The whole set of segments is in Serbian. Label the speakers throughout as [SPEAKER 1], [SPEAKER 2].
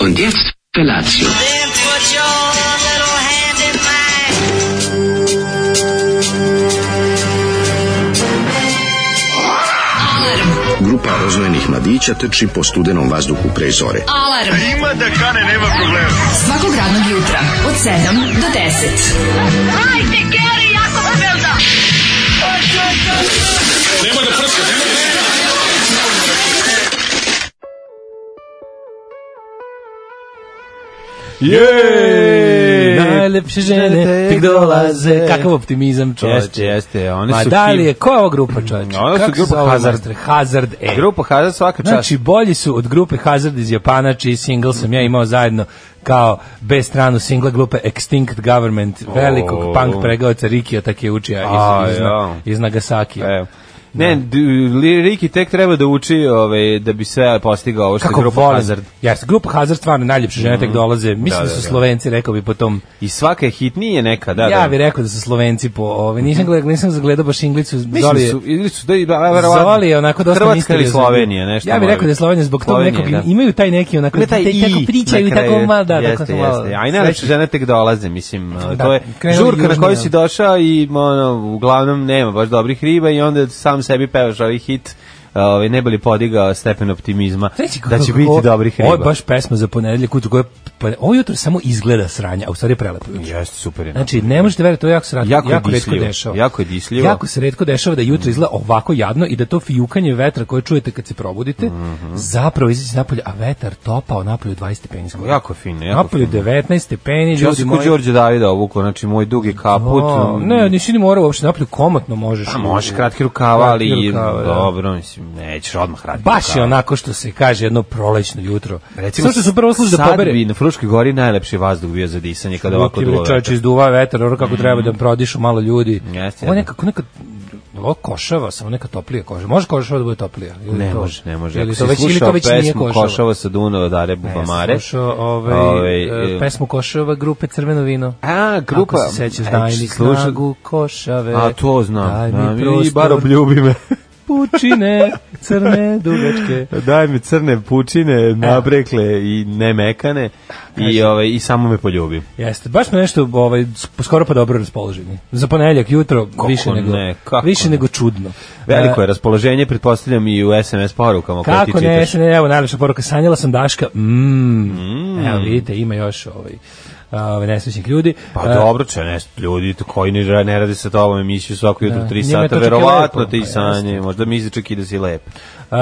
[SPEAKER 1] Und jetzt Felatio.
[SPEAKER 2] Then put your little hand in mine.
[SPEAKER 3] Grupa rozvojenih mladića teči po studenom vazduhu pre zore.
[SPEAKER 4] Alarm. Ima da kane, nema problema. Svakog radnog jutra, od 7 do 10.
[SPEAKER 5] Jej!
[SPEAKER 6] Najlepše žene tek dolaze. Kakav optimizam, čoveče.
[SPEAKER 5] Jeste, jeste, one
[SPEAKER 6] Ma
[SPEAKER 5] su
[SPEAKER 6] da li
[SPEAKER 5] hip-
[SPEAKER 6] je, koja je ova grupa, čoveče?
[SPEAKER 5] Ona su
[SPEAKER 6] Kako se
[SPEAKER 5] grupa
[SPEAKER 6] zove,
[SPEAKER 5] Hazard.
[SPEAKER 6] majstore? Hazard E.
[SPEAKER 5] Grupa Hazard svaka čast.
[SPEAKER 6] Znači, bolji su od grupe Hazard iz Japana, čiji single sam ja imao zajedno kao B stranu singla grupe Extinct Government, velikog
[SPEAKER 5] O.
[SPEAKER 6] punk pregaoca Rikija Takeuchija
[SPEAKER 5] A,
[SPEAKER 6] iz, iz,
[SPEAKER 5] ja. E,
[SPEAKER 6] iz Nagasaki.
[SPEAKER 5] Evo.
[SPEAKER 6] da.
[SPEAKER 5] Ne, d- li- Riki tek treba da uči ovaj, da bi sve postigao ovo što je
[SPEAKER 6] Kako
[SPEAKER 5] grupa
[SPEAKER 6] volim.
[SPEAKER 5] Hazard.
[SPEAKER 6] Jeste, grupa Hazard stvarno najljepše žene tek dolaze. Mislim
[SPEAKER 5] da,
[SPEAKER 6] da, su
[SPEAKER 5] da.
[SPEAKER 6] Slovenci, rekao bi po tom
[SPEAKER 5] I svaka je hitnije neka, da,
[SPEAKER 6] ja
[SPEAKER 5] da.
[SPEAKER 6] bih rekao da su Slovenci po ove nisam gledao nisam zagledao baš Inglicu
[SPEAKER 5] Mislim
[SPEAKER 6] Zoli
[SPEAKER 5] da
[SPEAKER 6] je-
[SPEAKER 5] su, ili su, da, i- da, verovatno.
[SPEAKER 6] Zoli je onako dosta
[SPEAKER 5] Hrvatska ili
[SPEAKER 6] misteriozan.
[SPEAKER 5] Slovenija, nešto.
[SPEAKER 6] Ja bih
[SPEAKER 5] mora
[SPEAKER 6] rekao da je
[SPEAKER 5] biti.
[SPEAKER 6] Slovenija zbog tog
[SPEAKER 5] Slovenija,
[SPEAKER 6] nekog
[SPEAKER 5] da.
[SPEAKER 6] imaju taj neki onako
[SPEAKER 5] Ima taj
[SPEAKER 6] taj,
[SPEAKER 5] i
[SPEAKER 6] tako pričaju i
[SPEAKER 5] na kraju.
[SPEAKER 6] tako ma da
[SPEAKER 5] jeste,
[SPEAKER 6] tako su malo.
[SPEAKER 5] jeste. A i najlepše da- žene tek dolaze, mislim.
[SPEAKER 6] Da,
[SPEAKER 5] to je
[SPEAKER 6] krenuli
[SPEAKER 5] žurka na
[SPEAKER 6] južni,
[SPEAKER 5] koju
[SPEAKER 6] da.
[SPEAKER 5] si došao i ono, uglavnom nema baš dobrih riba i onda sam sebi pevaš ovaj hit ovaj, ne bi li podigao stepen optimizma
[SPEAKER 6] Znači,
[SPEAKER 5] da će biti dobrih riba.
[SPEAKER 6] Ovo je baš pesma za ponedeljak ujutru koja pa ovo jutro samo izgleda sranja, a u stvari je prelepo jutro.
[SPEAKER 5] Jeste, super je.
[SPEAKER 6] Znači, ne možete veriti, to je jako, se rad-
[SPEAKER 5] Jako
[SPEAKER 6] jako,
[SPEAKER 5] je
[SPEAKER 6] redko
[SPEAKER 5] disljivo.
[SPEAKER 6] dešava.
[SPEAKER 5] Jako je disljivo.
[SPEAKER 6] Jako se redko dešava da jutro izgleda ovako jadno i da to fijukanje vetra koje čujete kad se probudite,
[SPEAKER 5] Mhm.
[SPEAKER 6] zapravo izaći napolje, a vetar topao napolje u 20 stepeni. skoro.
[SPEAKER 5] Jako je fino, jako
[SPEAKER 6] Napolje
[SPEAKER 5] fino.
[SPEAKER 6] 19 stepeni,
[SPEAKER 5] Ja
[SPEAKER 6] ljudi
[SPEAKER 5] sam kod
[SPEAKER 6] moji.
[SPEAKER 5] Đorđe Davida obuku, znači moj dugi kaput.
[SPEAKER 6] O,
[SPEAKER 5] mm,
[SPEAKER 6] ne, nisi ni morao uopšte napolje, komotno možeš.
[SPEAKER 5] A može Pa kratki rukava, ali
[SPEAKER 6] Kratki rukava, da.
[SPEAKER 5] dobro, mislim, nećeš odmah kratki
[SPEAKER 6] Baš je
[SPEAKER 5] rukava.
[SPEAKER 6] onako što se kaže jedno prolećno jutro. Recimo, što su prvo služi da
[SPEAKER 5] sad
[SPEAKER 6] pobere.
[SPEAKER 5] bi na Fruškoj gori najlepši vazduh bio za disanje kada ovako
[SPEAKER 6] Ti bre,
[SPEAKER 5] duva
[SPEAKER 6] čoveče,
[SPEAKER 5] vetar.
[SPEAKER 6] izduva vetar, ono kako treba da prodišu malo ljudi.
[SPEAKER 5] Jeste,
[SPEAKER 6] Ovo je
[SPEAKER 5] jeste.
[SPEAKER 6] nekako neka ovo košava, samo neka toplija koža. Može košava da bude toplija? Ili
[SPEAKER 5] Ne
[SPEAKER 6] to-
[SPEAKER 5] može, ne može.
[SPEAKER 6] Ili
[SPEAKER 5] Ako
[SPEAKER 6] to
[SPEAKER 5] si
[SPEAKER 6] već, ili to
[SPEAKER 5] slušao
[SPEAKER 6] već nije
[SPEAKER 5] pesmu
[SPEAKER 6] košava?
[SPEAKER 5] Košava sa Dunava Dare Bubamare.
[SPEAKER 6] Ne, slušao ovaj,
[SPEAKER 5] Ovaj,
[SPEAKER 6] e,
[SPEAKER 5] e,
[SPEAKER 6] pesmu Košava grupe Crveno vino.
[SPEAKER 5] A, grupa...
[SPEAKER 6] Ako se sećaš,
[SPEAKER 5] E,
[SPEAKER 6] daj mi
[SPEAKER 5] slušao-
[SPEAKER 6] snagu Košave.
[SPEAKER 5] A, to znam.
[SPEAKER 6] Daj
[SPEAKER 5] znam.
[SPEAKER 6] mi
[SPEAKER 5] I
[SPEAKER 6] prostor, E.
[SPEAKER 5] bar obljubi me.
[SPEAKER 6] pučine, crne dugačke.
[SPEAKER 5] Daj mi crne
[SPEAKER 6] E.
[SPEAKER 5] pučine, nabrekle i nemekane i, ovaj, i samo me poljubi.
[SPEAKER 6] Jeste, baš smo nešto ovaj, skoro pa dobro raspoloženi. Za ponedeljak jutro više nego,
[SPEAKER 5] ne, kako
[SPEAKER 6] više
[SPEAKER 5] ne.
[SPEAKER 6] nego čudno.
[SPEAKER 5] Veliko
[SPEAKER 6] E,
[SPEAKER 5] je raspoloženje, pretpostavljam i u SMS porukama koje ti
[SPEAKER 6] Kako ne,
[SPEAKER 5] čitaš.
[SPEAKER 6] se ne, evo najlepša poruka, sanjala sam Daška, mm, evo vidite, ima još ovaj, ovaj nesrećnih ljudi.
[SPEAKER 5] Pa
[SPEAKER 6] E,
[SPEAKER 5] dobro, če ne, ljudi to koji ne, ra- ne rade sa tobom emisiju svako jutro
[SPEAKER 6] Da,
[SPEAKER 5] 3
[SPEAKER 6] njima
[SPEAKER 5] sata,
[SPEAKER 6] je to čak i
[SPEAKER 5] verovatno
[SPEAKER 6] lepo,
[SPEAKER 5] ti
[SPEAKER 6] pa
[SPEAKER 5] sanje,
[SPEAKER 6] jeste.
[SPEAKER 5] možda misli čak i da si lep.
[SPEAKER 6] e,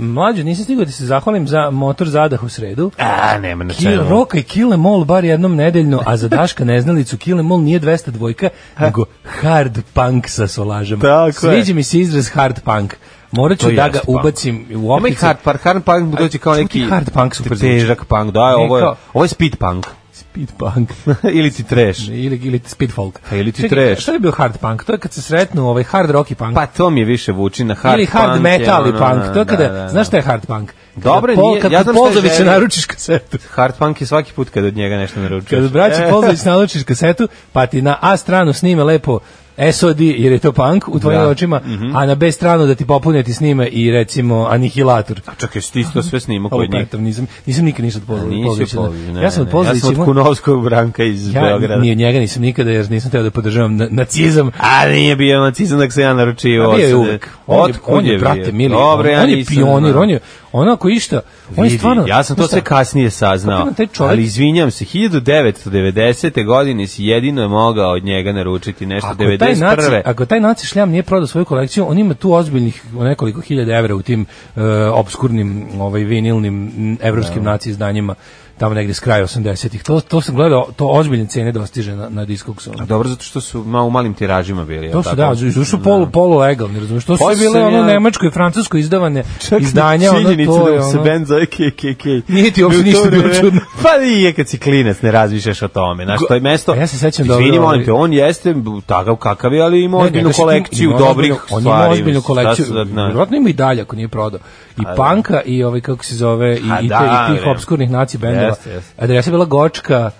[SPEAKER 6] mlađo, nisam stigao da se zahvalim za motor zadah u sredu.
[SPEAKER 5] A, nema na
[SPEAKER 6] Kil,
[SPEAKER 5] čemu.
[SPEAKER 6] roka i Kile Mol bar jednom nedeljno, a za Daška neznalicu Kile Mol nije 200 dvojka, nego hard punk sa solažem.
[SPEAKER 5] Tako je.
[SPEAKER 6] Sviđa mi se izraz hard punk. Morat ću
[SPEAKER 5] To
[SPEAKER 6] da
[SPEAKER 5] jeste
[SPEAKER 6] ga
[SPEAKER 5] punk.
[SPEAKER 6] ubacim u
[SPEAKER 5] Ima i
[SPEAKER 6] opnicu.
[SPEAKER 5] hard punk, hard punk
[SPEAKER 6] A,
[SPEAKER 5] dođe kao
[SPEAKER 6] čemu
[SPEAKER 5] neki
[SPEAKER 6] ti hard punk super zvuči?
[SPEAKER 5] težak punk, da, ovo je,
[SPEAKER 6] kao-
[SPEAKER 5] ovo je speed punk.
[SPEAKER 6] Speed punk.
[SPEAKER 5] Ili ti trash.
[SPEAKER 6] ili, ili speed folk.
[SPEAKER 5] Pa ili ti
[SPEAKER 6] Čekaj,
[SPEAKER 5] trash.
[SPEAKER 6] Šta je bio hard punk? To je kad se sretnu ovaj hard rock i punk.
[SPEAKER 5] Pa to mi je više vuči na hard
[SPEAKER 6] ili hard
[SPEAKER 5] punk. je
[SPEAKER 6] metal i
[SPEAKER 5] ono,
[SPEAKER 6] punk. To je kada,
[SPEAKER 5] da, da, da.
[SPEAKER 6] znaš šta je hard punk? Kada
[SPEAKER 5] Dobro,
[SPEAKER 6] Pol-
[SPEAKER 5] nije-
[SPEAKER 6] kad
[SPEAKER 5] ja
[SPEAKER 6] ja
[SPEAKER 5] znam
[SPEAKER 6] znam
[SPEAKER 5] šta je želja.
[SPEAKER 6] naručiš kasetu.
[SPEAKER 5] Hard punk je svaki put kad od njega nešto naručuješ.
[SPEAKER 6] Kad od braće
[SPEAKER 5] E,
[SPEAKER 6] Polzović nalučiš kasetu, pa ti na A stranu snime lepo SOD, jer je to punk u tvojim
[SPEAKER 5] Da.
[SPEAKER 6] očima, a na B stranu da ti popune ti snime i recimo Anihilator.
[SPEAKER 5] Čekaj, si ti to sve snimao
[SPEAKER 6] Ovo pa
[SPEAKER 5] kod njih.
[SPEAKER 6] petom, nisam, nisam nikad ništa od Polzovića.
[SPEAKER 5] Nisi
[SPEAKER 6] Polzovića, da.
[SPEAKER 5] Polzović, ne,
[SPEAKER 6] ja sam od
[SPEAKER 5] ne, ne. Ja
[SPEAKER 6] Polzovića
[SPEAKER 5] sam od
[SPEAKER 6] imao-
[SPEAKER 5] Kunovskog Branka iz Beograda.
[SPEAKER 6] ja, ni od njega nisam nikada jer nisam teo da podržavam na- nacizam,
[SPEAKER 5] A nije bio nacizam da se ja naručivao.
[SPEAKER 6] A bio je
[SPEAKER 5] sad.
[SPEAKER 6] uvek. On je,
[SPEAKER 5] Otkud
[SPEAKER 6] on je,
[SPEAKER 5] bio?
[SPEAKER 6] brate, mili,
[SPEAKER 5] Dobro,
[SPEAKER 6] on,
[SPEAKER 5] ja
[SPEAKER 6] on je
[SPEAKER 5] nisam
[SPEAKER 6] pionir,
[SPEAKER 5] znao.
[SPEAKER 6] on je, ono ako išta, on je
[SPEAKER 5] Vidi,
[SPEAKER 6] stvarno...
[SPEAKER 5] ja sam to
[SPEAKER 6] znaš
[SPEAKER 5] sve
[SPEAKER 6] šta,
[SPEAKER 5] kasnije saznao.
[SPEAKER 6] Kako taj čovjek-
[SPEAKER 5] Ali izvinjam se, 1990. godine si jedino je mogao od njega naručiti nešto
[SPEAKER 6] Ako taj, naci,
[SPEAKER 5] 91.
[SPEAKER 6] ako taj naci šljam nije prodao svoju kolekciju, on ima tu ozbiljnih nekoliko hiljada evra u tim e, obskurnim ovaj, vinilnim m, evropskim
[SPEAKER 5] Da.
[SPEAKER 6] naci izdanjima tamo negde s kraja 80-ih. To, to sam gledao, to ozbiljne cene dostiže na, na diskoksu.
[SPEAKER 5] A Dobro, zato što su ma, u malim tiražima bili.
[SPEAKER 6] To su da, to su polu polu legalni, razumeš? To su
[SPEAKER 5] Pa
[SPEAKER 6] bile
[SPEAKER 5] sam
[SPEAKER 6] ono
[SPEAKER 5] ja-
[SPEAKER 6] nemačko i francusko izdavane izdanja, ono to je ono.
[SPEAKER 5] da bend zove KKK.
[SPEAKER 6] Nije ti uopšte
[SPEAKER 5] U to
[SPEAKER 6] ništa bilo
[SPEAKER 5] vreme-
[SPEAKER 6] čudno.
[SPEAKER 5] Pa nije kad si klinac, ne razmišljaš o tome. Znaš, to je mesto...
[SPEAKER 6] A ja se sećam
[SPEAKER 5] Izvini,
[SPEAKER 6] dobro,
[SPEAKER 5] molim
[SPEAKER 6] ovaj-
[SPEAKER 5] te, on jeste takav kakav je, ali ima
[SPEAKER 6] Ne,
[SPEAKER 5] ozbiljnu
[SPEAKER 6] nego si-
[SPEAKER 5] kolekciju
[SPEAKER 6] ima ozbiljnu-
[SPEAKER 5] dobrih stvari.
[SPEAKER 6] On ima ozbiljnu
[SPEAKER 5] mislim, šta
[SPEAKER 6] kolekciju.
[SPEAKER 5] sad, na-
[SPEAKER 6] Vjerojatno ima i dalje ako nije prodao. I panka i ovaj kako se zove i,
[SPEAKER 5] A
[SPEAKER 6] i, te,
[SPEAKER 5] da,
[SPEAKER 6] i tih
[SPEAKER 5] bre.
[SPEAKER 6] obskurnih naci bendova. da,
[SPEAKER 5] Jeste, jeste.
[SPEAKER 6] Adresa je bila Gočka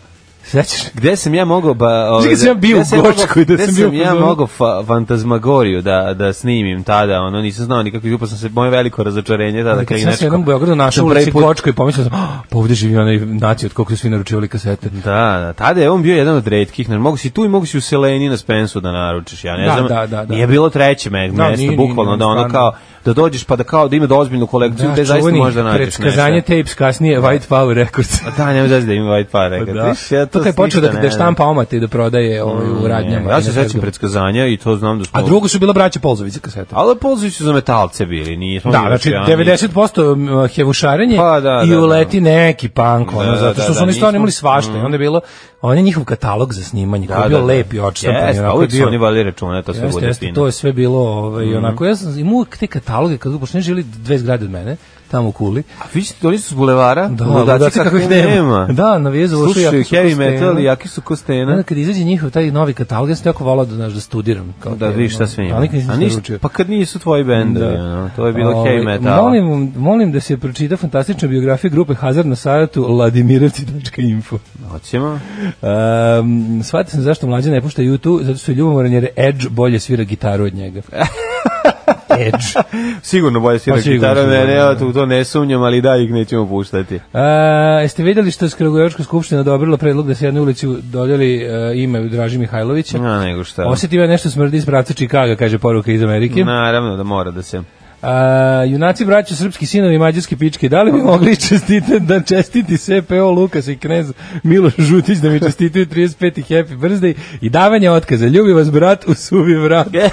[SPEAKER 6] Sećaš?
[SPEAKER 5] Gde sam ja mogao ba ovaj,
[SPEAKER 6] Gde sam ja bio u
[SPEAKER 5] gde sam ja mogao-
[SPEAKER 6] Gočkoj, da
[SPEAKER 5] gde
[SPEAKER 6] sam
[SPEAKER 5] sam,
[SPEAKER 6] bio u
[SPEAKER 5] ja
[SPEAKER 6] fazonu?
[SPEAKER 5] mogao fa, fantazmagoriju da da snimim tada, ono nisam znao nikako i upao sam se moje veliko razočarenje tada Da, kad
[SPEAKER 6] Kad
[SPEAKER 5] je
[SPEAKER 6] sam se
[SPEAKER 5] nešto.
[SPEAKER 6] jednom u Beogradu našao u
[SPEAKER 5] Sam prvi
[SPEAKER 6] ulici
[SPEAKER 5] put-
[SPEAKER 6] Kočko i pomislio sam, "Ah, pa ovde živi onaj naci od koliko su svi naručivali kasete.
[SPEAKER 5] Da, da, tada je on bio jedan od retkih, ne mogu si tu i mogu si u Seleni na Spensu da naručiš, ja ne
[SPEAKER 6] Da,
[SPEAKER 5] znam.
[SPEAKER 6] da, da, da.
[SPEAKER 5] Nije bilo treće me,
[SPEAKER 6] Da,
[SPEAKER 5] da,
[SPEAKER 6] nije,
[SPEAKER 5] mesto
[SPEAKER 6] nije,
[SPEAKER 5] bukvalno
[SPEAKER 6] nije,
[SPEAKER 5] da ono
[SPEAKER 6] stvarno.
[SPEAKER 5] kao da dođeš pa da kao da ima da ozbiljnu kolekciju, da, zaista
[SPEAKER 6] čuveni
[SPEAKER 5] možda nađeš
[SPEAKER 6] Predskazanje
[SPEAKER 5] nešto.
[SPEAKER 6] tapes, kasnije White Power Records.
[SPEAKER 5] Da, nema zvezde da ima ovaj par, rekao.
[SPEAKER 6] da.
[SPEAKER 5] Viš, ja
[SPEAKER 6] to kad je počeo da,
[SPEAKER 5] ništa
[SPEAKER 6] da
[SPEAKER 5] ne znam.
[SPEAKER 6] štampa omate i da prodaje ovaj, u radnjama.
[SPEAKER 5] Ja
[SPEAKER 6] i
[SPEAKER 5] se
[SPEAKER 6] na
[SPEAKER 5] sećam
[SPEAKER 6] Facebooku.
[SPEAKER 5] predskazanja i to znam da smo...
[SPEAKER 6] da. A drugo su bila braća Polzović za kasete.
[SPEAKER 5] Ali Polzović su za metalce bili, nismo
[SPEAKER 6] Da,
[SPEAKER 5] mi baš
[SPEAKER 6] znači
[SPEAKER 5] jedan-
[SPEAKER 6] 90% hevušarenje
[SPEAKER 5] Pa, da,
[SPEAKER 6] i
[SPEAKER 5] da, da.
[SPEAKER 6] uleti neki punk, ono,
[SPEAKER 5] Da,
[SPEAKER 6] zato što
[SPEAKER 5] da,
[SPEAKER 6] su
[SPEAKER 5] da,
[SPEAKER 6] oni stvarno
[SPEAKER 5] nismo-
[SPEAKER 6] imali svašta i onda je bilo, on je njihov katalog za snimanje, koji je bio lep i očistan.
[SPEAKER 5] Da, Jeste, a uvijek su oni valili računa, to sve
[SPEAKER 6] Jeste,
[SPEAKER 5] bude
[SPEAKER 6] jeste,
[SPEAKER 5] fino.
[SPEAKER 6] to je sve bilo ovaj,
[SPEAKER 5] Mhm.
[SPEAKER 6] onako, ja sam imao uvijek te kataloge, kad pošto ne žili dve zgrade od mene, tamo u Kuli.
[SPEAKER 5] A vidite, oni su s bulevara,
[SPEAKER 6] Da,
[SPEAKER 5] ludaci
[SPEAKER 6] ludaci
[SPEAKER 5] kakvih
[SPEAKER 6] kakvih nema. Da, na vijezu ušli
[SPEAKER 5] Slušaju
[SPEAKER 6] jaki su
[SPEAKER 5] heavy
[SPEAKER 6] ko
[SPEAKER 5] metal
[SPEAKER 6] stena.
[SPEAKER 5] i jaki su ko stena.
[SPEAKER 6] Onda kad izađe njihov taj novi katalog, ja sam jako volao da, znaš, da studiram. Kao
[SPEAKER 5] Da
[SPEAKER 6] te,
[SPEAKER 5] vidiš šta
[SPEAKER 6] ono,
[SPEAKER 5] sve ima.
[SPEAKER 6] ali nikad nisam
[SPEAKER 5] A ništa-
[SPEAKER 6] naručio.
[SPEAKER 5] Pa kad nisu tvoji bendovi,
[SPEAKER 6] Da.
[SPEAKER 5] ono, to je bilo
[SPEAKER 6] Ovaj,
[SPEAKER 5] heavy metal.
[SPEAKER 6] Molim, molim da se pročita fantastična biografija grupe Hazard na sajtu ladimirevci.info.
[SPEAKER 5] Hoćemo.
[SPEAKER 6] Um, shvatio sam zašto mlađe ne pušta YouTube, zato što je ljubomoran jer Edge bolje svira gitaru od njega. Edge.
[SPEAKER 5] Sigurno bolje svira
[SPEAKER 6] Pa sigurno
[SPEAKER 5] gitara,
[SPEAKER 6] su bolje,
[SPEAKER 5] ne,
[SPEAKER 6] da.
[SPEAKER 5] ne, to, to ne sumnjam, ali da ih nećemo puštati.
[SPEAKER 6] A, jeste vidjeli što je Skragujevačka skupština odobrila predlog da se jednoj ulici dodeli e, ime Draži Mihajlovića?
[SPEAKER 5] Na, nego šta.
[SPEAKER 6] Osjetio je nešto smrdi iz pravca Čikaga, kaže poruka iz Amerike.
[SPEAKER 5] Naravno da mora da se...
[SPEAKER 6] A, junaci braća, srpski sinovi i mađarske pičke, da li bi mogli čestiti, da čestiti CPO Lukas i knez Miloš Žutić da mi čestitaju 35. Happy Birthday i davanje otkaza. Ljubi vas brat u suvi vrat.
[SPEAKER 5] Ej,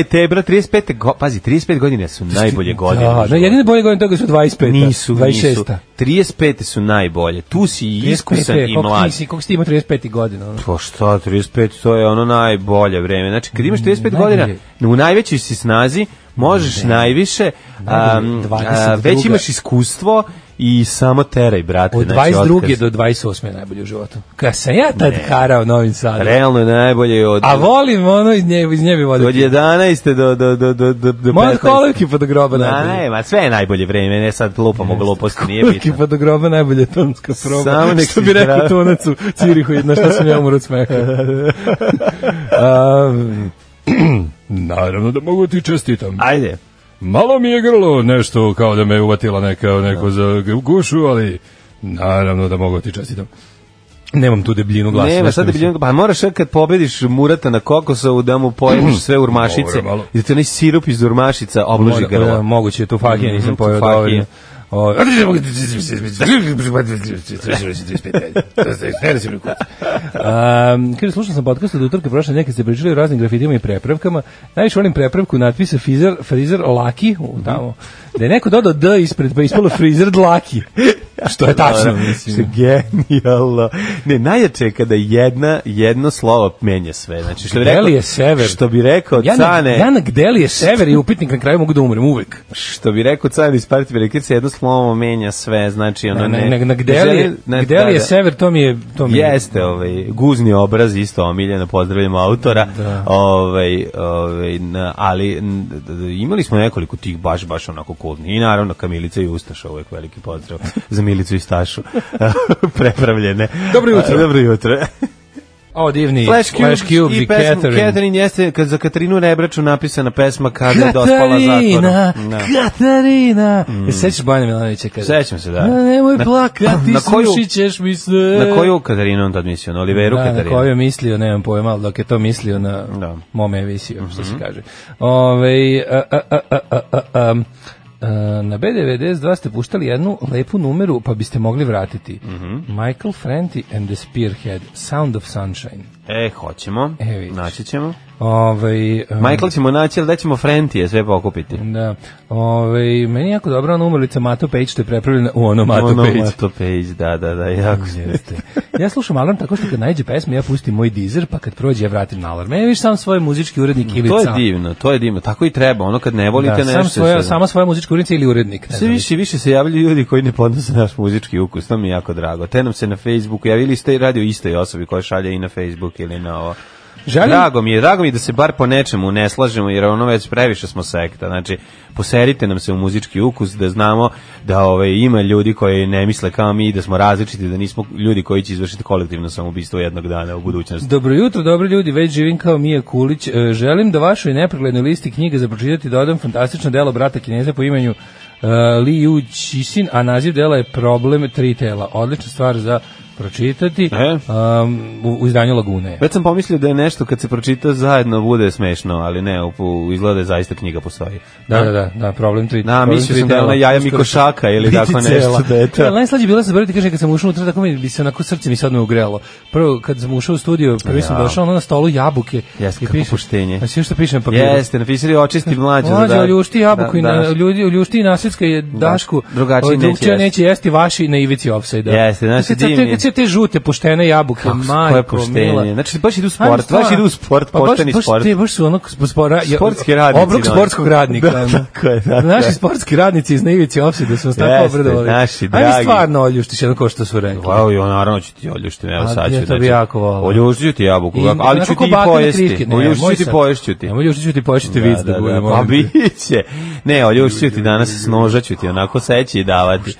[SPEAKER 5] E, te, bro, 35. Go, pazi, 35 godina su najbolje godine. u
[SPEAKER 6] Da, no,
[SPEAKER 5] životu.
[SPEAKER 6] jedine bolje godine toga su 25.
[SPEAKER 5] Nisu,
[SPEAKER 6] 26.
[SPEAKER 5] nisu. 35. su najbolje. Tu si i
[SPEAKER 6] 35,
[SPEAKER 5] iskusan i
[SPEAKER 6] koliko ti
[SPEAKER 5] mlad.
[SPEAKER 6] si- Koliko si ti imao 35. godina? Ono?
[SPEAKER 5] Pa šta, 35, to je ono najbolje vreme. Znači, kad imaš 35
[SPEAKER 6] Mm, najbolje.
[SPEAKER 5] godina, u najvećoj si snazi, možeš najviše,
[SPEAKER 6] Najbolje,
[SPEAKER 5] am, a,
[SPEAKER 6] 22.
[SPEAKER 5] već imaš iskustvo i samo teraj, brate.
[SPEAKER 6] Od
[SPEAKER 5] znači,
[SPEAKER 6] 22.
[SPEAKER 5] otkaz.
[SPEAKER 6] do 28. je najbolje u životu. Kada sam ja tad harao Novim Sadom.
[SPEAKER 5] Realno je najbolje od...
[SPEAKER 6] A volim ono iz nje, iz nje bi
[SPEAKER 5] Od
[SPEAKER 6] voditi.
[SPEAKER 5] 11. do, do, do, do, do, do
[SPEAKER 6] Moja
[SPEAKER 5] 15.
[SPEAKER 6] kolevki pa do groba
[SPEAKER 5] Na,
[SPEAKER 6] najbolje.
[SPEAKER 5] ne, ma sve je najbolje vreme, ne sad lupamo gluposti, nije
[SPEAKER 6] Kolevki
[SPEAKER 5] bitno.
[SPEAKER 6] pa do groba najbolje tonska proba.
[SPEAKER 5] Samo nek
[SPEAKER 6] što
[SPEAKER 5] si
[SPEAKER 6] bi rekao
[SPEAKER 5] zdrav.
[SPEAKER 6] tonac u Cirihu, jedna šta sam ja umro od smeha. Um, Naravno da mogu ti čestitam.
[SPEAKER 5] Ajde.
[SPEAKER 6] Malo mi je grlo nešto kao da me uvatila neka, neko za gušu, ali naravno da mogu ti čestitam. Nemam tu debljinu glasa.
[SPEAKER 5] Nema,
[SPEAKER 6] znaš
[SPEAKER 5] sad da
[SPEAKER 6] šta mislim.
[SPEAKER 5] bi pa moraš kad pobediš Murata na Kokosovu da mu poješ sve urmašice
[SPEAKER 6] Dobro, malo.
[SPEAKER 5] i da ti onaj sirup iz urmašica obloži
[SPEAKER 6] Mora- da,
[SPEAKER 5] grlo.
[SPEAKER 6] Moguće je tu fahije, nisam
[SPEAKER 5] Mhm,
[SPEAKER 6] pojao
[SPEAKER 5] tufahije.
[SPEAKER 6] dovoljno. O, Um, kaže, slušao sam podcast od utorka prošle nekad ste pričali o raznim grafitima i prepravkama. Najviše volim prepravku natpisa Frizer, Frizer Laki, u, tamo, da je neko dodao D ispred, pa je ispalo Frizer Laki. Što je tačno,
[SPEAKER 5] Što
[SPEAKER 6] mislim. da.
[SPEAKER 5] je Genijalno. Ne, najjače je kada jedna, jedno slovo menja sve. Znači, što bi rekao,
[SPEAKER 6] Gdeli je sever?
[SPEAKER 5] Što bi rekao
[SPEAKER 6] Ja na,
[SPEAKER 5] Cane,
[SPEAKER 6] ja na Gdeli je sever i upitnik na kraju mogu da umrem uvek.
[SPEAKER 5] što bi rekao Cane iz Partije Velikice, jedno slovo menja sve. Znači, ono
[SPEAKER 6] Na,
[SPEAKER 5] ne...
[SPEAKER 6] na, na, na
[SPEAKER 5] želi-
[SPEAKER 6] Gdeli, je-
[SPEAKER 5] ne,
[SPEAKER 6] Gdeli
[SPEAKER 5] da,
[SPEAKER 6] je
[SPEAKER 5] da.
[SPEAKER 6] sever, to mi je... To mi je
[SPEAKER 5] Jeste, ovaj guzni obraz isto omiljeno, pozdravljamo autora.
[SPEAKER 6] Da.
[SPEAKER 5] Ovaj, ovaj, na- ali n- d- d- imali smo nekoliko tih baš baš onako kultnih. I naravno Kamilica i Ustaša, uvek veliki pozdrav za Milicu i Stašu. Prepravljene.
[SPEAKER 6] Dobro jutro.
[SPEAKER 5] A, Dobro jutro.
[SPEAKER 6] O, divni.
[SPEAKER 5] Flash Cubes,
[SPEAKER 6] Cubes
[SPEAKER 5] i pesma Catherine. jeste kad za Katarinu Rebraču napisana pesma kada da je dospala
[SPEAKER 6] Katarina,
[SPEAKER 5] zatvoru. Da.
[SPEAKER 6] Katarina. Mm. Sećaš Bojana Milanovića kada?
[SPEAKER 5] Sećam se, da.
[SPEAKER 6] Na, nemoj
[SPEAKER 5] Na-
[SPEAKER 6] plakati,
[SPEAKER 5] na koju-
[SPEAKER 6] sušit ćeš mi sve.
[SPEAKER 5] Na koju Katarinu on tad mislio? Na Oliveru
[SPEAKER 6] da, na
[SPEAKER 5] Katarinu?
[SPEAKER 6] koju je mislio, nemam pojma, ali dok je to mislio na
[SPEAKER 5] Da. Mhm.
[SPEAKER 6] mome je visio, što se kaže. Ove, a, a, a, a, a, a, a, a, na B92 ste puštali jednu lepu numeru, pa biste mogli vratiti.
[SPEAKER 5] Mhm.
[SPEAKER 6] Michael Franti and the Spearhead, Sound of Sunshine.
[SPEAKER 5] E, hoćemo.
[SPEAKER 6] E, vidiš.
[SPEAKER 5] Naći ćemo.
[SPEAKER 6] Ove,
[SPEAKER 5] Michael ćemo naći, ali da ćemo Frentije sve pokupiti.
[SPEAKER 6] Da. Ove, meni je jako dobra ona umrlica Mato Pejić što je prepravljena u ono Mato Pejić.
[SPEAKER 5] Onomatopejić, da, da, da, jako smijete.
[SPEAKER 6] Ja slušam alarm tako što kad najde pesma ja pustim moj dizer pa kad prođe ja vratim na alarm. Ja viš sam svoj muzički urednik ili
[SPEAKER 5] To je
[SPEAKER 6] sam.
[SPEAKER 5] divno, to je divno. Tako i treba, ono kad ne volite
[SPEAKER 6] Da,
[SPEAKER 5] nešto.
[SPEAKER 6] sam svoja,
[SPEAKER 5] sve-
[SPEAKER 6] sama svoja muzička urednica ili urednik. Ne
[SPEAKER 5] Sve
[SPEAKER 6] znam.
[SPEAKER 5] više i više se javljaju ljudi koji ne podnose naš muzički ukus, to mi je jako drago. Te nam se na Facebooku javili ste i radi o istoj osobi koja šalje i na Facebook ili na ovo.
[SPEAKER 6] Želim-
[SPEAKER 5] Drago mi je, drago mi je da se bar po nečemu ne slažemo, jer ono već previše smo sekta. Znači, poserite nam se u muzički ukus da znamo da ove, ima ljudi koji ne misle kao mi, da smo različiti, da nismo ljudi koji će izvršiti kolektivno samoubistvo jednog dana u budućnosti.
[SPEAKER 6] Dobro jutro, dobri ljudi, već živim kao Mija Kulić. E, želim da vašoj nepreglednoj listi knjige za pročitati dodam fantastično delo brata Kineza po imenu e, Li Yu Qisin, a naziv dela je Problem tri tela. Odlična stvar za pročitati
[SPEAKER 5] E.
[SPEAKER 6] um, u, u izdanju Lagune. je.
[SPEAKER 5] Već sam pomislio da je nešto kad se pročita zajedno bude smešno, ali ne, upu, izgleda da je zaista knjiga postoji.
[SPEAKER 6] Da, da, da, da, problem tri.
[SPEAKER 5] Na,
[SPEAKER 6] problem
[SPEAKER 5] mislio
[SPEAKER 6] tri
[SPEAKER 5] sam da je
[SPEAKER 6] tela.
[SPEAKER 5] ona jaja
[SPEAKER 6] Uskoro
[SPEAKER 5] Mikošaka
[SPEAKER 6] će
[SPEAKER 5] ili
[SPEAKER 6] biti
[SPEAKER 5] tako nešto,
[SPEAKER 6] cela.
[SPEAKER 5] da je to.
[SPEAKER 6] E, Najslađe je bilo se boriti, kaže, kad sam ušao unutra, tako mi bi se onako srce mi se odmah ugrelo. Prvo, kad sam ušao u studio, prvi sam
[SPEAKER 5] Ja.
[SPEAKER 6] došao, ono na stolu jabuke.
[SPEAKER 5] Jeste,
[SPEAKER 6] I
[SPEAKER 5] kako
[SPEAKER 6] piše-
[SPEAKER 5] puštenje.
[SPEAKER 6] A sve što pišem papiru.
[SPEAKER 5] Jeste, napisali očisti mlađu.
[SPEAKER 6] Mlađe, oljušti jabuku i na,
[SPEAKER 5] da, danas. Da,
[SPEAKER 6] ljudi, oljušti i nasicka je dašku.
[SPEAKER 5] drugačiji
[SPEAKER 6] ovaj,
[SPEAKER 5] neće
[SPEAKER 6] drugčija
[SPEAKER 5] jesti.
[SPEAKER 6] neće jesti vaši na ivici offside
[SPEAKER 5] Jeste, znači, divni.
[SPEAKER 6] te, sve te žute, poštene jabuke,
[SPEAKER 5] koje
[SPEAKER 6] majko,
[SPEAKER 5] poštenje.
[SPEAKER 6] mila.
[SPEAKER 5] Znači, baš idu u
[SPEAKER 6] Ajme,
[SPEAKER 5] sport, baš
[SPEAKER 6] stvarno.
[SPEAKER 5] idu u sport,
[SPEAKER 6] Pa baš-
[SPEAKER 5] pošteni
[SPEAKER 6] baš
[SPEAKER 5] sport.
[SPEAKER 6] Ti baš su ono sp- spora, ja-
[SPEAKER 5] Sportski radnici,
[SPEAKER 6] Obrok
[SPEAKER 5] da.
[SPEAKER 6] sportskog radnika.
[SPEAKER 5] Da,
[SPEAKER 6] ono.
[SPEAKER 5] tako je, da,
[SPEAKER 6] Naši
[SPEAKER 5] da.
[SPEAKER 6] sportski radnici iz Neivice Opside su nas tako
[SPEAKER 5] Jeste,
[SPEAKER 6] obradovali.
[SPEAKER 5] naši
[SPEAKER 6] Ajme,
[SPEAKER 5] dragi.
[SPEAKER 6] stvarno oljuštiš jedno ko što su rekli.
[SPEAKER 5] Wow, jo, naravno ću ti oljušti, evo
[SPEAKER 6] A,
[SPEAKER 5] sad
[SPEAKER 6] ja
[SPEAKER 5] ću.
[SPEAKER 6] to bi jako volao.
[SPEAKER 5] Oljuštit ću ti jabuku,
[SPEAKER 6] I
[SPEAKER 5] kako- ali
[SPEAKER 6] onako
[SPEAKER 5] ću
[SPEAKER 6] ko
[SPEAKER 5] ti i
[SPEAKER 6] bake na
[SPEAKER 5] pojesti.
[SPEAKER 6] kriške, ne,
[SPEAKER 5] Oljuštit ću
[SPEAKER 6] moj
[SPEAKER 5] ti
[SPEAKER 6] sad.
[SPEAKER 5] poješću ti.
[SPEAKER 6] Nemoj oljuštit ću ti poješću vic da, budemo.
[SPEAKER 5] Pa biće. Ne, oljuštit ću ti danas, noža ću ti onako seći i davati.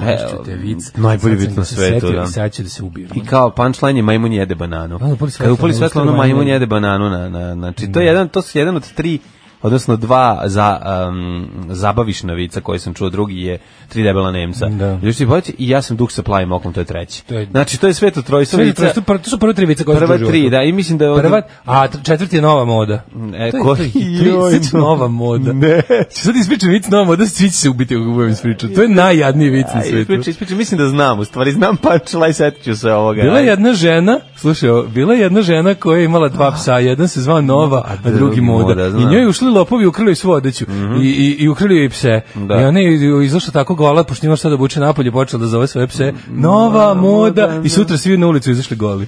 [SPEAKER 6] Poješću te da, vic.
[SPEAKER 5] Najbolji
[SPEAKER 6] Sad sam
[SPEAKER 5] vic na
[SPEAKER 6] se
[SPEAKER 5] svetu,
[SPEAKER 6] setio
[SPEAKER 5] da.
[SPEAKER 6] i Sad će da se ubijem.
[SPEAKER 5] I kao punchline je majmun jede bananu.
[SPEAKER 6] Ono, Da, upali svetlo,
[SPEAKER 5] Kad upali svetlo, ono
[SPEAKER 6] ono,
[SPEAKER 5] majmun
[SPEAKER 6] majmun Da.
[SPEAKER 5] jede bananu. Na, na, znači, to je, jedan, to su jedan od tri odnosno dva za um, zabavišna vica koje sam čuo, drugi je tri debela Nemca.
[SPEAKER 6] Da.
[SPEAKER 5] Još ti bojice, i ja sam duh sa plavim okom, to je treći.
[SPEAKER 6] To je-
[SPEAKER 5] Znači, to je sveto trojstvo
[SPEAKER 6] Sve je
[SPEAKER 5] vica,
[SPEAKER 6] to, to, to su prve tri vice koje sam
[SPEAKER 5] prva
[SPEAKER 6] čuo u
[SPEAKER 5] tri,
[SPEAKER 6] životu.
[SPEAKER 5] da, i mislim da je... od-
[SPEAKER 6] Prva, a tr- četvrti je nova moda.
[SPEAKER 5] E,
[SPEAKER 6] to je,
[SPEAKER 5] ko-
[SPEAKER 6] to je tri,
[SPEAKER 5] joj,
[SPEAKER 6] sad će
[SPEAKER 5] no.
[SPEAKER 6] nova moda.
[SPEAKER 5] Ne.
[SPEAKER 6] Ću sad ispričam vic nova moda, svi će se ubiti ako budem ispričao. To je najjadniji vic na
[SPEAKER 5] Aj,
[SPEAKER 6] svetu.
[SPEAKER 5] ispričaj, ispričaj, mislim da znam, u stvari znam punchline, setit ću se ovoga.
[SPEAKER 6] Bila je
[SPEAKER 5] Aj.
[SPEAKER 6] jedna žena, slušaj, ovo, bila je jedna žena koja je imala dva psa, jedan se zvao Nova, a drugi,
[SPEAKER 5] drugi
[SPEAKER 6] Moda.
[SPEAKER 5] Moda,
[SPEAKER 6] I
[SPEAKER 5] znam. Mhm.
[SPEAKER 6] njoj ušli lopovi i ukrali joj svu odeću. I, i, I ukrali joj i pse.
[SPEAKER 5] Da.
[SPEAKER 6] I ona je izašla tako gola, pošto ima šta da obuče napolje, počela da zove svoje pse Nova, Moda.
[SPEAKER 5] Moda,
[SPEAKER 6] I sutra svi na ulicu izašli goli.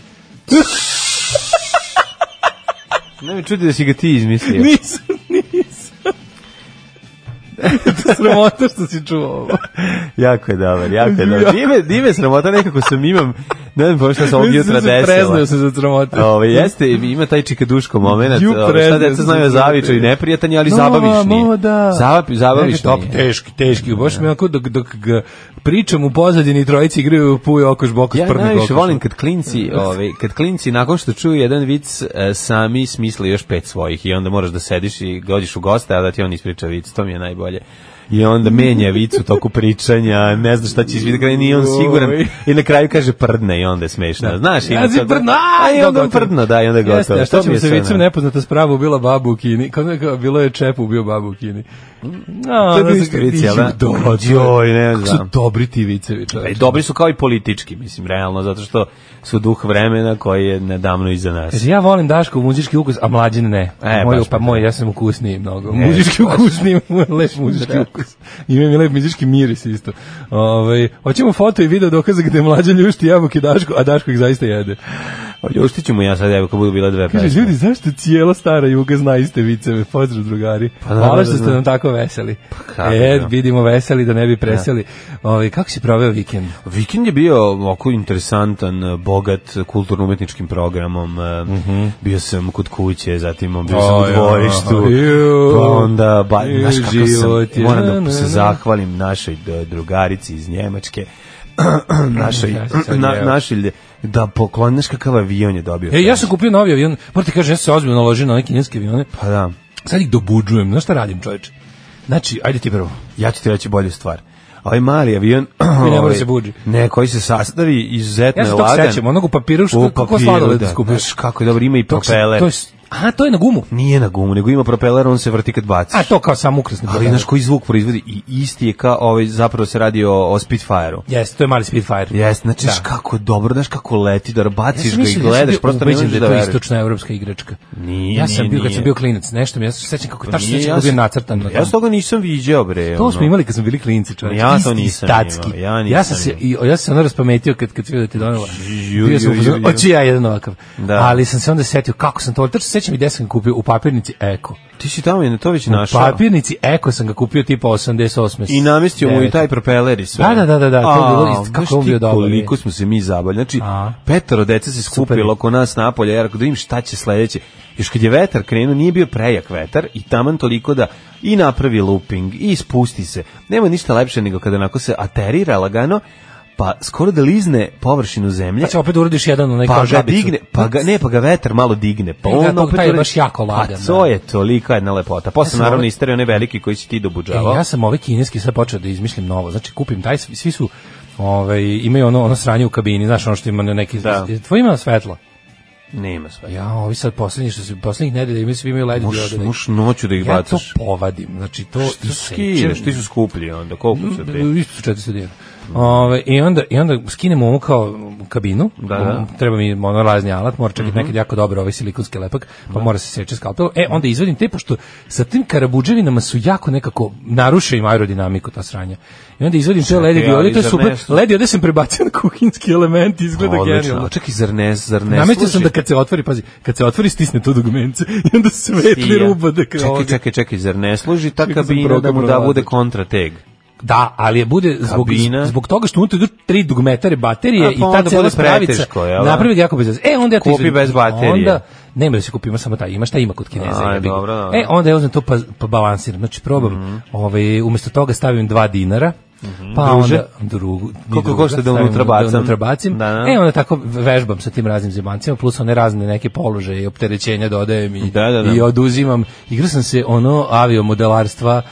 [SPEAKER 5] Ne me čudi da si ga ti izmislio.
[SPEAKER 6] Nisam, nisam. to je sramota što si čuo ovo.
[SPEAKER 5] Jako je dobar, jako je dobar. Nije me, nije me sramota, nekako sam imam, ne znam pošto sam ovog
[SPEAKER 6] Mislim,
[SPEAKER 5] jutra
[SPEAKER 6] sam se
[SPEAKER 5] desila.
[SPEAKER 6] Preznao sam za sramotu.
[SPEAKER 5] Ove, Ovaj, jeste, ima taj čikaduško moment,
[SPEAKER 6] Ju,
[SPEAKER 5] ove, šta
[SPEAKER 6] preznao
[SPEAKER 5] deca
[SPEAKER 6] sam
[SPEAKER 5] znaju o
[SPEAKER 6] za
[SPEAKER 5] zavičaju i
[SPEAKER 6] tebe.
[SPEAKER 5] neprijatan je, ali
[SPEAKER 6] Nova
[SPEAKER 5] zabavišniji.
[SPEAKER 6] moda.
[SPEAKER 5] Zabav, zabavišniji.
[SPEAKER 6] Top, teški, teški. Baš me onako dok, dok ga pričam u pozadini trojici igraju puj okoš bokoš
[SPEAKER 5] Ja
[SPEAKER 6] prne
[SPEAKER 5] najviše volim kad klinci, ove, kad klinci nakon što čuju jedan vic e, sami smisle još pet svojih i onda moraš da sediš i dođeš u goste, a da ti on ispriča vic, to mi je najbolje. I onda menja vic u toku pričanja, ne zna šta će izvidjeti, kada nije on siguran.
[SPEAKER 6] Oj.
[SPEAKER 5] I na kraju kaže prdne i onda je smešno. Znaš, ima
[SPEAKER 6] Ja si
[SPEAKER 5] to-
[SPEAKER 6] Da.
[SPEAKER 5] da-
[SPEAKER 6] prdno,
[SPEAKER 5] a i
[SPEAKER 6] to
[SPEAKER 5] onda
[SPEAKER 6] gotovo.
[SPEAKER 5] prdno, da, i onda je gotovo.
[SPEAKER 6] Jeste, a šta
[SPEAKER 5] To mi
[SPEAKER 6] ćemo
[SPEAKER 5] je
[SPEAKER 6] se
[SPEAKER 5] sve
[SPEAKER 6] vicom
[SPEAKER 5] naj-
[SPEAKER 6] nepoznata sprava bila babu u Kini. Kako je kao, bilo je čepu, bio babu u Kini. No,
[SPEAKER 5] Mm, To je bio isto vic, jel da? Joj, ne
[SPEAKER 6] Kako su
[SPEAKER 5] znam.
[SPEAKER 6] dobri ti vicevi,
[SPEAKER 5] Pa i
[SPEAKER 6] čoveče.
[SPEAKER 5] dobri su kao i politički, mislim, realno, zato što su duh vremena koji je nedavno iza nas.
[SPEAKER 6] Kaže, ja volim Daškov muzički ukus, a mlađin ne.
[SPEAKER 5] E,
[SPEAKER 6] moj,
[SPEAKER 5] baš
[SPEAKER 6] pa
[SPEAKER 5] mi E,
[SPEAKER 6] moj, ja sam ukusniji mnogo.
[SPEAKER 5] Ne,
[SPEAKER 6] muzički ukusniji, moj lep muzički
[SPEAKER 5] Da.
[SPEAKER 6] ukus. Ima mi lep muzički miris isto. Ove, hoćemo foto i video dokaze gde mlađa ljušti jabuke Daško, a Daško ih zaista jede.
[SPEAKER 5] Ljuštit ću Pa, mu ja sad, evo, kad budu bile dve
[SPEAKER 6] Kaže,
[SPEAKER 5] pesme.
[SPEAKER 6] ljudi, zašto cijela stara juga zna iste viceve? Pozdrav, drugari.
[SPEAKER 5] Pa da, da,
[SPEAKER 6] Hvala
[SPEAKER 5] da,
[SPEAKER 6] što ste
[SPEAKER 5] da.
[SPEAKER 6] nam tako veseli.
[SPEAKER 5] kako
[SPEAKER 6] e,
[SPEAKER 5] da.
[SPEAKER 6] vidimo veseli da ne bi preseli. Ove, kako si proveo vikend?
[SPEAKER 5] Vikend je bio ovako interesantan, eh, bogat kulturno-umetničkim programom. eh,
[SPEAKER 6] Mhm.
[SPEAKER 5] Bio sam kod kuće, zatim bio sam u
[SPEAKER 6] Oj,
[SPEAKER 5] dvorištu.
[SPEAKER 6] oj,
[SPEAKER 5] Pa onda, ba,
[SPEAKER 6] oj,
[SPEAKER 5] znaš kako
[SPEAKER 6] život
[SPEAKER 5] sam,
[SPEAKER 6] je,
[SPEAKER 5] moram
[SPEAKER 6] na,
[SPEAKER 5] da
[SPEAKER 6] na,
[SPEAKER 5] se
[SPEAKER 6] na.
[SPEAKER 5] zahvalim našoj d- drugarici iz Njemačke. našoj,
[SPEAKER 6] Ja se sad
[SPEAKER 5] na,
[SPEAKER 6] jeo.
[SPEAKER 5] našoj, da poklon, znaš kakav avion je dobio.
[SPEAKER 6] E, ja sam kupio novi avion. Morate kažem, ja sam se ozbiljno naložio na neke kineske avione.
[SPEAKER 5] Pa da.
[SPEAKER 6] Sad ih dobuđujem. Znaš šta radim, čoveče? Znači, ajde ti prvo.
[SPEAKER 5] Ja ću ti reći bolju stvar. Ovaj mali avion...
[SPEAKER 6] mora
[SPEAKER 5] ovaj,
[SPEAKER 6] se budi.
[SPEAKER 5] Ne, koji se sastavi izuzetno
[SPEAKER 6] Ja
[SPEAKER 5] je
[SPEAKER 6] se tog
[SPEAKER 5] lagan.
[SPEAKER 6] sećam, onog u papiru što
[SPEAKER 5] U
[SPEAKER 6] kako
[SPEAKER 5] papiru,
[SPEAKER 6] sladoled
[SPEAKER 5] da.
[SPEAKER 6] skupiš.
[SPEAKER 5] Znaš kako je dobro, ima i
[SPEAKER 6] Tog se-
[SPEAKER 5] propeler.
[SPEAKER 6] To je, s- aha, to je na gumu.
[SPEAKER 5] Nije na gumu, nego ima propeler, on se vrti kad baciš.
[SPEAKER 6] A da. to kao sam ukrasni
[SPEAKER 5] Ali znaš koji zvuk proizvodi i isti je kao ovaj zapravo se radi o, o Spitfireu.
[SPEAKER 6] Yes, to je mali Spitfire.
[SPEAKER 5] Jes, znači
[SPEAKER 6] Da.
[SPEAKER 5] znaš kako je dobro, znaš kako leti, da baciš
[SPEAKER 6] sam
[SPEAKER 5] ga i
[SPEAKER 6] mislio da sam
[SPEAKER 5] gledaš,
[SPEAKER 6] bio
[SPEAKER 5] prosto ne
[SPEAKER 6] ubeđen
[SPEAKER 5] možeš da
[SPEAKER 6] da je to
[SPEAKER 5] veruješ.
[SPEAKER 6] istočna evropska igračka.
[SPEAKER 5] Nije,
[SPEAKER 6] ja sam
[SPEAKER 5] nije,
[SPEAKER 6] bio kad
[SPEAKER 5] nije. Pa
[SPEAKER 6] sam bio klinac, nešto mi ja se sećam kako tačno
[SPEAKER 5] Nije,
[SPEAKER 6] sećam
[SPEAKER 5] ja
[SPEAKER 6] kako je
[SPEAKER 5] sam-
[SPEAKER 6] nacrtan. na
[SPEAKER 5] Ja
[SPEAKER 6] tome.
[SPEAKER 5] s toga nisam viđao, bre.
[SPEAKER 6] To
[SPEAKER 5] ono.
[SPEAKER 6] smo imali kad smo bili klinci, čovječe.
[SPEAKER 5] Ja to
[SPEAKER 6] Isti
[SPEAKER 5] nisam
[SPEAKER 6] statski.
[SPEAKER 5] imao, ja nisam
[SPEAKER 6] ja sam se i ja sam se onda raspametio kad kad vidio da ti donela.
[SPEAKER 5] Ju,
[SPEAKER 6] Bio sam
[SPEAKER 5] ju, ju,
[SPEAKER 6] uzeo,
[SPEAKER 5] ju.
[SPEAKER 6] hoću ja jedan ovakav.
[SPEAKER 5] Da.
[SPEAKER 6] Ali sam se onda setio kako sam to, tačno se sećam i gde sam ga kupio, u papirnici Eko.
[SPEAKER 5] Ti si tamo Janetović
[SPEAKER 6] U
[SPEAKER 5] našao.
[SPEAKER 6] papirnici Eko sam ga kupio tipa 88.
[SPEAKER 5] I namestio mu i
[SPEAKER 6] Devet.
[SPEAKER 5] taj propeler i sve.
[SPEAKER 6] Da, da, da, da, da, to je
[SPEAKER 5] A,
[SPEAKER 6] bilo isto, kako
[SPEAKER 5] znaš
[SPEAKER 6] je on
[SPEAKER 5] ti
[SPEAKER 6] bio dobar,
[SPEAKER 5] Koliko
[SPEAKER 6] je.
[SPEAKER 5] smo se mi zabavili. Znači,
[SPEAKER 6] A.
[SPEAKER 5] petoro dece se skupilo oko nas napolje, ja rekao da im šta će sledeće. Još kad je vetar krenuo, nije bio prejak vetar i taman toliko da i napravi looping i spusti se. Nema ništa lepše nego kada onako se aterira lagano, pa skoro da lizne površinu zemlje.
[SPEAKER 6] Znači opet uradiš jedan onaj
[SPEAKER 5] Pa
[SPEAKER 6] kao
[SPEAKER 5] ga
[SPEAKER 6] žabicu.
[SPEAKER 5] digne, pa
[SPEAKER 6] E,
[SPEAKER 5] ga, ne, pa ga vetar malo digne. Pa
[SPEAKER 6] I da,
[SPEAKER 5] on
[SPEAKER 6] to-
[SPEAKER 5] opet
[SPEAKER 6] taj je
[SPEAKER 5] uradi-
[SPEAKER 6] baš jako lagan,
[SPEAKER 5] A to
[SPEAKER 6] da.
[SPEAKER 5] je tolika jedna lepota.
[SPEAKER 6] Ja sam
[SPEAKER 5] Posle naravno
[SPEAKER 6] ovaj-
[SPEAKER 5] istereo one velike koji si ti dobuđavao.
[SPEAKER 6] E, ja sam ove kineski sad počeo da izmišljam novo. Znači kupim taj, svi svi su ovaj imaju ono ono sranje u kabini, znaš, ono što ima na neki
[SPEAKER 5] Da.
[SPEAKER 6] tvoj ima svetlo.
[SPEAKER 5] Nema sve.
[SPEAKER 6] Ja, ovi sad poslednji što su poslednjih nedelja imaju svi imaju led
[SPEAKER 5] Moš,
[SPEAKER 6] diode.
[SPEAKER 5] moš noću da ih
[SPEAKER 6] Ja to
[SPEAKER 5] bacaš.
[SPEAKER 6] povadim. Znači to Mm,
[SPEAKER 5] Ti skineš, ti su skuplji onda, koliko su ti?
[SPEAKER 6] isto su 400 dinara. Ove, i, onda, I onda skinem ovu kao kabinu,
[SPEAKER 5] Da, Mhm. da.
[SPEAKER 6] treba mi ono razni alat, mora čak i nekad jako dobro ovaj silikonski lepak,
[SPEAKER 5] Da.
[SPEAKER 6] pa mora se seče skalpel. E, onda izvedim te, pošto sa tim karabuđevinama su jako nekako naruše im aerodinamiku ta sranja. I onda izvedim te ledi
[SPEAKER 5] ali
[SPEAKER 6] diode, to je
[SPEAKER 5] zar
[SPEAKER 6] super.
[SPEAKER 5] ne su-
[SPEAKER 6] Ledi diode sam prebacio na kuhinski element, izgleda
[SPEAKER 5] Odlično,
[SPEAKER 6] genijalno.
[SPEAKER 5] a čak i zar ne, zar ne
[SPEAKER 6] Nametio sam
[SPEAKER 5] služi?
[SPEAKER 6] da kad se otvori, pazi, kad se otvori stisne to dugmence i onda svetli
[SPEAKER 5] Ti ja.
[SPEAKER 6] ruba da kao
[SPEAKER 5] Čekaj,
[SPEAKER 6] ovdje.
[SPEAKER 5] čekaj, čekaj, zar ne služi ta
[SPEAKER 6] Čekao sam
[SPEAKER 5] kabina da mu da
[SPEAKER 6] program
[SPEAKER 5] bude
[SPEAKER 6] provlačiti.
[SPEAKER 5] kontrateg?
[SPEAKER 6] Da, ali je bude zbog,
[SPEAKER 5] Kabina.
[SPEAKER 6] zbog toga što unutra idu tri dugmetare baterije
[SPEAKER 5] A, pa
[SPEAKER 6] i ta
[SPEAKER 5] onda
[SPEAKER 6] cela
[SPEAKER 5] bude
[SPEAKER 6] spravica
[SPEAKER 5] preteško, jel da?
[SPEAKER 6] napravi ga jako bezaz. E, onda ja to
[SPEAKER 5] Kupi
[SPEAKER 6] izvedim.
[SPEAKER 5] bez baterije.
[SPEAKER 6] Onda, nema da se kupi, ima samo taj, ima šta ima kod Kineza.
[SPEAKER 5] Aj,
[SPEAKER 6] jebi ga.
[SPEAKER 5] dobro, dobro. Mhm.
[SPEAKER 6] E, onda ja uzmem to pa, pa balansiram. Znači, probam, ovaj, umjesto toga stavim dva dinara, pa
[SPEAKER 5] Druže?
[SPEAKER 6] onda drugu, ni
[SPEAKER 5] Koliko
[SPEAKER 6] druga,
[SPEAKER 5] košta da
[SPEAKER 6] stavim
[SPEAKER 5] unutra bacam?
[SPEAKER 6] unutra bacim.
[SPEAKER 5] Da, da.
[SPEAKER 6] E, onda tako vežbam sa tim raznim zemancima, plus one razne neke položaje i opterećenja dodajem i,
[SPEAKER 5] Da, da, da.
[SPEAKER 6] i oduzimam. Igrao sam se ono aviomodelarstva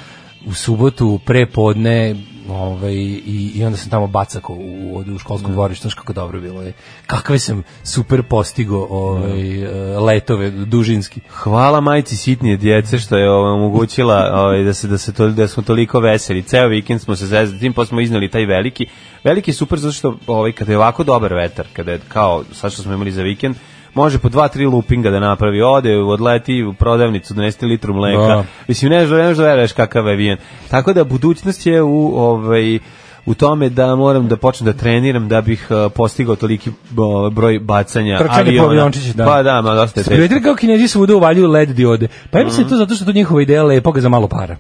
[SPEAKER 6] u subotu prepodne ovaj, i, i onda sam tamo bacako u, u, u
[SPEAKER 5] Da.
[SPEAKER 6] školskom dvorištu, znaš kako dobro bilo je. Kakve sam super postigo ovaj,
[SPEAKER 5] Da.
[SPEAKER 6] e, letove dužinski.
[SPEAKER 5] Hvala majci sitnije djece što je ovaj, omogućila ovaj, da se da se to da smo toliko veseli. Ceo vikend smo se zezali, tim pa smo izneli taj veliki. Veliki je super zato što ovaj kada je ovako dobar vetar, kada je kao sad što smo imali za vikend, može po dva, tri lupinga da napravi, ode, odleti u prodavnicu, donesti litru mleka.
[SPEAKER 6] Da.
[SPEAKER 5] Mislim, ne znam, ne znam da veruješ kakav je vijen. Tako da budućnost je u ovaj, u tome da moram da počnem da treniram da bih eh, postigao toliki o, broj bacanja
[SPEAKER 6] Trčanje po
[SPEAKER 5] aviona.
[SPEAKER 6] aviončiću, da.
[SPEAKER 5] Pa da, ma dosta je teško. Mhm.
[SPEAKER 6] Primetili kako kinezi svuda uvaljuju LED diode. Pa ja mislim da je to zato što je to njihova ideja lepoga za malo para.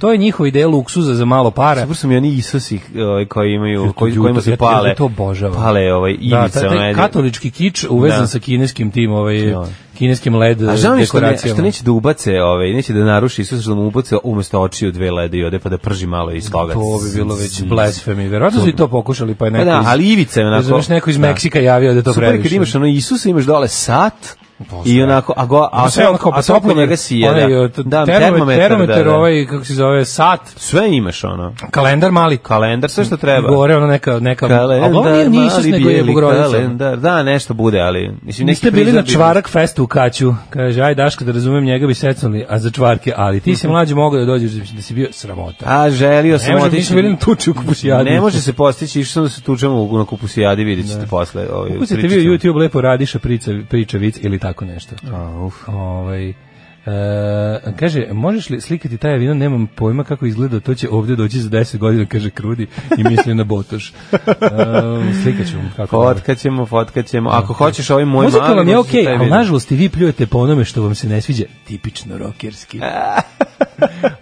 [SPEAKER 6] To je njihova ideja luksuza za malo para.
[SPEAKER 5] Super su mi oni isusi ovaj, koji imaju,
[SPEAKER 6] Jel to
[SPEAKER 5] koji,
[SPEAKER 6] ljuto?
[SPEAKER 5] kojima se
[SPEAKER 6] Ja to- ja
[SPEAKER 5] pale.
[SPEAKER 6] to obožavam.
[SPEAKER 5] Pale ovaj,
[SPEAKER 6] Da,
[SPEAKER 5] ivice.
[SPEAKER 6] taj, taj
[SPEAKER 5] onaj-
[SPEAKER 6] katolički kič uvezan
[SPEAKER 5] Da.
[SPEAKER 6] sa kineskim tim, ovaj,
[SPEAKER 5] Da.
[SPEAKER 6] kineskim LED
[SPEAKER 5] A žao mi je što, ne,
[SPEAKER 6] dekoracijama.
[SPEAKER 5] što neće da ubace, ovaj, neće da naruši Isus, što da mu ubace umesto očiju dve lede i ode pa da prži malo iz toga.
[SPEAKER 6] To bi bilo već blasfemi. Verovatno su i to pokušali, pa je neko
[SPEAKER 5] Pa da,
[SPEAKER 6] iz-
[SPEAKER 5] ali ivice onako.
[SPEAKER 6] Razumeš, neko iz
[SPEAKER 5] Da.
[SPEAKER 6] Meksika javio da je to
[SPEAKER 5] Super je
[SPEAKER 6] previše.
[SPEAKER 5] kad imaš ono Isusa, imaš dole sat
[SPEAKER 6] Bože.
[SPEAKER 5] i onako, a, go, a,
[SPEAKER 6] sve onako,
[SPEAKER 5] a
[SPEAKER 6] pa
[SPEAKER 5] toplo
[SPEAKER 6] toplomer,
[SPEAKER 5] njega sije.
[SPEAKER 6] onaj,
[SPEAKER 5] Da,
[SPEAKER 6] e,
[SPEAKER 5] da,
[SPEAKER 6] termometar,
[SPEAKER 5] termometar, da, da.
[SPEAKER 6] ovaj, kako se zove, sat,
[SPEAKER 5] Sve imaš ono.
[SPEAKER 6] kalendar mali,
[SPEAKER 5] Kalendar, sve što treba.
[SPEAKER 6] gore, ono neka, neka,
[SPEAKER 5] Kalendar,
[SPEAKER 6] ali ovo nije ni Isus,
[SPEAKER 5] mali
[SPEAKER 6] nego je
[SPEAKER 5] bijeli
[SPEAKER 6] Bogorodica.
[SPEAKER 5] kalendar. Da, nešto bude, ali... Mislim, neki
[SPEAKER 6] Niste bili na
[SPEAKER 5] prizor bi-
[SPEAKER 6] čvarak festu u Kaću. Kaže, aj Daško, da razumem, njega bi secnuli, a za čvarke, ali ti si mlađi mogao da dođeš, da si- da si bio sramota.
[SPEAKER 5] A, Pa, želio
[SPEAKER 6] Ne
[SPEAKER 5] sam
[SPEAKER 6] može, nismo bili na tuči u Kupusijadi.
[SPEAKER 5] Ne može se postići, išao sam da se tučemo u na kupusijadi, vidjet ćete posle. Ovaj,
[SPEAKER 6] Ukucite Da. vi
[SPEAKER 5] pričat
[SPEAKER 6] u
[SPEAKER 5] ćemo.
[SPEAKER 6] YouTube lepo radiša priča, priča vic ili tako nešto. Ovaj, e, kaže, možeš li slikati taj avion, nemam pojma kako izgleda, to će ovdje doći za 10 godina, kaže Krudi i misli na Botoš. E, slikat ću vam kako. dobro.
[SPEAKER 5] Fotkaćemo, fotkaćemo.
[SPEAKER 6] Da.
[SPEAKER 5] Ako hoćeš ovaj moj
[SPEAKER 6] Muzika
[SPEAKER 5] mali...
[SPEAKER 6] vam je
[SPEAKER 5] možeš
[SPEAKER 6] okej,
[SPEAKER 5] i taj
[SPEAKER 6] ali
[SPEAKER 5] video.
[SPEAKER 6] nažalost i vi pljujete po onome što vam se ne sviđa. Tipično rokerski.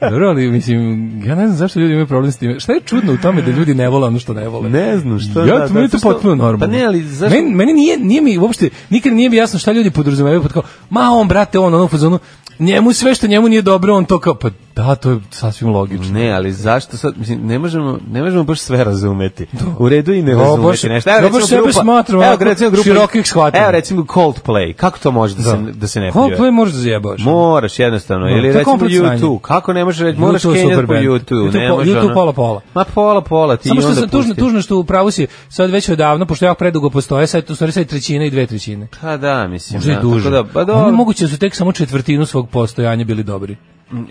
[SPEAKER 6] Dobro, ali mislim, ja ne znam zašto ljudi imaju problem s time. Šta je čudno u tome da ljudi ne vole ono što ne vole?
[SPEAKER 5] Ne znam što...
[SPEAKER 6] ja,
[SPEAKER 5] da,
[SPEAKER 6] to, meni je
[SPEAKER 5] zato
[SPEAKER 6] to
[SPEAKER 5] što-
[SPEAKER 6] potpuno normalno.
[SPEAKER 5] Pa ne, ali zašto...
[SPEAKER 6] Meni, meni nije, nije mi uopšte, nikad nije mi jasno šta ljudi podrazumevaju pod kao, ma on, brate, on, ono, u fazonu, njemu sve što njemu nije dobro, on to kao, pa da, to je sasvim logično.
[SPEAKER 5] Ne, ali zašto sad, mislim, ne možemo, ne možemo baš sve razumeti. U redu i ne
[SPEAKER 6] O,
[SPEAKER 5] razumeti
[SPEAKER 6] Da. baš-
[SPEAKER 5] nešto.
[SPEAKER 6] ja baš sebe smatram
[SPEAKER 5] evo,
[SPEAKER 6] ovako
[SPEAKER 5] recimo grupa,
[SPEAKER 6] širokih shvatanja.
[SPEAKER 5] Evo, recimo Coldplay, kako to može da, se, da se ne pljuje?
[SPEAKER 6] Coldplay možeš da zajebavaš.
[SPEAKER 5] Moraš jednostavno,
[SPEAKER 6] Da, to
[SPEAKER 5] ili
[SPEAKER 6] je
[SPEAKER 5] recimo
[SPEAKER 6] komplet sranje.
[SPEAKER 5] YouTube, kako ne možeš reći, moraš
[SPEAKER 6] YouTube je
[SPEAKER 5] Kenjat
[SPEAKER 6] super
[SPEAKER 5] po
[SPEAKER 6] band.
[SPEAKER 5] YouTube,
[SPEAKER 6] YouTube
[SPEAKER 5] ne
[SPEAKER 6] po-
[SPEAKER 5] može
[SPEAKER 6] YouTube
[SPEAKER 5] ono.
[SPEAKER 6] pola, pola.
[SPEAKER 5] Ma pola pola ti
[SPEAKER 6] Samo
[SPEAKER 5] i
[SPEAKER 6] što
[SPEAKER 5] onda
[SPEAKER 6] sam tužno,
[SPEAKER 5] pusti.
[SPEAKER 6] tužno što u pravu si sad već odavno, pošto ja predugo postoje, sad tu stvari sad je trećina i dve trećine.
[SPEAKER 5] Pa da, mislim.
[SPEAKER 6] Možda i
[SPEAKER 5] da,
[SPEAKER 6] duže.
[SPEAKER 5] Tako da, pa dobro.
[SPEAKER 6] Oni moguće da su tek samo četvrtinu svog postojanja bili dobri.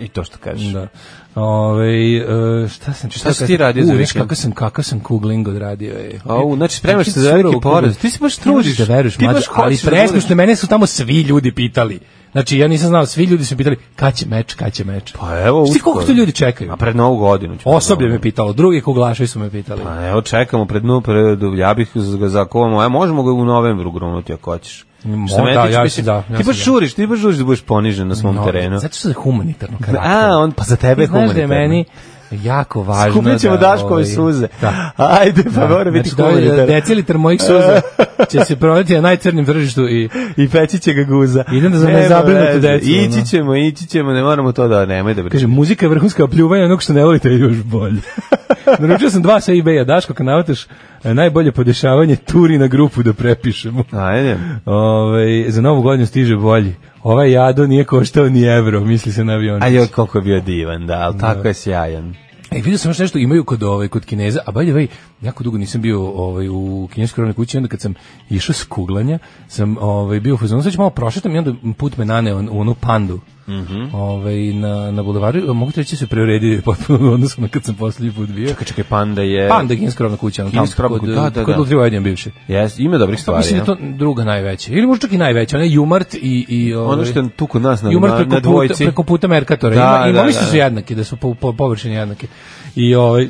[SPEAKER 5] I to što kažeš.
[SPEAKER 6] Da. Ove, e, šta sam
[SPEAKER 5] Šta si ti radio
[SPEAKER 6] U,
[SPEAKER 5] za
[SPEAKER 6] znaš
[SPEAKER 5] vikend?
[SPEAKER 6] kakav sam kakav sam e. kugling odradio je.
[SPEAKER 5] Au, znači, spremaš se za veliki porez. Ti se baš trudiš.
[SPEAKER 6] Da veruješ,
[SPEAKER 5] Ti
[SPEAKER 6] mlađe,
[SPEAKER 5] baš
[SPEAKER 6] ali
[SPEAKER 5] hoćeš da
[SPEAKER 6] presno
[SPEAKER 5] budeš-
[SPEAKER 6] što mene su tamo svi ljudi pitali. Znači ja nisam znao, svi ljudi su me pitali kad će meč, kad će meč.
[SPEAKER 5] Pa evo,
[SPEAKER 6] Šti koliko
[SPEAKER 5] uskoro.
[SPEAKER 6] to ljudi čekaju?
[SPEAKER 5] A pa- pred novu godinu. da ću-
[SPEAKER 6] Osoblje me pitalo, drugi kuglaši su me pitali.
[SPEAKER 5] e, Pa evo, čekamo pred novu, pred, ja bih ga zakovamo. Ajde, možemo ga u novembru grunuti ako hoćeš. Što me
[SPEAKER 6] da,
[SPEAKER 5] tiče,
[SPEAKER 6] ja
[SPEAKER 5] mislim,
[SPEAKER 6] se- da, ja
[SPEAKER 5] ti
[SPEAKER 6] se-
[SPEAKER 5] baš žuriš, ti baš žuriš da budeš ponižen na svom
[SPEAKER 6] No,
[SPEAKER 5] terenu.
[SPEAKER 6] Zato što je humanitarno karakter.
[SPEAKER 5] A, on, pa za tebe je
[SPEAKER 6] Ti Znaš da je
[SPEAKER 5] humanitarno.
[SPEAKER 6] meni jako važno
[SPEAKER 5] Skupit ćemo
[SPEAKER 6] da,
[SPEAKER 5] Daškove
[SPEAKER 6] ovaj,
[SPEAKER 5] suze.
[SPEAKER 6] Da.
[SPEAKER 5] Ajde, pa mora biti
[SPEAKER 6] Znači, da,
[SPEAKER 5] humanitarno.
[SPEAKER 6] decilitar mojih suza će se prodati na najcrnim tržištu i
[SPEAKER 5] I peći će ga guza.
[SPEAKER 6] Idem da za
[SPEAKER 5] Nema
[SPEAKER 6] nezabrinutu
[SPEAKER 5] veze.
[SPEAKER 6] decu,
[SPEAKER 5] Ići
[SPEAKER 6] ono.
[SPEAKER 5] ćemo, ići ćemo, ne moramo to da, nemoj da
[SPEAKER 6] kaže,
[SPEAKER 5] brišemo.
[SPEAKER 6] muzika je vrhunska, a pljuvanje onog što ne volite je još bolje. Naručio sam dva sa ebay-a, Daško, kad navateš e, najbolje podešavanje, turi na grupu da prepišemo.
[SPEAKER 5] Ajde.
[SPEAKER 6] Ove, za novu godinu stiže bolji. Ovaj jado nije koštao ni evro, misli se na avion.
[SPEAKER 5] Ajde, koliko je bio divan, da, ali tako je sjajan.
[SPEAKER 6] E, vidio sam još nešto imaju kod ovaj kod Kineza, a by the way, jako dugo nisam bio ovaj u kineskoj rodnoj kući, onda kad sam išao s kuglanja, sam ovaj bio u fazonu, sad ću malo prošetam i onda put me naneo u onu pandu. Mhm. ovaj, na na bulevaru, mogu ti reći da se preuredili potpuno u odnosu na kad sam poslednji put bio.
[SPEAKER 5] Čekaj, čekaj, panda je...
[SPEAKER 6] Panda je kineska rodna kuća, ono tamo
[SPEAKER 5] Kineska rodna
[SPEAKER 6] kod,
[SPEAKER 5] kuća, da, da,
[SPEAKER 6] kod
[SPEAKER 5] da.
[SPEAKER 6] Lutrije Vojvodine bivše.
[SPEAKER 5] Jes, ima dobrih
[SPEAKER 6] Pa
[SPEAKER 5] stvari.
[SPEAKER 6] mislim da je
[SPEAKER 5] ja.
[SPEAKER 6] to druga najveća. Ili možda čak i najveća, ona je Jumart i... i ovaj,
[SPEAKER 5] Ono što je tu kod nas na,
[SPEAKER 6] i umar
[SPEAKER 5] na,
[SPEAKER 6] preko,
[SPEAKER 5] na
[SPEAKER 6] puta,
[SPEAKER 5] dvojici.
[SPEAKER 6] preko puta Merkatora.
[SPEAKER 5] Da,
[SPEAKER 6] Da, Ima,
[SPEAKER 5] da,
[SPEAKER 6] da, mislim
[SPEAKER 5] da,
[SPEAKER 6] da, su
[SPEAKER 5] da.
[SPEAKER 6] jednaki, da su po, po površini jednake. I ovaj,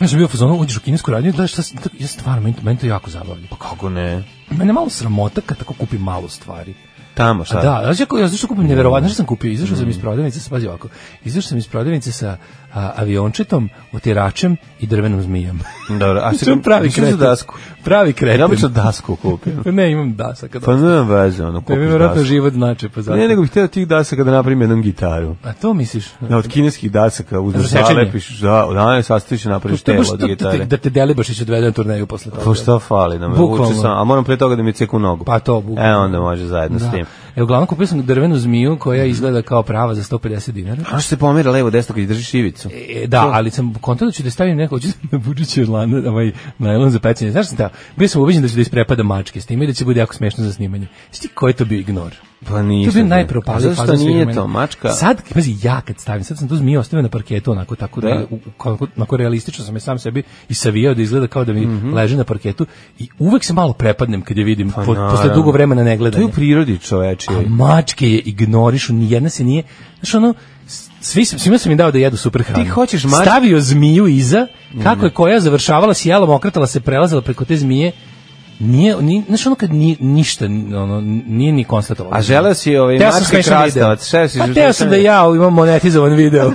[SPEAKER 6] ja sam bio u fazonu, uđeš u kinesku radnju, da šta, sam- ja stvarno, meni, to- meni to jako zabavlja. Pa kako?
[SPEAKER 5] Kako ne?
[SPEAKER 6] Mene malo sramota kad tako kupim malo stvari.
[SPEAKER 5] Tamo, šta? Mm.
[SPEAKER 6] A da, znaš kako, ja znaš što kupim neverovatno, znaš što sam kupio, izašao sam iz prodavnice, sa- pazi ovako, izašao sam iz prodavnice sa a, aviončetom, otiračem i drvenom zmijom.
[SPEAKER 5] Dobro, a
[SPEAKER 6] Čujem
[SPEAKER 5] se
[SPEAKER 6] pravi
[SPEAKER 5] Za
[SPEAKER 6] kreten.
[SPEAKER 5] dasku. E,
[SPEAKER 6] Pravi kreten.
[SPEAKER 5] Ja obično dasku kupim.
[SPEAKER 6] Pa ne, imam dasaka.
[SPEAKER 5] Pa ne veze, ono,
[SPEAKER 6] to mi
[SPEAKER 5] kupiš
[SPEAKER 6] vjerojatno
[SPEAKER 5] dasku.
[SPEAKER 6] život znači, pa zato.
[SPEAKER 5] Ne, nego bih htio tih dasaka da napravim jednom gitaru.
[SPEAKER 6] A to misliš?
[SPEAKER 5] Da, od kineskih dasaka uzmeš
[SPEAKER 6] Rasečenje.
[SPEAKER 5] zalepiš, da, da, ne, sastaviš i napraviš
[SPEAKER 6] To je
[SPEAKER 5] telo
[SPEAKER 6] baš
[SPEAKER 5] od
[SPEAKER 6] to- to-
[SPEAKER 5] gitare.
[SPEAKER 6] Da te Delibašić odvede na turneju posle toga.
[SPEAKER 5] Pa šta fali, da me
[SPEAKER 6] Bukvalno.
[SPEAKER 5] vuče sam, a moram pre toga da mi ceku nogu.
[SPEAKER 6] Pa to, bukvalno.
[SPEAKER 5] E, onda može zajedno s
[SPEAKER 6] Da.
[SPEAKER 5] tim.
[SPEAKER 6] E, uglavnom kupio sam drvenu zmiju koja
[SPEAKER 5] Mhm.
[SPEAKER 6] izgleda kao prava za 150 dinara.
[SPEAKER 5] A što se pomera levo desno kad držiš ivicu?
[SPEAKER 6] E, da, ali sam kontao da ću da stavim neko, hoću da buđući Irlanda, ovaj najlon za pecanje. Znaš šta sam teo? Bio sam ubeđen da ću da isprepada mačke s time i da će bude jako smešno za snimanje. Sti koji je to bio ignor?
[SPEAKER 5] Pa
[SPEAKER 6] To
[SPEAKER 5] ništa.
[SPEAKER 6] je bio najpropaliji
[SPEAKER 5] Zašto nije to, mačka?
[SPEAKER 6] Sad, pazi, ja kad stavim, sad sam tu zmiju ostavio na parketu onako tako,
[SPEAKER 5] Da.
[SPEAKER 6] da. u, onako, onako realistično sam je sam sebi i savijao da izgleda kao da mi
[SPEAKER 5] Mhm.
[SPEAKER 6] leži na parketu i uvek se malo prepadnem kad je vidim po, posle
[SPEAKER 5] Pa naravno.
[SPEAKER 6] dugo vremena ne
[SPEAKER 5] To je
[SPEAKER 6] gledanja.
[SPEAKER 5] u prirodi čoveče.
[SPEAKER 6] A mačke je ignorišu, nijedna se nije, znaš ono, s- svi, sam- svima sam im dao da jedu super hranu.
[SPEAKER 5] Ti hoćeš mač- Mhm.
[SPEAKER 6] Stavio zmiju iza, kako je koja završavala s jelom, okretala se, prelazila preko te zmije, nije, ni, znaš ono kad nije, ništa, ono, nije ni konstatovala.
[SPEAKER 5] A želeo si ovaj
[SPEAKER 6] Teo sam
[SPEAKER 5] mačke
[SPEAKER 6] smešan
[SPEAKER 5] krastavac,
[SPEAKER 6] video.
[SPEAKER 5] šta si
[SPEAKER 6] Pa teo sam da ja imam monetizovan video.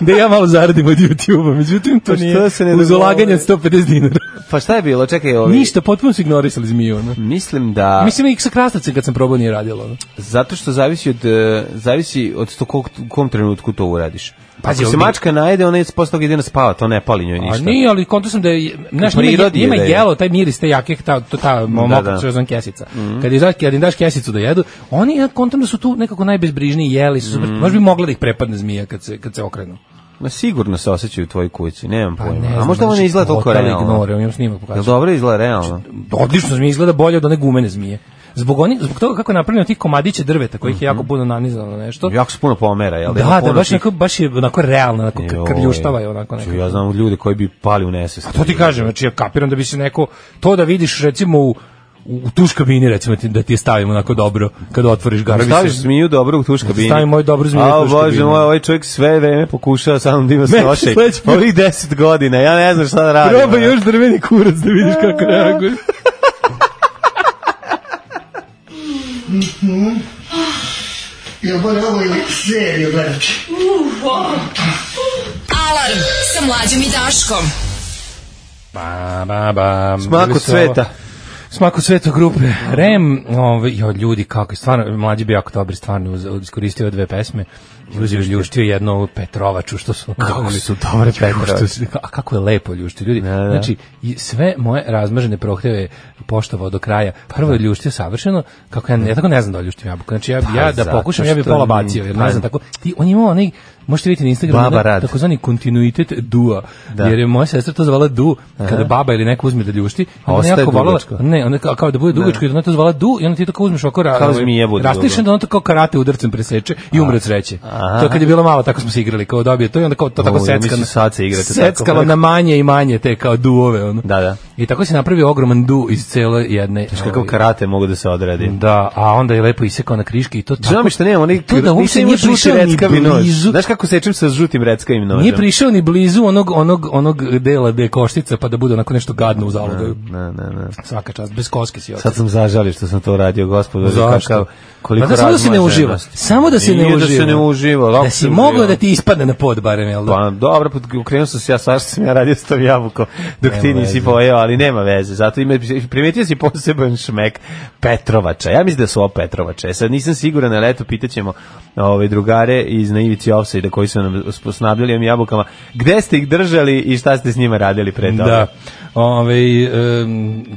[SPEAKER 6] da ja malo zaradim od YouTube-a, međutim to
[SPEAKER 5] Pa što
[SPEAKER 6] nije
[SPEAKER 5] se ne
[SPEAKER 6] uz
[SPEAKER 5] dogovore?
[SPEAKER 6] ulaganje od 150 dinara.
[SPEAKER 5] Pa šta je bilo? Čekaj, ovaj.
[SPEAKER 6] Ništa, potpuno su ignorisali zmiju. No.
[SPEAKER 5] Mislim da
[SPEAKER 6] Mislim i sa krastavcem kad sam probao nije radilo. No.
[SPEAKER 5] zato što zavisi od e, zavisi od to kog u kom trenutku to uradiš.
[SPEAKER 6] Pazi,
[SPEAKER 5] Pazi, Ako se
[SPEAKER 6] Pa ovdje-
[SPEAKER 5] mačka najde, ona je posle toga ide na spava, to ne pali njoj
[SPEAKER 6] A
[SPEAKER 5] ništa.
[SPEAKER 6] nije, ali konto sam da je, znaš,
[SPEAKER 5] U
[SPEAKER 6] ima, je-
[SPEAKER 5] prirodi je
[SPEAKER 6] ima
[SPEAKER 5] da je.
[SPEAKER 6] jelo, taj miris, te jake, ta, to, ta moka, da, da. kesica.
[SPEAKER 5] Mhm.
[SPEAKER 6] Kad, je, kad im daš kesicu da jedu, oni, ja kontam da su tu nekako najbezbrižniji jeli, su,
[SPEAKER 5] Mhm.
[SPEAKER 6] super- možda bi mogla da ih prepadne zmija kad se, kad se okrenu.
[SPEAKER 5] Ma sigurno se osjećaju u tvojoj kući, nemam pojma.
[SPEAKER 6] ne
[SPEAKER 5] A
[SPEAKER 6] znam,
[SPEAKER 5] možda ovo
[SPEAKER 6] znači,
[SPEAKER 5] ne izgleda toliko
[SPEAKER 6] totalno
[SPEAKER 5] realno.
[SPEAKER 6] Ignore, on imam snimak pokazati.
[SPEAKER 5] Jel dobro izgleda realno?
[SPEAKER 6] odlično zmija izgleda bolje od one gumene zmije. Zbog, oni, zbog toga kako je napravljeno tih komadića drveta kojih je jako puno nanizano na nešto.
[SPEAKER 5] Jako se puno pomera, jel? Mhm. Ima
[SPEAKER 6] da, da,
[SPEAKER 5] puno
[SPEAKER 6] baš,
[SPEAKER 5] tih-
[SPEAKER 6] onako, baš je onako realno, onako kr-
[SPEAKER 5] Joj.
[SPEAKER 6] krljuštava je onako
[SPEAKER 5] Čuj, Ja
[SPEAKER 6] nekako.
[SPEAKER 5] znam ljude koji bi pali u nesvest.
[SPEAKER 6] A to ti kažem, znači ja kapiram da bi se neko, to da vidiš recimo u, u tuš kabini recimo ti- da ti je stavim onako dobro kada otvoriš
[SPEAKER 5] Da
[SPEAKER 6] garu.
[SPEAKER 5] Staviš
[SPEAKER 6] mislim,
[SPEAKER 5] zmiju dobro u tuš kabinu.
[SPEAKER 6] Stavim moju dobru zmiju u
[SPEAKER 5] A,
[SPEAKER 6] tuš
[SPEAKER 5] bože
[SPEAKER 6] kabinu.
[SPEAKER 5] moj, ovaj čovjek sve vreme pokušava sam da ima slošaj.
[SPEAKER 6] sledeći put-
[SPEAKER 5] Ovih deset godina, ja ne znam šta da radim.
[SPEAKER 6] Probaj
[SPEAKER 5] ono.
[SPEAKER 6] još drveni kurac da vidiš kako reaguješ.
[SPEAKER 1] Jel bolje ovo ili seriju gledati?
[SPEAKER 4] Alarm sa mlađom i Daškom.
[SPEAKER 6] Ba, ba, ba.
[SPEAKER 5] Smak
[SPEAKER 6] Bili
[SPEAKER 5] od
[SPEAKER 6] su ovo-
[SPEAKER 5] sveta.
[SPEAKER 6] Smak od sveta grupe. Rem, ovaj, jo, ljudi, kako je, stvarno, mlađi bi jako dobri, stvarno, uz- iskoristio ove dve pesme i uzio ljuštio jedno ovu Petrovaču, što su...
[SPEAKER 5] Kako su dobre Petrovače.
[SPEAKER 6] Što su- A kako je lepo ljuštio, ljudi.
[SPEAKER 5] Da, da.
[SPEAKER 6] Znači, i sve moje razmažene prohteve je poštovao do kraja. Prvo je ljuštio savršeno, kako ja, ne- ja tako ne znam da ljuštim jabuku. Znači, ja,
[SPEAKER 5] da. Pa,
[SPEAKER 6] ja da
[SPEAKER 5] zato
[SPEAKER 6] pokušam, ja bi
[SPEAKER 5] što-
[SPEAKER 6] pola bacio, jer
[SPEAKER 5] pa,
[SPEAKER 6] ne znam tako. Ti, on je imao onaj, možete vidjeti na Instagramu,
[SPEAKER 5] Baba
[SPEAKER 6] onaj
[SPEAKER 5] rad. Da.
[SPEAKER 6] takozvani kontinuitet dua, jer je moja sestra to zvala du, kada baba ili neko uzme da ljušti,
[SPEAKER 5] A
[SPEAKER 6] Onda
[SPEAKER 5] ostaje
[SPEAKER 6] jako volela,
[SPEAKER 5] dugačko.
[SPEAKER 6] ne, ona kao, kao da bude dugačko, jer ona to zvala du i onda ti to kao uzmeš oko ra, ovaj,
[SPEAKER 5] Kao zmija bude
[SPEAKER 6] rastišen,
[SPEAKER 5] dugo.
[SPEAKER 6] da ona to kao karate udarcem preseče i umre od sreće. To kad je bila mala, tako smo se igrali, kao dobio to i onda kao to tako
[SPEAKER 5] O, ja mislim,
[SPEAKER 6] seckano.
[SPEAKER 5] sad se igrate tako.
[SPEAKER 6] Seckalo na manje i manje te kao duove, ono.
[SPEAKER 5] Da, da.
[SPEAKER 6] I tako se napravio ogroman du iz cele jedne.
[SPEAKER 5] Kakav
[SPEAKER 6] ovaj,
[SPEAKER 5] karate mogu da se odredi.
[SPEAKER 6] Da, a onda je lepo isekao na kriški i to tako.
[SPEAKER 5] Žao mi što nemam onih,
[SPEAKER 6] to da uopšte nije
[SPEAKER 5] žuti
[SPEAKER 6] prišao ni
[SPEAKER 5] reckavi nož.
[SPEAKER 6] blizu.
[SPEAKER 5] Znaš kako sečem sa žutim reckavim nožem?
[SPEAKER 6] Nije prišao ni blizu onog onog onog dela gde je koštica pa da bude onako nešto gadno u zalogaju.
[SPEAKER 5] Ne, ne, ne.
[SPEAKER 6] Svaka čast, bez koske si otišao.
[SPEAKER 5] Sad sam zažalio što sam to radio, gospodo.
[SPEAKER 6] Zašto?
[SPEAKER 5] Kakav, koliko
[SPEAKER 6] Pa da, samo da se ne uživa.
[SPEAKER 5] razmaženosti.
[SPEAKER 6] Samo da se ne
[SPEAKER 5] Nije
[SPEAKER 6] uživa.
[SPEAKER 5] da se ne uživa. lako
[SPEAKER 6] Da si
[SPEAKER 5] se
[SPEAKER 6] mogao
[SPEAKER 5] uživa.
[SPEAKER 6] da ti ispadne na pod barem, jel da?
[SPEAKER 5] Pa dobro, pod okrenuo sam se ja svašta sam ja radio s tom jabukom dok ti
[SPEAKER 6] Nema
[SPEAKER 5] nisi
[SPEAKER 6] veze.
[SPEAKER 5] pojeo, ali nema veze. Zato ima, primetio si poseban šmek Petrovača. Ja mislim da su ovo Petrovače. Sad nisam siguran, ali eto, pitaćemo ove drugare iz Naivici Offside koji su nam snabljali ovim jabukama. Gde ste ih držali i šta ste s njima radili pre toga?
[SPEAKER 6] Da. Ove,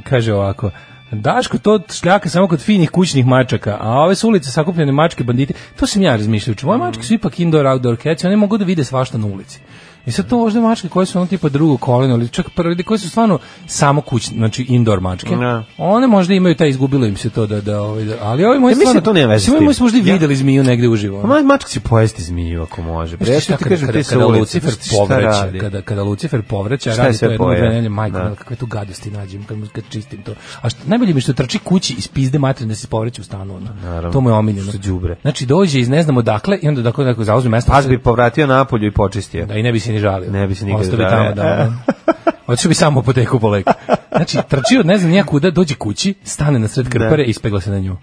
[SPEAKER 6] kaže ovako, Daško to šljaka samo kod finih kućnih mačaka, a ove su ulice sakupljene mačke banditi, to sam ja razmišljao, moje
[SPEAKER 5] Mm.
[SPEAKER 6] mačke su ipak indoor outdoor cats, i one mogu da vide svašta na ulici. I sad to možda mačke koje su ono tipa drugo koleno ili čak prvi, koje su stvarno samo kućne, znači indoor mačke.
[SPEAKER 5] Da.
[SPEAKER 6] One možda imaju taj izgubilo im se to da da ovaj da, ali ovi moji
[SPEAKER 5] Ja mislim
[SPEAKER 6] stvarno
[SPEAKER 5] da to nema veze s
[SPEAKER 6] Svi moji
[SPEAKER 5] tim.
[SPEAKER 6] moji su možda i
[SPEAKER 5] Ja- Pa
[SPEAKER 6] videli zmiju negde uživo. ono.
[SPEAKER 5] Ma, mačka će pojesti zmiju ako može. Bre, ja
[SPEAKER 6] Znaš
[SPEAKER 5] što
[SPEAKER 6] Pa
[SPEAKER 5] ti
[SPEAKER 6] šta kada-
[SPEAKER 5] kažem,
[SPEAKER 6] kada-
[SPEAKER 5] ti sa
[SPEAKER 6] kada
[SPEAKER 5] ulice,
[SPEAKER 6] Lucifer
[SPEAKER 5] šta
[SPEAKER 6] povraća,
[SPEAKER 5] radi?
[SPEAKER 6] kada, kada Lucifer povraća,
[SPEAKER 5] Šta je
[SPEAKER 6] radi to
[SPEAKER 5] sve
[SPEAKER 6] jednom
[SPEAKER 5] pojeo?
[SPEAKER 6] dve nelje, majko,
[SPEAKER 5] Da.
[SPEAKER 6] da. kakve tu gadosti nađem kad, mu- kad čistim to. A što, najbolje mi je što trči kući iz pizde materine da se povraća u stanu. Ono.
[SPEAKER 5] Naravno.
[SPEAKER 6] To mu je omiljeno.
[SPEAKER 5] Što đubre.
[SPEAKER 6] Znači dođe iz ne znam odakle i onda dakle, dakle zauzme mesto.
[SPEAKER 5] Pas bi povratio napolju i počistio.
[SPEAKER 6] Da, i ne bi se ni žalio.
[SPEAKER 5] Ne bi se nikad
[SPEAKER 6] Ostao bi
[SPEAKER 5] žalio.
[SPEAKER 6] tamo, da. da. Otišao bi samo po teku po leku. Znači, trči od ne znam nijakuda, dođe kući, stane na
[SPEAKER 5] Da.
[SPEAKER 6] sred krpare i ispegla se na nju.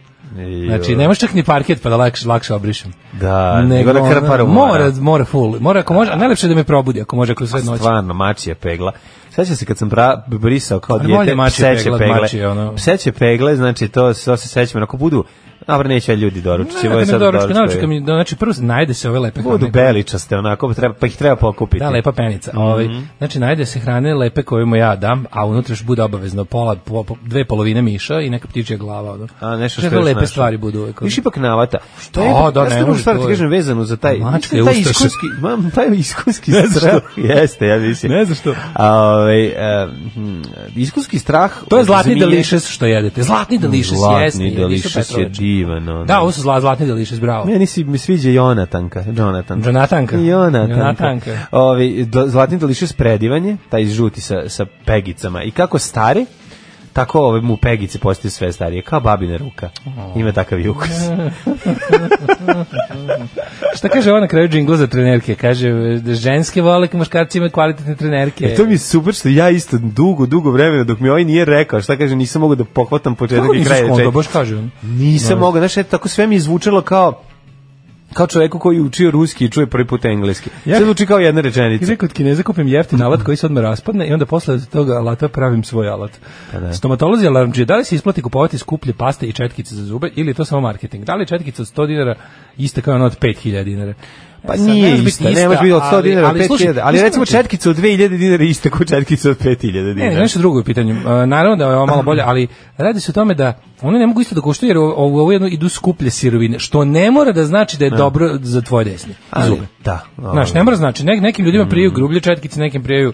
[SPEAKER 6] Znači, ne možeš čak ni parket pa da lakše, lakše obrišem.
[SPEAKER 5] Da, nego da
[SPEAKER 6] ono,
[SPEAKER 5] krparu mora.
[SPEAKER 6] mora. Mora, full. Mora ako može, a najlepše je da me probudi ako može, ako sve noći.
[SPEAKER 5] Stvarno, mačija pegla. Sećam se kad sam pra, brisao kao
[SPEAKER 6] Ali
[SPEAKER 5] dijete
[SPEAKER 6] bolje mačija
[SPEAKER 5] pseće
[SPEAKER 6] pegla od
[SPEAKER 5] pegle.
[SPEAKER 6] mačije, ono.
[SPEAKER 5] Pseće pegle, znači to, to se sećam. Ako budu, dobro, neće ljudi doručiti.
[SPEAKER 6] Ne,
[SPEAKER 5] znači, ovo
[SPEAKER 6] ne,
[SPEAKER 5] je
[SPEAKER 6] ne,
[SPEAKER 5] sad
[SPEAKER 6] doručka,
[SPEAKER 5] doručkovi.
[SPEAKER 6] doručka mi, znači prvo najde se ove lepe
[SPEAKER 5] Budu
[SPEAKER 6] hrane.
[SPEAKER 5] beličaste, onako, pa treba, pa ih treba pokupiti.
[SPEAKER 6] Da, lepa penica. ovaj,
[SPEAKER 5] Mhm.
[SPEAKER 6] znači, najde se hrane lepe koje mu ja dam, a unutra još bude obavezno pola, po, po- dve polovine miša i neka ptičja glava. Ono.
[SPEAKER 5] A, nešto što
[SPEAKER 6] Znači,
[SPEAKER 5] još
[SPEAKER 6] lepe
[SPEAKER 5] našao.
[SPEAKER 6] stvari budu uvek. ono.
[SPEAKER 5] Viš ipak navata. Što
[SPEAKER 6] Da, da, ne
[SPEAKER 5] ja
[SPEAKER 6] može,
[SPEAKER 5] stvar
[SPEAKER 6] to
[SPEAKER 5] ti
[SPEAKER 6] je.
[SPEAKER 5] kažem vezano za taj,
[SPEAKER 6] Mačke
[SPEAKER 5] mislim, taj
[SPEAKER 6] ustaše.
[SPEAKER 5] iskonski, mam, taj iskonski
[SPEAKER 6] Ne znam
[SPEAKER 5] strah. Jeste, ja mislim.
[SPEAKER 6] Ne znam što.
[SPEAKER 5] A, ovaj, e, hm, iskonski strah.
[SPEAKER 6] To je
[SPEAKER 5] od
[SPEAKER 6] zlatni
[SPEAKER 5] zmije-
[SPEAKER 6] delicious što jedete. Zlatni delicious, jesni.
[SPEAKER 5] Zlatni
[SPEAKER 6] nisu
[SPEAKER 5] delicious je
[SPEAKER 6] Petrović.
[SPEAKER 5] divan. ono.
[SPEAKER 6] Da, ovo su zla, zlatni delicious, bravo.
[SPEAKER 5] Meni si mi sviđa Jonatanka, Jonatan.
[SPEAKER 6] Jonatanka.
[SPEAKER 5] Jonatanka.
[SPEAKER 6] Jonatanka.
[SPEAKER 5] Ovi, do, zlatni doliše spredivanje, taj žuti sa, sa pegicama. I kako stari, tako ove mu pegice postaju sve starije, kao babina ruka. Ima takav ukus.
[SPEAKER 6] Šta kaže ona na kraju džingla za trenerke? Kaže da ženske vole, muškarci imaju kvalitetne trenerke.
[SPEAKER 5] E, to mi je super što ja isto dugo, dugo vremena dok mi ovaj nije rekao, šta kaže, nisam mogao da pohvatam početak
[SPEAKER 6] Kako
[SPEAKER 5] i
[SPEAKER 6] nisi
[SPEAKER 5] kraj
[SPEAKER 6] skonto,
[SPEAKER 5] rečenja.
[SPEAKER 6] baš kažem.
[SPEAKER 5] Nisam mogao, znaš, eto, tako sve mi je zvučalo kao kao čoveku koji je učio ruski i čuje prvi put engleski.
[SPEAKER 6] Ja-
[SPEAKER 5] Sve zvuči kao jedna
[SPEAKER 6] I
[SPEAKER 5] rečenica.
[SPEAKER 6] rekao, od Kineza kupim jeftin
[SPEAKER 5] Mm-hmm.
[SPEAKER 6] alat koji se odmah raspadne i onda posle od toga alata pravim svoj alat.
[SPEAKER 5] Pa
[SPEAKER 6] Stomatolozi alarmđije, da li se isplati kupovati skuplje paste i četkice za zube ili je to samo marketing? Da li je četkica od 100 dinara ista kao ona od 5000 dinara? E
[SPEAKER 5] Pa
[SPEAKER 6] Sad,
[SPEAKER 5] nije
[SPEAKER 6] može biti
[SPEAKER 5] ista, ne može biti od 100
[SPEAKER 6] ali-
[SPEAKER 5] dinara,
[SPEAKER 6] ali, slušaj,
[SPEAKER 5] 5000, ali
[SPEAKER 6] isto
[SPEAKER 5] recimo
[SPEAKER 6] znači-
[SPEAKER 5] četkica od 2000 dinara je ista ko četkica od 5000
[SPEAKER 6] Ne, ne,
[SPEAKER 5] dinara.
[SPEAKER 6] nešto drugo je u pitanju. E, Naravno da je ovo malo bolje, ali radi se o tome da one ne mogu isto da koštaju jer ovo, ovo jedno idu skuplje sirovine, što ne mora da znači da je dobro za tvoje desne
[SPEAKER 5] Ali,
[SPEAKER 6] zube.
[SPEAKER 5] Da.
[SPEAKER 6] Znaš, ne mora znači, nek, nekim ljudima
[SPEAKER 5] Mm.
[SPEAKER 6] priju grublje četkice, nekim priju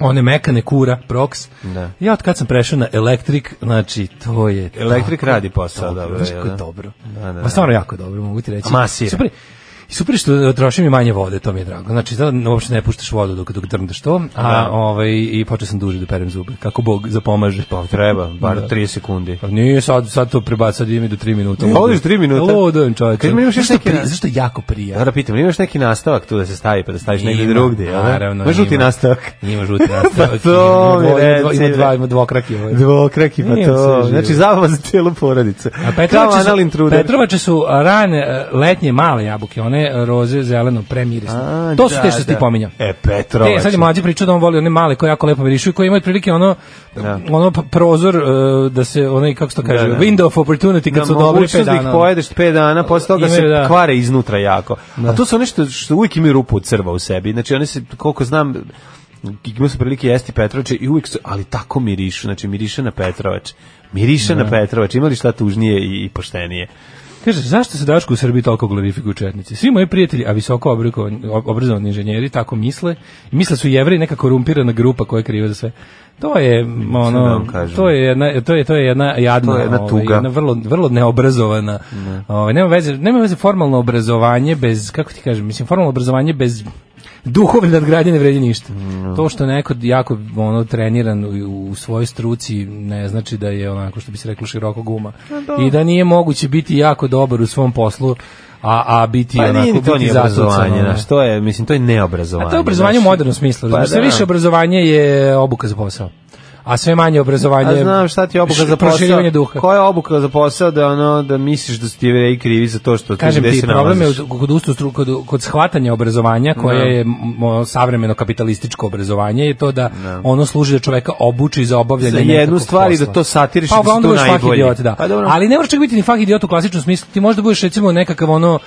[SPEAKER 6] one mekane kura, prox.
[SPEAKER 5] Da.
[SPEAKER 6] Ja od kad sam prešao na elektrik, znači to je...
[SPEAKER 5] Elektrik
[SPEAKER 6] tako
[SPEAKER 5] radi posao,
[SPEAKER 6] dobro,
[SPEAKER 5] dobro,
[SPEAKER 6] Znaš
[SPEAKER 5] jel
[SPEAKER 6] kako je
[SPEAKER 5] da?
[SPEAKER 6] dobro.
[SPEAKER 5] Da, da,
[SPEAKER 6] Ma stvarno jako dobro, mogu ti reći.
[SPEAKER 5] A masira.
[SPEAKER 6] Super, je- i super je što trošim i manje vode, to mi je drago. Znači, sad uopšte ne puštaš vodu dok, dok drmdaš to, a
[SPEAKER 5] Da.
[SPEAKER 6] ovaj, i počeo sam duže da perem zube, kako Bog zapomaže.
[SPEAKER 5] Pa treba, bar
[SPEAKER 6] Da.
[SPEAKER 5] 30 sekundi.
[SPEAKER 6] Pa Nije sad, sad to prebaci, sad idem i do 3 minuta.
[SPEAKER 5] Pa odiš tri minuta.
[SPEAKER 6] Ludo, čovječe.
[SPEAKER 5] Kad mi imaš još
[SPEAKER 6] Zašto
[SPEAKER 5] neki
[SPEAKER 6] pri-
[SPEAKER 5] na-
[SPEAKER 6] Zašto jako prija?
[SPEAKER 5] Ja da pitam, imaš neki nastavak tu da se stavi, pa da staviš negdje
[SPEAKER 6] Ima,
[SPEAKER 5] drugdje, jel? da?
[SPEAKER 6] naravno,
[SPEAKER 5] Ma žuti
[SPEAKER 6] ima.
[SPEAKER 5] nastavak.
[SPEAKER 6] Ima žuti nastavak.
[SPEAKER 5] Pa to
[SPEAKER 6] ima,
[SPEAKER 5] mi
[SPEAKER 6] dvoje- ima,
[SPEAKER 5] reci,
[SPEAKER 6] dva, ima dva,
[SPEAKER 5] bre.
[SPEAKER 6] ima dvokraki ovaj.
[SPEAKER 5] Dvokraki, pa
[SPEAKER 6] Nije
[SPEAKER 5] to.
[SPEAKER 6] sve živo.
[SPEAKER 5] Znači, zabava za cijelu porodicu.
[SPEAKER 6] A
[SPEAKER 5] Kao
[SPEAKER 6] Petrovače
[SPEAKER 5] Analin
[SPEAKER 6] su,
[SPEAKER 5] Truder.
[SPEAKER 6] Petrovače su rane e, letnje male jabuke, one roze, zeleno,
[SPEAKER 5] A,
[SPEAKER 6] premirisne. To su te
[SPEAKER 5] da,
[SPEAKER 6] što ti
[SPEAKER 5] da.
[SPEAKER 6] pominjam.
[SPEAKER 5] E, Petrovače.
[SPEAKER 6] E, sad je mlađi pričao da on voli one male koje jako lepo mirišu i koje imaju prilike ono,
[SPEAKER 5] Da.
[SPEAKER 6] ono pa- prozor e, da se, onaj, kako se to kaže,
[SPEAKER 5] Da, da.
[SPEAKER 6] window of opportunity kad
[SPEAKER 5] Da,
[SPEAKER 6] su dobri
[SPEAKER 5] mogućnost
[SPEAKER 6] pet
[SPEAKER 5] Da
[SPEAKER 6] dana.
[SPEAKER 5] ih pojedeš 5 dana, posle toga se
[SPEAKER 6] Imaju, da.
[SPEAKER 5] kvare iznutra jako. A to su nešto što uvijek imaju rupu od crva u sebi. Znači oni se, koliko znam, imao sam prilike jesti Petrovače i uvijek su, ali tako
[SPEAKER 6] Da.
[SPEAKER 5] mirišu, znači miriše na Petrovač. Miriše na Petrovač, imali šta tužnije i, i poštenije.
[SPEAKER 6] Kaže, zašto se Daško u Srbiji toliko glorifikuju četnici? Svi moji prijatelji, a visoko obrikovani- ob- obrazovani inženjeri, tako misle. I misle su jevreji neka korumpirana grupa koja je kriva za sve. To je m,
[SPEAKER 5] da vam
[SPEAKER 6] ono
[SPEAKER 5] kažem.
[SPEAKER 6] to je jedna to je to je jedna jadna
[SPEAKER 5] To je jedna
[SPEAKER 6] ovaj,
[SPEAKER 5] tuga.
[SPEAKER 6] jedna vrlo vrlo neobrazovana. Ovaj nema veze, nema veze formalno obrazovanje bez kako ti kažem, mislim formalno obrazovanje bez duhovne nadgradnje ne vredi ništa. To što neko jako ono treniran u, u svojoj struci ne znači da je onako što bi se reklo široko guma i da nije moguće biti jako dobar u svom poslu a a biti
[SPEAKER 5] Pa
[SPEAKER 6] onako
[SPEAKER 5] nije, to
[SPEAKER 6] biti
[SPEAKER 5] nije
[SPEAKER 6] zatucan,
[SPEAKER 5] obrazovanje,
[SPEAKER 6] ono.
[SPEAKER 5] znaš, to je, mislim, to je neobrazovanje.
[SPEAKER 6] A to je obrazovanje u
[SPEAKER 5] znaš.
[SPEAKER 6] modernom smislu.
[SPEAKER 5] Pa
[SPEAKER 6] Pa, sve
[SPEAKER 5] da.
[SPEAKER 6] više obrazovanje je obuka za posao. A sve manje obrazovanje
[SPEAKER 5] A znam šta ti je obuka
[SPEAKER 6] š-
[SPEAKER 5] za posao.
[SPEAKER 6] Proširivanje duha.
[SPEAKER 5] Koja je obuka za posao da ono da misliš da su ti jevreji krivi za to što
[SPEAKER 6] Kažem
[SPEAKER 5] gde
[SPEAKER 6] ti,
[SPEAKER 5] se
[SPEAKER 6] problem je
[SPEAKER 5] nalaziš? Da.
[SPEAKER 6] u- kod, ustru, kod, kod shvatanja obrazovanja koje je mo, savremeno kapitalističko obrazovanje je to da ono služi da čoveka obuči za obavljanje
[SPEAKER 5] Za jednu
[SPEAKER 6] nekakvog
[SPEAKER 5] stvar i da
[SPEAKER 6] posla.
[SPEAKER 5] to satiriš i da
[SPEAKER 6] pa,
[SPEAKER 5] su
[SPEAKER 6] uglavnom
[SPEAKER 5] tu
[SPEAKER 6] budeš fah
[SPEAKER 5] najbolji.
[SPEAKER 6] Idiot, da.
[SPEAKER 5] Pa dobro.
[SPEAKER 6] Ali ne moraš čak biti ni fah idiot u klasičnom smislu, ti možda budeš recimo nekakav ono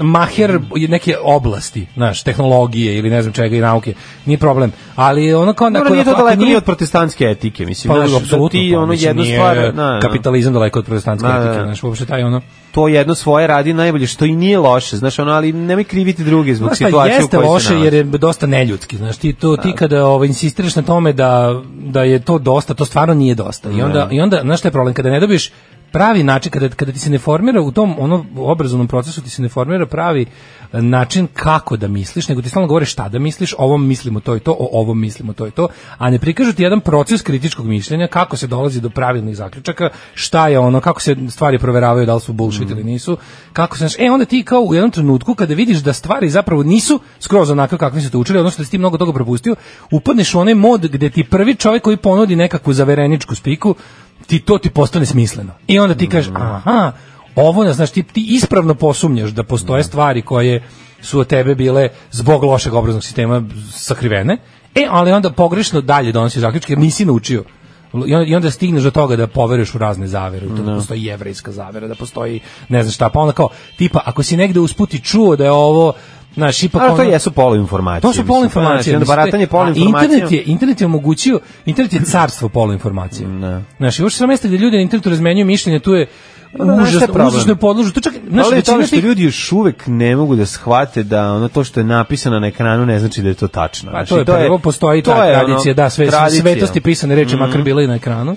[SPEAKER 6] maher neke oblasti, znaš, tehnologije ili ne znam čega i nauke, nije problem. Ali ono kao...
[SPEAKER 5] Dobro,
[SPEAKER 6] ako-
[SPEAKER 5] da nije to
[SPEAKER 6] ako
[SPEAKER 5] daleko ni od protestantske etike, mislim,
[SPEAKER 6] pa,
[SPEAKER 5] znaš, da
[SPEAKER 6] apsolutno,
[SPEAKER 5] ti
[SPEAKER 6] pa,
[SPEAKER 5] ono
[SPEAKER 6] mislim,
[SPEAKER 5] jednu
[SPEAKER 6] nije
[SPEAKER 5] stvar, na, na,
[SPEAKER 6] kapitalizam daleko od protestantske
[SPEAKER 5] Da, da,
[SPEAKER 6] etike,
[SPEAKER 5] da.
[SPEAKER 6] znaš, uopšte taj ono
[SPEAKER 5] to jedno svoje radi najbolje, što i nije loše, znaš, ono, ali nemoj kriviti druge zbog
[SPEAKER 6] Znaš šta,
[SPEAKER 5] situacije u
[SPEAKER 6] jeste
[SPEAKER 5] kojoj se
[SPEAKER 6] loše
[SPEAKER 5] nalazi.
[SPEAKER 6] jer je dosta neljudski, znaš, ti, to, ti kada ovo, insistiraš na tome da, da je to dosta, to stvarno nije dosta. I onda, i onda znaš šta je problem, kada ne dobiješ pravi način, kada, kada ti se ne formira u tom ono, obrazovnom procesu, ti se ne formira pravi eh, način kako da misliš, nego ti stalno govore šta da misliš, o ovom mislimo to i to, o ovom mislimo to i to, a ne prikažu ti jedan proces kritičkog mišljenja, kako se dolazi do pravilnih zaključaka, šta je ono, kako se stvari proveravaju, da li su bullshit ili nisu, kako se, znaš, e, onda ti kao u jednom trenutku kada vidiš da stvari zapravo nisu skroz onako kakvi su te učili, odnosno da si ti mnogo toga propustio, upadneš u onaj mod gde ti prvi čovjek koji ponudi nekakvu zavereničku spiku, ti to ti postane smisleno. I onda ti kažeš, aha, ovo, ne, znaš, ti, ti ispravno posumnjaš da postoje stvari koje su od tebe bile zbog lošeg obraznog sistema sakrivene, e, ali onda pogrešno dalje donosiš zaključke jer nisi naučio. I onda, I onda stigneš do toga da poveruješ u razne zavere, u to da postoji jevrejska zavera, da postoji ne znam šta, pa onda kao, tipa, ako si negde usputi čuo da je ovo, znaš, ipak
[SPEAKER 5] A to
[SPEAKER 6] ono-
[SPEAKER 5] jesu poluinformacije.
[SPEAKER 6] to su
[SPEAKER 5] mislim,
[SPEAKER 6] poluinformacije.
[SPEAKER 5] Znači, onda
[SPEAKER 6] mislim,
[SPEAKER 5] baratanje
[SPEAKER 6] te- a
[SPEAKER 5] poluinformacijama.
[SPEAKER 6] Internet je, internet je omogućio, internet je carstvo poluinformacije.
[SPEAKER 5] Mm,
[SPEAKER 6] Ne. Znaš, i uopšte sam mesta gde ljudi na internetu razmenjuju mišljenje, tu je
[SPEAKER 5] da, znaš šta je
[SPEAKER 6] užasno,
[SPEAKER 5] problem?
[SPEAKER 6] užasno je podložno. Tu čak, znaš, da
[SPEAKER 5] ali je
[SPEAKER 6] većina
[SPEAKER 5] to što
[SPEAKER 6] tih-
[SPEAKER 5] ljudi još uvek ne mogu da shvate da ono to što je napisano na ekranu ne znači da je to tačno.
[SPEAKER 6] Pa
[SPEAKER 5] Znači,
[SPEAKER 6] to je, prvo, postoji ta
[SPEAKER 5] je ono,
[SPEAKER 6] tradicija, Mm. da, sve
[SPEAKER 5] tradicija.
[SPEAKER 6] svetosti pisane reči, makar bile i na ekranu.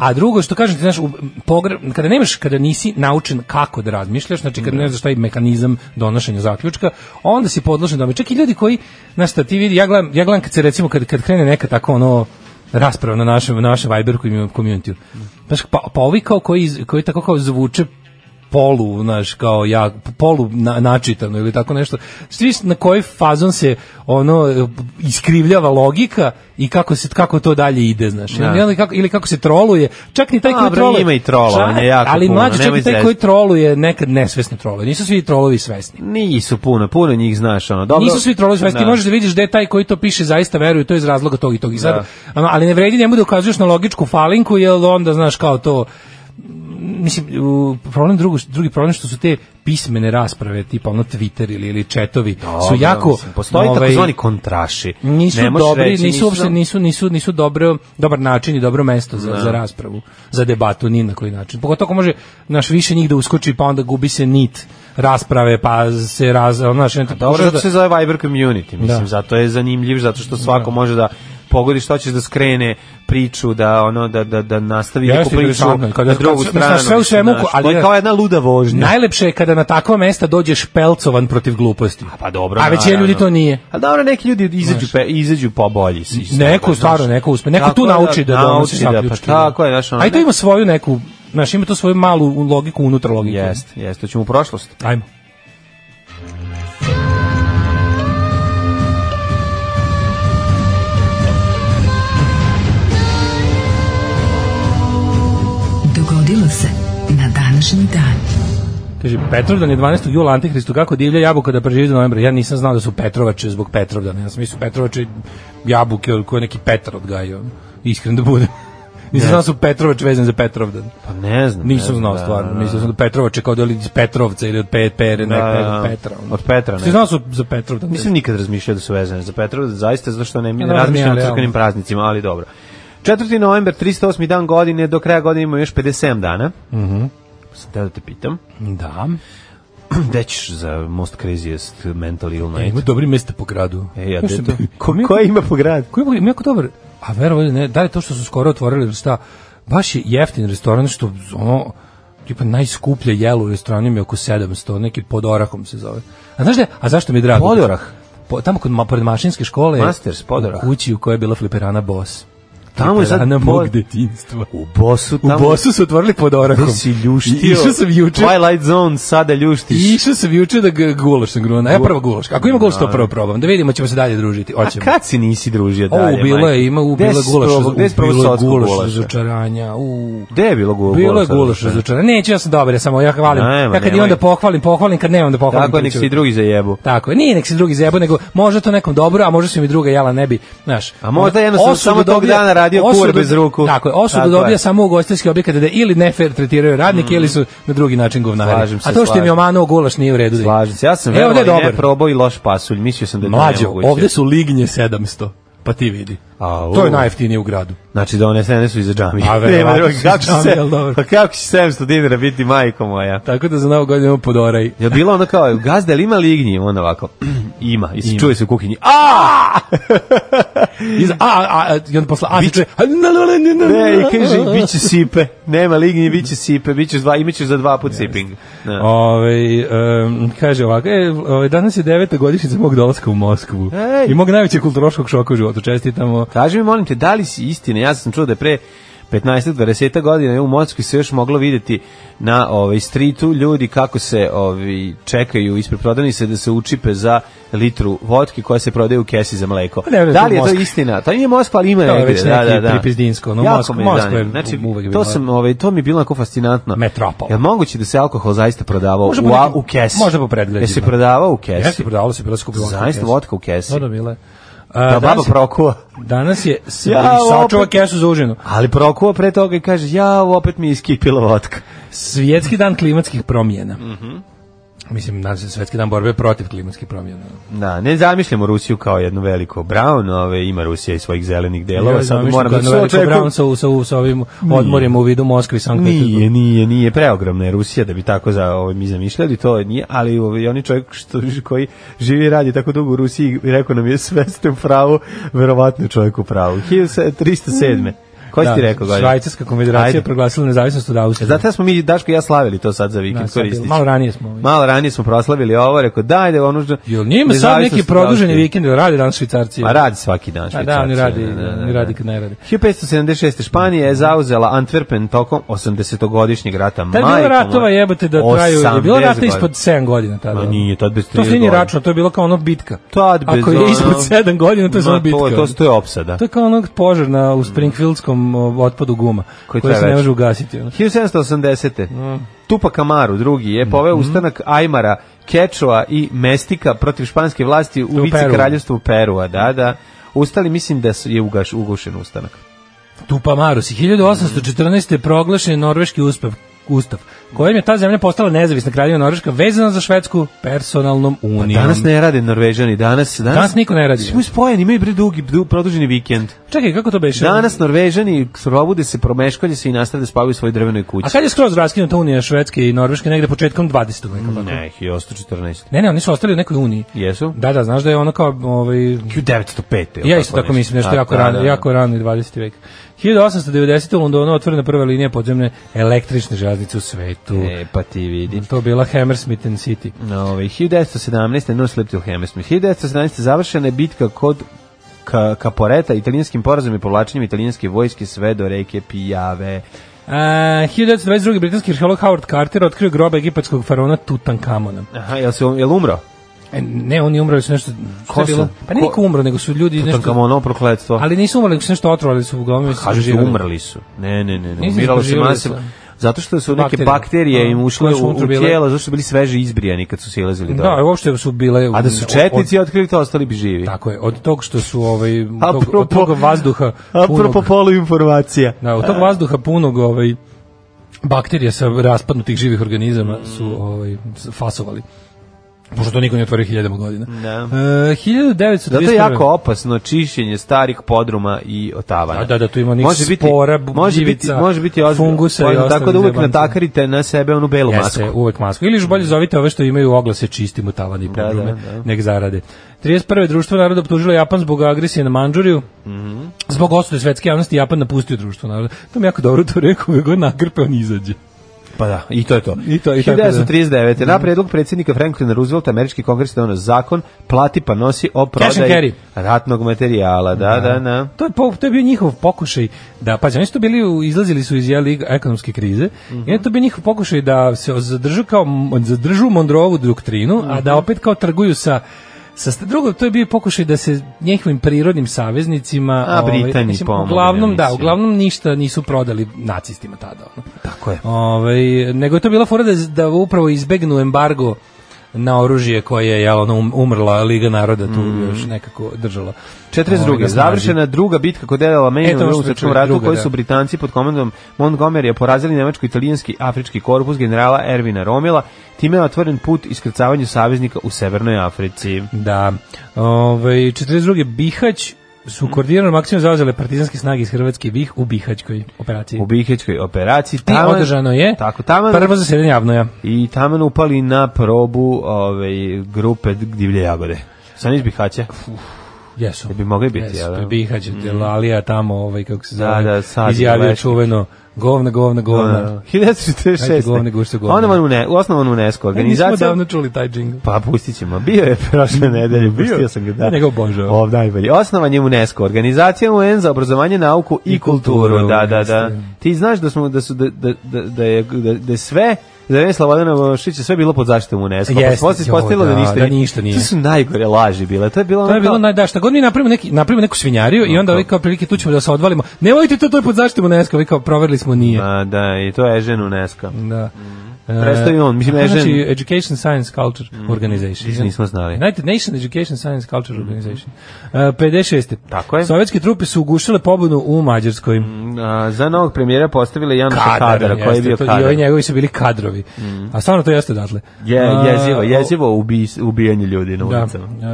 [SPEAKER 6] A drugo, što kažem ti, znaš, u- pogre- kada nemaš, kada nisi naučen kako da razmišljaš, znači kada ne znaš šta je mehanizam donošenja zaključka, onda si podložen da Čak i ljudi koji, znaš šta, ti vidi, ja gledam, ja gledam kad se recimo, kad, kad krene neka tako ono, rasprava na našem, našem Viber community. Znaš, pa, pa ovi kao koji, iz- koji tako kao zvuče polu, znaš, kao ja, polu na, načitano ili tako nešto. Svi na koji fazon se ono iskrivljava logika i kako se kako to dalje ide, znaš.
[SPEAKER 5] Da.
[SPEAKER 6] Ili, kako, ili kako se troluje. Čak ni taj koji
[SPEAKER 5] Dobro,
[SPEAKER 6] troluje.
[SPEAKER 5] ima i trolovanja
[SPEAKER 6] Čak-
[SPEAKER 5] jako
[SPEAKER 6] ali
[SPEAKER 5] puno,
[SPEAKER 6] mlađi čak
[SPEAKER 5] nemoj
[SPEAKER 6] i taj
[SPEAKER 5] zezati.
[SPEAKER 6] koji troluje nekad nesvesno troluje. Nisu svi trolovi svesni.
[SPEAKER 5] Nisu puno, puno njih znaš ono. Dobro.
[SPEAKER 6] Nisu svi trolovi svesni. Ti možeš da vidiš da je taj koji to piše zaista veruje, to je iz razloga tog i tog. I sad, ono, ali ne vredi njemu da ukazuješ na logičku falinku, jer onda, znaš, kao to, mislim u- problem drugo drugi problem što su te pismene rasprave tipa ono Twitter ili ili četovi su
[SPEAKER 5] Dobro,
[SPEAKER 6] jako
[SPEAKER 5] mislim, postoje
[SPEAKER 6] ovaj,
[SPEAKER 5] takozvani kontraši.
[SPEAKER 6] nisu
[SPEAKER 5] Ne možeš
[SPEAKER 6] dobri,
[SPEAKER 5] reći,
[SPEAKER 6] nisu uopšte nisu nisu nisu dobro dobar način i dobro mesto
[SPEAKER 5] Da.
[SPEAKER 6] za, za raspravu, za debatu ni na koji način. Pogotovo ako može naš više njih da uskoči pa onda gubi se nit rasprave pa se raz znaš, da- ne,
[SPEAKER 5] Dobro,
[SPEAKER 6] možeš
[SPEAKER 5] zato se zove Viber community, mislim,
[SPEAKER 6] Da.
[SPEAKER 5] zato je zanimljiv, zato što svako može da pogodi što ćeš da skrene priču, da ono da da da nastavi
[SPEAKER 6] Jeste,
[SPEAKER 5] neku priču
[SPEAKER 6] interesantno je, kad-
[SPEAKER 5] na drugu
[SPEAKER 6] kad- mislim,
[SPEAKER 5] stranu.
[SPEAKER 6] sve u svemu,
[SPEAKER 5] znaš,
[SPEAKER 6] ali
[SPEAKER 5] to je
[SPEAKER 6] da-
[SPEAKER 5] kao jedna luda vožnja.
[SPEAKER 6] Najlepše je kada na takva mesta dođeš pelcovan protiv gluposti.
[SPEAKER 5] Pa dobro.
[SPEAKER 6] A većina ljudi
[SPEAKER 5] naravno.
[SPEAKER 6] to nije.
[SPEAKER 5] A dobro, neki ljudi izađu pe, izađu pobolji. s- iz
[SPEAKER 6] Neko
[SPEAKER 5] toga,
[SPEAKER 6] stvarno,
[SPEAKER 5] pa znaš.
[SPEAKER 6] neko uspe. Neko
[SPEAKER 5] Tako
[SPEAKER 6] tu
[SPEAKER 5] da,
[SPEAKER 6] nauči da, donosi
[SPEAKER 5] nauči da,
[SPEAKER 6] zaključke.
[SPEAKER 5] Pa tako je, znaš, ono,
[SPEAKER 6] A i to ima svoju neku, znaš, ima to svoju malu logiku unutar logike.
[SPEAKER 5] Jeste, jeste, ćemo u prošlost.
[SPEAKER 6] Ajmo.
[SPEAKER 4] Dogodilo se na današnji dan.
[SPEAKER 6] Kaže, Petrovdan je 12. jula Antihristu, kako divlja jabuka da preživi do novembra. Ja nisam znao da su Petrovače zbog Petrovdana. Ja sam mislio Petrovače jabuke od koje je neki Petar odgajao. Iskren da budem. Nisam znao da su Petrovač vezan za Petrovdan.
[SPEAKER 5] Pa ne znam.
[SPEAKER 6] Nisam
[SPEAKER 5] ne,
[SPEAKER 6] znao
[SPEAKER 5] da,
[SPEAKER 6] stvarno.
[SPEAKER 5] da,
[SPEAKER 6] Mislio sam da Petrovače kao da je iz Petrovca ili od Pe- Pere,
[SPEAKER 5] Da,
[SPEAKER 6] nek,
[SPEAKER 5] da,
[SPEAKER 6] nek-
[SPEAKER 5] da.
[SPEAKER 6] Petra. ono.
[SPEAKER 5] Od Petra,
[SPEAKER 6] Svi
[SPEAKER 5] ne.
[SPEAKER 6] znao su za Petrovdan.
[SPEAKER 5] Nisam nikad razmišljao da su vezane za Petrov, zaista zato što ne, mi
[SPEAKER 6] A
[SPEAKER 5] ne
[SPEAKER 6] dobro,
[SPEAKER 5] razmišljam o
[SPEAKER 6] nije, ali,
[SPEAKER 5] crkvenim
[SPEAKER 6] ali.
[SPEAKER 5] praznicima, ali dobro. 4. november, 308. dan godine, do kraja godine imamo još 57 dana. Mhm. sam teo da te pitam,
[SPEAKER 6] Da.
[SPEAKER 5] gde ćeš za most craziest mental ill
[SPEAKER 6] E,
[SPEAKER 5] night?
[SPEAKER 6] ima dobri mesta po gradu.
[SPEAKER 5] E, ja,
[SPEAKER 6] Znaš šta
[SPEAKER 5] deto.
[SPEAKER 6] bi-
[SPEAKER 5] Ko,
[SPEAKER 6] mi-
[SPEAKER 5] ko ima po gradu?
[SPEAKER 6] Koji je jako dobar, a verovatno ne, da li to što su skoro otvorili ili šta, baš je jeftin restoran, što ono, tipa najskuplje jelo u restoranu je oko 700, neki pod orahom se zove. A znaš da, a zašto mi je drago?
[SPEAKER 5] Pod orah?
[SPEAKER 6] Po, tamo kod, ma, pored mašinske škole,
[SPEAKER 5] Masters, pod orah.
[SPEAKER 6] u kući u kojoj je bila fliperana Boss.
[SPEAKER 5] Tamo je sad
[SPEAKER 6] Fliperana
[SPEAKER 5] pod-
[SPEAKER 6] mog detinjstva.
[SPEAKER 5] U bosu
[SPEAKER 6] U
[SPEAKER 5] tamo.
[SPEAKER 6] Bosu su otvorili pod orahom.
[SPEAKER 5] Gde si ljuštio?
[SPEAKER 6] Išao sam juče.
[SPEAKER 5] Twilight Zone sada ljuštiš.
[SPEAKER 6] I išao sam juče da ga- gulaš sam gruo. Ja prvo gulaš. Ako ima gulaš, to prvo probam. Da vidimo ćemo se dalje družiti.
[SPEAKER 5] A
[SPEAKER 6] Hoćemo.
[SPEAKER 5] kad si nisi družio
[SPEAKER 6] O,
[SPEAKER 5] dalje?
[SPEAKER 6] bilo
[SPEAKER 5] majko?
[SPEAKER 6] je, ima u
[SPEAKER 5] Gde
[SPEAKER 6] bilo je
[SPEAKER 5] si
[SPEAKER 6] gulaš,
[SPEAKER 5] probao-
[SPEAKER 6] u-
[SPEAKER 5] gde si probao
[SPEAKER 6] bilo je
[SPEAKER 5] sotku
[SPEAKER 6] gulaš
[SPEAKER 5] gulaša?
[SPEAKER 6] razočaranja. U
[SPEAKER 5] Gde je bilo gulaš?
[SPEAKER 6] Bilo je gulaš razočaranja. Neću, ja sam dobar, ja samo ja hvalim.
[SPEAKER 5] Nema,
[SPEAKER 6] ja kad
[SPEAKER 5] nemoj.
[SPEAKER 6] imam da pohvalim, pohvalim, kad nemam da pohvalim.
[SPEAKER 5] Tako je, nek
[SPEAKER 6] pričam.
[SPEAKER 5] se i drugi zajebu.
[SPEAKER 6] Tako je, nije nek se drugi zebo, nego možda to nekom dobro, a možda su mi druga jela ne bi, znaš.
[SPEAKER 5] A možda jednostavno
[SPEAKER 6] Osudu
[SPEAKER 5] samo tog
[SPEAKER 6] dobija-
[SPEAKER 5] dana radio kur
[SPEAKER 6] osudu-
[SPEAKER 5] bez ruku.
[SPEAKER 6] Tako je, osudu
[SPEAKER 5] Tako
[SPEAKER 6] dobija
[SPEAKER 5] je.
[SPEAKER 6] samo ugostiteljski objekat da ili nefer tretiraju radnike ili su na drugi način govnari.
[SPEAKER 5] Slažem se,
[SPEAKER 6] a to što im je
[SPEAKER 5] slažem.
[SPEAKER 6] omanuo gulaš nije u redu. da im-
[SPEAKER 5] Slažem se, ja sam
[SPEAKER 6] E, ovde je
[SPEAKER 5] verovao i ne
[SPEAKER 6] dobar.
[SPEAKER 5] probao i loš pasulj, mislio sam da je to
[SPEAKER 6] Mlađo,
[SPEAKER 5] nemoguće.
[SPEAKER 6] ovde su lignje 700, pa ti vidi.
[SPEAKER 5] Au.
[SPEAKER 6] To je najjeftinije u gradu.
[SPEAKER 5] Znači da one sene su iza džamije.
[SPEAKER 6] A,
[SPEAKER 5] Nema
[SPEAKER 6] verovatno
[SPEAKER 5] druge,
[SPEAKER 6] su
[SPEAKER 5] kako će
[SPEAKER 6] džamije,
[SPEAKER 5] se,
[SPEAKER 6] ali dobro.
[SPEAKER 5] pa kako će 700 dinara biti majko moja?
[SPEAKER 6] Tako da za novu godinu imamo podoraj.
[SPEAKER 5] Je bilo ono kao, gazda, jel ima lignji? Onda ovako, ima, i se čuje se u kuhinji. A!
[SPEAKER 6] Iz, a, a, a, i onda posle, a, se čuje, a, na, na, na, na, na,
[SPEAKER 5] Ne, i kaže, bit će sipe. Nema lignji, bit će sipe, bit će dva, imaćeš za dva put siping. Da.
[SPEAKER 6] Ove, um, kaže ovako, e, ovaj, danas je deveta godišnjica mog dolaska u Moskvu
[SPEAKER 7] E?
[SPEAKER 5] Da. Ej.
[SPEAKER 6] i mog najvećeg kulturoškog šoka u životu, čestitamo.
[SPEAKER 5] Kaži mi, molim te, da li si istina? Ja sam čuo da je pre 15-20 godina u Mockoj se još moglo vidjeti na ovaj streetu ljudi kako se ovaj čekaju ispred prodavnice da se učipe za litru vodke koja se prodaje u kesi za mleko.
[SPEAKER 6] Pa ne, ne,
[SPEAKER 5] da
[SPEAKER 6] to
[SPEAKER 5] li je to
[SPEAKER 6] Moskva.
[SPEAKER 5] istina? To nije Moskva, ali ima
[SPEAKER 6] To je
[SPEAKER 5] negde.
[SPEAKER 6] već
[SPEAKER 5] Da,
[SPEAKER 6] neki
[SPEAKER 5] da, da.
[SPEAKER 6] pripizdinsko, ono,
[SPEAKER 5] Jako
[SPEAKER 6] Moskva-
[SPEAKER 5] me zanima.
[SPEAKER 6] Moskva je
[SPEAKER 5] znači,
[SPEAKER 6] uvek
[SPEAKER 5] to
[SPEAKER 6] bila-
[SPEAKER 5] sam ovaj to mi je bilo jako fascinantno.
[SPEAKER 6] Metropola.
[SPEAKER 5] Je moguće da se alkohol zaista prodavao
[SPEAKER 6] Možda
[SPEAKER 5] u,
[SPEAKER 6] po
[SPEAKER 5] a-
[SPEAKER 6] nekim-
[SPEAKER 5] u kesi?
[SPEAKER 6] možda po predgrađima.
[SPEAKER 5] Je se prodavao u kesi?
[SPEAKER 6] Jeste, prodavalo se, bila skupila.
[SPEAKER 5] Zaista vodka u kesi.
[SPEAKER 6] Da, da, bila je. A,
[SPEAKER 5] Da baba
[SPEAKER 6] danas,
[SPEAKER 5] prokuva.
[SPEAKER 6] danas je se
[SPEAKER 5] Ja,
[SPEAKER 6] ja, sačuva
[SPEAKER 5] opet-
[SPEAKER 6] kesu za užinu.
[SPEAKER 5] Ali prokuva pre toga i kaže, ja, opet mi je iskipila vodka.
[SPEAKER 6] Svjetski dan klimatskih promjena.
[SPEAKER 5] Mhm.
[SPEAKER 6] Mislim, nadam se Svjetski dan borbe protiv klimatskih promjena.
[SPEAKER 5] Da, ne zamišljamo Rusiju kao jednu veliko brown, ove, ima Rusija i svojih zelenih delova,
[SPEAKER 6] Ja
[SPEAKER 5] sad
[SPEAKER 6] zamišljam
[SPEAKER 5] moram
[SPEAKER 6] kad
[SPEAKER 5] da se
[SPEAKER 6] veliko
[SPEAKER 5] očekujem-
[SPEAKER 6] Brown sa, sa, sa ovim odmorima u vidu Moskve i Sankt
[SPEAKER 5] Nije,
[SPEAKER 6] Peterburga.
[SPEAKER 5] nije, nije preogromna je Rusija da bi tako za ovo mi zamišljali, to nije, ali ovaj oni čovjek što koji živi i radi tako dugo u Rusiji i rekao nam je sve ste u pravu, verovatno je čovjek u pravu. 1307. Ko si ti rekao,
[SPEAKER 6] Da,
[SPEAKER 5] Goran?
[SPEAKER 6] Švajcarska konfederacija
[SPEAKER 5] Ajde.
[SPEAKER 6] je proglasila nezavisnost od Austrije.
[SPEAKER 5] Zato smo mi Daško i ja slavili to sad za vikend
[SPEAKER 6] Da, sad je-
[SPEAKER 5] koristići.
[SPEAKER 6] malo ranije smo. ovaj.
[SPEAKER 5] Malo ranije smo proslavili ovo, rekao daj da ono...
[SPEAKER 6] Jel njima sad neki produženi vikend, jel radi danas Švicarci?
[SPEAKER 5] Pa radi svaki dan
[SPEAKER 6] A
[SPEAKER 5] Švicarci.
[SPEAKER 6] da, oni radi,
[SPEAKER 5] da, da, da.
[SPEAKER 6] oni radi kad ne radi.
[SPEAKER 5] 1576. Španija je zauzela Antwerpen tokom 80-godišnjeg rata.
[SPEAKER 6] Tad Da je bilo
[SPEAKER 5] Majko
[SPEAKER 6] ratova
[SPEAKER 5] moja.
[SPEAKER 6] jebate da traju, je bilo
[SPEAKER 5] 80
[SPEAKER 6] rata
[SPEAKER 5] godina.
[SPEAKER 6] ispod 7 godina tada.
[SPEAKER 5] Ma nije, tad bez 30
[SPEAKER 6] To se nije
[SPEAKER 5] godina.
[SPEAKER 6] račno, to je bilo kao ono bitka.
[SPEAKER 5] Tad bez
[SPEAKER 6] Ako je
[SPEAKER 5] ono-
[SPEAKER 6] ispod 7 godina, to je
[SPEAKER 5] Ma,
[SPEAKER 6] samo bitka.
[SPEAKER 5] To, to, to je opsada.
[SPEAKER 6] To je kao onog požar na, u Springfieldskom o, otpadu guma,
[SPEAKER 5] Koji
[SPEAKER 6] koji,
[SPEAKER 5] traje
[SPEAKER 6] se ne
[SPEAKER 5] već.
[SPEAKER 6] može ugasiti. Ono.
[SPEAKER 5] 1780. Tupac Amaru drugi
[SPEAKER 6] Mhm.
[SPEAKER 5] je poveo ustanak Ajmara, Kečoa i Mestika protiv španske vlasti u,
[SPEAKER 6] U
[SPEAKER 5] vice
[SPEAKER 6] Peru.
[SPEAKER 5] kraljevstvu Perua. Da, da. Ustali mislim da su- je ugaš, ugušen ustanak.
[SPEAKER 6] Tupa Marus. 1814. je proglašen norveški uspav, ustav, kojim je ta zemlja postala nezavisna kraljevina Norveška vezana za Švedsku personalnom unijom.
[SPEAKER 5] Pa Danas ne rade Norvežani, danas... Danas,
[SPEAKER 6] Danas niko ne radi.
[SPEAKER 5] Svi spojeni, imaju bre dugi, du, produženi vikend.
[SPEAKER 6] Čekaj, kako to beše?
[SPEAKER 5] Danas Norvežani probude se, promeškalje se i nastave da spavaju u svojoj drvenoj kući.
[SPEAKER 6] A kad je skroz raskinuta unija Švedske i Norveške negde početkom 20. veka? tako?
[SPEAKER 5] Ne, 1814.
[SPEAKER 6] Ne, ne, oni su ostali u nekoj uniji.
[SPEAKER 5] Jesu?
[SPEAKER 6] Da, da, znaš da je ono kao ovaj,
[SPEAKER 5] 1905. ili
[SPEAKER 6] Ja isto tako mislim, nešto
[SPEAKER 5] A,
[SPEAKER 6] jako
[SPEAKER 5] da,
[SPEAKER 6] rano,
[SPEAKER 5] da, da.
[SPEAKER 6] jako rano i 20. vek. 1890. u Londonu otvorena prva linija podzemne električne železnice u svetu.
[SPEAKER 5] E, pa ti vidi.
[SPEAKER 6] To bila Hammersmith and City.
[SPEAKER 5] Ove, 1917. No Sleep Till Hammersmith. 1917. završena je bitka kod Ka Kaporeta italijanskim porazom i povlačenjem italijanske vojske sve do reke Pijave.
[SPEAKER 6] A, 1922. britanski arheolog Howard Carter otkrio grob egipatskog faraona Tutankamona.
[SPEAKER 5] Aha, jel, se, jel umro?
[SPEAKER 6] E, ne, oni umrali su nešto...
[SPEAKER 5] Ko
[SPEAKER 6] Ko
[SPEAKER 5] su?
[SPEAKER 6] bilo? Pa
[SPEAKER 5] Ko-
[SPEAKER 6] nije niko umro, nego su ljudi nešto...
[SPEAKER 5] Tutankamonovo prokletstvo.
[SPEAKER 6] Ali nisu umrli, nego su nešto otrovali su uglavnom. i su
[SPEAKER 5] Pa Kažu da su
[SPEAKER 6] živjeli.
[SPEAKER 5] umrli su. Ne, ne, ne, ne.
[SPEAKER 6] Nisu
[SPEAKER 5] umiralo se
[SPEAKER 6] preživjeli
[SPEAKER 5] masivno.
[SPEAKER 6] su.
[SPEAKER 5] Zato što su neke
[SPEAKER 6] Bakterije.
[SPEAKER 5] bakterije im
[SPEAKER 6] A,
[SPEAKER 5] ušle
[SPEAKER 6] koje su
[SPEAKER 5] u,
[SPEAKER 6] unutra
[SPEAKER 5] u
[SPEAKER 6] bile?
[SPEAKER 5] tijelo, zato što su bili sveže izbrijani kad su silazili
[SPEAKER 6] Da,
[SPEAKER 5] dole.
[SPEAKER 6] uopšte su bile...
[SPEAKER 5] A da su
[SPEAKER 6] od-
[SPEAKER 5] četnici otkrili to, ostali bi živi.
[SPEAKER 6] od- tako je, od tog što su ovaj, tog,
[SPEAKER 5] Apropo-
[SPEAKER 6] od tog vazduha punog-
[SPEAKER 5] Apropo polu informacija.
[SPEAKER 6] Da, od tog vazduha punog ovaj,
[SPEAKER 5] Mm.
[SPEAKER 6] bakterija sa raspadnutih živih organizama su ovaj, s- fasovali. Pošto to niko ne otvorio hiljadama godina.
[SPEAKER 5] Da.
[SPEAKER 6] E, 1931.
[SPEAKER 5] Zato je jako opasno čišćenje starih podruma i otavana.
[SPEAKER 6] Da, da, da, tu ima onih spora,
[SPEAKER 5] može biti,
[SPEAKER 6] gljivica,
[SPEAKER 5] može biti ozbiljno.
[SPEAKER 6] fungusa i
[SPEAKER 5] Ozbiljno, Tako
[SPEAKER 6] ostalih
[SPEAKER 5] da uvek
[SPEAKER 6] zajebancija.
[SPEAKER 5] natakarite na sebe onu belu
[SPEAKER 6] Jeste,
[SPEAKER 5] masku. Mm.
[SPEAKER 6] uvek masku. Ili još bolje zovite ove što imaju oglase čistim u tavani i podrume,
[SPEAKER 5] da, da.
[SPEAKER 6] nek zarade. 31. društvo naroda optužilo Japan zbog agresije na Manđuriju.
[SPEAKER 5] Mhm.
[SPEAKER 6] Zbog osude svetske javnosti Japan napustio društvo naroda. To mi je jako dobro to rekao, uvek god nagrpe, on izađe.
[SPEAKER 5] Pa da, i to je to.
[SPEAKER 6] I to- i tako da.
[SPEAKER 5] 1939. Na predlog predsjednika Franklina Roosevelta, američki kongres donio zakon plati pa nosi o
[SPEAKER 6] and
[SPEAKER 5] prodaji
[SPEAKER 6] carry.
[SPEAKER 5] ratnog materijala. Da, da, da.
[SPEAKER 6] To je, po- to je bio njihov pokušaj da, pazi, oni su to bili, u- izlazili su iz jeli, ekonomske krize, i onda je to bio njihov pokušaj da se zadržu kao, zadržu Mondrovu doktrinu, a
[SPEAKER 5] Mhm.
[SPEAKER 6] da opet kao trguju sa Sa st- drugo, to je bio pokušaj da se njihovim prirodnim saveznicima... ovaj,
[SPEAKER 5] A, Britaniji pomogne,
[SPEAKER 6] Uglavnom, da,
[SPEAKER 5] mislim.
[SPEAKER 6] uglavnom ništa nisu prodali nacistima tada. Ono.
[SPEAKER 5] Tako je.
[SPEAKER 6] Ovaj, nego je to bila fora da, da upravo izbegnu embargo na oružje koje je jel, ono, um- umrla Liga naroda tu još nekako držala. Ovaj,
[SPEAKER 5] 42.
[SPEAKER 6] na snazi.
[SPEAKER 5] Mhm. Završena druga bitka kod El
[SPEAKER 6] E, to
[SPEAKER 5] Alameina u
[SPEAKER 6] ono
[SPEAKER 5] drugom
[SPEAKER 6] što je
[SPEAKER 5] svetskom
[SPEAKER 6] druga,
[SPEAKER 5] ratu, koji
[SPEAKER 6] da.
[SPEAKER 5] su Britanci pod komandom Montgomerya porazili nemačko-italijanski afrički korpus generala Ervina Romila, time je otvoren put iskrcavanju saveznika u Severnoj Africi.
[SPEAKER 6] Da. Ovaj 42. Bihać su koordinirano maksimum zauzele partizanske snage iz Hrvatske i Bih u Bihaćkoj operaciji.
[SPEAKER 5] U Bihećkoj operaciji.
[SPEAKER 6] I
[SPEAKER 5] taman-
[SPEAKER 6] održano je
[SPEAKER 5] Tako, taman,
[SPEAKER 6] prvo zasedanje javnoja.
[SPEAKER 5] I taman upali na probu ovaj, grupe Divlje jagode. Sa niz Bihaća.
[SPEAKER 6] Jesu.
[SPEAKER 5] Da bi mogli biti,
[SPEAKER 6] Jesu,
[SPEAKER 5] jel da?
[SPEAKER 6] to je Bihać, Delalija tamo, ovaj, kako se
[SPEAKER 5] Da,
[SPEAKER 6] zove,
[SPEAKER 5] da, Sadi
[SPEAKER 6] izjavio
[SPEAKER 5] Lešnik.
[SPEAKER 6] čuveno govna, govna,
[SPEAKER 5] Uh, da.
[SPEAKER 6] govna. da. Ajde, govne, govne,
[SPEAKER 5] 1946.
[SPEAKER 6] govne.
[SPEAKER 5] Onda van une, osnovan UNESCO
[SPEAKER 6] E, nismo
[SPEAKER 5] organizacija.
[SPEAKER 6] davno čuli taj džingl.
[SPEAKER 5] Pa pustit ćemo. Bio je prošle nedelje, pustio sam ga. Da.
[SPEAKER 6] Ja njega obožavam.
[SPEAKER 5] Ov, najbolji. Osnovan je UNESCO, organizacija UN za obrazovanje, nauku i,
[SPEAKER 6] I kulturu,
[SPEAKER 5] kulturu. Da, da, da.
[SPEAKER 6] jeste.
[SPEAKER 5] Ti znaš da smo da su da da da, da je da, da je sve za vreme Slobodana Miloševića sve bilo pod zaštitom UNESCO. Pa
[SPEAKER 6] Jeste,
[SPEAKER 5] posle se ispostavilo
[SPEAKER 6] joj,
[SPEAKER 5] da,
[SPEAKER 6] da,
[SPEAKER 5] ništa,
[SPEAKER 6] da ništa nije.
[SPEAKER 5] To su najgore laži bile. To je bilo
[SPEAKER 6] To je
[SPEAKER 5] ono kao-
[SPEAKER 6] bilo naj da šta god mi napravimo neki napravimo neku svinjariju i onda ovi kao prilike tu ćemo da se odvalimo. Nemojte to to je pod zaštitom UNESCO, vi kao proverili smo nije.
[SPEAKER 5] A, da, i to je Ežen UNESCO.
[SPEAKER 6] Da.
[SPEAKER 5] Mhm. Prestao i on, mislim,
[SPEAKER 6] Aha,
[SPEAKER 5] Ežen-
[SPEAKER 6] Znači, Education Science Culture Organization.
[SPEAKER 5] Ništa nismo znali. Mhm.
[SPEAKER 6] United Nation Education Science Culture Organization. Uh, 56.
[SPEAKER 5] Tako je.
[SPEAKER 6] Sovjetske trupe su ugušile pobunu u Mađarskoj.
[SPEAKER 5] A, za novog premijera postavila je Janoša Kadara, koji je
[SPEAKER 6] jeste,
[SPEAKER 5] bio
[SPEAKER 6] to-
[SPEAKER 5] kadar. Mhm.
[SPEAKER 6] I ovi njegovi su bili kadrovi. A stvarno to jeste odatle.
[SPEAKER 5] Je,
[SPEAKER 6] A,
[SPEAKER 5] jezivo, jezivo ubi, ubijanje ljudi na
[SPEAKER 6] Da.
[SPEAKER 5] ulicama.
[SPEAKER 6] E,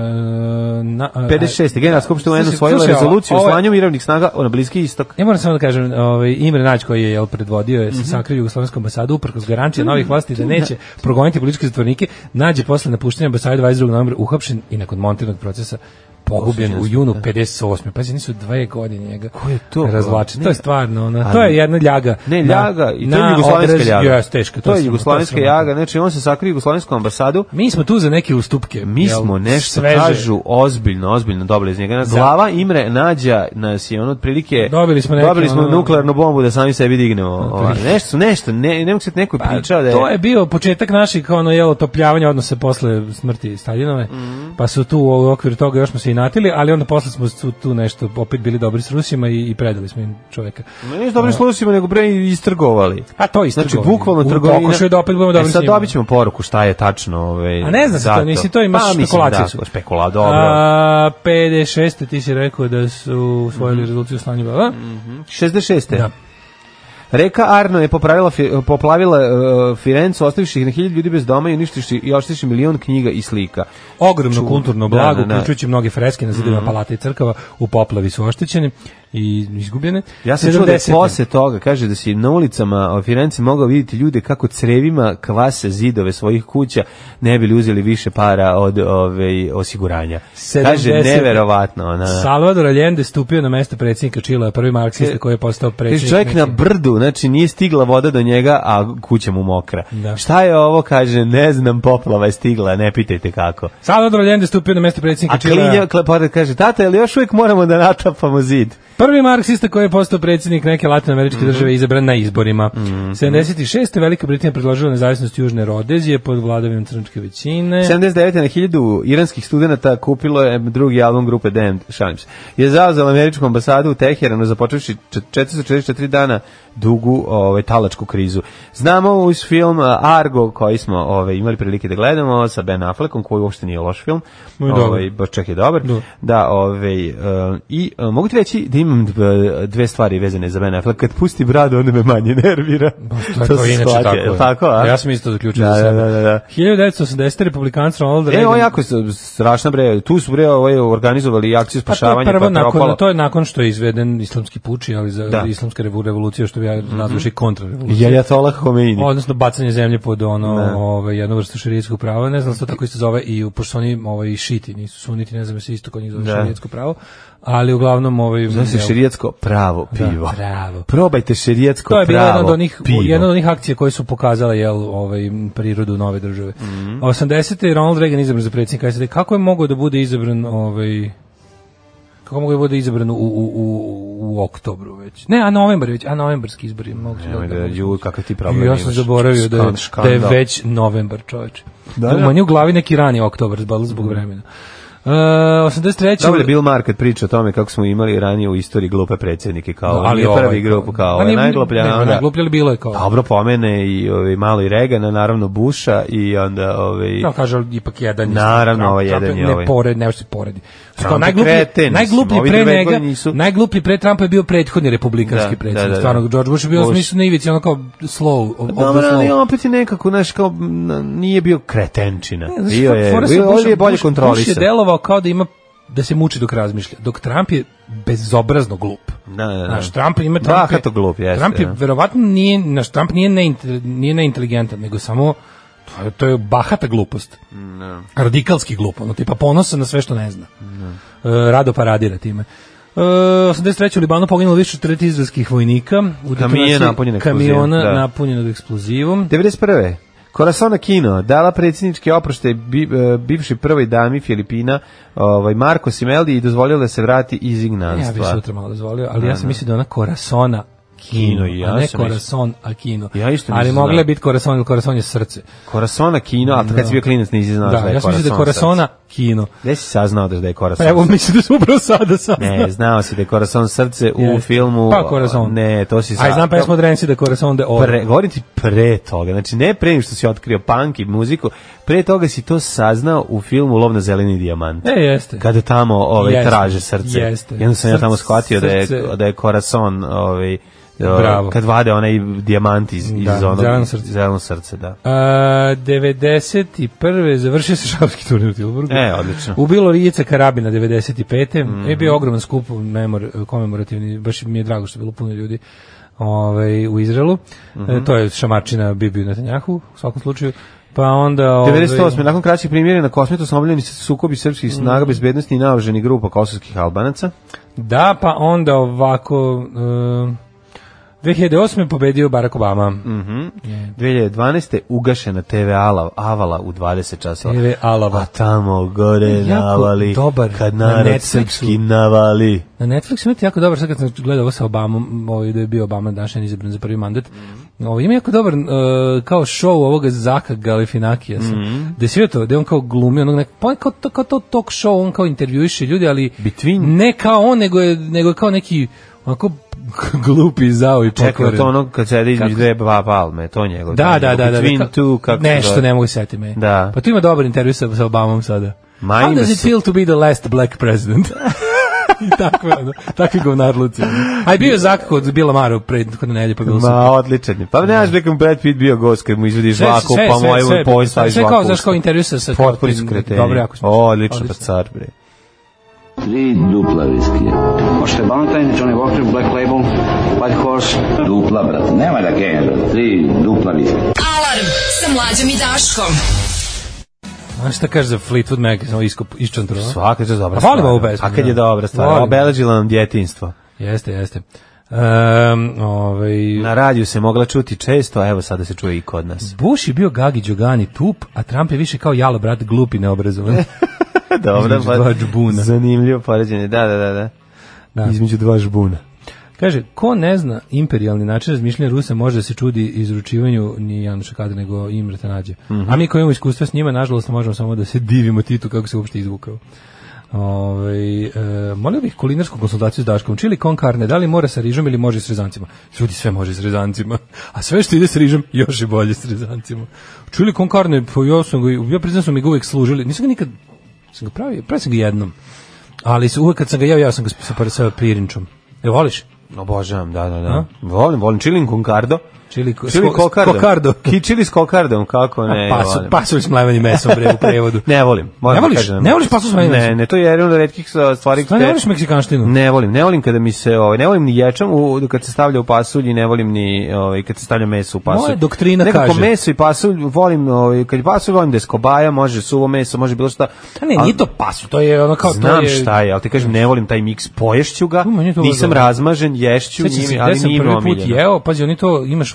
[SPEAKER 6] na, a-
[SPEAKER 5] 56. Generalna skupština UN
[SPEAKER 6] Slušaj,
[SPEAKER 5] usvojila
[SPEAKER 6] slušaj, ovo-
[SPEAKER 5] rezoluciju o
[SPEAKER 6] ovo je-
[SPEAKER 5] slanju mirovnih snaga na Bliski istok.
[SPEAKER 6] Ja moram samo da kažem, ovaj Imre Nađ koji je jel predvodio
[SPEAKER 5] Mhm.
[SPEAKER 6] je se sakrio jugoslovensku ambasadu uprkos garancije novih vlasti da neće progoniti političke zatvornike, Nađ je posle napuštanja ambasade 22. novembra uhapšen i nakon montirnog procesa pogubljen u junu 58. Pazi, nisu dve godine njega
[SPEAKER 5] da. Ko je to?
[SPEAKER 6] razvlačen.
[SPEAKER 5] Ne.
[SPEAKER 6] To je stvarno, ona,
[SPEAKER 5] Ali-
[SPEAKER 6] to je jedna ljaga.
[SPEAKER 5] Ne,
[SPEAKER 6] na-
[SPEAKER 5] ljaga, i to je
[SPEAKER 6] na
[SPEAKER 5] jugoslovenska
[SPEAKER 6] obraz-
[SPEAKER 5] ljaga.
[SPEAKER 6] Jes, teška,
[SPEAKER 5] to je
[SPEAKER 6] sramotno,
[SPEAKER 5] jugoslovenska
[SPEAKER 6] sramotno.
[SPEAKER 5] ljaga, znači on se sakrio jugoslovensku ambasadu,
[SPEAKER 6] Mi smo tu za neke ustupke.
[SPEAKER 5] mi
[SPEAKER 6] jel,
[SPEAKER 5] smo nešto,
[SPEAKER 6] sveže.
[SPEAKER 5] kažu, ozbiljno, ozbiljno dobili iz njega. Glava Imre Nađa nas je on otprilike,
[SPEAKER 6] Dobili smo neke,
[SPEAKER 5] dobili smo
[SPEAKER 6] ono-
[SPEAKER 5] nuklearnu bombu da sami sebi dignemo. ovaj. Nešto, su- nešto, ne, ne mogu se neko je
[SPEAKER 6] Pa,
[SPEAKER 5] pričao da je...
[SPEAKER 6] To je bio početak naših kao ono jelo otopljavanja odnosa posle smrti Staljinove.
[SPEAKER 5] Mhm.
[SPEAKER 6] Pa su tu u okviru toga još smo se i natili, ali onda posle smo tu, tu nešto opet bili dobri s Rusima i, i predali smo im čoveka.
[SPEAKER 5] Ma nisu dobri slusima, nego bre istrgovali.
[SPEAKER 6] Da. A to je isto.
[SPEAKER 5] Znači, bukvalno trgovina.
[SPEAKER 6] trgovina. Pokušaju da opet budemo dobri
[SPEAKER 5] e,
[SPEAKER 6] s
[SPEAKER 5] sad
[SPEAKER 6] njima.
[SPEAKER 5] dobit ćemo poruku šta je tačno. Ovaj,
[SPEAKER 6] A ne zna se to,
[SPEAKER 5] zato.
[SPEAKER 6] nisi to imaš
[SPEAKER 5] pa, mislim,
[SPEAKER 6] špekulaciju su.
[SPEAKER 5] Da, spekula, dobro.
[SPEAKER 6] A, 56. ti si rekao da su usvojili
[SPEAKER 5] Mhm.
[SPEAKER 6] rezoluciju slanja bela.
[SPEAKER 5] 66.
[SPEAKER 6] Da.
[SPEAKER 5] Reka Arno je popravila, fi- poplavila e, Firencu, ostavivši ih na hiljadu ljudi bez doma i uništiši i oštivši milion knjiga i slika.
[SPEAKER 6] Ogromno
[SPEAKER 5] Ču-
[SPEAKER 6] kulturno
[SPEAKER 5] da,
[SPEAKER 6] blago,
[SPEAKER 5] da, Mhm. da.
[SPEAKER 6] uključujući mnoge freske na zidima palata i crkava, u poplavi su oštećene i izgubljene.
[SPEAKER 5] Ja sam čuo da je
[SPEAKER 6] 70..
[SPEAKER 5] posle toga, kaže da si na ulicama Firenci mogao vidjeti ljude kako crevima kvase zidove svojih kuća ne bili uzeli više para od ove, osiguranja. Kaže,
[SPEAKER 6] 70.
[SPEAKER 5] neverovatno. Ona.
[SPEAKER 6] Salvador Allende stupio na mesto predsjednika Čila, prvi marksista koji je postao
[SPEAKER 5] Kaže,
[SPEAKER 6] predsjednik.
[SPEAKER 5] E, čovjek na
[SPEAKER 6] Meksika.
[SPEAKER 5] brdu, znači nije stigla voda do njega, a kuća mu mokra.
[SPEAKER 6] Da.
[SPEAKER 5] Šta je ovo, kaže, ne znam, poplava je stigla, ne pitajte kako.
[SPEAKER 6] Salvador Allende stupio na mesto
[SPEAKER 5] A
[SPEAKER 6] predsjednika
[SPEAKER 5] klinja,
[SPEAKER 6] Čila,
[SPEAKER 5] kle- pored kaže, tata, jel još uvijek moramo da natapamo zid?
[SPEAKER 6] prvi marksista koji je postao predsjednik neke latinoameričke
[SPEAKER 5] Mhm.
[SPEAKER 6] države izabran na izborima. 76. Velika Britanija predložila nezavisnost Južne Rodezije pod vladavinom crničke većine.
[SPEAKER 5] 79. na hiljadu iranskih studenta kupilo je drugi album grupe Damned, šalim se. Je zauzela američku ambasadu u Teheranu započevši čet- 444 dana dugu ovaj, talačku krizu. Znamo uz film a, Argo koji smo ovaj, imali prilike da gledamo sa Ben Affleckom koji uopšte nije loš film.
[SPEAKER 6] No i dobar. Da.
[SPEAKER 5] Ovaj, baš čak je dobar.
[SPEAKER 6] Dobar.
[SPEAKER 5] Da, ovaj, e, i e, mogu ti reći da imam dve- dve stvari vezane za Ben Affleck. Kad pusti bradu, onda me manje nervira.
[SPEAKER 6] To, to,
[SPEAKER 5] sam
[SPEAKER 6] je inače
[SPEAKER 5] shvatio.
[SPEAKER 6] tako.
[SPEAKER 5] Jel
[SPEAKER 6] je.
[SPEAKER 5] tako a?
[SPEAKER 6] Ja sam isto zaključio
[SPEAKER 5] Da,
[SPEAKER 6] za sebe.
[SPEAKER 5] da, da, da.
[SPEAKER 6] 1980. republikanac Ronald Reagan.
[SPEAKER 5] E, ovo jako je strašna bre. Tu su bre ovaj organizovali akciju
[SPEAKER 6] Pa to je
[SPEAKER 5] spašavanja
[SPEAKER 6] prvo
[SPEAKER 5] pa propalo.
[SPEAKER 6] nakon, to je nakon što je izveden islamski puč, ali za
[SPEAKER 5] Da. Mhm.
[SPEAKER 6] islamska revu- revolucija, što bi ja nazvaš i kontrarevolucija.
[SPEAKER 5] Jajatolah Khomeini.
[SPEAKER 6] Odnosno bacanje zemlje pod ono
[SPEAKER 5] Da.
[SPEAKER 6] ovaj jednu vrstu šerijskog prava, ne znam što tako isto zove i u- pošto su oni ovaj šiti, nisu suniti, ne znam se isto kod njih zove
[SPEAKER 5] Da.
[SPEAKER 6] šerijsko pravo, ali uglavnom ovaj
[SPEAKER 5] Zove se
[SPEAKER 6] evo,
[SPEAKER 5] širijatsko pravo pivo.
[SPEAKER 6] Da, pravo.
[SPEAKER 5] Probajte širijatsko
[SPEAKER 6] To
[SPEAKER 5] pravo
[SPEAKER 6] je bila jedna od onih
[SPEAKER 5] pivo.
[SPEAKER 6] jedna od onih akcija koje su pokazale jel ovaj prirodu nove države. Mm
[SPEAKER 5] Mhm.
[SPEAKER 6] 80. Ronald Reagan izabran za predsjednika SAD. Kako je mogao da bude izabran ovaj kako mogu da bude izabran u, u, u, u oktobru već? Ne, a novembar već, a novembarski izbori. Mogu se
[SPEAKER 5] Nemoj
[SPEAKER 6] da-
[SPEAKER 5] da, ju, kakav ti problem
[SPEAKER 6] Ja sam
[SPEAKER 5] imaš.
[SPEAKER 6] zaboravio da je,
[SPEAKER 5] Skan-
[SPEAKER 6] da je
[SPEAKER 5] skandal.
[SPEAKER 6] već novembar, čoveče.
[SPEAKER 5] Da,
[SPEAKER 6] Da,
[SPEAKER 5] da.
[SPEAKER 6] da. Manje u glavi neki rani oktobar, zbog, zbog vremena. Uh, 83.
[SPEAKER 5] Dobro je Bill Maher kad priča o tome kako smo imali ranije u istoriji glupe predsjednike kao
[SPEAKER 6] Da,
[SPEAKER 5] ali je
[SPEAKER 6] ovaj
[SPEAKER 5] prvi
[SPEAKER 6] kao-
[SPEAKER 5] grupu kao
[SPEAKER 6] Pa
[SPEAKER 5] ovaj
[SPEAKER 6] ne,
[SPEAKER 5] najgluplja
[SPEAKER 6] ne,
[SPEAKER 5] onda-
[SPEAKER 6] najgluplje, ali bilo je kao.
[SPEAKER 5] Dobro pomene i ovaj malo i Regana, naravno Busha i onda ovaj
[SPEAKER 6] No, kaže, ali ipak jedan je.
[SPEAKER 5] Naravno,
[SPEAKER 6] Trump-
[SPEAKER 5] ovaj
[SPEAKER 6] Trump
[SPEAKER 5] jedan je
[SPEAKER 6] ne
[SPEAKER 5] ovaj.
[SPEAKER 6] pored, ne može se poredi. Znači,
[SPEAKER 5] Trump
[SPEAKER 6] Kao
[SPEAKER 5] je
[SPEAKER 6] najgluplji,
[SPEAKER 5] kreten, mislim,
[SPEAKER 6] najgluplji
[SPEAKER 5] ovi
[SPEAKER 6] pre
[SPEAKER 5] drugi
[SPEAKER 6] njega,
[SPEAKER 5] nisu.
[SPEAKER 6] najgluplji pre Trumpa je bio prethodni republikanski
[SPEAKER 5] Da,
[SPEAKER 6] predsjednik.
[SPEAKER 5] da, da, da.
[SPEAKER 6] Stvarno, George Bush je bio
[SPEAKER 5] Bush.
[SPEAKER 6] u smislu na ivici, ono kao slow, of, of
[SPEAKER 5] Dobro,
[SPEAKER 6] the
[SPEAKER 5] ali
[SPEAKER 6] slow.
[SPEAKER 5] opet je nekako, znaš, kao, n- nije bio kretenčina.
[SPEAKER 6] Ne, znaš,
[SPEAKER 5] bio je,
[SPEAKER 6] fora se
[SPEAKER 5] bio,
[SPEAKER 6] Busha-
[SPEAKER 5] ovdje je bolje
[SPEAKER 6] Bush- Bush je
[SPEAKER 5] kontrolisan.
[SPEAKER 6] delovao kao da ima da se muči dok razmišlja. Dok Trump je bezobrazno glup.
[SPEAKER 5] Da, da, da.
[SPEAKER 6] Naš Trump ima Trump je-
[SPEAKER 5] Bahato glup, jeste,
[SPEAKER 6] Trump je
[SPEAKER 5] da.
[SPEAKER 6] verovatno nije naš Trump nije neinte- nije neinteligentan, nego samo to je, to je bahata glupost.
[SPEAKER 5] Da.
[SPEAKER 6] Radikalski glup, ono tipa ponosan na sve što ne zna. E, rado paradira time. E, 83. u Libanu poginulo više od 30 izraelskih vojnika. U detonaciji
[SPEAKER 5] napunjen eksplozivom,
[SPEAKER 6] Kamiona
[SPEAKER 5] da.
[SPEAKER 6] napunjenog eksplozivom.
[SPEAKER 5] 91. Korasona Kino dala predsjednički oproštaj bi, e, bivšoj prvoj dami Filipina ovaj, Marko Simeldi i dozvolila da se vrati iz
[SPEAKER 6] Ja bih
[SPEAKER 5] ignanstva.
[SPEAKER 6] sutra malo dozvolio, ali ja sam mislio da je ona Korasona
[SPEAKER 5] Kino,
[SPEAKER 6] Kino,
[SPEAKER 5] i ja
[SPEAKER 6] a ne
[SPEAKER 5] sam mislio-
[SPEAKER 6] Korason Akino.
[SPEAKER 5] Ja isto da-
[SPEAKER 6] ali
[SPEAKER 5] nisam
[SPEAKER 6] mogla
[SPEAKER 5] znao.
[SPEAKER 6] je biti Korason, jer Korason je srce.
[SPEAKER 5] Korasona Kino, a kad si bio klinac nisi znao
[SPEAKER 6] da, ja sam mislio da je Korasona Kino.
[SPEAKER 5] Gde si saznao da je Korason
[SPEAKER 6] Pa evo, mislim da sam upravo sada saznao.
[SPEAKER 5] Ne, znao si da je Korason srce u
[SPEAKER 6] Jeste.
[SPEAKER 5] filmu...
[SPEAKER 6] Pa Corazon.
[SPEAKER 5] Ne, to si
[SPEAKER 6] Aj, znam pesmu od Renzi da Korason de Oro.
[SPEAKER 5] Pre, govorim ti pre toga, znači ne pre nego što si otkrio punk i muziku, pre toga si to saznao u filmu Lov na zeleni dijamant.
[SPEAKER 6] E, jeste.
[SPEAKER 5] Kada tamo ovaj,
[SPEAKER 6] Jeste,
[SPEAKER 5] traže srce.
[SPEAKER 6] jeste.
[SPEAKER 5] Jedno sam ja tamo
[SPEAKER 6] Srce,
[SPEAKER 5] shvatio da je,
[SPEAKER 6] srce.
[SPEAKER 5] da je Corazon ovaj,
[SPEAKER 6] Bravo.
[SPEAKER 5] kad vade onaj dijamant iz, iz
[SPEAKER 6] Da,
[SPEAKER 5] onog...
[SPEAKER 6] zeleno srce.
[SPEAKER 5] zeleno srce, da.
[SPEAKER 6] A, 91. završio se šapski turnir u Tilburgu.
[SPEAKER 5] E, odlično.
[SPEAKER 6] Ubilo Rijica Karabina 95. Mm. Je bio ogroman skup memor, komemorativni, baš mi je drago što je bilo puno ljudi ovaj, u Izraelu. e, to je šamarčina Bibiju Netanjahu, u svakom slučaju. Pa onda... Ovaj,
[SPEAKER 5] 98. Nakon kraćih primjera na kosmetu su obljeni sukobi srpskih
[SPEAKER 6] Mm.
[SPEAKER 5] snaga bezbednosti i naoruženih grupa kosovskih albanaca.
[SPEAKER 6] Da, pa onda ovako... e, 2008. je pobedio Barack Obama.
[SPEAKER 5] 2012. ugašena TV Ala, Avala u 20 časova.
[SPEAKER 6] TV Alava.
[SPEAKER 5] A tamo gore
[SPEAKER 6] Jako
[SPEAKER 5] navali,
[SPEAKER 6] dobar
[SPEAKER 5] kad
[SPEAKER 6] na
[SPEAKER 5] narod
[SPEAKER 6] Netflixu.
[SPEAKER 5] srpski navali.
[SPEAKER 6] Na Netflixu imate jako dobar, sad kad sam gledao ovo sa Obamom, ovaj, da je bio Obama današnjan izabran za prvi mandat,
[SPEAKER 5] Mhm.
[SPEAKER 6] ovo, ima jako dobar e, kao show ovoga Zaka Galifinakija, sam,
[SPEAKER 5] Mhm.
[SPEAKER 6] da je sve to, da je on kao glumi, onog nek, pa on kao, to, kao to talk show, on kao intervjuiše ljudi, ali
[SPEAKER 5] Between-
[SPEAKER 6] ne kao on, nego je, nego je kao neki onako glupi, zao i
[SPEAKER 5] Čekao
[SPEAKER 6] pokvaren.
[SPEAKER 5] to onog kad sede između
[SPEAKER 6] Kako?
[SPEAKER 5] dve ba- palme, to njegov.
[SPEAKER 6] Da, da, da, da.
[SPEAKER 5] Between
[SPEAKER 6] da, ka-
[SPEAKER 5] two, kako se
[SPEAKER 6] nešto
[SPEAKER 5] zove?
[SPEAKER 6] ne mogu setiti me.
[SPEAKER 5] Da.
[SPEAKER 6] Pa tu ima dobar intervju sa, sa Obamom sada.
[SPEAKER 5] Ma,
[SPEAKER 6] How
[SPEAKER 5] ima
[SPEAKER 6] does it
[SPEAKER 5] se-
[SPEAKER 6] feel to be the last black president? I tako, ono, takvi govnarluci. A je bio je Zak kod Bila Maru pre kod nelje, pa bilo
[SPEAKER 5] Ma,
[SPEAKER 6] super.
[SPEAKER 5] odličan je. Pa ne znaš da je Brad Pitt bio gost kad mu izvediš žvaku, pa moj mu pojem
[SPEAKER 6] sve,
[SPEAKER 5] staviš
[SPEAKER 6] sve
[SPEAKER 5] žvaku.
[SPEAKER 6] kao, znaš, kao intervju sa... sa
[SPEAKER 5] Potpuni
[SPEAKER 6] tim-
[SPEAKER 5] su kreteni.
[SPEAKER 6] Dobro, jako smo.
[SPEAKER 5] O, odlično, pa car, bre.
[SPEAKER 8] Tri dupla viskija. Možete Valentine, Johnny Walker, Black Label, White Horse. Dupla, brate, nema da genja, brate. Tri dupla viskija.
[SPEAKER 4] Alarm sa mlađom i Daškom.
[SPEAKER 6] Znaš šta kaže za Fleetwood Mac, samo iskop, iščantro.
[SPEAKER 5] Svaka je dobra
[SPEAKER 6] A volim
[SPEAKER 5] stvar.
[SPEAKER 6] ovu pesmu,
[SPEAKER 5] A kad je
[SPEAKER 6] da.
[SPEAKER 5] dobra stvar,
[SPEAKER 6] Volim.
[SPEAKER 5] obeležila nam djetinstvo.
[SPEAKER 6] Jeste, jeste. Um, ovaj,
[SPEAKER 5] Na radiju se mogla čuti često, a evo sada se čuje i kod nas.
[SPEAKER 6] Bush je bio Gagi Đogani tup, a Trump je više kao jalo brat glupi neobrazovan.
[SPEAKER 5] Dobro,
[SPEAKER 6] Između dva
[SPEAKER 5] pa,
[SPEAKER 6] džbuna.
[SPEAKER 5] zanimljivo poređenje, da, da, da. da.
[SPEAKER 6] Da.
[SPEAKER 5] Između dva žbuna.
[SPEAKER 6] Kaže, ko ne zna imperialni način razmišljanja Rusa može da se čudi izručivanju ni Januša Kada nego Imre Tanađe. A mi koji imamo iskustva s njima, nažalost, možemo samo da se divimo Titu kako se uopšte izvukao. Ove, e, molio bih kulinarsku konsultaciju s Daškom. Čili kon karne, da li mora sa rižom ili može i s rezancima? Ljudi, sve može s rezancima. A sve što ide s rižom, još je bolje s rezancima. Čili kon karne, pa ja, sam ga, ja priznam sam mi ga uvek služili. Nisam ga nikad, sam ga pravio, pravio sam ga jednom. Ali se uvek kad sam ga jeo, ja sam ga sa, sa, sa pirinčom. Ne voliš?
[SPEAKER 5] Obožavam, da, da, da. Volim, volim chili con cardo.
[SPEAKER 6] Čili, ko,
[SPEAKER 5] Chili
[SPEAKER 6] s-
[SPEAKER 5] con cardo.
[SPEAKER 6] kokardo.
[SPEAKER 5] Ki chili s kokardom, kako ne.
[SPEAKER 6] A Pa pasu,
[SPEAKER 5] volim.
[SPEAKER 6] pasulj s mlevenim mesom bre, u prevodu.
[SPEAKER 5] Ne volim. moram
[SPEAKER 6] Ne
[SPEAKER 5] da
[SPEAKER 6] voliš?
[SPEAKER 5] kažem.
[SPEAKER 6] Ne voliš pasulj s mlevenim
[SPEAKER 5] Ne,
[SPEAKER 6] mesom?
[SPEAKER 5] ne, to je jedan od retkih sa- stvari
[SPEAKER 6] Stvarno ne voliš meksikanštinu?
[SPEAKER 5] Ne volim, ne volim kada mi se, ovaj, ne volim ni ječam u, kad se stavlja u pasulj i ne volim ni ovaj, kad se stavlja meso u pasulj.
[SPEAKER 6] Moja doktrina
[SPEAKER 5] Nekako
[SPEAKER 6] kaže.
[SPEAKER 5] meso i pasulj volim, ovaj, kad je pasulj volim da je skobaja, može suvo meso, može bilo šta.
[SPEAKER 6] A ne,
[SPEAKER 5] ali-
[SPEAKER 6] nije to pasulj, to je ono kao to
[SPEAKER 5] Znam
[SPEAKER 6] je...
[SPEAKER 5] šta je, ali ti kažem, ne volim taj miks, poješću ga,
[SPEAKER 6] U, meni je to
[SPEAKER 5] nisam
[SPEAKER 6] dobro.
[SPEAKER 5] razmažen, ješću,
[SPEAKER 6] Sećam se
[SPEAKER 5] njime,
[SPEAKER 6] gde
[SPEAKER 5] ali
[SPEAKER 6] sam
[SPEAKER 5] nije mi
[SPEAKER 6] prvi put
[SPEAKER 5] omiljeno. Mm.
[SPEAKER 6] jeo, pazi, oni to, imaš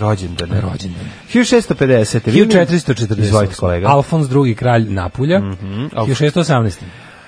[SPEAKER 5] Rođendan. je.
[SPEAKER 6] rođendan.
[SPEAKER 5] 1650. Pa da Vidim-
[SPEAKER 6] 1440.
[SPEAKER 5] Izvolite kolega. Mhm,
[SPEAKER 6] Alfons II kralj Napulja, 1618.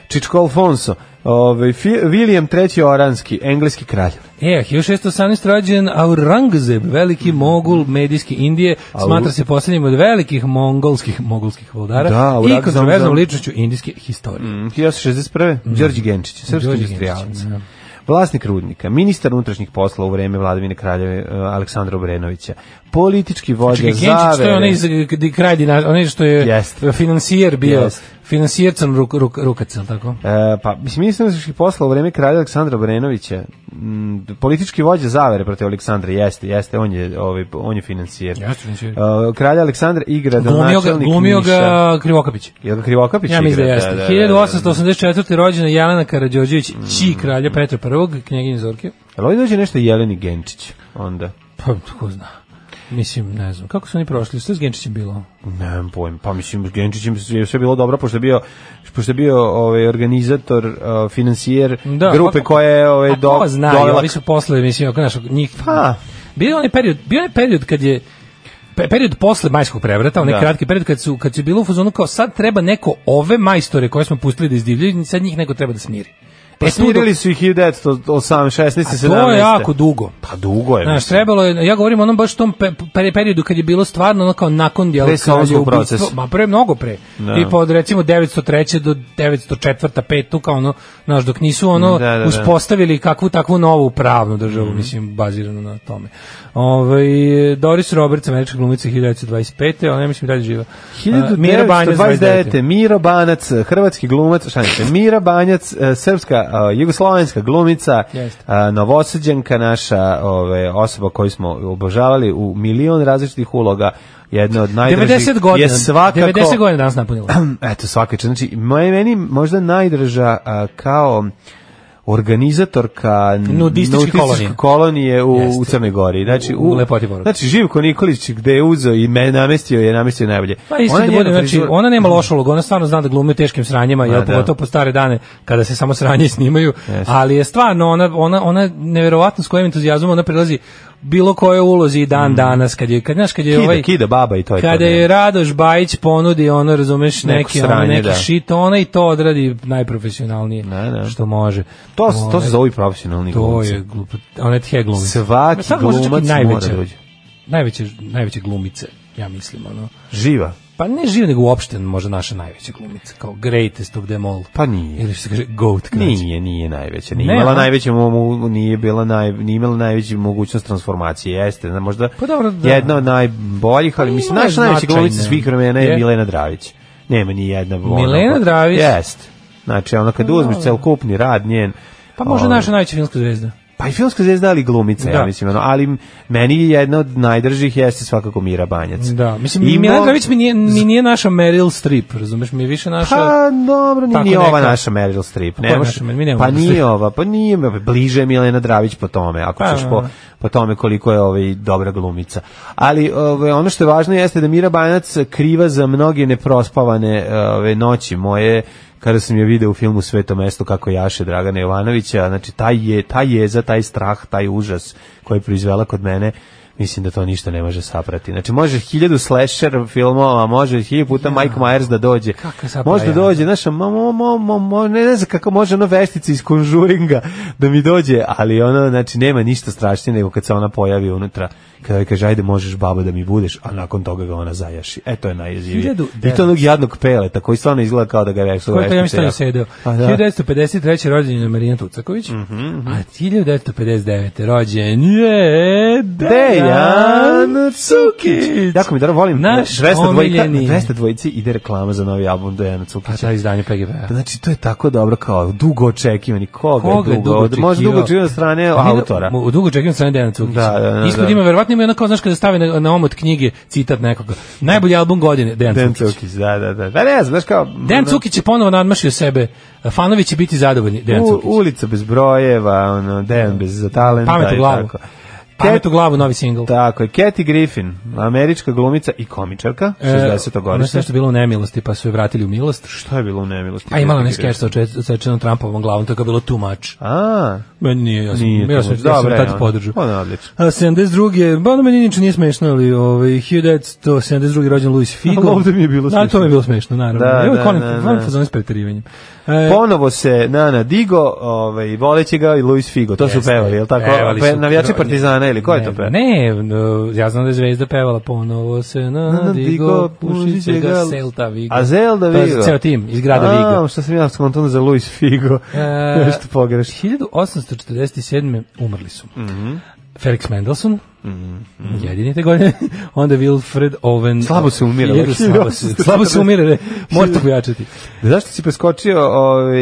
[SPEAKER 5] Čičko Alfonso.
[SPEAKER 6] Ovaj,
[SPEAKER 5] Ove, Fi- William III. Oranski, engleski kralj.
[SPEAKER 6] E, 1618 rođen Aurangzeb, veliki mogul medijske Indije,
[SPEAKER 5] Mhm. Au-
[SPEAKER 6] smatra se posljednjim od velikih mongolskih mogulskih vladara
[SPEAKER 5] Da, Aurangzeb-
[SPEAKER 6] i kontroverznom ličnošću indijske historije.
[SPEAKER 5] Mm, 1861. Đorđe Genčić, srpski
[SPEAKER 6] Mhm. Đorđe
[SPEAKER 5] industrijalac.
[SPEAKER 6] Genčić, da.
[SPEAKER 5] Vlasnik rudnika, ministar unutrašnjih posla u vreme vladavine kraljeve e, Aleksandra Obrenovića, politički vođa
[SPEAKER 6] Čekaj, Genčić, to je
[SPEAKER 5] zavere.
[SPEAKER 6] onaj, iz, di- kraj dina- onaj što je
[SPEAKER 5] Jeste.
[SPEAKER 6] financijer bio,
[SPEAKER 5] Jeste.
[SPEAKER 6] financijer crn ruk, ruk, rukac, je li tako?
[SPEAKER 5] E, pa, mislim, ministar unutrašnjih posla u vreme kralja Aleksandra Obrenovića, mm, politički vođa zavere protiv Aleksandra, jeste, jeste, on je, ovaj, on je financijer.
[SPEAKER 6] Jeste financijer.
[SPEAKER 5] E, Kralja Aleksandra igra
[SPEAKER 6] Glumio ga,
[SPEAKER 5] donačelnik
[SPEAKER 6] glumio
[SPEAKER 5] Niša.
[SPEAKER 6] ga Krivokapić.
[SPEAKER 5] Jel ga Krivokapić
[SPEAKER 6] Ja mislim da
[SPEAKER 5] igra?
[SPEAKER 6] jeste.
[SPEAKER 5] da, Mhm. da, da.
[SPEAKER 6] 1884. rođena Jelena Karađorđević,ći kralja Petra I, knjeginja Zorke.
[SPEAKER 5] Jel ovdje dođe nešto Jeleni Genčić onda?
[SPEAKER 6] Pa, ko zna. Mislim, ne znam. Kako su oni prošli? Što je s Genčićem bilo?
[SPEAKER 5] Nemam pojma. Pa mislim, s Genčićem je sve bilo dobro, pošto je bio, pošto je bio ovaj, organizator, uh, financijer grupe
[SPEAKER 6] pa-
[SPEAKER 5] koja je ovaj,
[SPEAKER 6] a
[SPEAKER 5] do,
[SPEAKER 6] ko zna,
[SPEAKER 5] dolak-
[SPEAKER 6] ovi su posle, mislim, ako naš, njih...
[SPEAKER 5] Pa.
[SPEAKER 6] Bio je onaj period, bio je onaj period kad je pe- period posle majskog prevrata, onaj
[SPEAKER 5] Da.
[SPEAKER 6] kratki period kad su kad su bilo u fazonu kao sad treba neko ove majstore koje smo pustili da izdivljaju, sad njih neko treba da smiri.
[SPEAKER 5] Pa
[SPEAKER 6] tu
[SPEAKER 5] smirili
[SPEAKER 6] dok-
[SPEAKER 5] su ih 1908, 16,
[SPEAKER 6] a
[SPEAKER 5] 17.
[SPEAKER 6] to je jako dugo.
[SPEAKER 5] Pa dugo je.
[SPEAKER 6] Znaš,
[SPEAKER 5] mislim.
[SPEAKER 6] trebalo je, ja govorim o onom baš tom pe, pe- periodu kad je bilo stvarno ono kao nakon djela
[SPEAKER 5] Pre Solunskog procesa. Da.
[SPEAKER 6] Ma pre, mnogo pre. I pa od recimo 903. do 904. 5. tu kao ono, znaš, dok nisu ono
[SPEAKER 5] Da, Mhm. da, da.
[SPEAKER 6] uspostavili kakvu takvu novu pravnu državu, mislim, baziranu na tome. Ove, Doris Roberts, američka glumica 1925. Ona je, mislim, dalje živa. A, Mira Banjac,
[SPEAKER 5] 1929. Miro Banac, hrvatski glumac, šta ne, Mira Banjac, e, srpska, e, jugoslovenska glumica,
[SPEAKER 6] Jeste.
[SPEAKER 5] e, novosađenka naša, ove, osoba koju smo obožavali u milion različitih uloga, jedna od najdražih
[SPEAKER 6] 90 godina.
[SPEAKER 5] je svakako
[SPEAKER 6] 90 godina danas napunila.
[SPEAKER 5] eto svaka čast. znači moje meni možda najdraža a, kao organizatorka n-
[SPEAKER 6] Nudističke kolonije.
[SPEAKER 5] kolonije u,
[SPEAKER 6] Jeste.
[SPEAKER 5] u Crnoj Gori. Znači,
[SPEAKER 6] U lepoti Boru.
[SPEAKER 5] Znači, Živko Nikolić gde je uzeo i me namestio je namestio najbolje.
[SPEAKER 6] Pa isto da
[SPEAKER 5] njena
[SPEAKER 6] bude, znači,
[SPEAKER 5] frizura-
[SPEAKER 6] ona nema lošu ulogu, ona stvarno zna da glumi u teškim sranjima,
[SPEAKER 5] Ma,
[SPEAKER 6] jel,
[SPEAKER 5] da.
[SPEAKER 6] pogotovo po stare dane, kada se samo sranje snimaju, ali je stvarno, ona, ona, ona nevjerovatno s kojim entuzijazmom ona prilazi bilo kojoj ulozi i
[SPEAKER 5] Mm.
[SPEAKER 6] dan danas, kad je, kad, znaš, kad je
[SPEAKER 5] Kida,
[SPEAKER 6] ovaj...
[SPEAKER 5] kida baba i to je to.
[SPEAKER 6] Kada
[SPEAKER 5] ne.
[SPEAKER 6] je Radoš Bajić ponudi, ono, razumeš,
[SPEAKER 5] Neko
[SPEAKER 6] neki, ono,
[SPEAKER 5] sranje,
[SPEAKER 6] neki
[SPEAKER 5] da.
[SPEAKER 6] shit, ona i to odradi najprofesionalnije
[SPEAKER 5] Da, da.
[SPEAKER 6] što može.
[SPEAKER 5] To, s- to
[SPEAKER 6] Ovaj,
[SPEAKER 5] se zove i profesionalni
[SPEAKER 6] To
[SPEAKER 5] glumci.
[SPEAKER 6] je glupo. Ona je tje glumica.
[SPEAKER 5] Svaki
[SPEAKER 6] Sad možda čak i
[SPEAKER 5] glumac mora
[SPEAKER 6] najveća,
[SPEAKER 5] da dođe.
[SPEAKER 6] najveće, najveće glumice, ja mislim, ono.
[SPEAKER 5] Živa.
[SPEAKER 6] Pa ne živ, nego uopšte možda naša najveća glumica, kao greatest of them all.
[SPEAKER 5] Pa nije.
[SPEAKER 6] Ili što se kaže goat krađe.
[SPEAKER 5] Nije, nije najveća. Nije
[SPEAKER 6] Ne,
[SPEAKER 5] imala
[SPEAKER 6] a?
[SPEAKER 5] najveće, mo- mo- nije bila naj, nije imala najveću mogućnost transformacije. Jeste, na- možda
[SPEAKER 6] Pa dobro, da.
[SPEAKER 5] jedna od najboljih, ali
[SPEAKER 6] Pa
[SPEAKER 5] mislim
[SPEAKER 6] imala je
[SPEAKER 5] naša najveća
[SPEAKER 6] značajne.
[SPEAKER 5] glumica svih vremena je
[SPEAKER 6] Je.
[SPEAKER 5] Milena Dravić. Nema ni jedna
[SPEAKER 6] Milena Dravić?
[SPEAKER 5] Jeste. Znači, ono kad uzmeš celokupni rad njen,
[SPEAKER 6] Pa možda
[SPEAKER 5] ovaj,
[SPEAKER 6] naša najveća filmska zvezda.
[SPEAKER 5] Pa i filmska zvezda, ali glumica, ja
[SPEAKER 6] Da.
[SPEAKER 5] mislim. Ono, ali m- meni je jedna od najdržih jeste svakako Mira Banjac.
[SPEAKER 6] Da, mislim,
[SPEAKER 5] I
[SPEAKER 6] Ima... Milena
[SPEAKER 5] mo-
[SPEAKER 6] Dravić mi nije, mi nije naša Meryl Streep, razumeš, mi je više naša...
[SPEAKER 5] Pa dobro, ni,
[SPEAKER 6] Tako
[SPEAKER 5] ni ova
[SPEAKER 6] neka.
[SPEAKER 5] naša Meryl Streep.
[SPEAKER 6] A
[SPEAKER 5] Ne
[SPEAKER 6] koja je
[SPEAKER 5] može-
[SPEAKER 6] naša Meryl? Mi nemamo
[SPEAKER 5] pa
[SPEAKER 6] Meryl
[SPEAKER 5] nije
[SPEAKER 6] Streep.
[SPEAKER 5] ova, pa nije, bliže je Milena Dravić po tome, ako
[SPEAKER 6] Pa,
[SPEAKER 5] ćeš po,
[SPEAKER 6] da.
[SPEAKER 5] po tome koliko je ovaj dobra glumica. Ali ovaj, ono što je važno jeste da Mira Banac kriva za mnoge neprospavane ove, noći moje kada sam je video u filmu Sveto mesto kako jaše Dragana Jovanovića, znači taj je, taj jeza, taj strah, taj užas koji je proizvela kod mene Mislim da to ništa ne može saprati. Znači, može hiljadu slasher filmova, može hiljadu puta Mike Myers da dođe.
[SPEAKER 6] Kako je zapravo
[SPEAKER 5] Može da
[SPEAKER 6] jadno.
[SPEAKER 5] dođe, znaš, ma, ma, ma, ma, ma, ne, ne znam kako može ono veštica iz Conjuringa da mi dođe, ali ono, znači, nema ništa strašnije nego kad se ona pojavi unutra, kada joj kaže, ajde, možeš baba da mi budeš, a nakon toga ga ona zajaši. E, to je najjezivije.
[SPEAKER 6] Hiljadu
[SPEAKER 5] I to
[SPEAKER 6] devet-
[SPEAKER 5] onog jadnog peleta, koji stvarno izgleda kao da ga veš,
[SPEAKER 6] Koji je ja mislim da je
[SPEAKER 5] jako.
[SPEAKER 6] sedeo.
[SPEAKER 5] A, da.
[SPEAKER 6] 1953. rođen je Marina Tucaković, a 1959. rođen je Dejan
[SPEAKER 5] Dejan
[SPEAKER 6] Cukić.
[SPEAKER 5] Jako mi dobro volim.
[SPEAKER 6] Naš
[SPEAKER 5] 200 dvojka,
[SPEAKER 6] omiljeni.
[SPEAKER 5] 200 dvojici ide reklama za novi album Dejana Cukića.
[SPEAKER 6] Pa ta izdanje PGP-a.
[SPEAKER 5] Znači, to je tako dobro kao dugo očekivani. Koga,
[SPEAKER 6] Koga
[SPEAKER 5] Koga
[SPEAKER 6] je
[SPEAKER 5] dugo,
[SPEAKER 6] dugo
[SPEAKER 5] dugo Može
[SPEAKER 6] očekivao? Pa
[SPEAKER 5] dugo očekivani od strane autora.
[SPEAKER 6] U dugo čekam strane Dejana Cukića.
[SPEAKER 5] Da, da, da,
[SPEAKER 6] Ispod
[SPEAKER 5] da.
[SPEAKER 6] ima, verovatno ima ono kao, znaš, kada stave na, na omot knjige citat nekoga. Najbolji album godine, Dejan
[SPEAKER 5] Dan
[SPEAKER 6] Cukić.
[SPEAKER 5] Cukić, da, da, da. Da ne znam, znaš kao...
[SPEAKER 6] Dejan
[SPEAKER 5] ono,
[SPEAKER 6] Cukić je ponovo nadmašio sebe. Fanovi će biti zadovoljni, Dejan
[SPEAKER 5] u,
[SPEAKER 6] Cukić.
[SPEAKER 5] ulica bez brojeva, ono, Dejan bez talenta.
[SPEAKER 6] Pamet u
[SPEAKER 5] i
[SPEAKER 6] glavu.
[SPEAKER 5] Tako.
[SPEAKER 6] Pamet u glavu, novi singl.
[SPEAKER 5] Tako je, Kathy Griffin, američka glumica i komičarka,
[SPEAKER 6] E,
[SPEAKER 5] 60.
[SPEAKER 6] ono što je
[SPEAKER 5] godišnja.
[SPEAKER 6] nešto bilo u nemilosti, pa su je vratili u milost.
[SPEAKER 5] Šta je bilo u nemilosti?
[SPEAKER 6] A imala
[SPEAKER 5] Kathy
[SPEAKER 6] ne skeč
[SPEAKER 5] Griffin?
[SPEAKER 6] sa oče- odsečenom Trumpovom glavom, to je kao bilo too much.
[SPEAKER 5] A,
[SPEAKER 6] Meni nije, ja sam,
[SPEAKER 5] Nije
[SPEAKER 6] ja
[SPEAKER 5] too
[SPEAKER 6] sam,
[SPEAKER 5] much. Da,
[SPEAKER 6] ja sam
[SPEAKER 5] Dobro je
[SPEAKER 6] tad
[SPEAKER 5] ono.
[SPEAKER 6] podržao.
[SPEAKER 5] Ono je odlično.
[SPEAKER 6] A 72. Ba, ono meni niče nije smešno, ali ovaj, 1972. rođen Luis Figo.
[SPEAKER 5] Ali ovde mi je bilo
[SPEAKER 6] Da, to
[SPEAKER 5] smešno.
[SPEAKER 6] mi je bilo smešno, naravno.
[SPEAKER 5] Da,
[SPEAKER 6] Evo,
[SPEAKER 5] da,
[SPEAKER 6] konim,
[SPEAKER 5] da,
[SPEAKER 6] volim
[SPEAKER 5] da.
[SPEAKER 6] fazone s preterivanjem. E,
[SPEAKER 5] Ponovo se Nana Digo, ovaj voleće ga i Luis Figo. To su
[SPEAKER 6] Jeste.
[SPEAKER 5] pevali, je tako?
[SPEAKER 6] Pevali
[SPEAKER 5] Pe,
[SPEAKER 6] su.
[SPEAKER 5] navijači
[SPEAKER 6] Ne,
[SPEAKER 5] Partizana ili ko je
[SPEAKER 6] ne,
[SPEAKER 5] to pevao?
[SPEAKER 6] Ne, no, ja znam da je Zvezda pevala ponovo se na
[SPEAKER 5] Nadigo,
[SPEAKER 6] Digo, pušit
[SPEAKER 5] pušiće
[SPEAKER 6] će ga
[SPEAKER 5] ga-
[SPEAKER 6] Celta Vigo.
[SPEAKER 5] A Zelda
[SPEAKER 6] To je
[SPEAKER 5] Vigo.
[SPEAKER 6] ceo tim iz grada Vigo.
[SPEAKER 5] A, što sam ja skontono za Luis Figo.
[SPEAKER 6] E,
[SPEAKER 5] Nešto pogrešno.
[SPEAKER 6] 1847. umrli su.
[SPEAKER 5] Mhm.
[SPEAKER 6] Felix Mendelssohn, jedini te godine, onda Wilfred Owen.
[SPEAKER 5] Slabo se umire,
[SPEAKER 6] Hiljadu- Slabo se, slabo se umire, re. morate pojačati.
[SPEAKER 5] Zašto si preskočio ovaj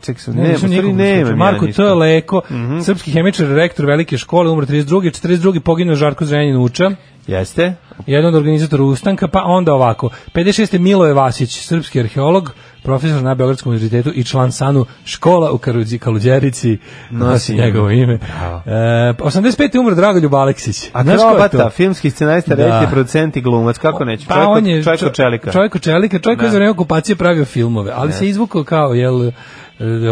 [SPEAKER 5] ček sam, ne, u
[SPEAKER 6] mislim,
[SPEAKER 5] stvari
[SPEAKER 6] nikog
[SPEAKER 5] nema.
[SPEAKER 6] slučaja. Marko T. Leko,
[SPEAKER 5] Mhm.
[SPEAKER 6] srpski hemičar, rektor velike škole, umro 32. 42. poginuo Žarko Zrenjanin Uča,
[SPEAKER 5] Jeste?
[SPEAKER 6] jedan od organizatora ustanka, pa onda ovako. 56. Miloje Vasić, srpski arheolog, profesor na Beogradskom univerzitetu i član SANU škola u Karudzi, Kaluđerici, nosi
[SPEAKER 5] ime.
[SPEAKER 6] njegovo ime. E, 85. je umro Dragoljub Aleksić. Znaš ko je
[SPEAKER 5] Akrobata,
[SPEAKER 6] to?
[SPEAKER 5] filmski scenarista,
[SPEAKER 6] Da.
[SPEAKER 5] reditelj, producent i glumac, kako neću.
[SPEAKER 6] Pa
[SPEAKER 5] Čovjek
[SPEAKER 6] on
[SPEAKER 5] od-
[SPEAKER 6] je
[SPEAKER 5] čovjek od
[SPEAKER 6] čo-
[SPEAKER 5] čelika. Da.
[SPEAKER 6] Čovjek od čelika, čovjek koji je za vreme okupacije pravio filmove, ali se izvukao kao, jel, e,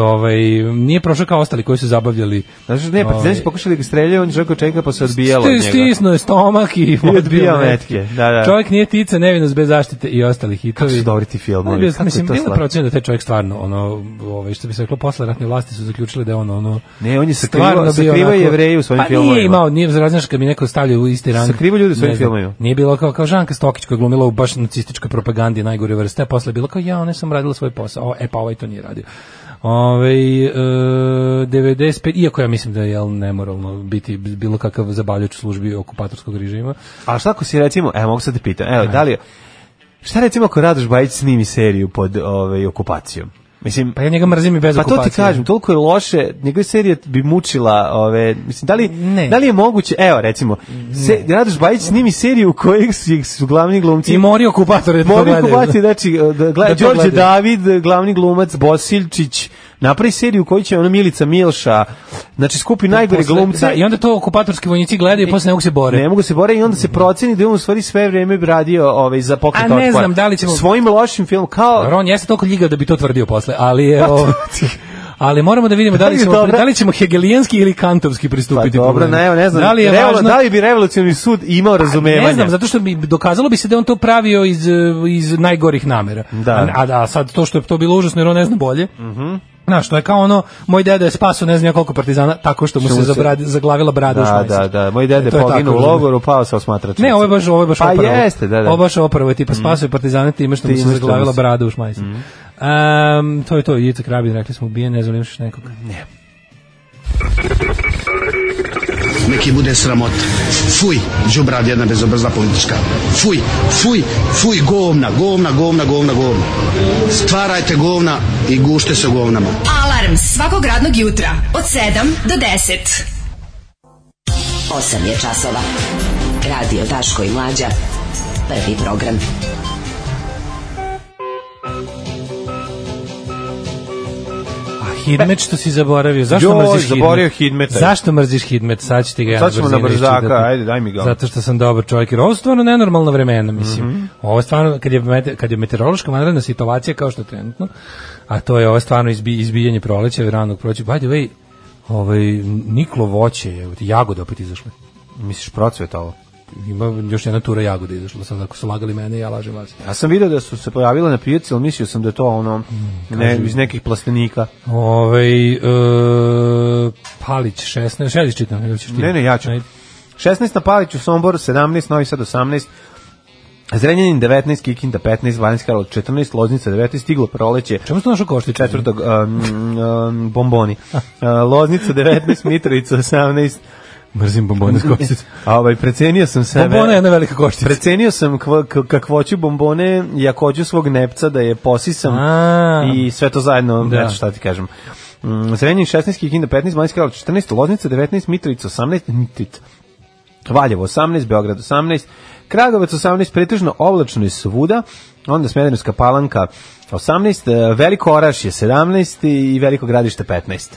[SPEAKER 6] ovaj, nije prošao kao ostali koji su zabavljali
[SPEAKER 5] Znaš, ne, partizani su
[SPEAKER 6] Ovaj.
[SPEAKER 5] pokušali da ga streljaju, on je čovjek od čelika pa se odbijalo od
[SPEAKER 6] Sti-
[SPEAKER 5] njega.
[SPEAKER 6] Stisnuo je stomak i
[SPEAKER 5] I
[SPEAKER 6] odbio
[SPEAKER 5] odbio
[SPEAKER 6] metke.
[SPEAKER 5] metke, da, da.
[SPEAKER 6] Čovjek nije tica, nevinost bez zaštite i ostali hitovi.
[SPEAKER 5] Kako su dobri ti filmovi,
[SPEAKER 6] Ali bio-
[SPEAKER 5] Pa kako je
[SPEAKER 6] mislim,
[SPEAKER 5] to
[SPEAKER 6] bilo je
[SPEAKER 5] slatko.
[SPEAKER 6] procjeno da taj čovjek stvarno, ono, ovaj, što bi se reklo, posle ratne vlasti su zaključili da je ono, ono,
[SPEAKER 5] Ne, on je sakrivao-
[SPEAKER 6] stvarno bio
[SPEAKER 5] sakrivao
[SPEAKER 6] onako-
[SPEAKER 5] Jevreje u svojim
[SPEAKER 6] pa
[SPEAKER 5] filmovima.
[SPEAKER 6] nije imao, nije razražnjaš kad mi neko stavlja u isti rang.
[SPEAKER 5] Sakrivao ljude u svojim
[SPEAKER 6] Ne znam,
[SPEAKER 5] filmovima.
[SPEAKER 6] Nije bilo kao, kao Žanka Stokić koja je glumila u baš nacističkoj propagandi najgore vrste, a posle je bilo kao, ja, ne sam radila svoj posao, o, e, pa ovaj to nije radio. Ove, e, 95, iako ja mislim da je jel, nemoralno biti bilo kakav zabavljač u službi okupatorskog režima,
[SPEAKER 5] A šta ako si recimo, evo mogu sad te pitam, evo, da li, šta recimo ako Radoš Bajić snimi seriju pod ovaj, okupacijom? Mislim,
[SPEAKER 6] Pa ja njega mrzim i bez
[SPEAKER 5] Pa to ti
[SPEAKER 6] okupacije.
[SPEAKER 5] kažem, toliko je loše, njegove serije bi mučila, ove, mislim, da li,
[SPEAKER 6] Ne.
[SPEAKER 5] da li je moguće, evo recimo, se, Radoš Bajić snimi seriju u kojoj su, su glavni glumci
[SPEAKER 6] I mori okupatore da to
[SPEAKER 5] Mogu
[SPEAKER 6] gledaju.
[SPEAKER 5] kupovati, znači, da gleda,
[SPEAKER 6] Da to
[SPEAKER 5] Đorđe
[SPEAKER 6] gledaju.
[SPEAKER 5] David, glavni glumac, Bosiljčić, napravi seriju u kojoj će ono Milica Milša, znači skupi najgore
[SPEAKER 6] Posle-
[SPEAKER 5] glumce.
[SPEAKER 6] Da, I onda to okupatorski vojnici gledaju i posle ne mogu se bore.
[SPEAKER 5] Ne mogu se bore i onda se proceni da je on u stvari sve vreme radio ovaj, za pokret
[SPEAKER 6] A ne
[SPEAKER 5] otpora.
[SPEAKER 6] znam da li ćemo-
[SPEAKER 5] Svojim lošim filmom, kao...
[SPEAKER 6] Ron jeste toliko ljigao da bi to tvrdio posle, ali je... o- Ali moramo da vidimo da
[SPEAKER 5] Pa Da
[SPEAKER 6] li
[SPEAKER 5] li je
[SPEAKER 6] ćemo,
[SPEAKER 5] dobra?
[SPEAKER 6] da li ćemo hegelijanski ili kantovski
[SPEAKER 5] Pa
[SPEAKER 6] pristupiti
[SPEAKER 5] dobro,
[SPEAKER 6] problemu.
[SPEAKER 5] ne, ne znam,
[SPEAKER 6] Da li je
[SPEAKER 5] revolu-
[SPEAKER 6] važno,
[SPEAKER 5] da li bi revolucionarni sud imao razumevanja?
[SPEAKER 6] Ne znam, zato što bi dokazalo bi se da je on to pravio iz, eh, iz najgorih namera.
[SPEAKER 5] Da.
[SPEAKER 6] A, a da, sad to što je to bilo užasno jer on ne zna bolje. Mhm. Znaš, to je kao ono, moj deda je spaso ne znam ja koliko partizana, tako što mu se,
[SPEAKER 5] mu se-
[SPEAKER 6] zabradi- zaglavila brada u
[SPEAKER 5] Da,
[SPEAKER 6] šmajser.
[SPEAKER 5] da, da, moj dede
[SPEAKER 6] E, To je tako,
[SPEAKER 5] poginuo u
[SPEAKER 6] razumeš.
[SPEAKER 5] logoru, pao sa osmatračnice.
[SPEAKER 6] Ne, ovo je baš, ovo je baš
[SPEAKER 5] Pa
[SPEAKER 6] ovo prvo.
[SPEAKER 5] jeste, da, da.
[SPEAKER 6] Ovo baš ovo prvo, je tipa spasuje partizane time što mu
[SPEAKER 5] Time
[SPEAKER 6] se
[SPEAKER 5] što mu
[SPEAKER 6] zaglavila
[SPEAKER 5] se- Mm.
[SPEAKER 6] brada u šmajsu. Um, to je to, Ivica Krabin, rekli smo ubijen, ne znam li imaš nekog. Ne.
[SPEAKER 3] Neki bude sramot. Fuj, džubrad jedna bezobrzna politička. Fuj, fuj, fuj, govna, govna, govna, govna, govna. Stvarajte govna i gušte se u govnama.
[SPEAKER 4] Alarm svakog radnog jutra od 7 do 10.
[SPEAKER 9] 8 je časova. Radio Daško i Mlađa. Prvi program.
[SPEAKER 6] A Hidmet što si zaboravio, zašto
[SPEAKER 5] Joj,
[SPEAKER 6] mrziš Hidmet?
[SPEAKER 5] zaboravio Hidmeta.
[SPEAKER 6] Zašto mrziš Hidmet? Sad ću ti ga ja
[SPEAKER 5] Sad ćemo
[SPEAKER 6] brzinu
[SPEAKER 5] na brzaka,
[SPEAKER 6] iščitati.
[SPEAKER 5] ajde, daj mi ga.
[SPEAKER 6] Zato što sam dobar čovjek, jer ovo su stvarno nenormalna vremena, mislim.
[SPEAKER 5] Mhm.
[SPEAKER 6] Ovo je stvarno, kad je, mete- kad je meteorološka vanredna situacija kao što je trenutno, a to je ovo stvarno izbi, izbijanje proleća, ranog proleća. By the way, ovaj, niklo voće, je, jagoda opet izašle.
[SPEAKER 5] Misliš procvetalo?
[SPEAKER 6] Ima još jedna tura jagoda izašla sad, ako su lagali mene, ja lažem vas.
[SPEAKER 5] Ja sam video da su se pojavile na pijaci, ali mislio sam da je to
[SPEAKER 6] Mm,
[SPEAKER 5] ono ne, iz nekih plastenika.
[SPEAKER 6] Ovaj e, Palić 16, šediš čitam, ili ćeš ti?
[SPEAKER 5] Ne, ne, ja ću.
[SPEAKER 6] Ajde.
[SPEAKER 5] 16 na Paliću, Sombor 17, Novi Sad 18, Zrenjanin 19, Kikinda 15, Vanjska Karol 14, Loznica 19, stiglo proleće.
[SPEAKER 6] Čemu ste našao košti četvrtog?
[SPEAKER 5] četvrtog um, um, bomboni. Uh, Loznica 19, Mitrovica 18. Mrzim bombone s košticom. A ovaj, precenio sam sebe.
[SPEAKER 6] Bombona je jedna velika koštica.
[SPEAKER 5] Precenio sam kva, k- kakvoću bombone, jakoću svog nepca da je posisam
[SPEAKER 6] A.
[SPEAKER 5] i sve to zajedno,
[SPEAKER 6] Da.
[SPEAKER 5] da. eto šta ti kažem. Mm, Zrenjanin 16, Kikinda 15, Manjska Karol 14, Loznica 19, Mitrovica 18, Mitrovica Valjevo 18, Beograd 18, Kragovac 18, pretežno oblačno i svuda, onda Smederevska palanka 18, e, Veliko Oraš je 17 i Veliko gradište 15.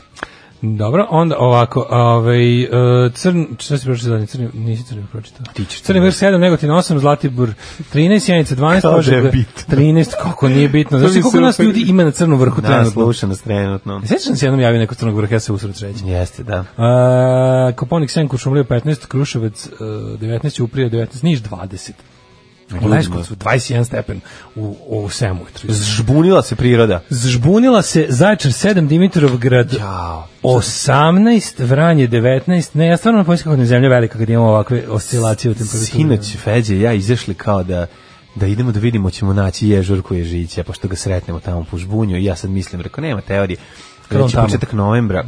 [SPEAKER 6] Dobro, onda ovako, ovaj e, crn, šta si pročitao zadnji, crni, nisi crni pročitao.
[SPEAKER 5] Ti ćeš
[SPEAKER 6] Crni vrh 7, Negotin 8, Zlatibor 13, Janica 12,
[SPEAKER 5] Kao da je
[SPEAKER 6] Požega
[SPEAKER 5] bitno.
[SPEAKER 6] 13, kako nije bitno. Znaš
[SPEAKER 5] To
[SPEAKER 6] ti
[SPEAKER 5] mi
[SPEAKER 6] koliko nas
[SPEAKER 5] super.
[SPEAKER 6] ljudi ima na crnom vrhu
[SPEAKER 5] Da,
[SPEAKER 6] trenutno?
[SPEAKER 5] sluša nas trenutno.
[SPEAKER 6] Sjećam se jednom javio neko crnog vrha, ja se usred sreće.
[SPEAKER 5] Jeste, da.
[SPEAKER 6] Uh, Koponik 7, Kuršumlija 15, Kruševac uh, 19, Uprija 19, Niš 20. U
[SPEAKER 5] da.
[SPEAKER 6] Leskovcu 21 stepen u, u Semu.
[SPEAKER 5] Žbunila se priroda.
[SPEAKER 6] Zžbunila se Zaječar 7, Dimitrov grad
[SPEAKER 5] Jao.
[SPEAKER 6] 18, Vranje 19. Ne, ja stvarno pomislim kako nam je zemlja velika kad imamo ovakve oscilacije u temperaturi. da.
[SPEAKER 5] Sinoć Feđe i ja izašli kao da da idemo da vidimo ćemo naći ježurku ježića, pošto ga sretnemo tamo po žbunju i ja sad mislim, rekao, nema teorije.
[SPEAKER 6] Kad on
[SPEAKER 5] Već je
[SPEAKER 6] tamo?
[SPEAKER 5] početak novembra,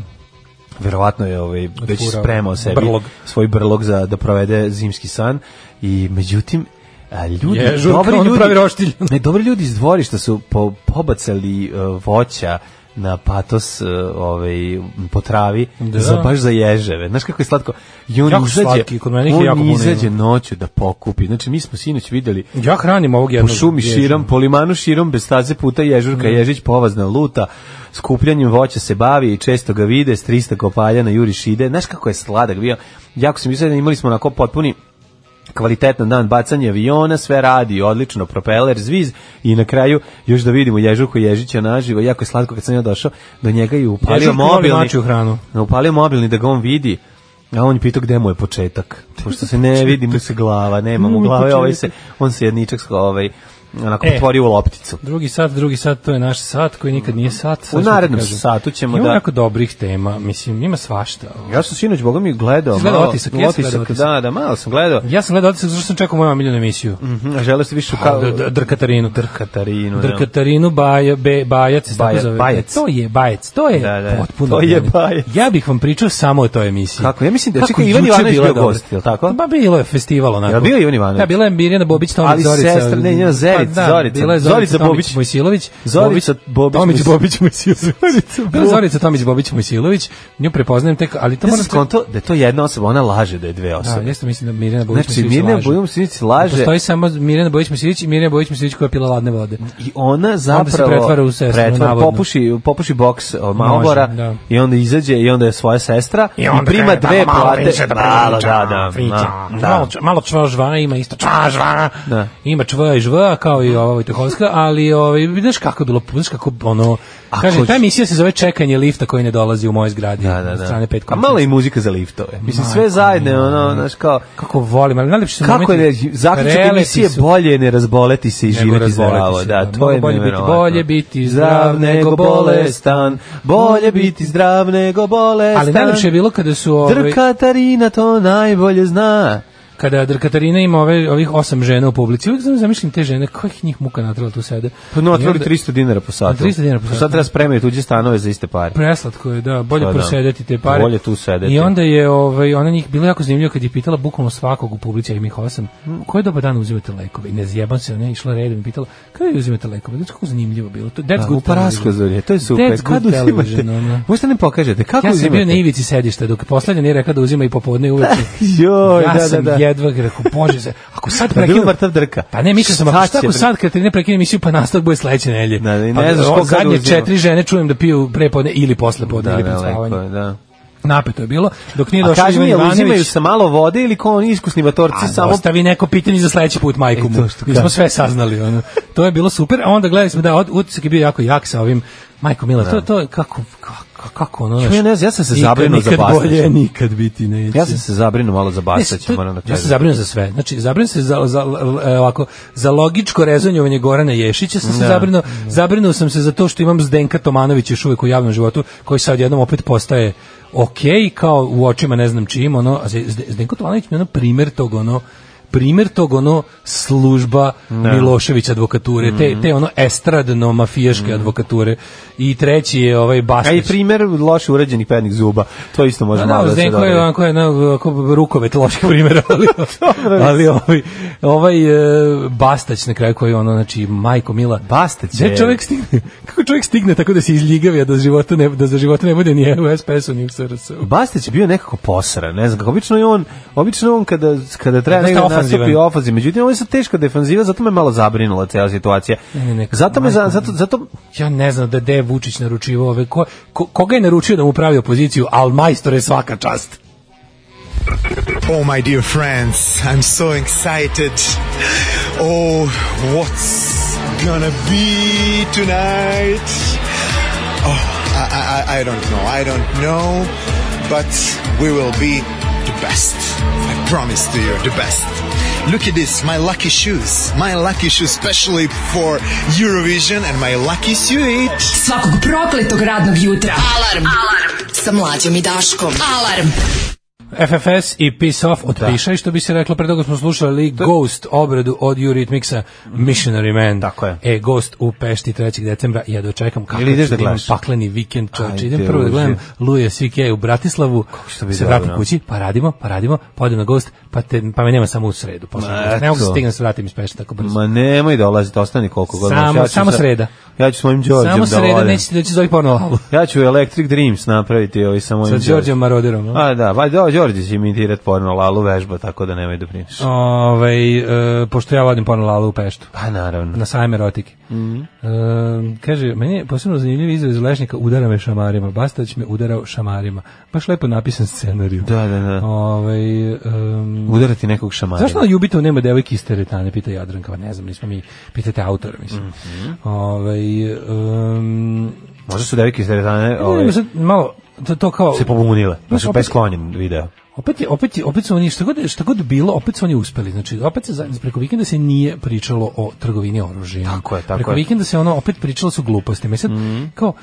[SPEAKER 5] verovatno je ovaj, već
[SPEAKER 6] Otfurao.
[SPEAKER 5] spremao sebi
[SPEAKER 6] Brlog.
[SPEAKER 5] svoj brlog za da provede zimski san i međutim, a, ljudi,
[SPEAKER 6] Ježurka,
[SPEAKER 5] dobri
[SPEAKER 6] ono
[SPEAKER 5] ljudi,
[SPEAKER 6] pravi roštilj.
[SPEAKER 5] ne, dobri ljudi iz dvorišta su po, pobacali uh, voća na patos uh, ovaj po travi
[SPEAKER 6] Da.
[SPEAKER 5] za baš za ježeve. Znaš kako je slatko. I on
[SPEAKER 6] Jako
[SPEAKER 5] izađe,
[SPEAKER 6] slatki, kod mene ih je
[SPEAKER 5] on
[SPEAKER 6] jako puno
[SPEAKER 5] izađe noću da pokupi. Znači, mi smo sinoć videli
[SPEAKER 6] Ja hranim ovog
[SPEAKER 5] po
[SPEAKER 6] jednog. Mm.
[SPEAKER 5] šumi
[SPEAKER 6] ježa.
[SPEAKER 5] širom, po limanu širom, bez staze puta ježurka, ježić povazna luta, skupljanjem voća se bavi i često ga vide, s 300 kopalja na juriš ide. Znaš kako je sladak bio? Jako sam mislio da imali smo onako potpuni kvalitetan dan bacanje aviona, sve radi, odlično, propeler, zviz i na kraju još da vidimo Ježurku Ježića naživo, jako je slatko kad sam ja došao do njega i upalio
[SPEAKER 6] Ježurka voli
[SPEAKER 5] mobilni.
[SPEAKER 6] mačju hranu.
[SPEAKER 5] Upalio mobilni da ga on vidi. A on je pitao gde mu je početak. Pošto se ne vidi mu se glava, nema mu glave, ovaj se, on se jedničak sko- ovaj, onako
[SPEAKER 6] E.
[SPEAKER 5] otvori u lopticu.
[SPEAKER 6] Drugi sat, drugi sat, to je naš sat koji nikad nije sat. sad
[SPEAKER 5] U
[SPEAKER 6] ću ti
[SPEAKER 5] narednom
[SPEAKER 6] kažem.
[SPEAKER 5] satu ćemo
[SPEAKER 6] Ima
[SPEAKER 5] da-
[SPEAKER 6] jako dobrih tema, mislim, ima svašta.
[SPEAKER 5] Ja sam sinoć, boga mi, gledao.
[SPEAKER 6] Izgleda
[SPEAKER 5] malo-
[SPEAKER 6] otisak, jesi gledao otisak?
[SPEAKER 5] Da, da, malo sam gledao.
[SPEAKER 6] Ja sam gledao otisak zašto sam čekao moju omiljenu emisiju.
[SPEAKER 5] Mhm, a Želeo se više u kao...
[SPEAKER 6] Kao, d- d- Drkatarinu.
[SPEAKER 5] Drkatarinu, da.
[SPEAKER 6] Drkatarinu Baja, Be- Bajac, se tako
[SPEAKER 5] Baja-
[SPEAKER 6] zove.
[SPEAKER 5] Bajac.
[SPEAKER 6] To je Bajac, to je
[SPEAKER 5] Da, da,
[SPEAKER 6] potpuno.
[SPEAKER 5] to je
[SPEAKER 6] meni.
[SPEAKER 5] Bajac.
[SPEAKER 6] Ja bih vam pričao samo o toj emisiji.
[SPEAKER 5] Kako? Ja mislim da- čekaj,
[SPEAKER 6] juče
[SPEAKER 5] Ivan Ivanović
[SPEAKER 6] bila
[SPEAKER 5] bio
[SPEAKER 6] dobra.
[SPEAKER 5] gost, jel tako?
[SPEAKER 6] Ba bilo je festival onako.
[SPEAKER 5] Jel bio Ivan Ivanović?
[SPEAKER 6] Da, bila je Mirjana Bobić, Tomić
[SPEAKER 5] Ali
[SPEAKER 6] Zorica.
[SPEAKER 5] sestra, ne, njena Zerica,
[SPEAKER 6] Pa da,
[SPEAKER 5] Zorica.
[SPEAKER 6] Bila je Zorica,
[SPEAKER 5] Zorica
[SPEAKER 6] Tomić
[SPEAKER 5] Bobić.
[SPEAKER 6] Mojsilović.
[SPEAKER 5] Zorica Bobić
[SPEAKER 6] Tomić
[SPEAKER 5] Mojsi-
[SPEAKER 6] Bobić Mojsilović. Bila je Zorica Tomić Bobić Mojsilović. Nju prepoznajem tek, ali to
[SPEAKER 5] Ja
[SPEAKER 6] moram...
[SPEAKER 5] sam skonto da je to jedna osoba, ona laže da je dve
[SPEAKER 6] Da,
[SPEAKER 5] osobe.
[SPEAKER 6] jeste mislim da Mirjana Bobić
[SPEAKER 5] Znači,
[SPEAKER 6] Mojsilović
[SPEAKER 5] Mirjana
[SPEAKER 6] laže.
[SPEAKER 5] Bojić Sinić laže
[SPEAKER 6] Da Postoji samo Mirjana Bojić Mojsilović i Mirjana Bojić Mojsilović koja je pila ladne vode.
[SPEAKER 5] i ona zapravo
[SPEAKER 6] Onda se pretvara u sestru, navodno.
[SPEAKER 5] popuši, popuši boks od Malbora
[SPEAKER 6] da.
[SPEAKER 5] i onda izađe i onda je svoja sestra i, prima dve plate. Malo, da, da, ma, da.
[SPEAKER 6] Malo, č- malo čvažva ima isto čvažva.
[SPEAKER 5] Da.
[SPEAKER 6] Ima čva i žva kao i ova Vojtehovska, ali ovaj znaš kako je bilo, znaš kako ono
[SPEAKER 5] Ako
[SPEAKER 6] kaže ta
[SPEAKER 5] ž-
[SPEAKER 6] emisija se zove čekanje lifta koji ne dolazi u mojoj zgradi
[SPEAKER 5] Da, da,
[SPEAKER 6] od
[SPEAKER 5] da.
[SPEAKER 6] strane pet
[SPEAKER 5] A malo i muzika za liftove. Mislim, sve zajedno, ono, znaš, kao,
[SPEAKER 6] kako volim, ali najlepši su
[SPEAKER 5] kako je,
[SPEAKER 6] momenti-
[SPEAKER 5] zaključak
[SPEAKER 6] prelepi
[SPEAKER 5] emisije
[SPEAKER 6] su.
[SPEAKER 5] bolje ne razboleti se i
[SPEAKER 6] Nego
[SPEAKER 5] živjeti
[SPEAKER 6] razboleti
[SPEAKER 5] zdravo.
[SPEAKER 6] se,
[SPEAKER 5] Da,
[SPEAKER 6] da.
[SPEAKER 5] to
[SPEAKER 6] Mnogo
[SPEAKER 5] je
[SPEAKER 6] bolje biti-
[SPEAKER 5] nevjerovatno.
[SPEAKER 6] bolje biti zdrav nego bolestan.
[SPEAKER 5] bolje biti zdrav nego bolestan.
[SPEAKER 6] Ali najlepše je bilo kada su ovaj,
[SPEAKER 5] Drka Tarina to najbolje zna.
[SPEAKER 6] kada Dr. Katarina ima ove, ovih osam žena u publici, uvijek znam zamišljam te žene, kojih njih muka natrala tu sede.
[SPEAKER 5] Pa no,
[SPEAKER 6] I
[SPEAKER 5] otvorili
[SPEAKER 6] onda-
[SPEAKER 5] 300 dinara po satu.
[SPEAKER 6] 300 dinara po satu.
[SPEAKER 5] Sad treba spremaju tuđe stanove za iste pare.
[SPEAKER 6] preslatko je, da, bolje
[SPEAKER 5] Pa da.
[SPEAKER 6] prosedeti te pare.
[SPEAKER 5] Bolje tu sedeti.
[SPEAKER 6] I onda je ovaj ona njih bilo jako zanimljivo kad je pitala bukvalno svakog u publici, a ima ih osam, u koje doba dana uzimate lekove? I ne zjebam se, ona je išla redom i pitala, kada vi uzimate lekove? Znači kako zanimljivo bilo. To, that's
[SPEAKER 5] Da,
[SPEAKER 6] good
[SPEAKER 5] u Paraskozorje, to je super.
[SPEAKER 6] That's
[SPEAKER 5] Kad
[SPEAKER 6] good
[SPEAKER 5] uzimate?
[SPEAKER 6] television, ono.
[SPEAKER 5] Možete ne pokažete, kako
[SPEAKER 6] Ja sam
[SPEAKER 5] uzimate?
[SPEAKER 6] bio na ivici sedišta dok poslednja nije rekla da uzima i popodne i uveče.
[SPEAKER 5] Joj,
[SPEAKER 6] ja
[SPEAKER 5] da, da,
[SPEAKER 6] sam
[SPEAKER 5] da.
[SPEAKER 6] jedva rekao, bože, se, ako sad
[SPEAKER 5] Da je bilo
[SPEAKER 6] prekinem,
[SPEAKER 5] mrtav drka.
[SPEAKER 6] Pa ne, mislio sam,
[SPEAKER 5] Šta
[SPEAKER 6] ako šta
[SPEAKER 5] će
[SPEAKER 6] ako
[SPEAKER 5] pre-
[SPEAKER 6] sad kad ne prekinem emisiju, pa nastavak bude sledeće nedelje.
[SPEAKER 5] Da, da, i
[SPEAKER 6] Pa,
[SPEAKER 5] ne znaš
[SPEAKER 6] o,
[SPEAKER 5] ko kada
[SPEAKER 6] Zadnje
[SPEAKER 5] uzima.
[SPEAKER 6] četiri žene čujem da piju prepodne ili poslepodne
[SPEAKER 5] Da,
[SPEAKER 6] ili
[SPEAKER 5] da,
[SPEAKER 6] pred
[SPEAKER 5] lepo
[SPEAKER 6] spavanje.
[SPEAKER 5] je, da.
[SPEAKER 6] Napeto je bilo, dok nije
[SPEAKER 5] A
[SPEAKER 6] došao
[SPEAKER 5] kaži
[SPEAKER 6] Ivan
[SPEAKER 5] mi, jel
[SPEAKER 6] Ivanović.
[SPEAKER 5] uzimaju sa malo vode ili ko oni iskusni vatorci
[SPEAKER 6] A,
[SPEAKER 5] samo...
[SPEAKER 6] Ostavi neko pitanje za sledeći put majku
[SPEAKER 5] E,
[SPEAKER 6] mu.
[SPEAKER 5] to što
[SPEAKER 6] Mi smo
[SPEAKER 5] kažem.
[SPEAKER 6] sve saznali. Ono. To je bilo super. A onda gledali smo da od, utisak je bio jako jak sa ovim Majko Mila, to, to je kako, kako, Ka- kako ono?
[SPEAKER 5] Da. Ja
[SPEAKER 6] znaš,
[SPEAKER 5] ne znam, ja sam se
[SPEAKER 6] nikad-
[SPEAKER 5] zabrinuo za
[SPEAKER 6] nikad bolje
[SPEAKER 5] Bastaća.
[SPEAKER 6] nikad biti neće.
[SPEAKER 5] Ja sam se zabrinuo malo za Bastaća,
[SPEAKER 6] Ne,
[SPEAKER 5] moram da
[SPEAKER 6] Ja sam
[SPEAKER 5] kažem.
[SPEAKER 6] zabrinuo za sve. Znači, zabrinuo se za, za, e, ovako, za logičko rezonjovanje Gorana Ješića sam se
[SPEAKER 5] Da.
[SPEAKER 6] zabrinuo. Zabrinuo sam se za to što imam Zdenka Tomanovića još uvek u javnom životu, koji sad jednom opet postaje okej, kao u očima ne znam čim, ono, a Zde- Zdenko Tomanović mi je ono primjer tog, ono, primjer tog ono služba
[SPEAKER 5] Da.
[SPEAKER 6] Milošević advokature, te,
[SPEAKER 5] Mhm.
[SPEAKER 6] te ono estradno mafijaške advokature. I treći je ovaj
[SPEAKER 5] A i
[SPEAKER 6] Bastić.
[SPEAKER 5] primer loše urađenih prednjih zuba. To isto može malo
[SPEAKER 6] Da,
[SPEAKER 5] da se
[SPEAKER 6] Zdenko je
[SPEAKER 5] dobro.
[SPEAKER 6] onako jedna onako rukovet loših primjera, ali,
[SPEAKER 5] Dobro,
[SPEAKER 6] ali ovaj, ovaj e, Bastać na kraju koji je ono, znači, majko mila.
[SPEAKER 5] Bastać
[SPEAKER 6] Gde
[SPEAKER 5] je-
[SPEAKER 6] čovjek stigne, kako čovjek stigne tako da se izljigavi, a da, života ne, da za života ne bude ni u SPS-u, ni u SRS-u.
[SPEAKER 5] Bastać je bio nekako posran, ne znam kako. Obično je on, obično je on kada, kada treba
[SPEAKER 6] Dosta
[SPEAKER 5] negdje nastupi
[SPEAKER 6] ofanzivan.
[SPEAKER 5] ofanziv. Međutim, ovo je sad teška defanziva, zato me malo zabrinula cela situacija.
[SPEAKER 6] Ne, ne, ne,
[SPEAKER 5] zato me, za,
[SPEAKER 6] majko
[SPEAKER 5] zato, zato,
[SPEAKER 6] Ja ne znam da gde je Vučić naručivao ove, ko, ko, koga je naručio da mu pravi opoziciju, ali majstor je svaka čast.
[SPEAKER 10] Oh, my dear friends, I'm so excited. Oh, what's gonna be tonight? Oh, I, I- I, I don't know. I don't know. But we will be the best. I promise to you, the best. Look at this, my lucky shoes. My lucky shoes, specially for Eurovision and my lucky suit.
[SPEAKER 9] Svakog prokletog radnog jutra. Alarm. Alarm. Sa mlađom i Daškom. Alarm.
[SPEAKER 6] FFS i Piss
[SPEAKER 5] Da.
[SPEAKER 6] Off od Piša i što bi se reklo, pre toga smo slušali Ghost obradu od Eurythmicsa Missionary Man.
[SPEAKER 5] Tako je.
[SPEAKER 6] E, Ghost u Pešti 3. decembra, ja dočekam kako
[SPEAKER 5] Ili ideš
[SPEAKER 6] ću
[SPEAKER 5] da
[SPEAKER 6] imam
[SPEAKER 5] gledaš?
[SPEAKER 6] pakleni vikend, čovječ.
[SPEAKER 5] Ajde,
[SPEAKER 6] Idem prvo da
[SPEAKER 5] uži.
[SPEAKER 6] gledam Louis C.K. u Bratislavu,
[SPEAKER 5] što bi
[SPEAKER 6] se
[SPEAKER 5] dobro.
[SPEAKER 6] vratim kući, pa radimo, pa radimo, pa odem na Ghost, pa, te, pa me nema samo u sredu. Posle
[SPEAKER 5] Ma,
[SPEAKER 6] Ghosta. ne mogu se
[SPEAKER 5] eto.
[SPEAKER 6] stignem da se vratim iz Pešta tako brzo.
[SPEAKER 5] ma nemoj dolaziti, ostani koliko god.
[SPEAKER 6] Samo-
[SPEAKER 5] možeš. ću
[SPEAKER 6] samo
[SPEAKER 5] sa-
[SPEAKER 6] sreda.
[SPEAKER 5] Ja ću svojim Đorđem
[SPEAKER 6] Samo
[SPEAKER 5] da
[SPEAKER 6] sreda,
[SPEAKER 5] odem.
[SPEAKER 6] nećete doći zove porno lavu.
[SPEAKER 5] Ja ću Electric Dreams napraviti ovaj sa mojim
[SPEAKER 6] Sa Đorđem Maroderom. a?
[SPEAKER 5] A da, pa da, Đorđe će imitirati porno lalu vežba, tako da nemoj da brineš.
[SPEAKER 6] Ovaj, e, pošto ja vodim porno lalu u Peštu.
[SPEAKER 5] Pa naravno.
[SPEAKER 6] na sajme erotike.
[SPEAKER 5] Mhm.
[SPEAKER 6] E, kaže, meni je posebno zanimljiv izraz Lešnika udara me šamarima. Bastać me udarao šamarima. Baš lepo napisan scenarij.
[SPEAKER 5] Da, da, da.
[SPEAKER 6] Ovaj, em,
[SPEAKER 5] Udarati nekog šamara.
[SPEAKER 6] Zašto na Jubitovu nema devojke iz teretane, pita Jadranka, pa ne znam, nismo mi, pitajte autora, mislim.
[SPEAKER 5] Mhm.
[SPEAKER 6] Ovaj, em,
[SPEAKER 5] Možda su devike iz teretane
[SPEAKER 6] ne,
[SPEAKER 5] ovaj,
[SPEAKER 6] ne, sad malo, to, to kao...
[SPEAKER 5] se pobunile, pa
[SPEAKER 6] Znaš,
[SPEAKER 5] su
[SPEAKER 6] opet-
[SPEAKER 5] besklonjen video.
[SPEAKER 6] Opet, je, opet, je, opet su oni, šta god, šta god bilo, opet su oni uspeli. Znači, opet se za- preko vikenda se nije pričalo o trgovini oružjem.
[SPEAKER 5] Tako je, tako
[SPEAKER 6] preko
[SPEAKER 5] je. Mhm.
[SPEAKER 6] vikenda se ono, opet pričalo su glupostima. I sad, kao,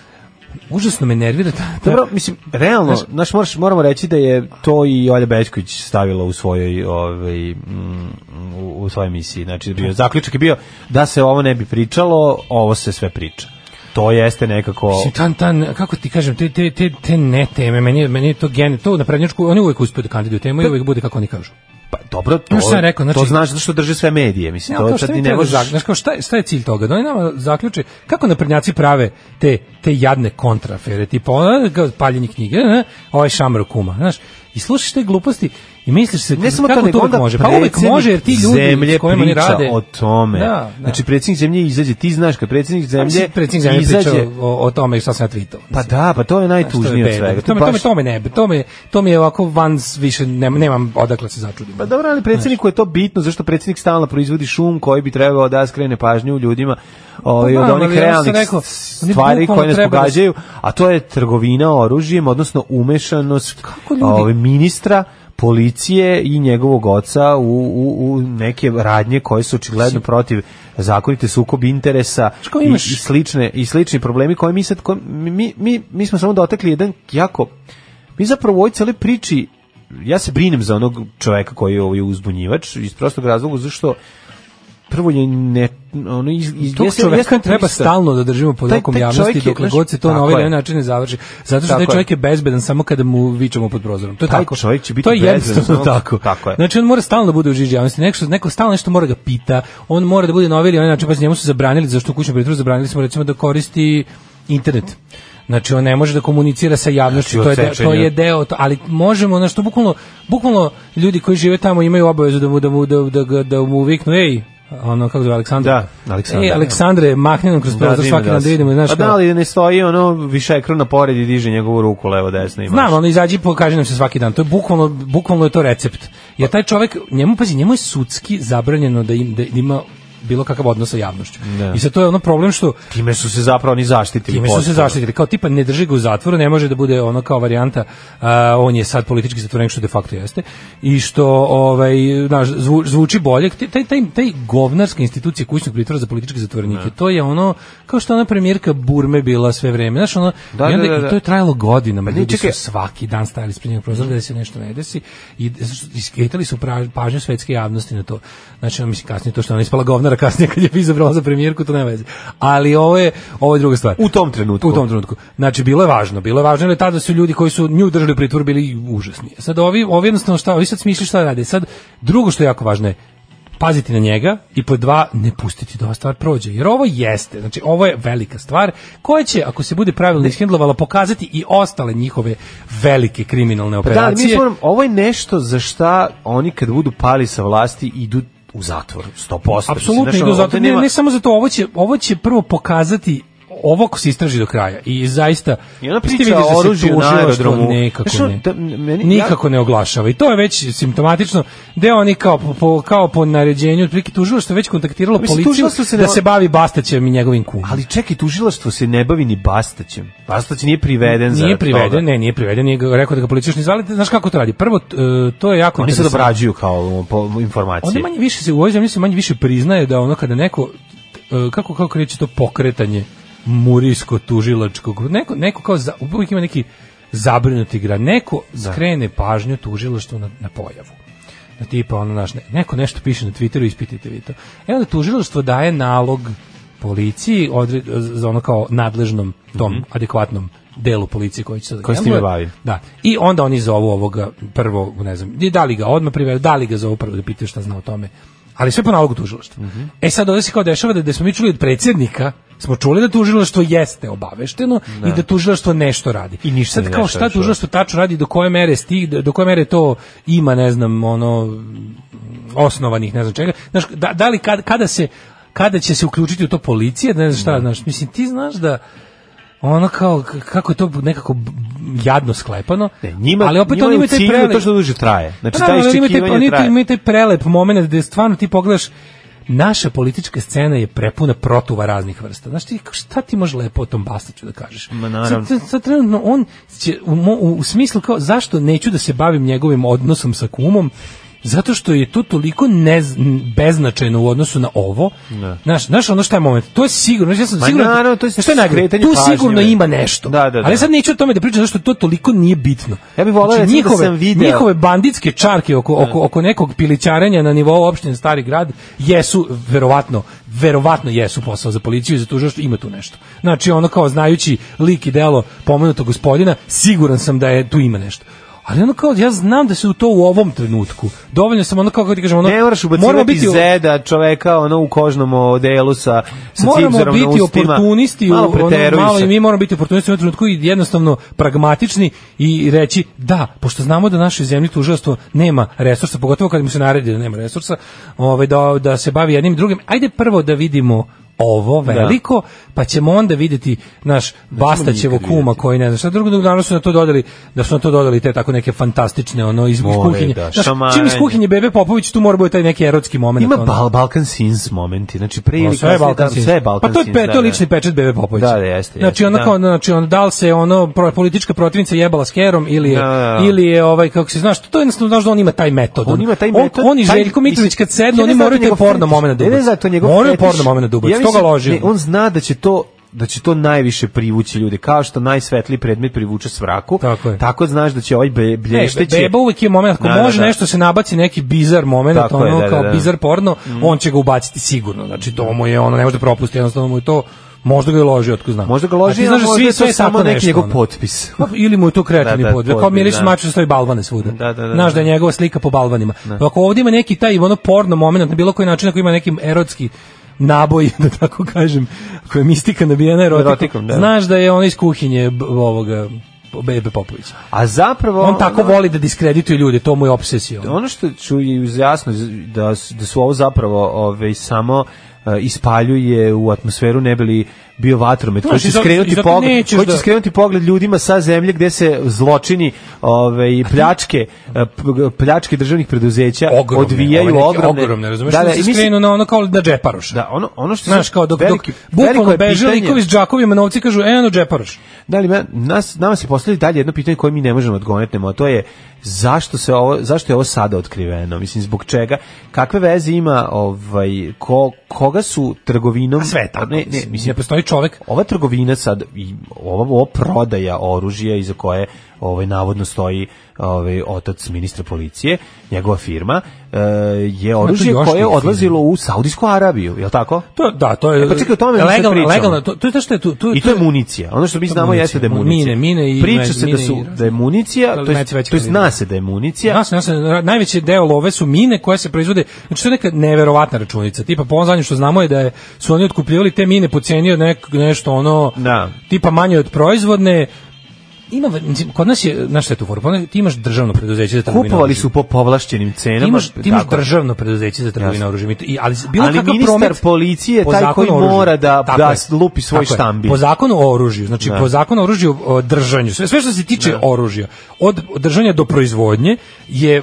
[SPEAKER 6] užasno me nervira ta, ta
[SPEAKER 5] Dobro, mislim, realno, Da. znaš, moraš, moramo reći da je to i Olja Bečković stavila u svojoj ovaj, mm, u, u svojoj emisiji. Znači, bio, zaključak je bio da se ovo ne bi pričalo, ovo se sve priča. To jeste nekako...
[SPEAKER 6] Mislim, tan, tan, kako ti kažem, te, te, te, te ne teme, meni, je- meni je to gen, to na prednjačku, oni uvek uspeju da kandiduju temu i uvek bude kako oni kažu.
[SPEAKER 5] Pa dobro, to,
[SPEAKER 6] Znaš šta je rekao, znači-
[SPEAKER 5] to znaš zato što drže sve medije. Mislim,
[SPEAKER 6] Ne, ali
[SPEAKER 5] to
[SPEAKER 6] kao šta
[SPEAKER 5] sad
[SPEAKER 6] mi
[SPEAKER 5] ni ne
[SPEAKER 6] treba
[SPEAKER 5] možeš...
[SPEAKER 6] zak- znaš kao šta, je- šta je cilj toga? Da oni nama zaključe kako naprednjaci prave te, te jadne kontrafere, tipa ono, kao paljenje knjige, ne, ovaj šamro kuma, znaš, i slušaš te gluposti i misliš se
[SPEAKER 5] Ne samo
[SPEAKER 6] kako
[SPEAKER 5] to, nego
[SPEAKER 6] uvek
[SPEAKER 5] onda
[SPEAKER 6] može, pa uvek
[SPEAKER 5] predsjednik
[SPEAKER 6] može jer ti ljudi
[SPEAKER 5] zemlje
[SPEAKER 6] s kojima oni
[SPEAKER 5] priča
[SPEAKER 6] rade.
[SPEAKER 5] o tome.
[SPEAKER 6] Da, da.
[SPEAKER 5] Znači, predsjednik zemlje izađe, ti znaš kad predsjednik
[SPEAKER 6] Pa mislim,
[SPEAKER 5] zemlje,
[SPEAKER 6] predsjednik zemlje
[SPEAKER 5] izađe...
[SPEAKER 6] pričao o, o tome šta sam ja tweetao.
[SPEAKER 5] Pa da, pa to je najtužnije od svega.
[SPEAKER 6] To me,
[SPEAKER 5] To
[SPEAKER 6] to me,
[SPEAKER 5] baš-
[SPEAKER 6] to me ne, to me, to mi je ovako van s- više, ne, nemam odakle se začudim.
[SPEAKER 5] Pa dobro, ali predsjedniku je to bitno, zašto predsjednik stalno proizvodi šum koji bi trebao da skrene pažnju ljudima ovaj,
[SPEAKER 6] Pa
[SPEAKER 5] od
[SPEAKER 6] da,
[SPEAKER 5] onih
[SPEAKER 6] ali ja sam
[SPEAKER 5] realnih
[SPEAKER 6] rekao, oni
[SPEAKER 5] stvari
[SPEAKER 6] bukvalno
[SPEAKER 5] koje nas
[SPEAKER 6] treba da-
[SPEAKER 5] pogađaju, a to je trgovina oružjem, odnosno umešanost
[SPEAKER 6] ljudi-
[SPEAKER 5] ovaj, ministra policije i njegovog oca u, u, u neke radnje koje su očigledno protiv zakonite sukob interesa
[SPEAKER 6] Znaš kao
[SPEAKER 5] i,
[SPEAKER 6] imaš-
[SPEAKER 5] i slične i slični problemi koje mi sad ko- mi, mi, mi smo samo dotakli jedan jako mi zapravo u ovoj cijeloj priči ja se brinem za onog čoveka koji je ovaj uzbunjivač iz prostog razloga zašto prvo je ne ono iz, iz
[SPEAKER 6] Tog
[SPEAKER 5] jeste-
[SPEAKER 6] čoveka
[SPEAKER 5] jeste
[SPEAKER 6] treba
[SPEAKER 5] turista.
[SPEAKER 6] stalno da držimo pod
[SPEAKER 5] Taj-
[SPEAKER 6] okom
[SPEAKER 5] taj
[SPEAKER 6] javnosti
[SPEAKER 5] čovek je,
[SPEAKER 6] dokle
[SPEAKER 5] znaš,
[SPEAKER 6] god se to na
[SPEAKER 5] tako
[SPEAKER 6] ovaj ili
[SPEAKER 5] je.
[SPEAKER 6] onaj način ne završi. Zato što
[SPEAKER 5] Tako
[SPEAKER 6] taj
[SPEAKER 5] je.
[SPEAKER 6] čovjek je bezbedan samo kada mu vičemo pod prozorom. To je
[SPEAKER 5] Taj
[SPEAKER 6] tako.
[SPEAKER 5] čovek će biti
[SPEAKER 6] to je
[SPEAKER 5] bezbedan
[SPEAKER 6] jednostavno
[SPEAKER 5] samo-
[SPEAKER 6] tako.
[SPEAKER 5] tako je.
[SPEAKER 6] Znači on mora stalno da bude u žiži javnosti. Neko, neko stalno nešto mora ga pita. On mora da bude na ovaj ili onaj način. Pa njemu su zabranili, zašto u kućnom pritvoru zabranili smo recimo da koristi internet. Znači on ne može da komunicira sa javnošću,
[SPEAKER 5] Znači,
[SPEAKER 6] to je de- to
[SPEAKER 5] odsečen
[SPEAKER 6] je
[SPEAKER 5] je.
[SPEAKER 6] deo, to, ali možemo na što bukvalno bukvalno ljudi koji žive tamo imaju obavezu da mu da mu da, da, ga- da mu viknu ej, ono kako zove Aleksandar.
[SPEAKER 5] Da, Aleksandar.
[SPEAKER 6] Ej, E, Aleksandre, mahni nam kroz
[SPEAKER 5] Da,
[SPEAKER 6] prozor
[SPEAKER 5] divno
[SPEAKER 6] svaki dan da
[SPEAKER 5] si.
[SPEAKER 6] vidimo, znaš.
[SPEAKER 5] Pa da,
[SPEAKER 6] kao-
[SPEAKER 5] ali ne stoji ono više ekrana pored i diže njegovu ruku levo desno imaš.
[SPEAKER 6] Znam, ono izađi po kaže nam se svaki dan. To je bukvalno bukvalno je to recept. Jer taj čovjek njemu pazi, njemu je sudski zabranjeno da im da ima bilo kakav odnos sa javnošću.
[SPEAKER 5] Da.
[SPEAKER 6] I sad to je ono problem što
[SPEAKER 5] Time su se zapravo ni zaštitili.
[SPEAKER 6] Time da su se
[SPEAKER 5] potpuno.
[SPEAKER 6] zaštitili. Kao tipa ne drži ga u zatvoru, ne može da bude ono kao varijanta a, on je sad politički zatvorenik što de facto jeste i što ovaj znaš zvu- zvuči bolje Ti- taj taj taj govnarska institucija kućnog pritvora za političke zatvorenike.
[SPEAKER 5] Da.
[SPEAKER 6] To je ono kao što ona premijerka Burme bila sve vreme. Znaš ono
[SPEAKER 5] Da,
[SPEAKER 6] i onda
[SPEAKER 5] da, da, da.
[SPEAKER 6] i to je trajalo godinama.
[SPEAKER 5] ne,
[SPEAKER 6] Ljudi
[SPEAKER 5] čekaj.
[SPEAKER 6] su svaki dan stajali ispred njenog prozora da se nešto ne desi i iskretali su pra- pažnju svetske javnosti na to. Znači, ono, mislim, kasnije to što je ona ispala govnara, kasnije kad je izabrala za premijerku, to nema veze. Ali ovo je, ovo je druga stvar.
[SPEAKER 5] U tom trenutku.
[SPEAKER 6] U tom trenutku. Znači, bilo je važno. Bilo je važno, jer tada su ljudi koji su nju držali u pritvoru bili užasni. Sad ovi, ovi jednostavno šta, ovi sad smišljaju šta rade. Sad, drugo što je jako važno je, paziti na njega i po dva ne pustiti da ova stvar prođe jer ovo jeste znači ovo je velika stvar koja će ako se bude pravilno ishendlovala pokazati i ostale njihove velike kriminalne
[SPEAKER 5] Pa da, ali mi
[SPEAKER 6] operacije
[SPEAKER 5] moram- ovo je nešto za šta oni kad budu pali sa vlasti idu u zatvor, 100%. Mislim,
[SPEAKER 6] Apsolutno idu
[SPEAKER 5] znaš, ono,
[SPEAKER 6] zato
[SPEAKER 5] ovde
[SPEAKER 6] ne,
[SPEAKER 5] nema-
[SPEAKER 6] ne samo zato ovo će ovo će prvo pokazati ovo ako se istraži do kraja i zaista
[SPEAKER 5] I ona
[SPEAKER 6] ti
[SPEAKER 5] priča
[SPEAKER 6] vidiš da se
[SPEAKER 5] o oružju na
[SPEAKER 6] tužilaštvo
[SPEAKER 5] aerodromu. Znaš
[SPEAKER 6] Nikako
[SPEAKER 5] ono,
[SPEAKER 6] ne,
[SPEAKER 5] da, meni-
[SPEAKER 6] nikako ne oglašava i to je već simptomatično da oni kao po, po, kao po naređenju otprilike tužilaštvo je već kontaktiralo
[SPEAKER 5] Mislim, tužilaštvo
[SPEAKER 6] policiju
[SPEAKER 5] se ne-
[SPEAKER 6] da se bavi Bastaćem i njegovim kumom.
[SPEAKER 5] Ali čekaj, tužilaštvo se ne bavi ni Bastaćem. Bastać nije priveden za
[SPEAKER 6] Nije priveden, ne, nije priveden, nije ga- rekao da ga policija još ne zvali, znaš kako to radi. Prvo, t- e, to je jako
[SPEAKER 5] Oni se
[SPEAKER 6] interesantno.
[SPEAKER 5] dobrađuju kao um, po, informacije.
[SPEAKER 6] Onda manje više se u ovoj zemlji se manje više priznaje da ono kada neko e, kako kako reći to pokretanje murijsko tužilačkog neko neko kao za, uvijek ima neki zabrinuti gra neko
[SPEAKER 5] Da.
[SPEAKER 6] skrene pažnju tužilaštvu na, na pojavu na tipa ono naš ne- neko nešto piše na Twitteru ispitajte vi to e onda tužilaštvo daje nalog policiji odre, za ono kao nadležnom tom adekvatnom delu policije koji će se
[SPEAKER 5] Mhm. Koji se time bavi.
[SPEAKER 6] da. I onda oni zovu ovoga prvo, ne znam, i da li ga odmah privedu, da li ga zovu prvo da pitaju šta zna o tome. Ali sve po nalogu tužilaštva.
[SPEAKER 5] Mhm.
[SPEAKER 6] E sad ovde se kao dešava da, da smo mi čuli od predsjednika, smo čuli da tužilaštvo jeste obavešteno i da tužilaštvo nešto radi.
[SPEAKER 5] I ništa
[SPEAKER 6] sad
[SPEAKER 5] ne
[SPEAKER 6] kao
[SPEAKER 5] radi,
[SPEAKER 6] šta
[SPEAKER 5] čovječe.
[SPEAKER 6] tužilaštvo tačno radi, do koje mere stig, do koje mere to ima, ne znam, ono osnovanih, ne znam čega. Znaš, da, da li kad, kada se kada će se uključiti u to policija, ne znam šta, znaš, mislim, ti znaš da ono kao k- kako je to nekako b- jadno sklepano.
[SPEAKER 5] Ne, njima,
[SPEAKER 6] ali opet
[SPEAKER 5] njima
[SPEAKER 6] oni
[SPEAKER 5] je u
[SPEAKER 6] imaju taj
[SPEAKER 5] cilju da
[SPEAKER 6] prelep.
[SPEAKER 5] to što duže traje. Znači,
[SPEAKER 6] Pa
[SPEAKER 5] taj
[SPEAKER 6] naravno, ali imaju taj-
[SPEAKER 5] iščekivanje
[SPEAKER 6] oni taj-
[SPEAKER 5] traje.
[SPEAKER 6] imaju taj prelep moment gde stvarno ti pogledaš naša politička scena je prepuna protuva raznih vrsta. Znaš ti, šta ti može lepo o tom Bastaću da kažeš?
[SPEAKER 5] Ma, naravno.
[SPEAKER 6] Sad, sad trenutno on će, u, mo- u, u smislu kao zašto neću da se bavim njegovim odnosom sa kumom, zato što je to toliko nez, n- beznačajno u odnosu na ovo. Znaš, znaš ono šta je moment? To je sigurno, znaš, ja sam
[SPEAKER 5] Ma,
[SPEAKER 6] siguran,
[SPEAKER 5] naravno, to je
[SPEAKER 6] znaš šta najgore?
[SPEAKER 5] skretanje
[SPEAKER 6] tu
[SPEAKER 5] pažnje,
[SPEAKER 6] sigurno
[SPEAKER 5] bre.
[SPEAKER 6] ima nešto.
[SPEAKER 5] Da, da, da.
[SPEAKER 6] Ali sad neću o tome ovaj. da pričam, zašto to toliko nije bitno. Znači,
[SPEAKER 5] Ja bih voleo, recimo, da
[SPEAKER 6] njihove,
[SPEAKER 5] sam video-
[SPEAKER 6] njihove banditske čarke oko,
[SPEAKER 5] Da.
[SPEAKER 6] oko, oko nekog pilićarenja na nivou opštine Stari grad jesu, verovatno, verovatno jesu posao za policiju i za tužilaštvo, ima tu nešto. Znači, ono kao znajući lik i delo pomenutog gospodina, siguran sam da je tu ima nešto. Ali ono kao, ja znam da se u to u ovom trenutku. Dovoljno sam ono kao, kako ti kažem, ono,
[SPEAKER 5] Ne moraš
[SPEAKER 6] moramo
[SPEAKER 5] ubacivati
[SPEAKER 6] biti,
[SPEAKER 5] zeda čoveka ono u kožnom odelu sa, sa
[SPEAKER 6] moramo
[SPEAKER 5] cipzerom na
[SPEAKER 6] biti
[SPEAKER 5] ustima.
[SPEAKER 6] oportunisti, u-
[SPEAKER 5] malo
[SPEAKER 6] ono,
[SPEAKER 5] preteruju
[SPEAKER 6] malo
[SPEAKER 5] se.
[SPEAKER 6] i mi moramo biti oportunisti u ovom trenutku i jednostavno pragmatični i reći da, pošto znamo da našoj zemlji tužilaštvo nema resursa, pogotovo kad mu se naredi da nema resursa, ovaj, da, da se bavi jednim i drugim, ajde prvo da vidimo ovo
[SPEAKER 5] Da.
[SPEAKER 6] veliko, pa ćemo onda vidjeti naš Bastaćevo
[SPEAKER 5] nikad
[SPEAKER 6] kuma
[SPEAKER 5] vidjeti.
[SPEAKER 6] koji ne znam šta drugo, naravno su na to dodali da su na to dodali te tako neke fantastične ono iz, iz
[SPEAKER 5] More,
[SPEAKER 6] kuhinje.
[SPEAKER 5] da,
[SPEAKER 6] Znaš, čim iz
[SPEAKER 5] šamaranje.
[SPEAKER 6] kuhinje Bebe Popović tu mora bude taj neki erotski moment.
[SPEAKER 5] Ima
[SPEAKER 6] ono.
[SPEAKER 5] Bal- Balkan Sins momenti, znači pre ili
[SPEAKER 6] No, sve je
[SPEAKER 5] kasnije,
[SPEAKER 6] Balkan
[SPEAKER 5] da, sve je Balkan
[SPEAKER 6] Pa to je,
[SPEAKER 5] Sins,
[SPEAKER 6] pe,
[SPEAKER 5] da,
[SPEAKER 6] to je
[SPEAKER 5] da.
[SPEAKER 6] lični pečat Bebe Popović.
[SPEAKER 5] Da, da, jeste,
[SPEAKER 6] Znači
[SPEAKER 5] jeste,
[SPEAKER 6] ona
[SPEAKER 5] da.
[SPEAKER 6] kao, znači on da li se ono pro- politička protivnica jebala s Kerom ili je,
[SPEAKER 5] Da, da, da.
[SPEAKER 6] ili je ovaj kako se znaš, to je jednostavno znaš da on ima taj metod.
[SPEAKER 5] Pa On ima taj metod.
[SPEAKER 6] On, on i
[SPEAKER 5] taj-
[SPEAKER 6] Željko Mitrović
[SPEAKER 5] mislim,
[SPEAKER 6] kad sednu,
[SPEAKER 5] ja ne
[SPEAKER 6] oni
[SPEAKER 5] znam
[SPEAKER 6] moraju
[SPEAKER 5] to
[SPEAKER 6] taj
[SPEAKER 5] njegov
[SPEAKER 6] porno
[SPEAKER 5] fetiš.
[SPEAKER 6] momenat da
[SPEAKER 5] Ne, ne
[SPEAKER 6] ubace.
[SPEAKER 5] znam to njegov
[SPEAKER 6] Moraju
[SPEAKER 5] fetiš.
[SPEAKER 6] porno momenat da ubace,
[SPEAKER 5] Ja mislim-
[SPEAKER 6] to ga loži.
[SPEAKER 5] Ne, on zna da će to da će to najviše privući ljude, kao što najsvetliji predmet privuče svraku.
[SPEAKER 6] Tako je.
[SPEAKER 5] Tako znaš da će ovaj be,
[SPEAKER 6] Ne,
[SPEAKER 5] blješteći.
[SPEAKER 6] beba uvek je moment, ako
[SPEAKER 5] Da, da,
[SPEAKER 6] može
[SPEAKER 5] da.
[SPEAKER 6] nešto se nabaci neki bizar moment,
[SPEAKER 5] Tako je,
[SPEAKER 6] ono
[SPEAKER 5] da, da,
[SPEAKER 6] kao
[SPEAKER 5] da.
[SPEAKER 6] bizar porno, on će ga ubaciti sigurno. Znači to mu je ono ne može da propusti, jednostavno mu je to možda ga je loži, otko znam.
[SPEAKER 5] Možda ga
[SPEAKER 6] A ti
[SPEAKER 5] loži, a
[SPEAKER 6] znaš da
[SPEAKER 5] možda
[SPEAKER 6] svi-
[SPEAKER 5] je
[SPEAKER 6] sve
[SPEAKER 5] to
[SPEAKER 6] je
[SPEAKER 5] samo
[SPEAKER 6] tako
[SPEAKER 5] neki
[SPEAKER 6] nešto,
[SPEAKER 5] njegov
[SPEAKER 6] ono.
[SPEAKER 5] potpis.
[SPEAKER 6] Pa, ili mu je to kreativni
[SPEAKER 5] Da, da,
[SPEAKER 6] podvig. Kao
[SPEAKER 5] podvig,
[SPEAKER 6] miriš
[SPEAKER 5] da.
[SPEAKER 6] maču stoji balvane svuda.
[SPEAKER 5] Da, da, da,
[SPEAKER 6] Znaš da
[SPEAKER 5] da.
[SPEAKER 6] je njegova slika po balvanima. Pa Ako ovdje ima neki taj ono porno moment na bilo koji način, ako ima neki erotski naboj, da tako kažem, ako je mistika nabijena erotikom,
[SPEAKER 5] Erotikom, da.
[SPEAKER 6] znaš da je on iz kuhinje b- ovoga Bebe Popovića.
[SPEAKER 5] A zapravo
[SPEAKER 6] On tako voli da diskredituje ljude, to mu je obsesija.
[SPEAKER 5] da ono što ću je uz jasno da su, da su ovo zapravo ove, samo e, e, ispaljuje u atmosferu ne bi li bio vatromet
[SPEAKER 6] Znaš,
[SPEAKER 5] koji će
[SPEAKER 6] i zato- i
[SPEAKER 5] skrenuti
[SPEAKER 6] zato
[SPEAKER 5] pogled
[SPEAKER 6] nećeš
[SPEAKER 5] koji će
[SPEAKER 6] da-
[SPEAKER 5] skrenuti pogled ljudima sa zemlje gde se zločini ove i pljačke e, p- pljačke državnih preduzeća
[SPEAKER 6] ogromne,
[SPEAKER 5] odvijaju
[SPEAKER 6] ove neke
[SPEAKER 5] ogromne
[SPEAKER 6] ogromne razumeš
[SPEAKER 5] da, da,
[SPEAKER 6] se
[SPEAKER 5] i mislim-
[SPEAKER 6] skrenu na ono kao na džeparoš
[SPEAKER 5] da ono ono što
[SPEAKER 6] znaš kao dok, dok
[SPEAKER 5] veliki- veliko
[SPEAKER 6] bukvalno
[SPEAKER 5] je
[SPEAKER 6] beže
[SPEAKER 5] pitanje-
[SPEAKER 6] likovi s džakovima novci kažu e no džeparoš
[SPEAKER 5] Da li men- nas, nama se postavlja dalje jedno pitanje koje mi ne možemo odgovoriti, a to je zašto se ovo zašto je ovo sada otkriveno? Mislim zbog čega? Kakve veze ima ovaj ko, koga su trgovinom
[SPEAKER 6] sve tako
[SPEAKER 5] Ne, ne,
[SPEAKER 6] mislim ne
[SPEAKER 5] mislim
[SPEAKER 6] postoji čovek
[SPEAKER 5] ova trgovina sad i ova, ova prodaja oružja iza koje ovaj navodno stoji ovaj otac ministra policije, njegova firma e, je oružje
[SPEAKER 6] još
[SPEAKER 5] koje je
[SPEAKER 6] tih
[SPEAKER 5] odlazilo u Saudijsku Arabiju, je li tako?
[SPEAKER 6] to da to je
[SPEAKER 5] E, pa čekaj, o tome mi sad
[SPEAKER 6] legalno
[SPEAKER 5] pričamo.
[SPEAKER 6] legalno to to je znaš šta je tu tu
[SPEAKER 5] I to je municija. Ono što mi
[SPEAKER 6] To je
[SPEAKER 5] znamo
[SPEAKER 6] municija.
[SPEAKER 5] jeste da je municija.
[SPEAKER 6] Mine, mine i-
[SPEAKER 5] Priča se da
[SPEAKER 6] mine
[SPEAKER 5] su
[SPEAKER 6] i-
[SPEAKER 5] da je municija,
[SPEAKER 6] Ali
[SPEAKER 5] to jest
[SPEAKER 6] najveći veći
[SPEAKER 5] to jest
[SPEAKER 6] kandidat.
[SPEAKER 5] zna se da je municija.
[SPEAKER 6] Jasno, jasno, ra- najveći deo love su mine koje se proizvode, znači to je neka neverovatna računica, tipa po onom zadnjem što znamo je da je, su oni otkupljivali te mine po cijeni od nek, nešto ono,
[SPEAKER 5] Da.
[SPEAKER 6] tipa manje od proizvodne, ima, mislim, kod nas je, znaš šta je tu fora, Pa onda ti imaš državno preduzeće za trgovinu
[SPEAKER 5] Kupovali
[SPEAKER 6] oružjem.
[SPEAKER 5] su po povlašćenim cenama.
[SPEAKER 6] ti da imaš, ti imaš
[SPEAKER 5] tako.
[SPEAKER 6] državno preduzeće za trgovinu
[SPEAKER 5] Jasno.
[SPEAKER 6] oružjem, i to- i, ali bilo
[SPEAKER 5] Ali
[SPEAKER 6] kakav
[SPEAKER 5] ministar
[SPEAKER 6] promet,
[SPEAKER 5] policije je
[SPEAKER 6] po
[SPEAKER 5] taj
[SPEAKER 6] zakonu
[SPEAKER 5] koji
[SPEAKER 6] o oružju.
[SPEAKER 5] mora da,
[SPEAKER 6] Tako
[SPEAKER 5] da
[SPEAKER 6] je.
[SPEAKER 5] lupi svoj
[SPEAKER 6] Tako je.
[SPEAKER 5] štambilj. Da.
[SPEAKER 6] Po zakonu o oružju, znači po zakonu o oružju o držanju, sve, sve što se tiče oružja, od držanja do proizvodnje je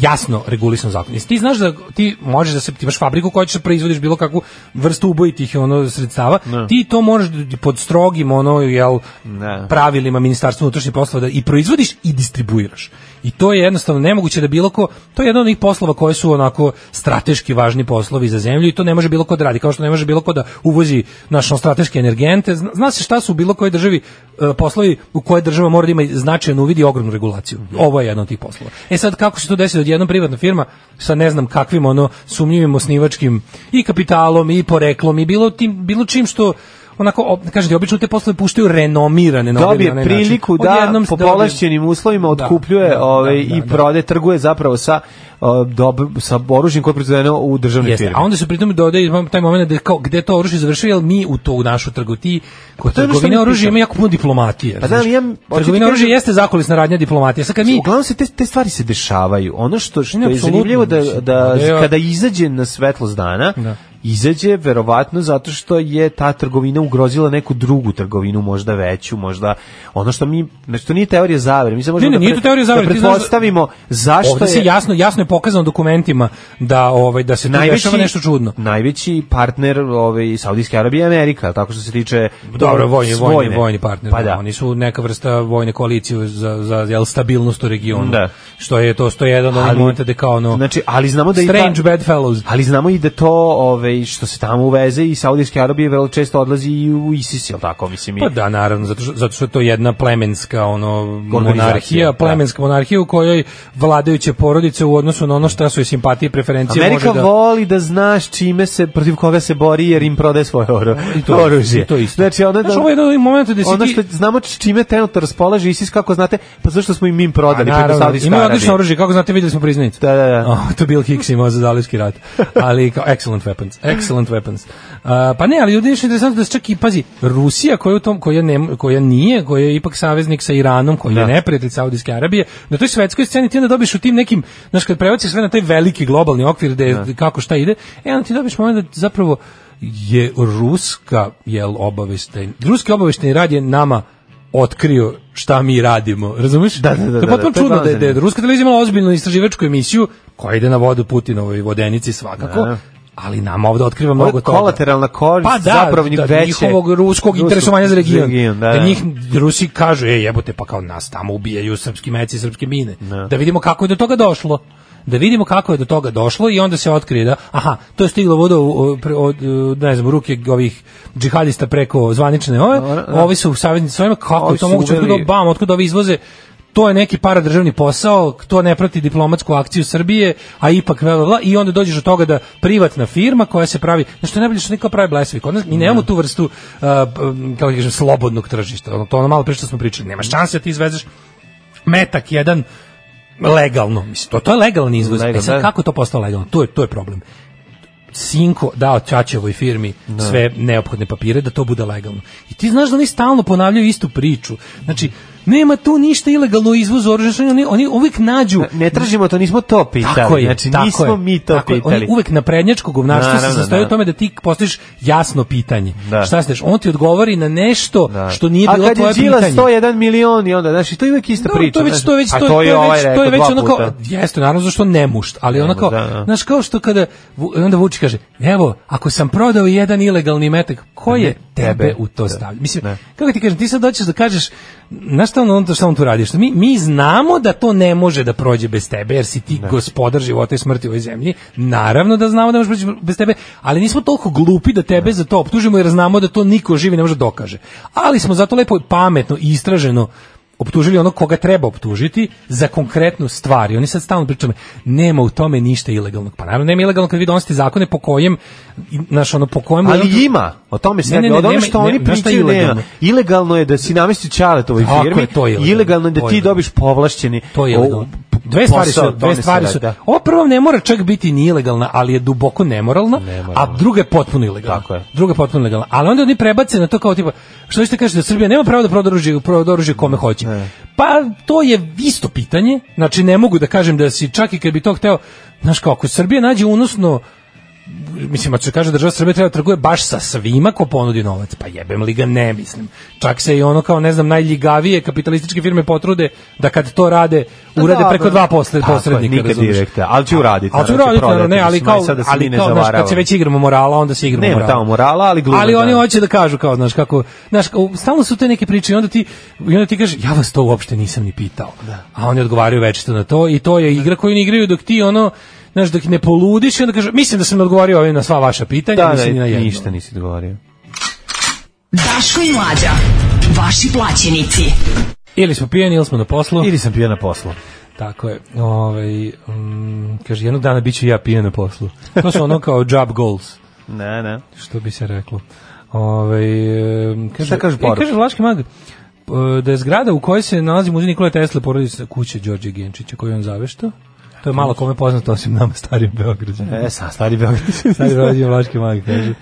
[SPEAKER 6] jasno regulisan zakon. Jesi ti znaš da ti možeš da se ti imaš fabriku koja će proizvodiš bilo kakvu vrstu ubojitih ono sredstava, ti to možeš da- pod strogim ono jel
[SPEAKER 5] Ne.
[SPEAKER 6] pravilima ministarstva unutrašnjih poslova da i proizvodiš i distribuiraš. I to je jednostavno nemoguće da bilo ko, to je jedan od onih poslova koji su onako strateški važni poslovi za zemlju i to ne može bilo ko da radi, kao što ne može bilo ko da uvozi naš strateške energente. Zna, zna se šta su u bilo kojoj državi e, poslovi u kojoj država mora da ima značajan uvid i ogromnu regulaciju. Ovo je jedan od tih poslova. E sad kako se to desi od jedna privatna firma sa ne znam kakvim ono sumnjivim osnivačkim i kapitalom i poreklom i bilo tim bilo čim što onako ob- kažete obično te poslove puštaju renomirane na
[SPEAKER 5] dobije
[SPEAKER 6] onaj način.
[SPEAKER 5] priliku da
[SPEAKER 6] Odjednom
[SPEAKER 5] po
[SPEAKER 6] se dobije-
[SPEAKER 5] povlašćenim uslovima
[SPEAKER 6] Da,
[SPEAKER 5] otkupljuje
[SPEAKER 6] da,
[SPEAKER 5] ovaj
[SPEAKER 6] da,
[SPEAKER 5] i
[SPEAKER 6] da,
[SPEAKER 5] prode trguje zapravo sa o, dob- sa oružjem koje je proizvedeno u državnoj
[SPEAKER 6] Jeste,
[SPEAKER 5] firmi.
[SPEAKER 6] a onda se pritom dodaje i taj moment da kao gde to oružje završuje, jer mi u to u našu trgovini kod
[SPEAKER 5] Pa to je ono što
[SPEAKER 6] trgovine
[SPEAKER 5] mi
[SPEAKER 6] oružja
[SPEAKER 5] pričamo.
[SPEAKER 6] ima jako puno diplomatije.
[SPEAKER 5] Pa da,
[SPEAKER 6] znaš.
[SPEAKER 5] ali ja- hoću ti
[SPEAKER 6] trgovina
[SPEAKER 5] kažem-
[SPEAKER 6] oružja jeste zakulisna radnja diplomatije. Sad kad mi
[SPEAKER 5] Uglavnom se te, te stvari se dešavaju. Ono što, što
[SPEAKER 6] Ne,
[SPEAKER 5] je
[SPEAKER 6] apsolutno,
[SPEAKER 5] zanimljivo da,
[SPEAKER 6] mislim.
[SPEAKER 5] da
[SPEAKER 6] Da je-
[SPEAKER 5] kada izađe na svetlost dana,
[SPEAKER 6] Da.
[SPEAKER 5] izađe verovatno zato što je ta trgovina ugrozila neku drugu trgovinu, možda veću, možda ono što mi, znači to nije teorija zavere, mi se možemo
[SPEAKER 6] ne,
[SPEAKER 5] da,
[SPEAKER 6] nije to teorija zavere,
[SPEAKER 5] da
[SPEAKER 6] ti znaš da-
[SPEAKER 5] pretpostavimo zašto
[SPEAKER 6] Ovde se
[SPEAKER 5] je
[SPEAKER 6] jasno jasno je pokazano dokumentima da ovaj da se tu dešava nešto čudno.
[SPEAKER 5] Najveći partner ovaj Saudijske Arabije je Amerika, tako što se tiče
[SPEAKER 6] Dobro, vojni,
[SPEAKER 5] s
[SPEAKER 6] vojni,
[SPEAKER 5] vojne.
[SPEAKER 6] vojni partner.
[SPEAKER 5] Pa
[SPEAKER 6] da,
[SPEAKER 5] da.
[SPEAKER 6] Oni su neka vrsta vojne koalicije za, za jel, stabilnost u regionu.
[SPEAKER 5] Da.
[SPEAKER 6] Što je to, što je jedan od onih
[SPEAKER 5] Ali-
[SPEAKER 6] momenta da kao ono...
[SPEAKER 5] Znači, ali znamo da i ta-
[SPEAKER 6] Strange bedfellows.
[SPEAKER 5] Ali znamo i da to, ovaj, što se tamo uveze i Saudijske Arabije vrlo često odlazi i u ISIS, jel tako, mislim i...
[SPEAKER 6] Pa da, naravno, zato što, zato što je to jedna plemenska ono,
[SPEAKER 5] Organizacija,
[SPEAKER 6] monarhija,
[SPEAKER 5] da.
[SPEAKER 6] plemenska monarhija u kojoj vladajuće porodice u odnosu na ono šta su i simpatije i preferencije
[SPEAKER 5] Amerika
[SPEAKER 6] može da...
[SPEAKER 5] voli da zna s čime se, protiv koga se bori, jer im prodaje svoje oro,
[SPEAKER 6] I to,
[SPEAKER 5] oružje.
[SPEAKER 6] i to isto.
[SPEAKER 5] Znači, ono da...
[SPEAKER 6] Znaš, ovo je jedan od ovih momenta da si
[SPEAKER 5] ono
[SPEAKER 6] ti-
[SPEAKER 5] što znamo s čime trenutno raspolaže ISIS, kako znate, pa zašto smo im im
[SPEAKER 6] Pa,
[SPEAKER 5] prodali preko
[SPEAKER 6] naravno,
[SPEAKER 5] Saudijske
[SPEAKER 6] imaju odlično
[SPEAKER 5] Arabije.
[SPEAKER 6] oružje, kako znate, videli smo priznanicu.
[SPEAKER 5] Da, da, da.
[SPEAKER 6] O, to Bill Hicks imao za dalijski rat. Ali, kao, excellent weapons, excellent weapons. A, pa ne, ali ljudi je što je interesantno da se čak i, pazi, Rusija koja, je u tom, koja, ne, koja nije, koja je ipak saveznik sa Iranom, koja
[SPEAKER 5] Da.
[SPEAKER 6] je neprijatelj Saudijske Arabije, na toj svetskoj sceni ti onda dobiš u tim nekim, znaš, kad prebaciš sve na taj veliki globalni okvir gde,
[SPEAKER 5] Da.
[SPEAKER 6] kako šta ide, e, onda ti dobiš moment da zapravo je ruska, jel, obaveštajni, ruski obaveštajni rad je nama otkrio šta mi radimo, razumeš?
[SPEAKER 5] Da, da, da,
[SPEAKER 6] To je
[SPEAKER 5] da,
[SPEAKER 6] potpuno
[SPEAKER 5] to je
[SPEAKER 6] čudno da, je-
[SPEAKER 5] zanimljivo.
[SPEAKER 6] da je ruska televizija imala ozbiljnu istraživačku emisiju koja ide na vodu Putinovoj vodenici svakako,
[SPEAKER 5] Da.
[SPEAKER 6] ali nama ovde otkriva
[SPEAKER 5] Ovo je
[SPEAKER 6] mnogo toga.
[SPEAKER 5] kolateralna korist,
[SPEAKER 6] Pa da,
[SPEAKER 5] zapravo
[SPEAKER 6] da,
[SPEAKER 5] veće-
[SPEAKER 6] njihovog ruskog interesovanja za region.
[SPEAKER 5] region, da, da.
[SPEAKER 6] njih Rusi kažu, ej jebote, pa kao nas tamo ubijaju srpski meci i srpske mine. Da vidimo kako je do toga došlo. Da vidimo kako je do toga došlo i onda se otkrije da, aha, to je stiglo voda u- u- pre- od, u, ne znam, u ruke ovih džihadista preko zvanične ove, ovi su saveznici svojima, kako
[SPEAKER 5] Ovi
[SPEAKER 6] je to
[SPEAKER 5] su
[SPEAKER 6] moguće,
[SPEAKER 5] uveli-
[SPEAKER 6] otkud da bam, otkud ovi izvoze, to je neki paradržavni posao, to ne prati diplomatsku akciju Srbije, a ipak bla, bla, bla, i onda dođeš do toga da privatna firma koja se pravi, znači što je najbolje što niko pravi blesavi, kod nas mi nemamo tu vrstu uh, um, kako da kažem slobodnog tržišta. Ono to ono malo pre što smo pričali, nema šanse da ti izvezeš metak jedan legalno, mislim, to, to je legalni izvoz.
[SPEAKER 5] Legal,
[SPEAKER 6] e sad,
[SPEAKER 5] da.
[SPEAKER 6] kako je to postalo legalno? To je, to je problem. Sinko dao Ćaćevoj firmi da sve neophodne papire da to bude legalno. I ti znaš da oni stalno ponavljaju istu priču. Znači, Nema tu ništa ilegalno izvozu oružja, znači oni oni uvek nađu
[SPEAKER 5] Ne tražimo to, nismo to pitali.
[SPEAKER 6] Tako je,
[SPEAKER 5] znači,
[SPEAKER 6] tako
[SPEAKER 5] nismo
[SPEAKER 6] je,
[SPEAKER 5] mi to
[SPEAKER 6] tako je.
[SPEAKER 5] pitali.
[SPEAKER 6] Oni uvek na prednjačko govnarstvo se
[SPEAKER 5] Naravno,
[SPEAKER 6] sastoji u
[SPEAKER 5] da.
[SPEAKER 6] tome da ti postaviš jasno pitanje.
[SPEAKER 5] Da.
[SPEAKER 6] Šta znaš, on ti odgovori na nešto
[SPEAKER 5] Da.
[SPEAKER 6] što nije bilo
[SPEAKER 5] A
[SPEAKER 6] tvoje
[SPEAKER 5] kad je Đila
[SPEAKER 6] pitanje.
[SPEAKER 5] 101 milion i onda, znači, to je uvijek ista
[SPEAKER 6] Da,
[SPEAKER 5] priča.
[SPEAKER 6] to je već
[SPEAKER 5] znaš.
[SPEAKER 6] to je već
[SPEAKER 5] A
[SPEAKER 6] to, je- to je
[SPEAKER 5] ovaj
[SPEAKER 6] već to
[SPEAKER 5] rekao
[SPEAKER 6] je već
[SPEAKER 5] dva
[SPEAKER 6] onako
[SPEAKER 5] puta.
[SPEAKER 6] jeste naravno zašto ne mušt, ali
[SPEAKER 5] Nemušt,
[SPEAKER 6] onako
[SPEAKER 5] da, da.
[SPEAKER 6] znaš kao što kada Vu- onda Vučić kaže evo ako sam prodao jedan ilegalni metak ko je tebe u to stavlja mislim
[SPEAKER 5] da. Ne.
[SPEAKER 6] kako ti kažem ti sad hoćeš da kažeš znaš šta on, on, šta on tu radi što mi, mi znamo da to ne može da prođe bez tebe jer si ti gospodar života i smrti u ovoj zemlji naravno da znamo da ne može proći bez tebe ali nismo toliko glupi da tebe za to optužimo jer znamo da to niko živi ne može da dokaže ali smo zato lepo pametno i istraženo optužili ono koga treba optužiti za konkretnu stvar. I oni sad stalno pričaju, nema u tome ništa ilegalnog. Pa naravno nema ilegalno kad vi donosite zakone po kojem, i, znaš, ono, po kojem...
[SPEAKER 5] Ali ima, o tome se ne,
[SPEAKER 6] Ne, ne,
[SPEAKER 5] ne,
[SPEAKER 6] ne,
[SPEAKER 5] od onoga
[SPEAKER 6] nema-
[SPEAKER 5] što
[SPEAKER 6] ne,
[SPEAKER 5] oni
[SPEAKER 6] znaš šta je
[SPEAKER 5] pričaju
[SPEAKER 6] ilegalno?
[SPEAKER 5] nema. Ilegalno je da si namestio čaletovoj
[SPEAKER 6] Tako
[SPEAKER 5] firmi,
[SPEAKER 6] je, to je ilegalno.
[SPEAKER 5] ilegalno je da
[SPEAKER 6] To je
[SPEAKER 5] ti
[SPEAKER 6] ilegalno.
[SPEAKER 5] dobiš povlašćeni
[SPEAKER 6] To je
[SPEAKER 5] o,
[SPEAKER 6] ilegalno.
[SPEAKER 5] p-
[SPEAKER 6] Dve stvari
[SPEAKER 5] posao,
[SPEAKER 6] su,
[SPEAKER 5] o tome
[SPEAKER 6] dve
[SPEAKER 5] se
[SPEAKER 6] stvari
[SPEAKER 5] radi,
[SPEAKER 6] su.
[SPEAKER 5] da.
[SPEAKER 6] Ovo prvo ne mora čak biti ni ilegalna, ali je duboko nemoralna, a druga je potpuno ilegalna.
[SPEAKER 5] Tako je.
[SPEAKER 6] Druga je potpuno ilegalna. Ali onda oni prebace na to kao tipa, što ćete kažete da Srbija nema pravo da proda oružje, proda oružje kome hoće. Pa to je isto pitanje. Znači ne mogu da kažem da si čak i kad bi to hteo, znaš kako, ako Srbija nađe unosno mislim, ako se kaže država Srbija treba da trguje baš sa svima ko ponudi novac, pa jebem li ga, ne mislim. Čak se i ono kao, ne znam, najljigavije kapitalističke firme potrude da kad to rade, urade
[SPEAKER 5] Da,
[SPEAKER 6] preko
[SPEAKER 5] da.
[SPEAKER 6] dva posle,
[SPEAKER 5] Tako je,
[SPEAKER 6] posrednika.
[SPEAKER 5] nikad
[SPEAKER 6] razumeš.
[SPEAKER 5] direktno, ali će uraditi,
[SPEAKER 6] Ali će
[SPEAKER 5] naravno, će
[SPEAKER 6] uraditi, naravno,
[SPEAKER 5] prodati,
[SPEAKER 6] ne, ali
[SPEAKER 5] mislim,
[SPEAKER 6] kao,
[SPEAKER 5] aj sad da se mi
[SPEAKER 6] ali
[SPEAKER 5] ne
[SPEAKER 6] kao, znaš, kad se
[SPEAKER 5] zavaravamo.
[SPEAKER 6] već igramo morala, onda se igramo
[SPEAKER 5] Nema
[SPEAKER 6] morala.
[SPEAKER 5] tamo morala, ali glume,
[SPEAKER 6] Ali oni
[SPEAKER 5] da.
[SPEAKER 6] hoće da kažu, kao, znaš, kako, znaš, kao, stalno su te neke priče i onda ti, i onda ti kaže, ja vas to uopšte nisam ni pitao.
[SPEAKER 5] Da.
[SPEAKER 6] A oni odgovaraju večito na to i to je igra koju oni igraju dok ti, ono, znaš, dok ne poludiš i onda kaže, mislim da sam odgovorio ovim na sva vaša pitanja,
[SPEAKER 5] Da,
[SPEAKER 6] mislim ni na
[SPEAKER 5] da,
[SPEAKER 6] jedno.
[SPEAKER 5] ništa nisi odgovorio.
[SPEAKER 4] Daško i Mlađa. Vaši plaćenici.
[SPEAKER 6] Ili smo pijeni, ili smo na poslu.
[SPEAKER 5] Ili sam bio na poslu.
[SPEAKER 6] Tako je. Ovaj, mm, kaže, jednog dana bit ću ja pijen na poslu. To su ono kao job goals.
[SPEAKER 5] Ne, ne.
[SPEAKER 6] što bi se reklo. Ove, e, kaže,
[SPEAKER 5] Šta kaže
[SPEAKER 6] e,
[SPEAKER 5] poruka?
[SPEAKER 6] kaže Vlaški mag, e, da je zgrada u kojoj se nalazi muzej Nikole Tesla porodica kuće Đorđe Genčića koju je on zavešta. To je malo kome poznato osim nama starim Beograđanima.
[SPEAKER 5] E, sam stari Beograd.
[SPEAKER 6] Stari rođen Vlaški mag, kaže.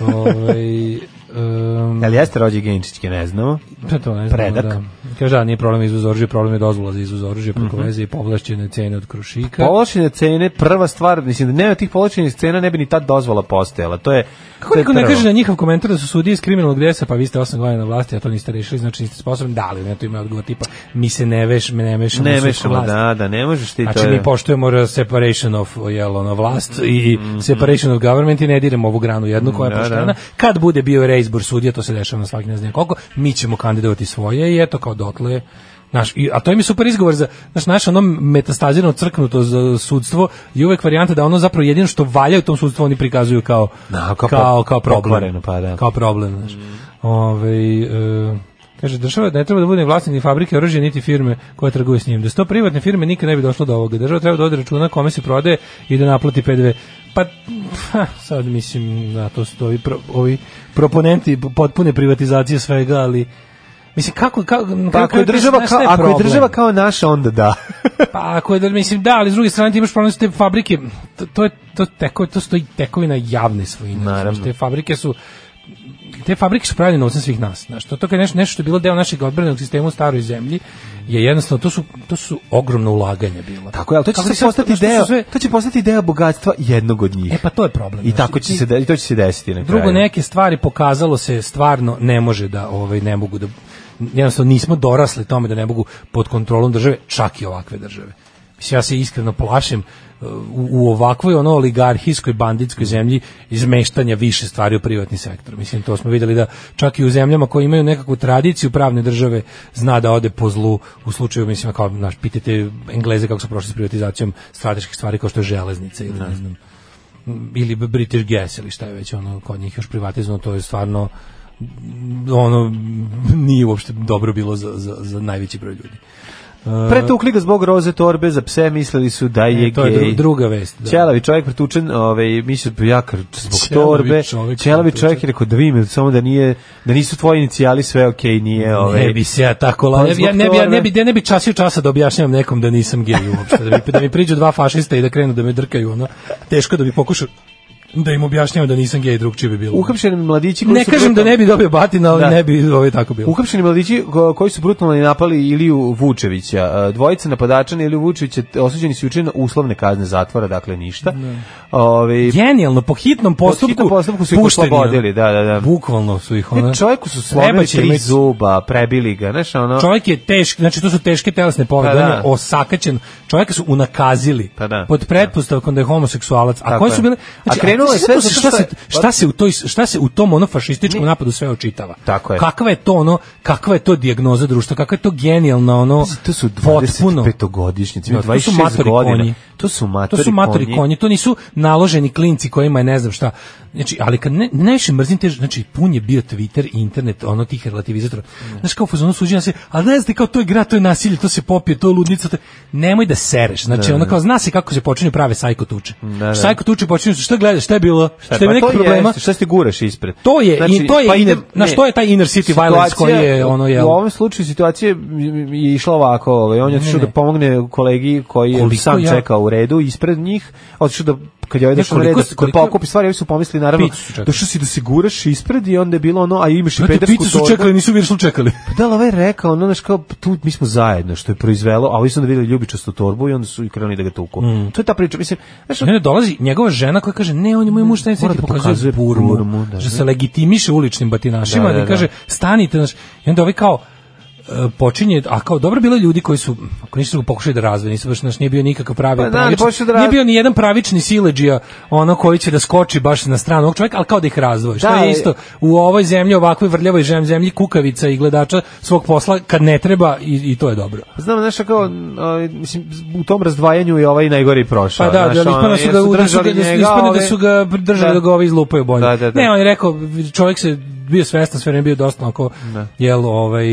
[SPEAKER 6] Ovaj, Ove, um,
[SPEAKER 5] Ali jeste rođe Genčićke, ne znamo.
[SPEAKER 6] to, to ne znamo,
[SPEAKER 5] E, Predak.
[SPEAKER 6] Da. Kaže, da, nije problem izvoz oružja, problem je dozvola za izvoz oružja preko
[SPEAKER 5] Mhm.
[SPEAKER 6] veze i povlašćene cene od krušika.
[SPEAKER 5] Povlačene cene, prva stvar, mislim da nema tih povlačenih cena, ne bi ni ta dozvola postojala. To je
[SPEAKER 6] Kako
[SPEAKER 5] to je
[SPEAKER 6] niko ne
[SPEAKER 5] prvo.
[SPEAKER 6] kaže na njihov komentar da su sudije iz kriminalnog desa, pa vi ste 8 godina na vlasti, a to niste rešili, znači niste sposobni, da ali ne, to ima odgovor tipa, mi se ne, veš, mi ne mešamo u
[SPEAKER 5] Ne
[SPEAKER 6] sudsku
[SPEAKER 5] mešamo,
[SPEAKER 6] vlast.
[SPEAKER 5] da, da, ne možeš ti to.
[SPEAKER 6] Znači,
[SPEAKER 5] je-
[SPEAKER 6] mi poštujemo separation of jel, ono, vlast i separation of government i ne diramo ovu granu jednu koja je
[SPEAKER 5] Mhm. Da, da.
[SPEAKER 6] poštena. Kad bude bio reizbor sudija, to se dešava na svaki ne znam koliko, mi ćemo kandidovati svoje i eto kao dotle Naš, i, a to im je super izgovor za naš, naš ono metastazirano crknuto za sudstvo i uvek varijanta da ono zapravo jedino što valja u tom sudstvu oni prikazuju kao,
[SPEAKER 5] Da,
[SPEAKER 6] kao,
[SPEAKER 5] kao
[SPEAKER 6] kao,
[SPEAKER 5] po-
[SPEAKER 6] problem.
[SPEAKER 5] pokvareno, pa da.
[SPEAKER 6] Kao problem, znaš. Ovaj, e, kaže, država ne treba da bude vlasnik ni fabrike oružja, niti firme koja trguje s njim. Da sto privatne firme nikad ne bi došlo do ovoga. Država treba da ode računa kome se prodaje i da naplati PDV. Pa, ha, sad mislim, da, to su to ovi, pro- ovi proponenti potpune privatizacije svega, ali... Mislim, kako, kako,
[SPEAKER 5] Pa ako je država kao, ako je država kao naša, onda da.
[SPEAKER 6] pa ako je da mislim da, ali s druge strane ti imaš problem s te fabrike. To, to je to teko, to stoji tekovina javne svojine.
[SPEAKER 5] Naravno.
[SPEAKER 6] Znaš, Te fabrike su te fabrike su pravljene novcem svih nas. Znači, to, to je nešto, nešto što je bilo deo našeg odbranjenog sistema u staroj zemlji, je jednostavno, to su, to su ogromna ulaganja bila.
[SPEAKER 5] Tako je, ali to će
[SPEAKER 6] Kako
[SPEAKER 5] sve
[SPEAKER 6] ti sad-
[SPEAKER 5] postati
[SPEAKER 6] što su
[SPEAKER 5] deo,
[SPEAKER 6] sve-
[SPEAKER 5] to će postati deo bogatstva jednog od njih.
[SPEAKER 6] E pa to je problem.
[SPEAKER 5] I
[SPEAKER 6] znaš,
[SPEAKER 5] tako će
[SPEAKER 6] ti-
[SPEAKER 5] se de- i to će se desiti na
[SPEAKER 6] Drugo
[SPEAKER 5] kraju.
[SPEAKER 6] neke stvari pokazalo se stvarno ne može da ovaj ne mogu da jednostavno nismo dorasli tome da ne mogu pod kontrolom države, čak i ovakve države. Mislim ja se iskreno plašim uh, u, u ovakvoj ono oligarhijskoj banditskoj zemlji izmeštanja više stvari u privatni sektor. Mislim to smo videli da čak i u zemljama koje imaju nekakvu tradiciju pravne države zna da ode po zlu u slučaju mislim kao naš pitajte Engleze kako su prošli s privatizacijom strateških stvari kao što je železnica ili ne znam ili British Gas ili šta je već ono kod njih još privatizovano to je stvarno mm, ono nije uopšte dobro bilo za, za, za najveći broj ljudi.
[SPEAKER 5] Pretukli ga zbog roze torbe za pse, mislili su da je
[SPEAKER 6] E, to je
[SPEAKER 5] gej.
[SPEAKER 6] dru- druga vest. Da.
[SPEAKER 5] Ćelavi čovjek pretučen, ovaj mislim jakar zbog
[SPEAKER 6] Ćelavi
[SPEAKER 5] torbe. Ćelavi
[SPEAKER 6] čovjek
[SPEAKER 5] čovjek
[SPEAKER 6] pretučen.
[SPEAKER 5] je rekao da vi mi samo da nije da nisu tvoji inicijali sve okej, nije ovaj.
[SPEAKER 6] Ne bi se ja tako la...
[SPEAKER 5] Pa
[SPEAKER 6] ne, bi- ja, ne, bi, ja, ne,
[SPEAKER 5] zbog
[SPEAKER 6] bi, ja ne bi časio časa da objašnjavam nekom da nisam gej uopšte. Da mi, da mi priđu dva fašista i da krenu da me drkaju. Ono. Teško da bi pokušao da im objašnjavam da nisam gej, drugčije bi bilo.
[SPEAKER 5] Uhapšeni mladići koji
[SPEAKER 6] Ne
[SPEAKER 5] su
[SPEAKER 6] kažem da
[SPEAKER 5] brutalno-
[SPEAKER 6] ne bi dobio batina, ali
[SPEAKER 5] Da.
[SPEAKER 6] ne bi ovaj tako bilo.
[SPEAKER 5] Uhapšeni mladići ko- koji su brutalno napali Iliju Vučevića. E, Dvojica napadača na Iliju Vučevića t- osuđeni su juče na uslovne kazne zatvora, dakle ništa.
[SPEAKER 6] Da.
[SPEAKER 5] Ove,
[SPEAKER 6] Genijalno, po hitnom postupku,
[SPEAKER 5] hitnom postupku su ih
[SPEAKER 6] pušteni, ono.
[SPEAKER 5] oslobodili, da, da, da.
[SPEAKER 6] Bukvalno su ih ona.
[SPEAKER 5] Ne, čovjeku su slomili
[SPEAKER 6] Treba će
[SPEAKER 5] tri
[SPEAKER 6] imati-
[SPEAKER 5] zuba, prebili ga, znaš, ono...
[SPEAKER 6] Čovjek je teški, znači to su teške telesne povrede,
[SPEAKER 5] Pa
[SPEAKER 6] on
[SPEAKER 5] da.
[SPEAKER 6] je osakaćen, čovjeka su unakazili
[SPEAKER 5] Pa da.
[SPEAKER 6] pod pretpostavkom da je homoseksualac. A
[SPEAKER 5] Tako
[SPEAKER 6] koje
[SPEAKER 5] je.
[SPEAKER 6] su bile?
[SPEAKER 5] A krenulo
[SPEAKER 6] ako
[SPEAKER 5] je
[SPEAKER 6] se
[SPEAKER 5] sve
[SPEAKER 6] zapusti,
[SPEAKER 5] zato
[SPEAKER 6] šta
[SPEAKER 5] što
[SPEAKER 6] se
[SPEAKER 5] je-
[SPEAKER 6] šta se u toj šta se u tom ono fašističkom napadu sve očitava.
[SPEAKER 5] Tako je.
[SPEAKER 6] Kakva je to ono, kakva je to dijagnoza društva, kakva je to genijalna ono
[SPEAKER 5] To su
[SPEAKER 6] potpuno
[SPEAKER 5] 25-godišnjici, imaju
[SPEAKER 6] to su
[SPEAKER 5] 26
[SPEAKER 6] matori
[SPEAKER 5] godina.
[SPEAKER 6] konji.
[SPEAKER 5] To su matori
[SPEAKER 6] to su matori
[SPEAKER 5] konji.
[SPEAKER 6] konji. to nisu naloženi klinci kojima je ne znam šta. Znači, ali kad ne, najviše mrzim te, znači, pun je bio Twitter, internet, ono tih relativizatora. Znaš, kao fuzonu suđenja se, ali ne znate kao to je grad, to je nasilje, to se popije, to je ludnica, to je... nemoj da sereš. Znači, ono kao, zna se kako se počinju prave sajko tuče.
[SPEAKER 5] da.
[SPEAKER 6] Sajko tuče počinju, se, šta gledaš, šta je bilo, šta,
[SPEAKER 5] Pa
[SPEAKER 6] je
[SPEAKER 5] to
[SPEAKER 6] neki problema.
[SPEAKER 5] jeste, šta ste guraš ispred?
[SPEAKER 6] To je- i to je inner-
[SPEAKER 5] idem-
[SPEAKER 6] znaš,
[SPEAKER 5] ne,
[SPEAKER 6] to je taj inner city
[SPEAKER 5] Znači, pa situacija-
[SPEAKER 6] violence koji je, ono, jel?
[SPEAKER 5] U ovom slučaju situacija je- je išla ovako, ovaj, on je otišao da
[SPEAKER 6] ne.
[SPEAKER 5] pomogne kolegi koji je
[SPEAKER 6] Koliko
[SPEAKER 5] sam
[SPEAKER 6] ja-
[SPEAKER 5] čekao u redu, ispred njih, otišao da kad je ovaj
[SPEAKER 6] Ne,
[SPEAKER 5] došao na red,
[SPEAKER 6] koliko-
[SPEAKER 5] da- da
[SPEAKER 6] koliko-
[SPEAKER 5] pokupi stvari, ovi su pomislili, naravno,
[SPEAKER 6] Picu su čekali.
[SPEAKER 5] došao si da se guraš ispred i onda je bilo ono, a imaš i
[SPEAKER 6] Brate,
[SPEAKER 5] pedersku
[SPEAKER 6] picu Znači, su
[SPEAKER 5] torbu.
[SPEAKER 6] čekali, nisu viršlu čekali.
[SPEAKER 5] Pa da, ali ovaj je rekao, ono, znaš, kao, tu mi smo zajedno, što je proizvelo, a ovi su onda videli ljubičastu torbu i onda su i krenuli da ga tuku. To je ta priča, mislim, znaš,
[SPEAKER 6] Mm. Ne, ne, dolazi njegova žena koja kaže, ne, on je moj muž, taj
[SPEAKER 5] Mora
[SPEAKER 6] ti
[SPEAKER 5] da
[SPEAKER 6] pokazuje
[SPEAKER 5] pokazuje
[SPEAKER 6] burmu,
[SPEAKER 5] burmu, da.
[SPEAKER 6] da, se legitimiše uličnim batinašima,
[SPEAKER 5] Da,
[SPEAKER 6] da,
[SPEAKER 5] da, da.
[SPEAKER 6] kaže, stanite, znaš, i onda ovaj kao, e, počinje, a kao dobro bilo je ljudi koji su, ako nisu ga pokušali da razve, nisu baš, znaš, nije bio nikakav pravi,
[SPEAKER 5] Pa da, ali
[SPEAKER 6] pravični-
[SPEAKER 5] počeo da raz-
[SPEAKER 6] nije bio ni jedan pravični sileđija, ono koji će da skoči baš na stranu ovog čoveka, ali kao da ih razdvoji, što
[SPEAKER 5] Da, ali-
[SPEAKER 6] je isto, u ovoj zemlji, ovakvoj vrljavoj žem zemlji, kukavica i gledača svog posla, kad ne treba, i, i to je dobro.
[SPEAKER 5] Znam, znaš, kao, a, mislim, u tom razdvajanju je ovaj najgori prošao.
[SPEAKER 6] Pa da, da,
[SPEAKER 5] znaš, ono,
[SPEAKER 6] ispane su
[SPEAKER 5] jer
[SPEAKER 6] ga, da su,
[SPEAKER 5] držali
[SPEAKER 6] ga- da su,
[SPEAKER 5] njega,
[SPEAKER 6] ispane da
[SPEAKER 5] ali-
[SPEAKER 6] su ga držali
[SPEAKER 5] Da.
[SPEAKER 6] da, ga ovi izlupaju bolje.
[SPEAKER 5] Da, da, da.
[SPEAKER 6] Ne, on je rekao, čovjek se bio svestan, sve vreme bio dosta onako, jel, ovaj,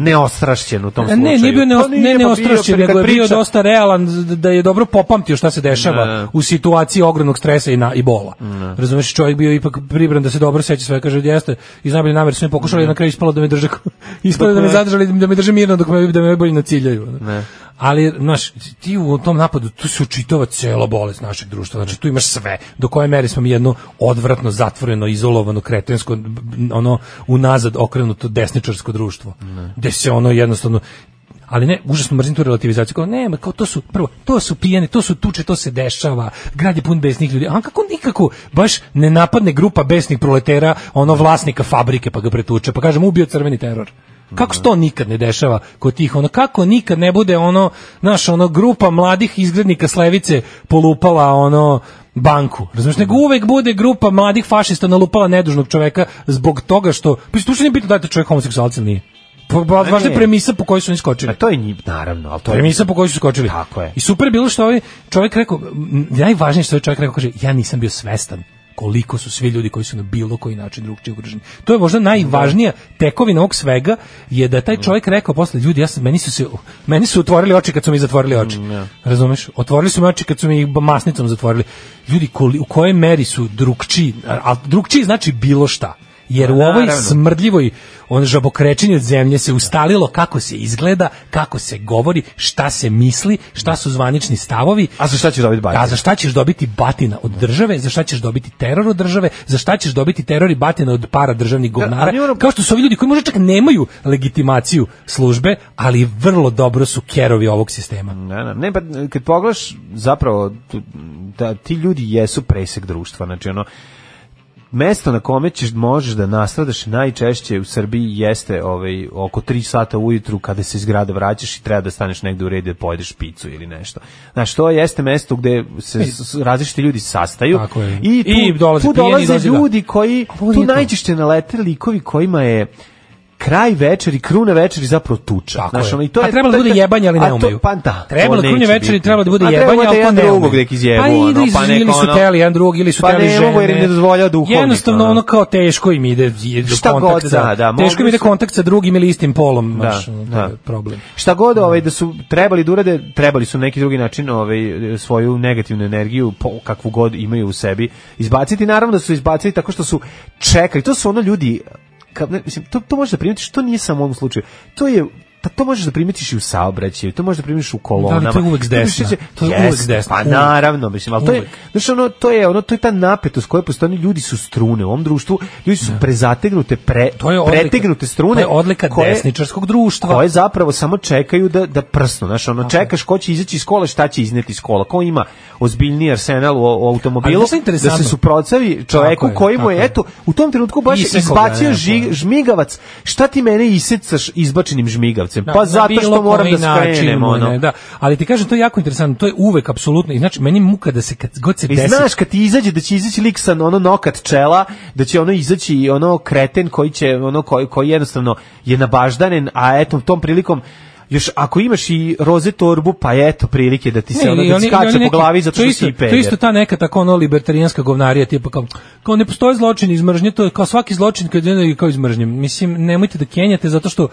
[SPEAKER 5] neostrašćen u tom
[SPEAKER 6] E,
[SPEAKER 5] Da. slučaju.
[SPEAKER 6] ne, nije bio
[SPEAKER 5] Pa
[SPEAKER 6] neos,
[SPEAKER 5] nije,
[SPEAKER 6] ne
[SPEAKER 5] pa bio,
[SPEAKER 6] neostrašćen,
[SPEAKER 5] kad
[SPEAKER 6] nego je bio
[SPEAKER 5] priča-
[SPEAKER 6] dosta realan d- da je dobro popamtio šta se dešava
[SPEAKER 5] Da, da.
[SPEAKER 6] u situaciji ogromnog stresa i, na, i bola. Razumeš, čovjek bio ipak pribran da se dobro seća sve, kaže, jeste, iz najbolje namere su mi pokušali, na kraju ispalo da me drže, ispalo da me zadržali, da me drže mirno dok me, da me bolje naciljaju.
[SPEAKER 5] Ne.
[SPEAKER 6] Ali, znaš, ti u tom napadu, tu se učitava cela bolest našeg društva, znači tu imaš sve, do koje mere smo mi jedno odvratno, zatvoreno, izolovano, kretensko, b- b- ono, unazad okrenuto desničarsko društvo, gde se ono jednostavno, ali ne, užasno mrzim tu relativizaciju, kao nema, kao to su, prvo, to su pijene, to su tuče, to se dešava, grad je pun besnih ljudi, a kako nikako, baš ne napadne grupa besnih proletera, ono vlasnika fabrike pa ga pretuče, pa kažem, ubio crveni teror. Kako se to nikad ne dešava kod tih ono kako nikad ne bude ono naš ono grupa mladih izgrednika s levice polupala ono banku. Razumeš, nego uvek bude grupa mladih fašista nalupala nedužnog čoveka zbog toga što pa što uopšte nije bitno da li je čovjek homoseksualac ili nije. Pa, ba-
[SPEAKER 5] A
[SPEAKER 6] važna
[SPEAKER 5] nije.
[SPEAKER 6] je premisa po kojoj su oni
[SPEAKER 5] Pa
[SPEAKER 6] skočili.
[SPEAKER 5] to je njih, naravno, ali to je...
[SPEAKER 6] Premisa po kojoj su skočili.
[SPEAKER 5] Tako je.
[SPEAKER 6] I super je bilo što ovaj čovjek rekao, m, najvažnije što je čovjek rekao, kaže, ja nisam bio svestan koliko su svi ljudi koji su na bilo koji način drugčije ugroženi. To je možda najvažnija
[SPEAKER 5] Da.
[SPEAKER 6] tekovina ovog svega je da je taj čovjek rekao posle ljudi ja sam, meni su se meni su otvorili oči kad su mi zatvorili oči.
[SPEAKER 5] Mm, da.
[SPEAKER 6] Razumeš? Otvorili su mi oči kad su mi ih masnicom zatvorili. Ljudi koli, u kojoj meri su drugčiji, a, a drugčiji znači bilo šta. Jer u ovoj
[SPEAKER 5] Pa naravno.
[SPEAKER 6] smrdljivoj on žabokrečenje zemlje
[SPEAKER 5] Da.
[SPEAKER 6] se ustalilo kako se izgleda, kako se govori, šta se misli, šta su zvanični stavovi.
[SPEAKER 5] A za šta ćeš dobiti batina?
[SPEAKER 6] A za šta ćeš dobiti batina od države, za šta ćeš dobiti teror od države, za šta ćeš dobiti teror i batina od para državnih
[SPEAKER 5] Da, ali ono-
[SPEAKER 6] govnara. Kao što su ovi ljudi koji možda čak nemaju legitimaciju službe, ali vrlo dobro su kerovi ovog sistema.
[SPEAKER 5] Ne, ne, ne, pa kad pogledaš, zapravo, tu- da, ti ljudi jesu presek društva, znači ono, mesto na kome ćeš, možeš da nastradaš najčešće u Srbiji jeste ovaj, oko 3 sata ujutru kada se iz grada vraćaš i treba da staneš negde u redu da pojedeš picu ili nešto. Znači, to jeste mesto gde se s- s- različiti ljudi sastaju
[SPEAKER 6] E, Tako je.
[SPEAKER 5] i tu,
[SPEAKER 6] I dolaze
[SPEAKER 5] tu
[SPEAKER 6] pijeni,
[SPEAKER 5] dolaze
[SPEAKER 6] dolaze, da.
[SPEAKER 5] ljudi koji,
[SPEAKER 6] A ovo
[SPEAKER 5] tu
[SPEAKER 6] nije to.
[SPEAKER 5] najčešće nalete likovi kojima je kraj večeri, kruna večeri zapravo tuča.
[SPEAKER 6] Tako
[SPEAKER 5] Znaš,
[SPEAKER 6] je.
[SPEAKER 5] ono, i
[SPEAKER 6] to
[SPEAKER 5] je-
[SPEAKER 6] a trebalo da
[SPEAKER 5] to je-
[SPEAKER 6] bude jebanje, ali
[SPEAKER 5] a
[SPEAKER 6] ne
[SPEAKER 5] to-
[SPEAKER 6] umeju.
[SPEAKER 5] Pa da.
[SPEAKER 6] trebalo
[SPEAKER 5] to
[SPEAKER 6] da krune
[SPEAKER 5] neće
[SPEAKER 6] večeri,
[SPEAKER 5] biti.
[SPEAKER 6] trebalo da bude
[SPEAKER 5] A
[SPEAKER 6] jebanje,
[SPEAKER 5] da
[SPEAKER 6] ali to
[SPEAKER 5] jedan
[SPEAKER 6] ne
[SPEAKER 5] drugog
[SPEAKER 6] umeju.
[SPEAKER 5] nek izjebu,
[SPEAKER 6] Pa ili
[SPEAKER 5] ono,
[SPEAKER 6] iz-
[SPEAKER 5] pa neka
[SPEAKER 6] ili su
[SPEAKER 5] ono-
[SPEAKER 6] teli jedan drugog, ili su
[SPEAKER 5] Pa
[SPEAKER 6] teli
[SPEAKER 5] ne
[SPEAKER 6] žene.
[SPEAKER 5] mogu jer im ne dozvoljava da duhovnik,
[SPEAKER 6] Jednostavno
[SPEAKER 5] ono.
[SPEAKER 6] ono kao teško im ide ide do
[SPEAKER 5] Šta
[SPEAKER 6] kontakta.
[SPEAKER 5] god, da, da,
[SPEAKER 6] teško im
[SPEAKER 5] mogli
[SPEAKER 6] ide
[SPEAKER 5] su-
[SPEAKER 6] kontakt sa drugim ili istim polom, baš,
[SPEAKER 5] Da,
[SPEAKER 6] ono, to
[SPEAKER 5] da.
[SPEAKER 6] je problem.
[SPEAKER 5] Šta god ovaj, da su trebali da urade, trebali su na neki drugi način ovaj, svoju negativnu energiju, po, kakvu god imaju u sebi, izbaciti. Naravno da su izbacili tako što su da čekali. To su ono ljudi, ka, ne, mislim, to, to možete primiti, što nije samo u ovom slučaju. To je ta, to možeš da primetiš i u saobraćaju, to možeš da primetiš u kolonama.
[SPEAKER 6] Da, ali to je uvek s desna.
[SPEAKER 5] Mislim,
[SPEAKER 6] To je
[SPEAKER 5] jeste,
[SPEAKER 6] uvek s desna,
[SPEAKER 5] Pa
[SPEAKER 6] uvek.
[SPEAKER 5] naravno, mislim, ali to je,
[SPEAKER 6] Uvek.
[SPEAKER 5] znaš, ono, to je, ono, to je ta napetost koja postoji, ljudi su strune u ovom društvu, ljudi su prezategnute, pre,
[SPEAKER 6] Da. To je odlika-
[SPEAKER 5] pretegnute strune.
[SPEAKER 6] to je odlika
[SPEAKER 5] koje-
[SPEAKER 6] desničarskog društva.
[SPEAKER 5] Koje zapravo samo čekaju da, da prsnu, znaš, ono, čekaš ko će izaći iz kola, šta će izneti iz kola, ko ima ozbiljni arsenal u, u automobilu,
[SPEAKER 6] Ali znaš šta je
[SPEAKER 5] da
[SPEAKER 6] interesantno?
[SPEAKER 5] se suprotstavi čoveku
[SPEAKER 6] Tako je,
[SPEAKER 5] koji mu je,
[SPEAKER 6] tako je.
[SPEAKER 5] eto, u tom trenutku baš
[SPEAKER 6] Isekao ga,
[SPEAKER 5] izbacio
[SPEAKER 6] ne,
[SPEAKER 5] žig,
[SPEAKER 6] pa.
[SPEAKER 5] žmigavac. Šta ti mene isecaš izbačenim žmigavcem?
[SPEAKER 6] Na-
[SPEAKER 5] pa
[SPEAKER 6] na
[SPEAKER 5] zato što
[SPEAKER 6] bilo
[SPEAKER 5] moram da
[SPEAKER 6] koji način,
[SPEAKER 5] skrenem,
[SPEAKER 6] moj, ne,
[SPEAKER 5] ono.
[SPEAKER 6] Da, ali ti kažem, to je jako interesantno, to je uvek apsolutno, i znači, meni muka da se kad god se
[SPEAKER 5] I
[SPEAKER 6] desi
[SPEAKER 5] znaš kad ti izađe da će izaći lik sa ono nokat čela, da će ono izaći i ono kreten koji će ono koji koji jednostavno je nabaždanen, a eto tom prilikom još ako imaš i roze torbu, pa eto prilike da ti se
[SPEAKER 6] Ne,
[SPEAKER 5] ono
[SPEAKER 6] ili
[SPEAKER 5] da ti
[SPEAKER 6] oni-
[SPEAKER 5] skače
[SPEAKER 6] ili
[SPEAKER 5] po
[SPEAKER 6] oni neki-
[SPEAKER 5] glavi zato
[SPEAKER 6] to
[SPEAKER 5] što
[SPEAKER 6] isto-
[SPEAKER 5] si i
[SPEAKER 6] To
[SPEAKER 5] peder.
[SPEAKER 6] isto ta neka tako ono libertarijanska govnarija, tipa kao, kao ne postoje zločin iz mržnje, to je kao svaki zločin kad je kao iz mržnje. Mislim, nemojte da kenjate zato što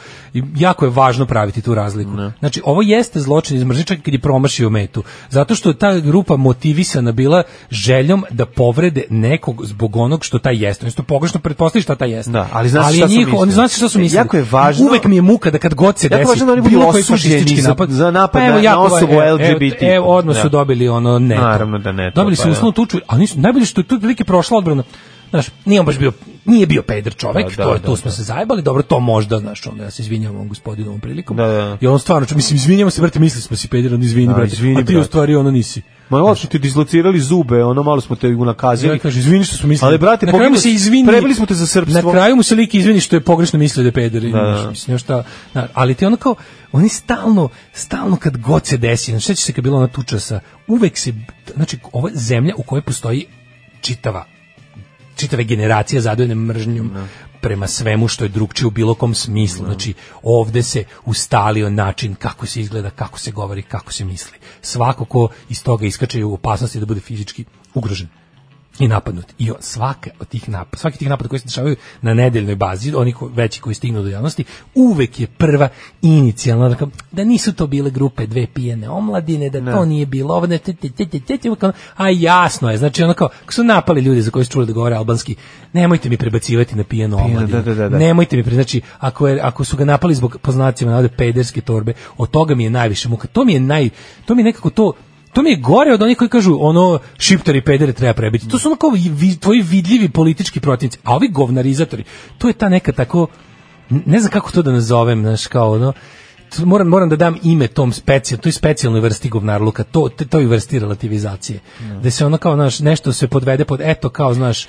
[SPEAKER 6] jako je važno praviti tu razliku. Znači, ovo jeste zločin iz mržnje čak i kad je promašio metu. Zato što je ta grupa motivisana bila željom da povrede nekog zbog onog što taj jeste. Oni su to pogrešno pretpostavili šta taj jeste.
[SPEAKER 5] Da, ali znaš šta
[SPEAKER 6] je
[SPEAKER 5] su
[SPEAKER 6] njihovo-
[SPEAKER 5] mislili.
[SPEAKER 6] znaš šta su mislili.
[SPEAKER 5] Jako je važno-
[SPEAKER 6] Uvek mi je muka da kad god se
[SPEAKER 5] Jako je
[SPEAKER 6] desi.
[SPEAKER 5] važno da oni budu
[SPEAKER 6] bilo koji
[SPEAKER 5] osuđeni
[SPEAKER 6] fašistički Pa
[SPEAKER 5] za- za napad
[SPEAKER 6] evo,
[SPEAKER 5] na- na
[SPEAKER 6] jako va-
[SPEAKER 5] osobu
[SPEAKER 6] evo-
[SPEAKER 5] LGBT.
[SPEAKER 6] Evo, evo e, odmah su
[SPEAKER 5] Da.
[SPEAKER 6] dobili ono ne. to.
[SPEAKER 5] Naravno da ne, to
[SPEAKER 6] Dobili
[SPEAKER 5] pa
[SPEAKER 6] su
[SPEAKER 5] da.
[SPEAKER 6] uslovnu tuču, ali nisu najbolje što je tu otprilike prošla odbrana. Znaš, nije on baš bio nije bio peder čovek,
[SPEAKER 5] Da, da,
[SPEAKER 6] to je
[SPEAKER 5] da,
[SPEAKER 6] tu smo se zajebali, dobro, to možda, znaš, onda ja se izvinjavam ovom gospodinu ovom prilikom.
[SPEAKER 5] Da, da.
[SPEAKER 6] I on stvarno, mislim, izvinjamo se, brate, mislili smo si peder, on izvini,
[SPEAKER 5] Da,
[SPEAKER 6] brate,
[SPEAKER 5] izvini,
[SPEAKER 6] a ti u
[SPEAKER 5] brate.
[SPEAKER 6] stvari ono nisi.
[SPEAKER 5] Ma ovo su ti dislocirali zube, ono malo smo te unakazili.
[SPEAKER 6] Ja kaže, izvini što smo mislili.
[SPEAKER 5] Ali, brate,
[SPEAKER 6] na kraju mu
[SPEAKER 5] pobili-
[SPEAKER 6] se izvini.
[SPEAKER 5] prebili smo te za srpstvo.
[SPEAKER 6] Na kraju mu se lik izvini što je pogrešno mislio da je peder. Da,
[SPEAKER 5] da.
[SPEAKER 6] da. Mislim, još šta, na, ali ti ono kao, oni stalno, stalno kad god se desi, znači seća se kad je bila ona tuča sa, uvek se, znači, ovo je zemlja u kojoj postoji čitava čitave generacije zadojene mržnjom
[SPEAKER 5] Da.
[SPEAKER 6] prema svemu što je drugčije u bilo kom smislu. Znači, ovde se ustalio način kako se izgleda, kako se govori, kako se misli. Svako ko iz toga iskače je u opasnosti da bude fizički ugrožen i napadnut. I o- svaka od tih napada, svaki od tih napada koji se dešavaju na nedeljnoj bazi, oni ko, veći koji stignu do javnosti, uvek je prva inicijalna da, kao, da nisu to bile grupe dve pijene omladine, da to nije bilo ovo, ne, te, te, te, te, te, te, uvek ono, a jasno je, znači ono kao, kako su napali ljudi za koji su čuli da govore albanski, nemojte mi prebacivati na pijenu omladinu,
[SPEAKER 5] da, da, da, da.
[SPEAKER 6] nemojte mi, pre- znači, ako, je, ako su ga napali zbog poznacima navode pederske torbe, od toga mi je najviše muka, to mi je naj, to mi je nekako to, To mi je gore od onih koji kažu ono šiptari pedere treba prebiti. To su onako vi, tvoji vidljivi politički protivnici, a ovi govnarizatori, to je ta neka tako n- ne znam kako to da nazovem, znaš, kao ono t- moram moram da dam ime tom specijal, toj specijalnoj vrsti govnarluka, to te- toj vrsti relativizacije. Da se ono kao znaš nešto se podvede pod eto kao znaš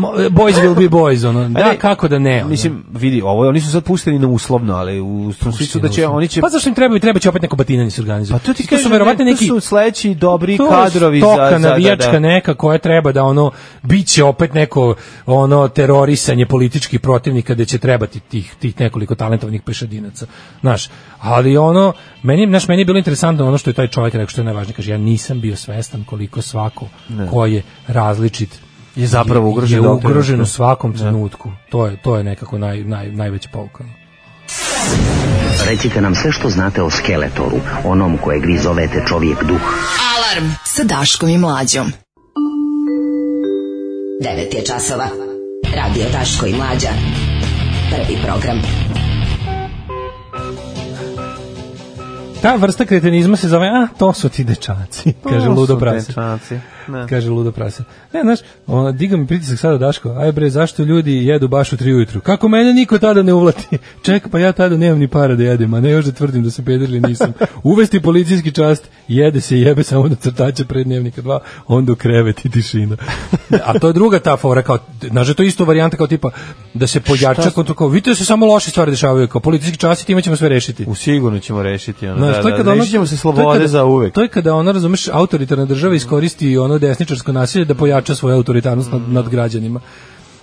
[SPEAKER 6] mo- e, boys will be boys ono. Da
[SPEAKER 5] Ajde,
[SPEAKER 6] kako da ne. Ono.
[SPEAKER 5] Mislim, vidi, ovo je- oni su sad pušteni na uslovno, ali u smislu da će oni će
[SPEAKER 6] Pa zašto im trebaju? Treba će opet neko batinanje se
[SPEAKER 5] Pa
[SPEAKER 6] organizovati.
[SPEAKER 5] to ti
[SPEAKER 6] to su
[SPEAKER 5] kažem,
[SPEAKER 6] verovatno
[SPEAKER 5] ne,
[SPEAKER 6] neki
[SPEAKER 5] to su sledeći dobri
[SPEAKER 6] to je
[SPEAKER 5] kadrovi za
[SPEAKER 6] stoka
[SPEAKER 5] za
[SPEAKER 6] navijačka
[SPEAKER 5] da, da.
[SPEAKER 6] neka koja treba da ono biće opet neko ono terorisanje političkih protivnika da će trebati tih tih nekoliko talentovanih pešadinaca. Znaš, ali ono meni znaš, meni je bilo interesantno ono što je taj čovjek rekao što je najvažnije kaže ja nisam bio svestan koliko svako ko je različit
[SPEAKER 5] Je zapravo ugrožen
[SPEAKER 6] je
[SPEAKER 5] u ovom
[SPEAKER 6] ugrožen
[SPEAKER 5] trenutku. Da.
[SPEAKER 6] u svakom trenutku. To je to je nekako naj naj najveća pouka.
[SPEAKER 9] Recite nam sve što znate o Skeletoru, onom kojeg vi zovete čovjek duh.
[SPEAKER 4] Alarm sa Daškom i Mlađom.
[SPEAKER 9] 9 je časova. Radio Daško i Mlađa. Prvi program.
[SPEAKER 6] Ta vrsta kretenizma se zove, a, to su ti dečaci, kaže
[SPEAKER 5] da, To su
[SPEAKER 6] ludo prase.
[SPEAKER 5] dečaci, ne.
[SPEAKER 6] Kaže ludo prase. Ne, znaš, ona, diga mi pritisak sada Daško, aj bre, zašto ljudi jedu baš u tri ujutru? Kako mene niko tada ne uvlati? Ček, pa ja tada nemam ni para da jedem, a ne još da tvrdim da sam peder ili nisam. Uvesti policijski čast, jede se jebe samo do crtača pred dnevnika dva, onda u krevet i tišina. a to je druga ta fora, kao, znaš, to je isto varijanta kao tipa, da se pojača kontrol, kao, vidite da se samo loše stvari dešavaju, kao policijski čast i time ćemo sve rešiti.
[SPEAKER 5] U sigurno ćemo rešiti ono.
[SPEAKER 6] Znaš,
[SPEAKER 5] da,
[SPEAKER 6] to je
[SPEAKER 5] da,
[SPEAKER 6] kada ono-
[SPEAKER 5] rešit ćemo se
[SPEAKER 6] to je
[SPEAKER 5] slobode
[SPEAKER 6] kada-
[SPEAKER 5] za uvek.
[SPEAKER 6] To je kada ono, razumeš, autoritarna država iskoristi ono desničarsko nasilje da pojača svoju autoritarnost nad, nad građanima.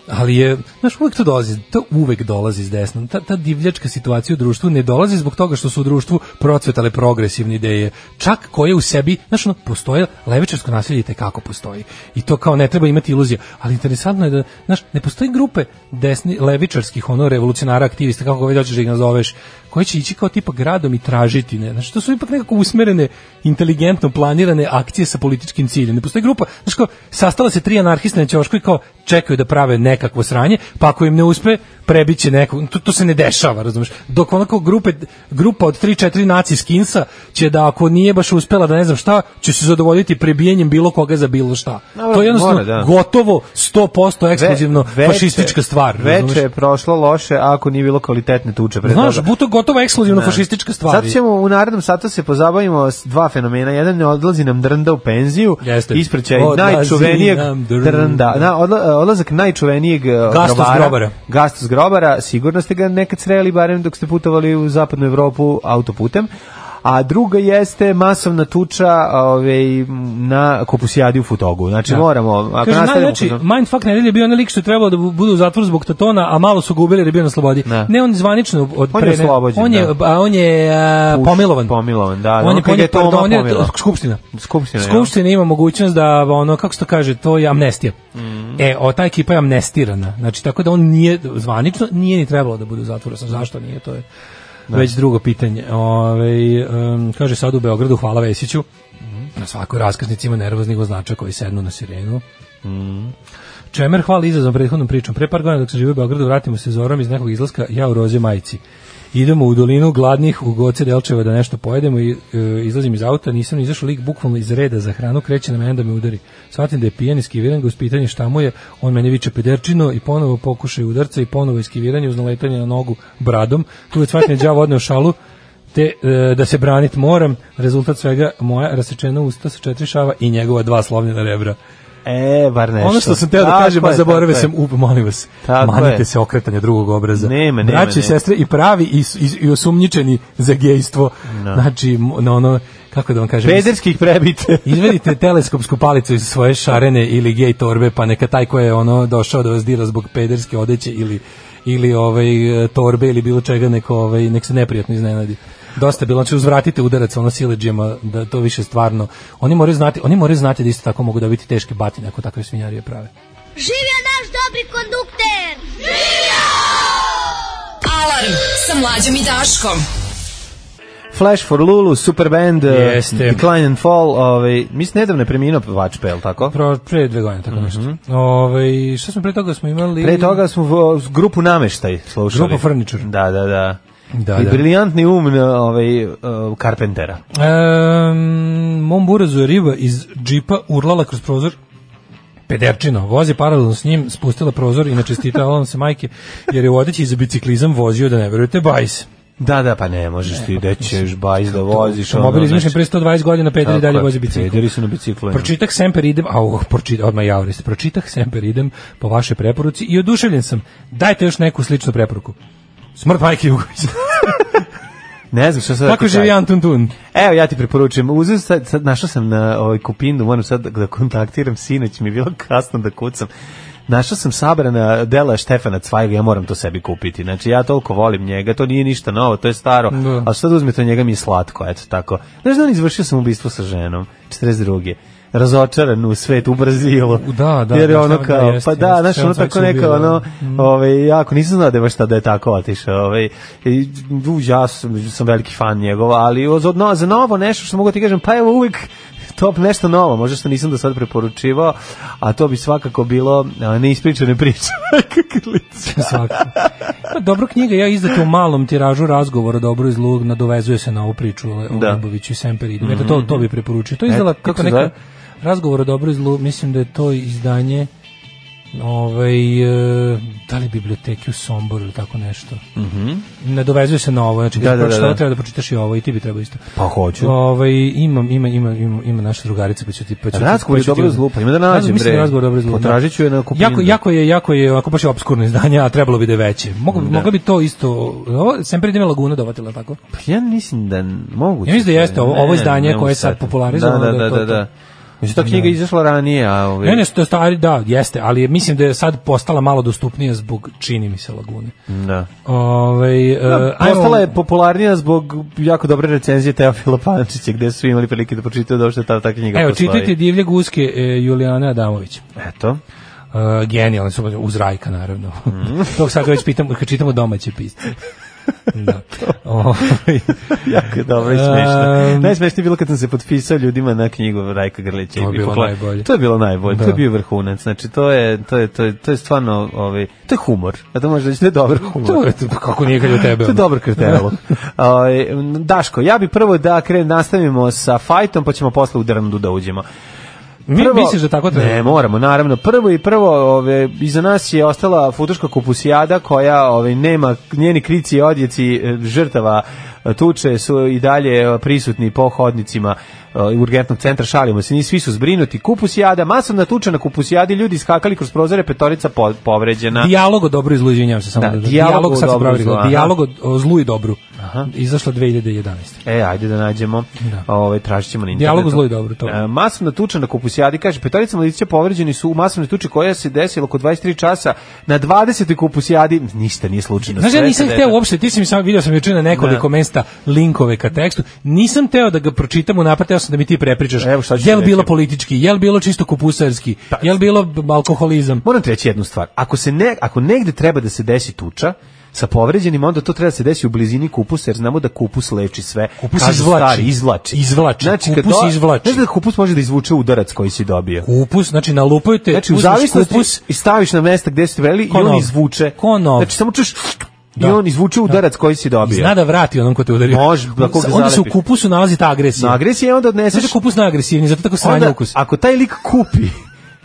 [SPEAKER 6] Ali je, znaš, uvek to dolazi, to uvek dolazi iz desna. Ta, ta divljačka situacija u društvu ne dolazi zbog toga što su u društvu procvetale progresivne ideje, čak koje u sebi, znaš, ono, postoje, levičarsko nasilje i kako postoji. I to kao ne treba imati iluzija. Ali interesantno je da, znaš, ne postoji grupe desni, levičarskih, ono, revolucionara, aktivista, kako ga već hoćeš da ih nazoveš, koji će ići kao tipa gradom i tražiti, ne? Znači, to su ipak nekako usmerene, inteligentno planirane akcije sa političkim ciljem. Ne postoji grupa, znači kao, sastala se tri anarhista na ćošku i kao, čekaju da prave nekakvo sranje, pa ako im ne uspe, prebiće nekog. To, to se ne dešava, razumeš? Dok onako grupe, grupa od 3-4 naci skinsa će da ako nije baš uspela da ne znam šta, će se zadovoljiti prebijanjem bilo koga za bilo šta.
[SPEAKER 5] Dobro,
[SPEAKER 6] to je jednostavno
[SPEAKER 5] mora, da.
[SPEAKER 6] gotovo 100%
[SPEAKER 5] Ve-
[SPEAKER 6] ekskluzivno
[SPEAKER 5] veče-
[SPEAKER 6] fašistička stvar. razumeš?
[SPEAKER 5] Veče je prošlo loše, ako nije bilo kvalitetne tuče pre
[SPEAKER 6] Znaš,
[SPEAKER 5] toga. Da.
[SPEAKER 6] buto gotovo ekskluzivno Pa, fašistička stvar.
[SPEAKER 5] Sad ćemo u narednom satu se pozabavimo s dva fenomena. Jedan je odlazi nam drnda u penziju,
[SPEAKER 6] Jeste.
[SPEAKER 5] ispred će
[SPEAKER 6] Odlazi
[SPEAKER 5] najčuvenijeg
[SPEAKER 6] nam drnda.
[SPEAKER 5] drnda. Na, odla- odlazak najčuvenijeg eh,
[SPEAKER 6] Gastos
[SPEAKER 5] grobara.
[SPEAKER 6] grobara.
[SPEAKER 5] Gastos grobara. Sigurno ste ga nekad sreli, barem dok ste putovali u zapadnu Evropu autoputem. A druga jeste masovna tuča ovaj, na kopusijadi u Futogu. Znači moramo... Ako
[SPEAKER 6] Da. Kaže,
[SPEAKER 5] nastavimo
[SPEAKER 6] najjači
[SPEAKER 5] kod-
[SPEAKER 6] mindfuck nedelje je bio onaj lik što je trebalo da bu- bude u zatvoru zbog Tatona, a malo su ga ubili jer je bio na slobodi.
[SPEAKER 5] Da.
[SPEAKER 6] Ne, on je zvanično od
[SPEAKER 5] On je
[SPEAKER 6] pre- ne-
[SPEAKER 5] oslobođen,
[SPEAKER 6] on je,
[SPEAKER 5] da.
[SPEAKER 6] a, on je a,
[SPEAKER 5] Puš-
[SPEAKER 6] pomilovan.
[SPEAKER 5] pomilovan, da, da.
[SPEAKER 6] On
[SPEAKER 5] On
[SPEAKER 6] je,
[SPEAKER 5] kad
[SPEAKER 6] on je,
[SPEAKER 5] je Toma
[SPEAKER 6] pardon, on je-
[SPEAKER 5] pomilovan.
[SPEAKER 6] skupština.
[SPEAKER 5] Skupština, ja.
[SPEAKER 6] Skupština ima mogućnost da ono kako se to kaže, to je amnestija.
[SPEAKER 5] Mhm.
[SPEAKER 6] E, o, ta ekipa je amnestirana. Znači tako da on nije zvanično nije ni trebalo da bude u zatvoru, sam zašto nije, to je
[SPEAKER 5] Da.
[SPEAKER 6] već drugo pitanje. Ovaj em, kaže sad u Beogradu hvala Vesiću.
[SPEAKER 5] Mhm.
[SPEAKER 6] Na svakoj raskaznici ima nervoznih vozača koji sednu na sirenu. Čemer hvali izazov prethodnom pričom. Pre par godina dok sam živio u Beogradu, vratimo se zorom iz nekog izlaska, ja u roze majici. Idemo u dolinu gladnih u Goce Delčeva da nešto pojedemo i e, izlazim iz auta, nisam ni izašao lik bukvalno iz reda za hranu, kreće na mene da me udari. Shvatim da je pijan, iskiviram ga uz pitanje šta mu je, on mene viče pederčino i ponovo pokušaj udarca i ponovo iskiviranje uz naletanje na nogu bradom. Tu je shvatim da je đavo odneo šalu, te e, da se branit moram, rezultat svega moja rasečena usta sa četiri šava i njegova dva slomljena rebra.
[SPEAKER 5] E, bar nešto.
[SPEAKER 6] Ono što sam teo da
[SPEAKER 5] Tako
[SPEAKER 6] kažem, a
[SPEAKER 5] je,
[SPEAKER 6] zaboravio
[SPEAKER 5] tako je.
[SPEAKER 6] sam, up, molim vas,
[SPEAKER 5] Tako
[SPEAKER 6] manite
[SPEAKER 5] je.
[SPEAKER 6] se okretanja drugog obraza.
[SPEAKER 5] Nema, nema,
[SPEAKER 6] Braće i
[SPEAKER 5] nema.
[SPEAKER 6] sestre i pravi i, s- i, i osumnjičeni za gejstvo.
[SPEAKER 5] Da.
[SPEAKER 6] Znači, mo- na ono, kako da vam kažem,
[SPEAKER 5] Pederskih prebite.
[SPEAKER 6] izvedite teleskopsku palicu iz svoje šarene ili gej torbe, pa neka taj ko je ono došao da vas dira zbog pederske odeće ili ili ovaj e, torbe ili bilo čega neko ovaj nek se neprijatno iznenadi. Dosta je bilo, znači uzvratite udarac ono sileđima da to više stvarno. Oni moraju znati, oni moraju znati da isto tako mogu dobiti teške batine ako takve svinjarije prave.
[SPEAKER 2] Živio naš dobri kondukter!
[SPEAKER 4] Alarm sa mlađom i Daškom.
[SPEAKER 5] Flash for Lulu, Superband, eh,
[SPEAKER 6] Jeste.
[SPEAKER 5] Decline and Fall, ovaj, mislim, nedavno je preminuo vač, pa je li tako?
[SPEAKER 6] Pro, pre dve godine tako nešto. Ovaj šta smo pre toga smo imali?
[SPEAKER 5] Mhm. Pre toga smo vo- s grupu nameštaj slušali.
[SPEAKER 6] Grupa Furniture.
[SPEAKER 5] Da, da, da.
[SPEAKER 6] Da,
[SPEAKER 5] I
[SPEAKER 6] da.
[SPEAKER 5] briljantni um eh, ovaj, eh, Carpentera.
[SPEAKER 6] Ehm, mom burazu je riba iz džipa urlala kroz prozor Pederčino, vozi paralelno s njim, spustila prozor i načestitala vam se majke, jer je u odeći za biciklizam vozio da ne verujete bajs.
[SPEAKER 5] Da, da, pa ne, možeš
[SPEAKER 6] E,
[SPEAKER 5] ti, da ćeš bajs da voziš.
[SPEAKER 6] Automobil
[SPEAKER 5] ono,
[SPEAKER 6] izmišljen pre 120 godina, pederi
[SPEAKER 5] Tako
[SPEAKER 6] dalje
[SPEAKER 5] je,
[SPEAKER 6] vozi bicikl. Pa
[SPEAKER 5] pederi su na biciklu, ima.
[SPEAKER 6] Pročitah Semper idem, au, pročitah, odmah javrist, pročitah Semper idem po vašoj preporuci i oduševljen sam. Dajte još neku sličnu preporuku. Smrt majke Jugović.
[SPEAKER 5] Ne znam što sad... da
[SPEAKER 6] Kako
[SPEAKER 5] ti
[SPEAKER 6] živi
[SPEAKER 5] kažem.
[SPEAKER 6] Antun Tun?
[SPEAKER 5] Evo ja ti preporučujem, uzeo sad, sad našao sam na ovaj kupindu, moram sad da kontaktiram sinoć, mi je bilo kasno da kucam. Našao sam sabrana dela Štefana Cvajga, ja moram to sebi kupiti. Znači ja toliko volim njega, to nije ništa novo, to je staro,
[SPEAKER 6] Da.
[SPEAKER 5] ali sad uzmete njega mi je slatko, eto tako. Znaš da on izvršio sam ubistvo sa ženom, 42 razočaran u svet u Brazilu.
[SPEAKER 6] Da, da,
[SPEAKER 5] Jer je
[SPEAKER 6] da,
[SPEAKER 5] ono
[SPEAKER 6] znam da
[SPEAKER 5] kao,
[SPEAKER 6] jeste,
[SPEAKER 5] pa da,
[SPEAKER 6] jeste,
[SPEAKER 5] znaš, ono
[SPEAKER 6] Štefan
[SPEAKER 5] tako
[SPEAKER 6] Cvajg
[SPEAKER 5] neka,
[SPEAKER 6] sam bio, da.
[SPEAKER 5] ono, Ove, jako nisam znao da je baš tada je tako otišao. Ove, i, u, ja sam, sam veliki fan njegova, ali za, no, za novo nešto što mogu ti kažem, pa evo uvijek top nešto novo, možda što nisam do sad preporučivao, a to bi svakako bilo a, neispričane priče.
[SPEAKER 6] Svakako. Pa, dobro knjiga, ja izdate u malom tiražu razgovora dobro iz Lug, nadovezuje se na ovu priču o
[SPEAKER 5] Da. Mhm.
[SPEAKER 6] da. Ljuboviću i Semperidu. Eto, to, to bi preporučio. To je izdala
[SPEAKER 5] E, kako
[SPEAKER 6] tipa
[SPEAKER 5] se
[SPEAKER 6] neka
[SPEAKER 5] zove?
[SPEAKER 6] razgovor o dobro iz Lug, mislim da je to izdanje ovaj, e, da li biblioteki u Somboru ili tako nešto. Nadovezuje se na ovo, znači
[SPEAKER 5] Mhm. Da,
[SPEAKER 6] da,
[SPEAKER 5] da, da, da.
[SPEAKER 6] treba da pročitaš i ovo i ti bi trebao isto.
[SPEAKER 5] Pa hoću.
[SPEAKER 6] Ovaj, imam, ima, ima, ima, ima naša drugarica, pa ću ti... Pa ću ti-
[SPEAKER 5] Razgovor
[SPEAKER 6] pa ću ti-
[SPEAKER 5] Dobro iz Lupa, ima da nađem,
[SPEAKER 6] Razgovor, mislim da
[SPEAKER 5] bre.
[SPEAKER 6] je razgovor dobro iz Lupa.
[SPEAKER 5] Potražit ću je na Kupindu.
[SPEAKER 6] Jako, jako je, jako je, ako baš je obskurno izdanje, a trebalo bi da je veće. Mogu, Mogla bi to isto, ovo, sem prije ima Laguna dovatila, tako?
[SPEAKER 5] Pa ja mislim da moguće.
[SPEAKER 6] Ja mislim da jeste ovo- ovo
[SPEAKER 5] Ne,
[SPEAKER 6] izdanje
[SPEAKER 5] ne mogu
[SPEAKER 6] koje je sad
[SPEAKER 5] setiti.
[SPEAKER 6] popularizovano,
[SPEAKER 5] Da, da,
[SPEAKER 6] da
[SPEAKER 5] da,
[SPEAKER 6] je to
[SPEAKER 5] da.
[SPEAKER 6] to.
[SPEAKER 5] da. Mislim, ta knjiga je izašla ranije, a ovaj, ove...
[SPEAKER 6] Ne, ne, to je stari, da, jeste, ali je- mislim da je sad postala malo dostupnija zbog, čini mi se, Lagune.
[SPEAKER 5] Da.
[SPEAKER 6] Ovaj e,
[SPEAKER 5] Da,
[SPEAKER 6] ajmo-
[SPEAKER 5] postala je popularnija zbog jako dobre recenzije Teofila Pančića, gde su imali prilike da pročitaju da uopšte ta, ta knjiga
[SPEAKER 6] Evo,
[SPEAKER 5] postoji.
[SPEAKER 6] čitajte Divlje guske e, Julijane Adamović.
[SPEAKER 5] Eto.
[SPEAKER 6] Eh,
[SPEAKER 5] Mm.
[SPEAKER 6] Uh, genijalni su, uz Rajka naravno. Tog sad već pitam, kad čitamo domaće pisce. Da. Ovaj,
[SPEAKER 5] jako je dobro i smešno.
[SPEAKER 6] Em.
[SPEAKER 5] Najsmešnije je bilo kad sam se potpisao ljudima na knjigu Rajka Grlića.
[SPEAKER 6] To je
[SPEAKER 5] i
[SPEAKER 6] bilo
[SPEAKER 5] pokla-
[SPEAKER 6] najbolje.
[SPEAKER 5] To je bilo najbolje, to
[SPEAKER 6] Da.
[SPEAKER 5] je bio vrhunac. Znači, to je, to je, to je, to je stvarno, ovaj, to je humor. A to može reći, E, to je dobar humor.
[SPEAKER 6] to je, to- kako nije kad je u tebe.
[SPEAKER 5] To je
[SPEAKER 6] ono.
[SPEAKER 5] dobro krtelo. Ovaj, Daško, ja bi prvo da kren, nastavimo sa fajtom, pa ćemo posle u drndu da uđemo.
[SPEAKER 6] Mi- misliš da tako treba?
[SPEAKER 5] Ne, moramo, naravno. Prvo i prvo, ove, iza nas je ostala futuška kupusijada koja ove, nema njeni krici i odjeci e, žrtava e, tuče su i dalje e, prisutni po hodnicima e, urgentnog centra, šalimo se, njih svi su zbrinuti. Kupusijada, masovna tuča na kupusijadi, ljudi skakali kroz prozore, petorica po- povređena.
[SPEAKER 6] Dijalog o dobru i zlu, izvinjavam se samo.
[SPEAKER 5] Da,
[SPEAKER 6] Da,
[SPEAKER 5] dijalog
[SPEAKER 6] dijalog,
[SPEAKER 5] o
[SPEAKER 6] sad sam
[SPEAKER 5] dobru i
[SPEAKER 6] pravi rekao,
[SPEAKER 5] zlu, aha.
[SPEAKER 6] dijalog o, o zlu i dobru. Izašla 2011.
[SPEAKER 5] E, ajde da nađemo.
[SPEAKER 6] Da.
[SPEAKER 5] Ove, tražit ćemo na internetu.
[SPEAKER 6] Dijalog u zlu i dobru, to.
[SPEAKER 5] E, masovna tuča na Kupusijadi, kaže, petorica mladića povređeni su u masovnoj tuči koja se desila oko 23 časa na 20. Kupusijadi. Ništa nije slučajno.
[SPEAKER 6] Znaš, ja
[SPEAKER 5] Sve Da. se
[SPEAKER 6] nisam
[SPEAKER 5] dešava.
[SPEAKER 6] hteo uopšte, ti si mi samo video sam juče na nekoliko mesta linkove ka tekstu, nisam hteo da ga pročitam unapred, teo sam da mi ti prepričaš.
[SPEAKER 5] Evo šta ću ti
[SPEAKER 6] jel
[SPEAKER 5] reći. Pa
[SPEAKER 6] bilo politički, jel bilo čisto kupusarski, jel bilo b- alkoholizam?
[SPEAKER 5] Moram ti reći jednu stvar. Ako, se ne, ako negde treba da se desi tuča, sa povređenim, onda to treba da se desi u blizini kupusa, jer znamo da kupus leči sve.
[SPEAKER 6] Kupus
[SPEAKER 5] Kažu
[SPEAKER 6] izvlači.
[SPEAKER 5] stari, izvlači.
[SPEAKER 6] Izvlači.
[SPEAKER 5] kad
[SPEAKER 6] Kupus
[SPEAKER 5] do-
[SPEAKER 6] izvlači.
[SPEAKER 5] Znaš da kupus može da izvuče udarac koji si dobio?
[SPEAKER 6] Kupus, znači nalupaju te,
[SPEAKER 5] Znači, u
[SPEAKER 6] uzmeš
[SPEAKER 5] zavisnosti
[SPEAKER 6] kupus,
[SPEAKER 5] i staviš na mesta gde su ti vreli i
[SPEAKER 6] Ko
[SPEAKER 5] on
[SPEAKER 6] nov.
[SPEAKER 5] izvuče.
[SPEAKER 6] Ko nov.
[SPEAKER 5] Znači, samo čuš i
[SPEAKER 6] Da.
[SPEAKER 5] on izvuče udarac koji si
[SPEAKER 6] i
[SPEAKER 5] dobio.
[SPEAKER 6] zna da vrati onom ko te udario.
[SPEAKER 5] Može, da koga
[SPEAKER 6] Onda se u
[SPEAKER 5] zalepi.
[SPEAKER 6] kupusu nalazi ta agresija.
[SPEAKER 5] Na agresije onda
[SPEAKER 6] Znaš da
[SPEAKER 5] odneseš...
[SPEAKER 6] je kupus najagresivniji, zato tako sranje
[SPEAKER 5] onda,
[SPEAKER 6] ukus.
[SPEAKER 5] ako taj lik kupi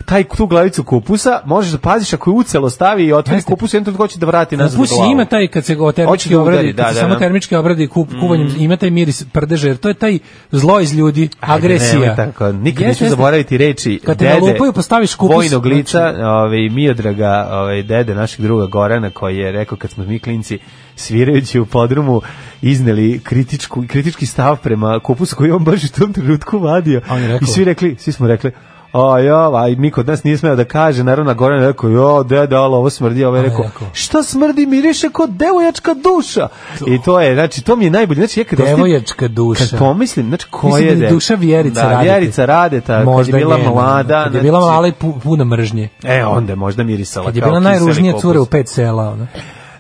[SPEAKER 5] taj tu glavicu kupusa, možeš da paziš ako je ucelo stavi i otvori
[SPEAKER 6] Jeste.
[SPEAKER 5] kupus i onda hoće da vrati nazad
[SPEAKER 6] Kupus
[SPEAKER 5] u glavu.
[SPEAKER 6] ima taj kad se ga
[SPEAKER 5] Hoće
[SPEAKER 6] termički
[SPEAKER 5] da udari,
[SPEAKER 6] obradi,
[SPEAKER 5] da,
[SPEAKER 6] kad se
[SPEAKER 5] da,
[SPEAKER 6] samo
[SPEAKER 5] da.
[SPEAKER 6] termički obradi kup, kuvanjem, ima taj miris prdeže, jer to je taj zlo iz ljudi,
[SPEAKER 5] Ajde,
[SPEAKER 6] agresija.
[SPEAKER 5] nemoj tako, nikad
[SPEAKER 6] Jeste,
[SPEAKER 5] neću
[SPEAKER 6] jeste.
[SPEAKER 5] zaboraviti reči
[SPEAKER 6] Kad te
[SPEAKER 5] dede,
[SPEAKER 6] nalupaju, postaviš kupus,
[SPEAKER 5] vojnog
[SPEAKER 6] znači-
[SPEAKER 5] lica, ovaj, Miodraga, ovaj, dede našeg druga Gorana, koji je rekao kad smo mi klinci svirajući u podrumu izneli kritičku, kritički stav prema kupusu koji je on baš u tom trenutku vadio.
[SPEAKER 6] A on je rekao?
[SPEAKER 5] I svi rekli, svi smo rekli, A ja, a niko od nas nije smeo da kaže, naravno Goran je rekao, jo, dede, alo, ovo smrdi, ovo je
[SPEAKER 6] A,
[SPEAKER 5] rekao,
[SPEAKER 6] rekao.
[SPEAKER 5] šta smrdi, miriše kao devojačka duša. I to je, znači, to mi je najbolje, znači, ja kad osjetim-
[SPEAKER 6] Devojačka duša.
[SPEAKER 5] Kad pomislim, znači, ko
[SPEAKER 6] Mislim da
[SPEAKER 5] je
[SPEAKER 6] je
[SPEAKER 5] de-
[SPEAKER 6] duša Vjerica
[SPEAKER 5] da,
[SPEAKER 6] Radeta.
[SPEAKER 5] Vjerica Radeta,
[SPEAKER 6] Možda
[SPEAKER 5] kad je bila
[SPEAKER 6] njena, da.
[SPEAKER 5] mlada.
[SPEAKER 6] Kad je bila
[SPEAKER 5] znači-
[SPEAKER 6] mala i pu- puna mržnje.
[SPEAKER 5] E, onda je možda mirisala.
[SPEAKER 6] Kad je
[SPEAKER 5] kao
[SPEAKER 6] bila
[SPEAKER 5] kiseli
[SPEAKER 6] najružnija
[SPEAKER 5] kokos.
[SPEAKER 6] cure u pet sela. Ona.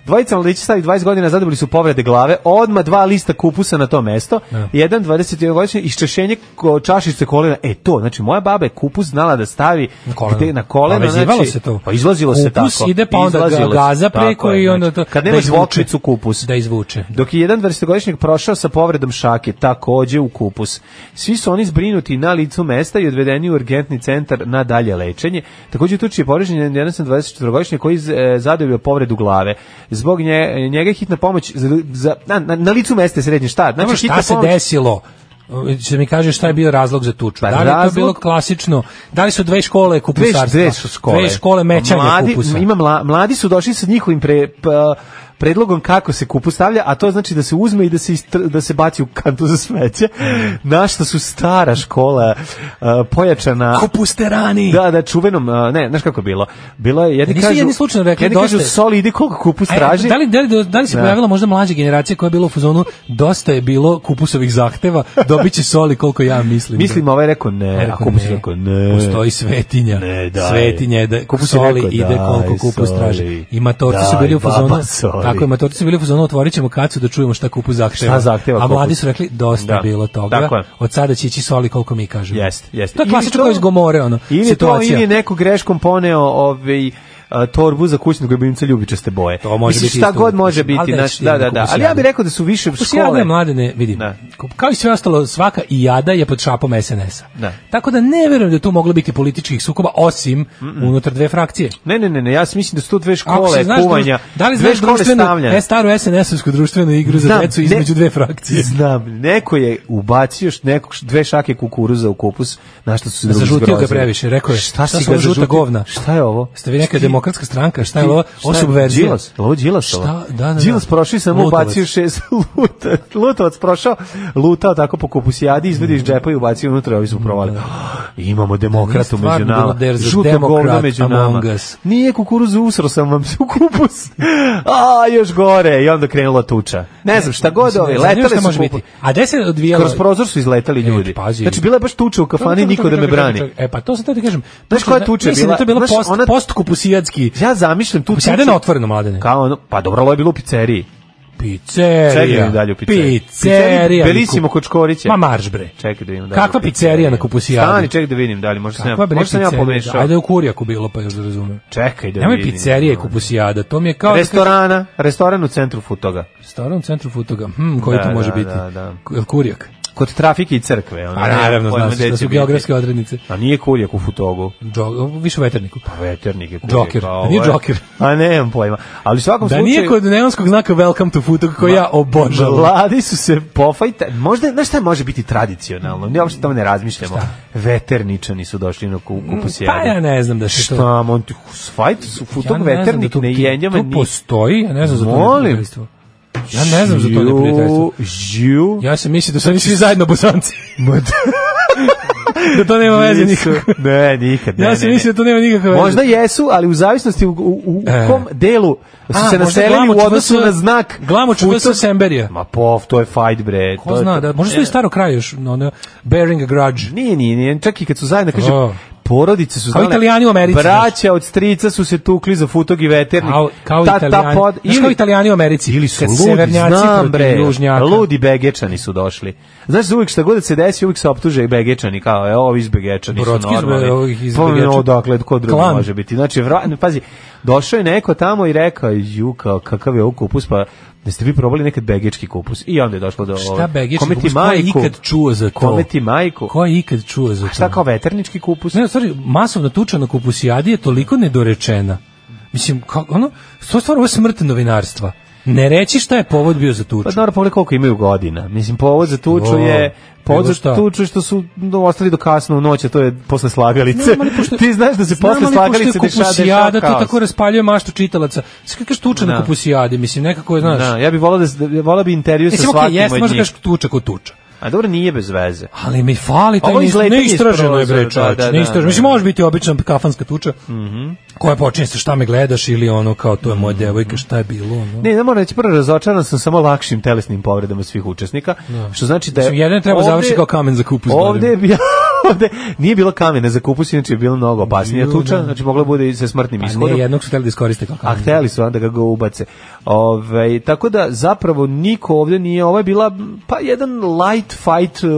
[SPEAKER 5] Dvojica mladića starih 20 godina zadobili su povrede glave, odma dva lista kupusa na to mesto,
[SPEAKER 6] Da.
[SPEAKER 5] jedan 21-godišnji iščešenje ko- čašice kolena. E to, znači moja baba je kupus znala da stavi
[SPEAKER 6] Na koleno.
[SPEAKER 5] gde- na koleno,
[SPEAKER 6] Pa vezivalo
[SPEAKER 5] znači,
[SPEAKER 6] se to.
[SPEAKER 5] Pa izlazilo se tako.
[SPEAKER 6] Kupus ide, pa onda ga-
[SPEAKER 5] izlazilo se,
[SPEAKER 6] gaza
[SPEAKER 5] tako
[SPEAKER 6] preko
[SPEAKER 5] je,
[SPEAKER 6] i onda
[SPEAKER 5] znači,
[SPEAKER 6] to-
[SPEAKER 5] Kad
[SPEAKER 6] da
[SPEAKER 5] nemaš
[SPEAKER 6] izvuče.
[SPEAKER 5] voklicu kupus.
[SPEAKER 6] Da izvuče.
[SPEAKER 5] Dok je jedan 20-godišnjak prošao sa povredom šake, takođe u kupus. Svi su oni zbrinuti na licu mesta i odvedeni u urgentni centar na dalje lečenje. Takođe tuči je povređen jedan 24-godišnjak koji je zadobio povredu glave. Zbog nje, njega je hitna pomoć za, za, na, na, na licu mesta je srednji štat. Znači,
[SPEAKER 6] Dobro, šta
[SPEAKER 5] hitna
[SPEAKER 6] se
[SPEAKER 5] pomoć-
[SPEAKER 6] desilo? Če mi kažeš šta je bio razlog za tuču?
[SPEAKER 5] Pa
[SPEAKER 6] da li je to
[SPEAKER 5] razlog-
[SPEAKER 6] bilo klasično? Da li su dve škole
[SPEAKER 5] Dve,
[SPEAKER 6] kupusarstva?
[SPEAKER 5] dve su škole.
[SPEAKER 6] Dve škole mećanja
[SPEAKER 5] mladi,
[SPEAKER 6] kupusa.
[SPEAKER 5] Ima mla, mladi su došli sa njihovim pre, p, predlogom kako se kupus stavlja, a to znači da se uzme i da se, istr, da se baci u kantu za smeće. Na što su stara škola a, pojačana...
[SPEAKER 6] Kupusterani!
[SPEAKER 5] Da, da, čuvenom, a, ne, znaš kako je bilo? Bilo je, jedni
[SPEAKER 6] E, Nisu
[SPEAKER 5] kažu,
[SPEAKER 6] jedni slučajno rekli,
[SPEAKER 5] jedni kažu,
[SPEAKER 6] dosta je.
[SPEAKER 5] soli, ide koliko kupus
[SPEAKER 6] E,
[SPEAKER 5] traži.
[SPEAKER 6] Da li, da, li, da li se
[SPEAKER 5] Da.
[SPEAKER 6] pojavila možda mlađa generacija koja je bila u fazonu dosta je bilo kupusovih zahteva, dobit će soli koliko ja mislim.
[SPEAKER 5] Mislim, ovaj je rekao ne,
[SPEAKER 6] Ja
[SPEAKER 5] a kupus je rekao ne.
[SPEAKER 6] E, Postoji svetinja.
[SPEAKER 5] Ne, daj.
[SPEAKER 6] Svetinja je da kupus
[SPEAKER 5] Kupus je
[SPEAKER 6] soli
[SPEAKER 5] rekao,
[SPEAKER 6] ide
[SPEAKER 5] daj,
[SPEAKER 6] koliko kupus
[SPEAKER 5] soli.
[SPEAKER 6] traži. I matorci su
[SPEAKER 5] Daj,
[SPEAKER 6] bili u
[SPEAKER 5] baba,
[SPEAKER 6] fazonu.
[SPEAKER 5] soli.
[SPEAKER 6] Tako je, matorci su bili u fazonu, otvorit ćemo kacu da čujemo šta kupus zahteva.
[SPEAKER 5] Šta zahteva
[SPEAKER 6] A mladi
[SPEAKER 5] kupus?
[SPEAKER 6] su rekli dosta je
[SPEAKER 5] Da.
[SPEAKER 6] bilo toga.
[SPEAKER 5] Tako je.
[SPEAKER 6] Od sada će ići soli koliko mi kažemo.
[SPEAKER 5] Jeste, jeste.
[SPEAKER 6] To je
[SPEAKER 5] Ili
[SPEAKER 6] klasično kao iz Gomore, ono,
[SPEAKER 5] Ili je to,
[SPEAKER 6] situacija.
[SPEAKER 5] ili je neko greškom poneo ovaj, a, torbu za kućnog ljubimca ljubičaste boje.
[SPEAKER 6] To može
[SPEAKER 5] Mislim,
[SPEAKER 6] biti
[SPEAKER 5] šta
[SPEAKER 6] isto
[SPEAKER 5] god može
[SPEAKER 6] kupus, ali
[SPEAKER 5] biti,
[SPEAKER 6] da
[SPEAKER 5] znaš,
[SPEAKER 6] će
[SPEAKER 5] da,
[SPEAKER 6] biti
[SPEAKER 5] da, da.
[SPEAKER 6] kupus
[SPEAKER 5] Ali ja
[SPEAKER 6] jadan.
[SPEAKER 5] bih rekao da su više
[SPEAKER 6] Kupus jada
[SPEAKER 5] škole.
[SPEAKER 6] je mlade ne vidi.
[SPEAKER 5] Da.
[SPEAKER 6] Kao i sve ostalo, svaka i jada je pod šapom SNS-a.
[SPEAKER 5] Da.
[SPEAKER 6] Tako da ne verujem da je tu moglo biti političkih sukoba osim unutar dve frakcije.
[SPEAKER 5] Ne, ne, ne, ne, ja mislim da su to dve
[SPEAKER 6] Ako se
[SPEAKER 5] škole
[SPEAKER 6] znaš
[SPEAKER 5] kuvanja.
[SPEAKER 6] druš- Da li
[SPEAKER 5] dve
[SPEAKER 6] znaš
[SPEAKER 5] škole
[SPEAKER 6] društvenu,
[SPEAKER 5] stavljanja.
[SPEAKER 6] e, staru SNS-ovsku društvenu igru za
[SPEAKER 5] Znam,
[SPEAKER 6] decu
[SPEAKER 5] Da, ne-
[SPEAKER 6] između dve frakcije?
[SPEAKER 5] Znam, neko je ubacio još nekog dve šake kukuruza u kupus, na što su se drugi
[SPEAKER 6] Zažutio ga
[SPEAKER 5] zgrozili.
[SPEAKER 6] previše, rekao je.
[SPEAKER 5] Šta,
[SPEAKER 6] šta
[SPEAKER 5] si
[SPEAKER 6] su
[SPEAKER 5] ga
[SPEAKER 6] ovo žuta
[SPEAKER 5] zažutio?
[SPEAKER 6] govna?
[SPEAKER 5] Šta je ovo?
[SPEAKER 6] Ste vi neka
[SPEAKER 5] Šta ti-
[SPEAKER 6] demokratska stranka? Šta je
[SPEAKER 5] ti-
[SPEAKER 6] ovo?
[SPEAKER 5] šta
[SPEAKER 6] Ovo su
[SPEAKER 5] je?
[SPEAKER 6] verzije.
[SPEAKER 5] Đilas, jel ovo Đilas.
[SPEAKER 6] Šta? Da, da, da.
[SPEAKER 5] Đilas prošao i samo
[SPEAKER 6] Lutovac.
[SPEAKER 5] ubacio šest luta, lutovac prošao, lutao tako po kupusijadi, izvedi
[SPEAKER 6] Mm.
[SPEAKER 5] iz džepa i ubacio unutra, ovi su provali. Imamo demokratu među
[SPEAKER 6] Da, stvarno
[SPEAKER 5] nama.
[SPEAKER 6] bilo, there's a
[SPEAKER 5] Žuto govno
[SPEAKER 6] democrat
[SPEAKER 5] među nama.
[SPEAKER 6] among us.
[SPEAKER 5] Nije kukuruz usro sam vam u kupus. A, još gore. I onda krenula tuča. Ne znam, šta god ovi,
[SPEAKER 6] Zanima šta
[SPEAKER 5] letali su
[SPEAKER 6] može
[SPEAKER 5] kupu-
[SPEAKER 6] biti. A gde se odvijalo?
[SPEAKER 5] Kroz prozor su izletali ljudi.
[SPEAKER 6] pazi.
[SPEAKER 5] Znači, bila je baš tuča u kafani, niko da me brani.
[SPEAKER 6] E pa to sam teo ti kažem.
[SPEAKER 5] Znaš koja je tuča
[SPEAKER 6] Mislim
[SPEAKER 5] bila?
[SPEAKER 6] da je to bilo
[SPEAKER 5] Znaš,
[SPEAKER 6] post,
[SPEAKER 5] ona-
[SPEAKER 6] post kupusijadski.
[SPEAKER 5] Ja zamišljam tu
[SPEAKER 6] Kupusijade na otvoreno, mladene.
[SPEAKER 5] Kao ono, pa dobro, ovo je bilo u pizzeriji.
[SPEAKER 6] Pizzerija.
[SPEAKER 5] Čekaj da idem dalje u pizzeriju. Pizzerija
[SPEAKER 6] Pizzerija.
[SPEAKER 5] Bellissimo kod Škorića.
[SPEAKER 6] Ma maršbre.
[SPEAKER 5] Čekaj da vidim da. li je
[SPEAKER 6] Kakva
[SPEAKER 5] u
[SPEAKER 6] pizzerija na
[SPEAKER 5] pizzeriji.
[SPEAKER 6] Kupusijadu?
[SPEAKER 5] Stani, čekaj da vidim da li možda sam ja,
[SPEAKER 6] Kakva bre
[SPEAKER 5] možda sam ja
[SPEAKER 6] pizzerija?
[SPEAKER 5] pomešao.
[SPEAKER 6] Ajde u Kurjaku bilo pa još da razumem.
[SPEAKER 5] Čekaj da
[SPEAKER 6] Nemoj
[SPEAKER 5] vidim.
[SPEAKER 6] pizzerija i kupusijada, to mi je kao... da kažeš-
[SPEAKER 5] Restorana, restoran u centru Futoga.
[SPEAKER 6] Restoran u centru Futoga, hm, koji
[SPEAKER 5] Da,
[SPEAKER 6] to može
[SPEAKER 5] da,
[SPEAKER 6] biti?
[SPEAKER 5] da, da.
[SPEAKER 6] Jel Kurjak?
[SPEAKER 5] Kod trafike i crkve. Ono,
[SPEAKER 6] A
[SPEAKER 5] nemam
[SPEAKER 6] Pa naravno,
[SPEAKER 5] pojma
[SPEAKER 6] znaš,
[SPEAKER 5] gde će
[SPEAKER 6] to su
[SPEAKER 5] biti.
[SPEAKER 6] geografske odrednice.
[SPEAKER 5] A nije kuljak u Futogu.
[SPEAKER 6] Džo, više u veterniku.
[SPEAKER 5] Pa, Veternik je kuljak.
[SPEAKER 6] Džoker.
[SPEAKER 5] pa
[SPEAKER 6] A
[SPEAKER 5] ovo
[SPEAKER 6] Da nije
[SPEAKER 5] je-
[SPEAKER 6] Džoker.
[SPEAKER 5] A nemam pojma. Ali u svakom
[SPEAKER 6] Da
[SPEAKER 5] slučaju...
[SPEAKER 6] nije kod neonskog znaka Welcome to Futog, koji ja obožavam.
[SPEAKER 5] Vladi su se pofajta, možda, znaš šta može biti tradicionalno, ne uopšte tamo ne razmišljamo. Veterničani su došli na ku, kupu
[SPEAKER 6] Pa ja ne znam da se to...
[SPEAKER 5] Šta, Monti, fajt su futog
[SPEAKER 6] ne znam da
[SPEAKER 5] veternik,
[SPEAKER 6] tu-
[SPEAKER 5] ne
[SPEAKER 6] tu-
[SPEAKER 5] jenjama
[SPEAKER 6] Tu
[SPEAKER 5] ni...
[SPEAKER 6] postoji, ja ne znam za to
[SPEAKER 5] Molim.
[SPEAKER 6] neprijateljstvo. Ja ne znam za to neprijateljstvo.
[SPEAKER 5] Žiu,
[SPEAKER 6] Ja sam mislio da su oni svi zajedno bosanci. da to nema veze nikako.
[SPEAKER 5] nisu- Ne, nikad, ne,
[SPEAKER 6] Ja sam
[SPEAKER 5] ne, ne.
[SPEAKER 6] mislio da to nema nikakve veze.
[SPEAKER 5] Možda jesu, ali u zavisnosti u, u, u
[SPEAKER 6] E.
[SPEAKER 5] kom delu su
[SPEAKER 6] A,
[SPEAKER 5] Pa se
[SPEAKER 6] možda
[SPEAKER 5] naselili u
[SPEAKER 6] Glamoč
[SPEAKER 5] odnosu
[SPEAKER 6] vs.
[SPEAKER 5] na znak
[SPEAKER 6] Glamoč
[SPEAKER 5] futog.
[SPEAKER 6] vs. Semberija.
[SPEAKER 5] Ma pov, to je é fight, bre. é
[SPEAKER 6] Ko
[SPEAKER 5] to je
[SPEAKER 6] zna,
[SPEAKER 5] to. E.
[SPEAKER 6] da, možda su i staro kraj još, no, ono, bearing a grudge.
[SPEAKER 5] Nije, nije, nije. Čak i kad su zajedno, kaže,
[SPEAKER 6] O.
[SPEAKER 5] porodice su znale.
[SPEAKER 6] Italijani u Americi,
[SPEAKER 5] Braća od strica su se tukli za futog i veternik.
[SPEAKER 6] Kao, kao
[SPEAKER 5] Ta- ta
[SPEAKER 6] italijani.
[SPEAKER 5] pod-
[SPEAKER 6] Znaš
[SPEAKER 5] ili-
[SPEAKER 6] kao italijani u Americi.
[SPEAKER 5] Ili su
[SPEAKER 6] kad
[SPEAKER 5] ludi,
[SPEAKER 6] severnjaci
[SPEAKER 5] znam
[SPEAKER 6] protiv
[SPEAKER 5] bre,
[SPEAKER 6] južnjaka.
[SPEAKER 5] ludi begečani su došli. Znaš, za uvijek šta god da se desi, uvijek se optuže i begečani, kao, e, ovi iz begečani su
[SPEAKER 6] Brodski iz Be-
[SPEAKER 5] normalni.
[SPEAKER 6] ovih iz
[SPEAKER 5] Pa,
[SPEAKER 6] Begeča.
[SPEAKER 5] no, odakle, ko drugi
[SPEAKER 6] Klan.
[SPEAKER 5] može biti. Znači, vra, ne, pazi, došao je neko tamo i rekao, ju, kao, kakav je ovo kupus, pa da ste vi probali nekad begečki kupus. I onda je došlo do...
[SPEAKER 6] Šta
[SPEAKER 5] ovaj,
[SPEAKER 6] begečki
[SPEAKER 5] kome ti
[SPEAKER 6] kupus? Ko je
[SPEAKER 5] majku?
[SPEAKER 6] ikad čuo za to?
[SPEAKER 5] Kome ti majku?
[SPEAKER 6] Ko je ikad čuo za to?
[SPEAKER 5] Šta kao veternički kupus?
[SPEAKER 6] Ne, stvari, masovna tuča na kupusijadi je toliko nedorečena. Mislim, kako, ono, to je stvar ovo je smrt novinarstva. Ne reći šta je povod bio za tuču.
[SPEAKER 5] Pa dobro, pogledaj koliko imaju godina. Mislim, povod za tuču je...
[SPEAKER 6] O,
[SPEAKER 5] Povod
[SPEAKER 6] bilo
[SPEAKER 5] za
[SPEAKER 6] šta.
[SPEAKER 5] tuču je što su no, ostali do kasno u noć, a to je posle slagalice.
[SPEAKER 6] Znam, ali pošto-
[SPEAKER 5] Ti znaš da se
[SPEAKER 6] Znam,
[SPEAKER 5] posle
[SPEAKER 6] ali pošto je
[SPEAKER 5] slagalice dešava dešava
[SPEAKER 6] kupusijada, to
[SPEAKER 5] kaos.
[SPEAKER 6] tako raspaljuje maštu čitalaca. Sve kako kažeš tuča
[SPEAKER 5] Da.
[SPEAKER 6] na kupusijadi, mislim, nekako je, znaš...
[SPEAKER 5] Da, ja bih volao da, s- da volao bi intervju sa
[SPEAKER 6] Mislim,
[SPEAKER 5] svakim
[SPEAKER 6] okej, jeste,
[SPEAKER 5] od
[SPEAKER 6] možda
[SPEAKER 5] njih.
[SPEAKER 6] kažeš tuča ko tuča.
[SPEAKER 5] A dobro, nije bez veze.
[SPEAKER 6] Ali mi fali taj
[SPEAKER 5] Ovo
[SPEAKER 6] nis,
[SPEAKER 5] izletanje iz
[SPEAKER 6] neistraženo je
[SPEAKER 5] prozora,
[SPEAKER 6] bre čovječ,
[SPEAKER 5] da, da, da,
[SPEAKER 6] neistraženo.
[SPEAKER 5] da. Mhm.
[SPEAKER 6] Mislim, može biti obična kafanska tuča, koja počinje sa šta me gledaš ili ono kao to je moja devojka, šta je bilo. Ono.
[SPEAKER 5] Ne, ne moram reći, prvo razočaran sam samo lakšim telesnim povredama svih učesnika, što znači da je...
[SPEAKER 6] Mislim, jedan treba
[SPEAKER 5] ovde-
[SPEAKER 6] završiti kao kamen za kupus.
[SPEAKER 5] Ovde je bio ovde nije bilo kamena za kupus, inače je bilo mnogo opasnija
[SPEAKER 6] Ju,
[SPEAKER 5] tuča,
[SPEAKER 6] da.
[SPEAKER 5] znači moglo bude i sa smrtnim
[SPEAKER 6] Pa
[SPEAKER 5] ishodom.
[SPEAKER 6] ne, jednog su hteli da iskoriste kao
[SPEAKER 5] A
[SPEAKER 6] kamen.
[SPEAKER 5] hteli su onda da ga ubace. Ove, tako da zapravo niko ovde nije, ovo je bila pa jedan light fight u,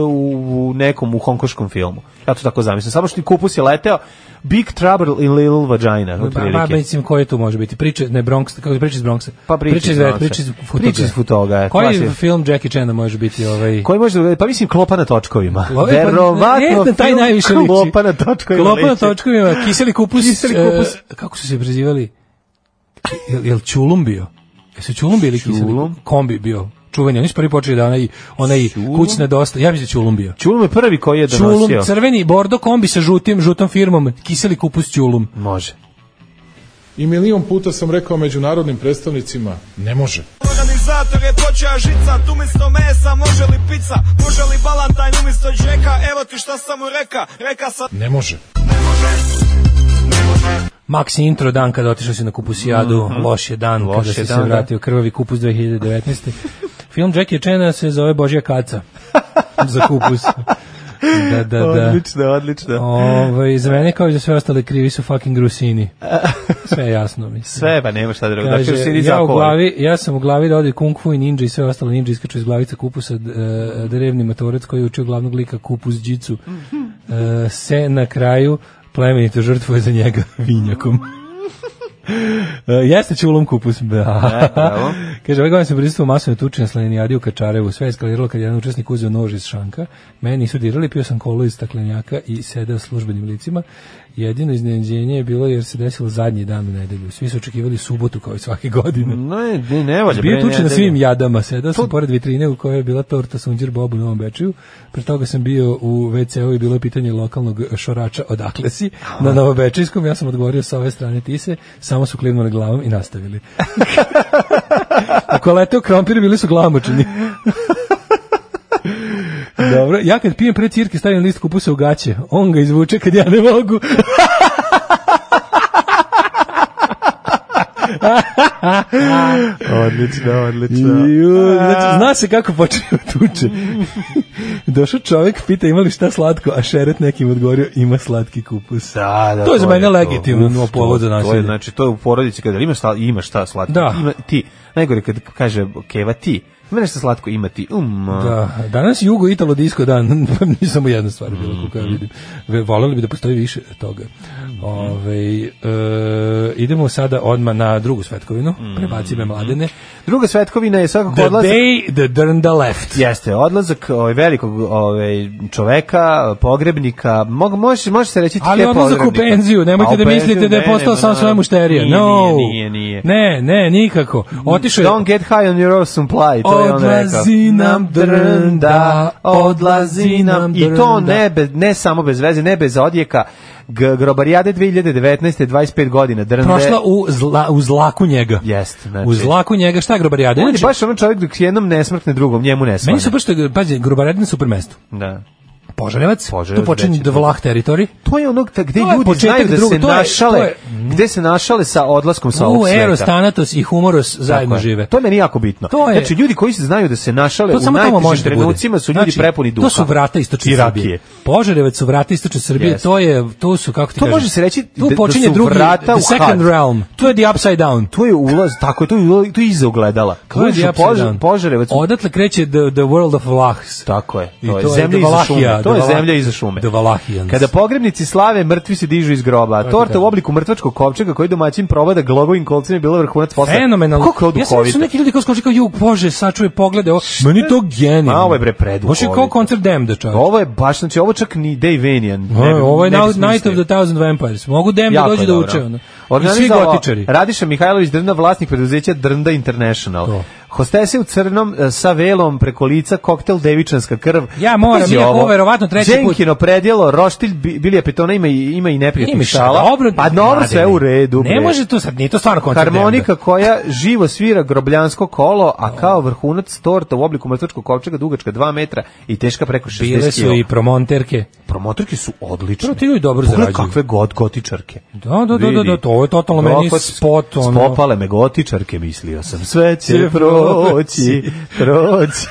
[SPEAKER 5] u nekom u hongkoškom filmu. Ja to tako zamislim. Samo što i kupus je leteo Big Trouble in Little Vagina,
[SPEAKER 6] Ba, ba,
[SPEAKER 5] otprilike.
[SPEAKER 6] Pa, mislim, koje tu može biti? Priče, ne, Bronx, kako je priča iz Bronxa?
[SPEAKER 5] Pa priče iz
[SPEAKER 6] Bronxa.
[SPEAKER 5] Bronxa.
[SPEAKER 6] Priče iz Futoga.
[SPEAKER 5] Priče iz Futoga, je,
[SPEAKER 6] Koji
[SPEAKER 5] klasi-
[SPEAKER 6] film Jackie Chana može biti ovaj...
[SPEAKER 5] Koji može, pa mislim klopa na točkovima.
[SPEAKER 6] Ovo je pa-
[SPEAKER 5] Verovatno
[SPEAKER 6] ne, na taj
[SPEAKER 5] film
[SPEAKER 6] najviše liči.
[SPEAKER 5] klopa na točkovima.
[SPEAKER 6] Klopa na
[SPEAKER 5] liči.
[SPEAKER 6] točkovima, kiseli kupus,
[SPEAKER 5] Kiseli kupus.
[SPEAKER 6] e, kako su se prezivali? Jel, jel Čulum bio? Jesu Čulum bili kiseli?
[SPEAKER 5] Čulum.
[SPEAKER 6] Kombi bio. Čuveni, oni su prvi počeli da onaj, onaj kućna dosta. Ja mislim da je Čulum bio.
[SPEAKER 5] Čulum je prvi koji je da
[SPEAKER 6] Čulum,
[SPEAKER 5] donosio.
[SPEAKER 6] crveni, bordo kombi sa žutim, žutom firmom, kiseli kupus Čulum.
[SPEAKER 5] Može.
[SPEAKER 7] I milion puta sam rekao međunarodnim predstavnicima, ne može.
[SPEAKER 11] Organizator je počeo žicat Umjesto mesa može li pizza Može li balantajn umjesto džeka Evo ti šta sam mu reka Reka sam
[SPEAKER 7] Ne može.
[SPEAKER 6] Maxi intro dan kada otišao si na kupusijadu, loš je dan
[SPEAKER 5] Mhm. Loš
[SPEAKER 6] kada
[SPEAKER 5] je
[SPEAKER 6] si
[SPEAKER 5] dan,
[SPEAKER 6] se
[SPEAKER 5] da.
[SPEAKER 6] vratio krvavi kupus 2019. Film Jackie Chana se zove Božja kaca za kupus. Da, da, da.
[SPEAKER 5] Odlično, odlično.
[SPEAKER 6] Ovaj za mene kao i za sve ostale krivi su fucking Rusini. Sve je jasno mi.
[SPEAKER 5] Sve, pa nema šta drugo. Dakle,
[SPEAKER 6] Kaže,
[SPEAKER 5] sedi za
[SPEAKER 6] ja, u
[SPEAKER 5] kolo.
[SPEAKER 6] glavi, ja sam u glavi rodio kung fu i ninja i sve ostalo ninja iskaču iz glavica kupusa d- e, drevni matorec koji je učio glavnog lika kupus džicu E, se na kraju plemenito žrtvuje za njega vinjakom. E, jeste čulom kupus. Da.
[SPEAKER 5] bravo.
[SPEAKER 6] Kaže, ovaj godin sam prisutuo masovne tuče na Slaninijadi u Kačarevu. Sve je eskaliralo kad je jedan učesnik uzeo nož iz šanka. Meni nisu dirali, pio sam kolu iz staklenjaka i sedeo službenim licima. Jedino iznenađenje je bilo jer se desilo zadnji dan u nedelju. Svi su očekivali subotu kao i svake godine.
[SPEAKER 5] Ne, ne, ne valja.
[SPEAKER 6] Bio
[SPEAKER 5] bre,
[SPEAKER 6] tuče
[SPEAKER 5] ne,
[SPEAKER 6] na
[SPEAKER 5] ne,
[SPEAKER 6] svim jadama, sedao sam pored vitrine u kojoj je bila torta sunđer bobu u Novom Bečeju. Pre toga sam bio u WC-u i bilo je pitanje lokalnog šorača odakle si na Novobečijskom. Ja sam odgovorio sa ove strane Tise, samo su klimnuli glavom i nastavili. Ako je leteo krompir, bili su glamočeni. Dobro, ja kad pijem pre cirke stavim list kupusa u gaće, on ga izvuče kad ja ne mogu.
[SPEAKER 5] odlično, odlično.
[SPEAKER 6] Ju, znači, zna se kako počinju tuče. Došao čovjek, pita ima li šta slatko, a šeret nekim odgovorio ima slatki kupus.
[SPEAKER 5] Da, da,
[SPEAKER 6] to je za mene
[SPEAKER 5] to.
[SPEAKER 6] legitimno
[SPEAKER 5] Uf, to-
[SPEAKER 6] povod za
[SPEAKER 5] To je,
[SPEAKER 6] nasilje.
[SPEAKER 5] znači, to je u porodici kada ima, šta, ima šta slatko.
[SPEAKER 6] Da.
[SPEAKER 5] Ima ti. Najgore kad kaže Keva ti. Ima nešto slatko, ima ti. Um,
[SPEAKER 6] Da, danas je Jugo Italo Disco dan, pa nije samo jedna stvar bila koliko
[SPEAKER 5] Mhm.
[SPEAKER 6] ja vidim. Ve- Voleli bi da postoji više toga. Ove, e, idemo sada odmah na drugu svetkovinu, prebaci me mladene.
[SPEAKER 5] Druga svetkovina je svakako
[SPEAKER 6] The
[SPEAKER 5] Mhm. odlazak-
[SPEAKER 6] day the Drnda left.
[SPEAKER 5] Jeste, odlazak ovaj, velikog ovaj, čoveka, pogrebnika, mog, može, može se reći
[SPEAKER 6] Ali
[SPEAKER 5] tke
[SPEAKER 6] odlazak u
[SPEAKER 5] pogrebnika.
[SPEAKER 6] penziju,
[SPEAKER 5] A
[SPEAKER 6] nemojte
[SPEAKER 5] u
[SPEAKER 6] da
[SPEAKER 5] penziju,
[SPEAKER 6] mislite da je
[SPEAKER 5] ne,
[SPEAKER 6] postao
[SPEAKER 5] ne,
[SPEAKER 6] sam
[SPEAKER 5] ne,
[SPEAKER 6] svoje
[SPEAKER 5] ne,
[SPEAKER 6] mušterija.
[SPEAKER 5] nije,
[SPEAKER 6] No.
[SPEAKER 5] Nije, nije, nije.
[SPEAKER 6] Ne, ne, nikako. Otišao je...
[SPEAKER 5] Don't get high on your own supply, to je on rekao.
[SPEAKER 6] Odlazi nam drnda, odlazi nam
[SPEAKER 5] I to
[SPEAKER 6] drnda.
[SPEAKER 5] ne, bez, ne samo bez veze, ne bez odjeka. G grobarijade 2019. 25 godina drnde.
[SPEAKER 6] Prošla u, zla, u zlaku njega.
[SPEAKER 5] Jeste, znači.
[SPEAKER 6] U zlaku njega, šta je grobarijada?
[SPEAKER 5] On je
[SPEAKER 6] Inače,
[SPEAKER 5] baš ono čovjek dok jednom ne smrkne drugom, njemu ne smrkne.
[SPEAKER 6] Meni su baš, pazi, grobarijada na super mestu.
[SPEAKER 5] Da.
[SPEAKER 6] Požarevac,
[SPEAKER 5] Požarevac,
[SPEAKER 6] tu počinje
[SPEAKER 5] veći
[SPEAKER 6] do Vlah teritorij.
[SPEAKER 5] To je onog ta- gde
[SPEAKER 6] To je
[SPEAKER 5] ljudi
[SPEAKER 6] početak
[SPEAKER 5] znaju da
[SPEAKER 6] drugog-
[SPEAKER 5] se
[SPEAKER 6] to je-
[SPEAKER 5] našale,
[SPEAKER 6] to je-
[SPEAKER 5] gde se našale sa odlaskom sa ovog
[SPEAKER 6] U
[SPEAKER 5] sveta.
[SPEAKER 6] Eros, Thanatos i Humoros zajedno
[SPEAKER 5] Tako je.
[SPEAKER 6] žive.
[SPEAKER 5] To je meni jako bitno.
[SPEAKER 6] To je-
[SPEAKER 5] Znači, ljudi koji se znaju da se našale
[SPEAKER 6] To
[SPEAKER 5] u
[SPEAKER 6] samo tamo
[SPEAKER 5] najtežim
[SPEAKER 6] može da bude.
[SPEAKER 5] trenucima su ljudi
[SPEAKER 6] Znači,
[SPEAKER 5] prepuni duha.
[SPEAKER 6] To su vrata istočne
[SPEAKER 5] I rakije.
[SPEAKER 6] Srbije. Požarevac su vrata istočne Srbije,
[SPEAKER 5] Jeste.
[SPEAKER 6] to je to su kako ti
[SPEAKER 5] To
[SPEAKER 6] kažem,
[SPEAKER 5] može se reći da-
[SPEAKER 6] tu
[SPEAKER 5] da
[SPEAKER 6] počinje
[SPEAKER 5] su
[SPEAKER 6] drugi
[SPEAKER 5] vrata u
[SPEAKER 6] the second
[SPEAKER 5] had.
[SPEAKER 6] realm. To je the upside down.
[SPEAKER 5] To je ulaz, tako je, to je, ulaz- to je iza ogledala. Kad
[SPEAKER 6] To je
[SPEAKER 5] uđeš
[SPEAKER 6] the
[SPEAKER 5] u
[SPEAKER 6] upside
[SPEAKER 5] požar-
[SPEAKER 6] down.
[SPEAKER 5] požarevac,
[SPEAKER 6] Odatle kreće the, the world of Vlahs.
[SPEAKER 5] tako je.
[SPEAKER 6] I
[SPEAKER 5] To je
[SPEAKER 6] to je
[SPEAKER 5] zemlja
[SPEAKER 6] the
[SPEAKER 5] iza
[SPEAKER 6] Valahija,
[SPEAKER 5] šume. To
[SPEAKER 6] the
[SPEAKER 5] je
[SPEAKER 6] Vala-
[SPEAKER 5] zemlja iza šume.
[SPEAKER 6] the Valahijans.
[SPEAKER 5] Kada pogrebnici slave, mrtvi se dižu iz groba. A torta u
[SPEAKER 6] tako.
[SPEAKER 5] obliku mrtvačkog kopčega koji domaćin proba da glogovim kolcima je bila vrhunac posla.
[SPEAKER 6] Fenomenalno.
[SPEAKER 5] Pa Kako je
[SPEAKER 6] ja sam da
[SPEAKER 5] oduhovito.
[SPEAKER 6] su neki ljudi koji skoče kao ju bože, sačuvaj poglede. Ovo. Meni je to genijalno.
[SPEAKER 5] Ma, ovo je bre preduhovito.
[SPEAKER 6] Baš je kao koncert Demda, čovjek.
[SPEAKER 5] Ovo je baš, znači ovo čak ni Dave Vanian. ne bi-
[SPEAKER 6] Ovo je
[SPEAKER 5] ne bi
[SPEAKER 6] Night Night of
[SPEAKER 5] smislio.
[SPEAKER 6] the Thousand Vampires. Mogu Demda
[SPEAKER 5] Jako
[SPEAKER 6] dođe
[SPEAKER 5] je
[SPEAKER 6] da
[SPEAKER 5] dobro.
[SPEAKER 6] uče. ono. I svi
[SPEAKER 5] Organizovao
[SPEAKER 6] gotičari.
[SPEAKER 5] Radiša Mihajlović Drnda, vlasnik preduzeća Drnda International. Hostese u crnom e, sa velom preko lica, koktel devičanska krv.
[SPEAKER 6] Ja moram,
[SPEAKER 5] Pazi
[SPEAKER 6] iako ovo je verovatno treći put.
[SPEAKER 5] Đenkino predjelo, roštilj, bi- bilja petona ima i, ima i neprijatnih
[SPEAKER 6] Ima
[SPEAKER 5] šala.
[SPEAKER 6] obrad-
[SPEAKER 5] Pa dobro, sve
[SPEAKER 6] Mladene.
[SPEAKER 5] u redu.
[SPEAKER 6] Ne
[SPEAKER 5] bre.
[SPEAKER 6] može tu sad, nije to da. stvarno koncert Demda.
[SPEAKER 5] Harmonika koja živo svira grobljansko kolo, a kao vrhunac torta u obliku mrtvačkog kovčega dugačka 2 metra i teška preko 60 kg.
[SPEAKER 6] Bile su i promonterke.
[SPEAKER 5] Promotorke su odlične.
[SPEAKER 6] Prvo ti ljudi dobro
[SPEAKER 5] Pogledaj
[SPEAKER 6] zarađuju.
[SPEAKER 5] kakve god gotičarke.
[SPEAKER 6] Da, da, da, da, da, to je totalno
[SPEAKER 5] Kako
[SPEAKER 6] meni
[SPEAKER 5] s-
[SPEAKER 6] spot, ono.
[SPEAKER 5] Spopale me gotičarke, mislio sam. Sve će proći, proći,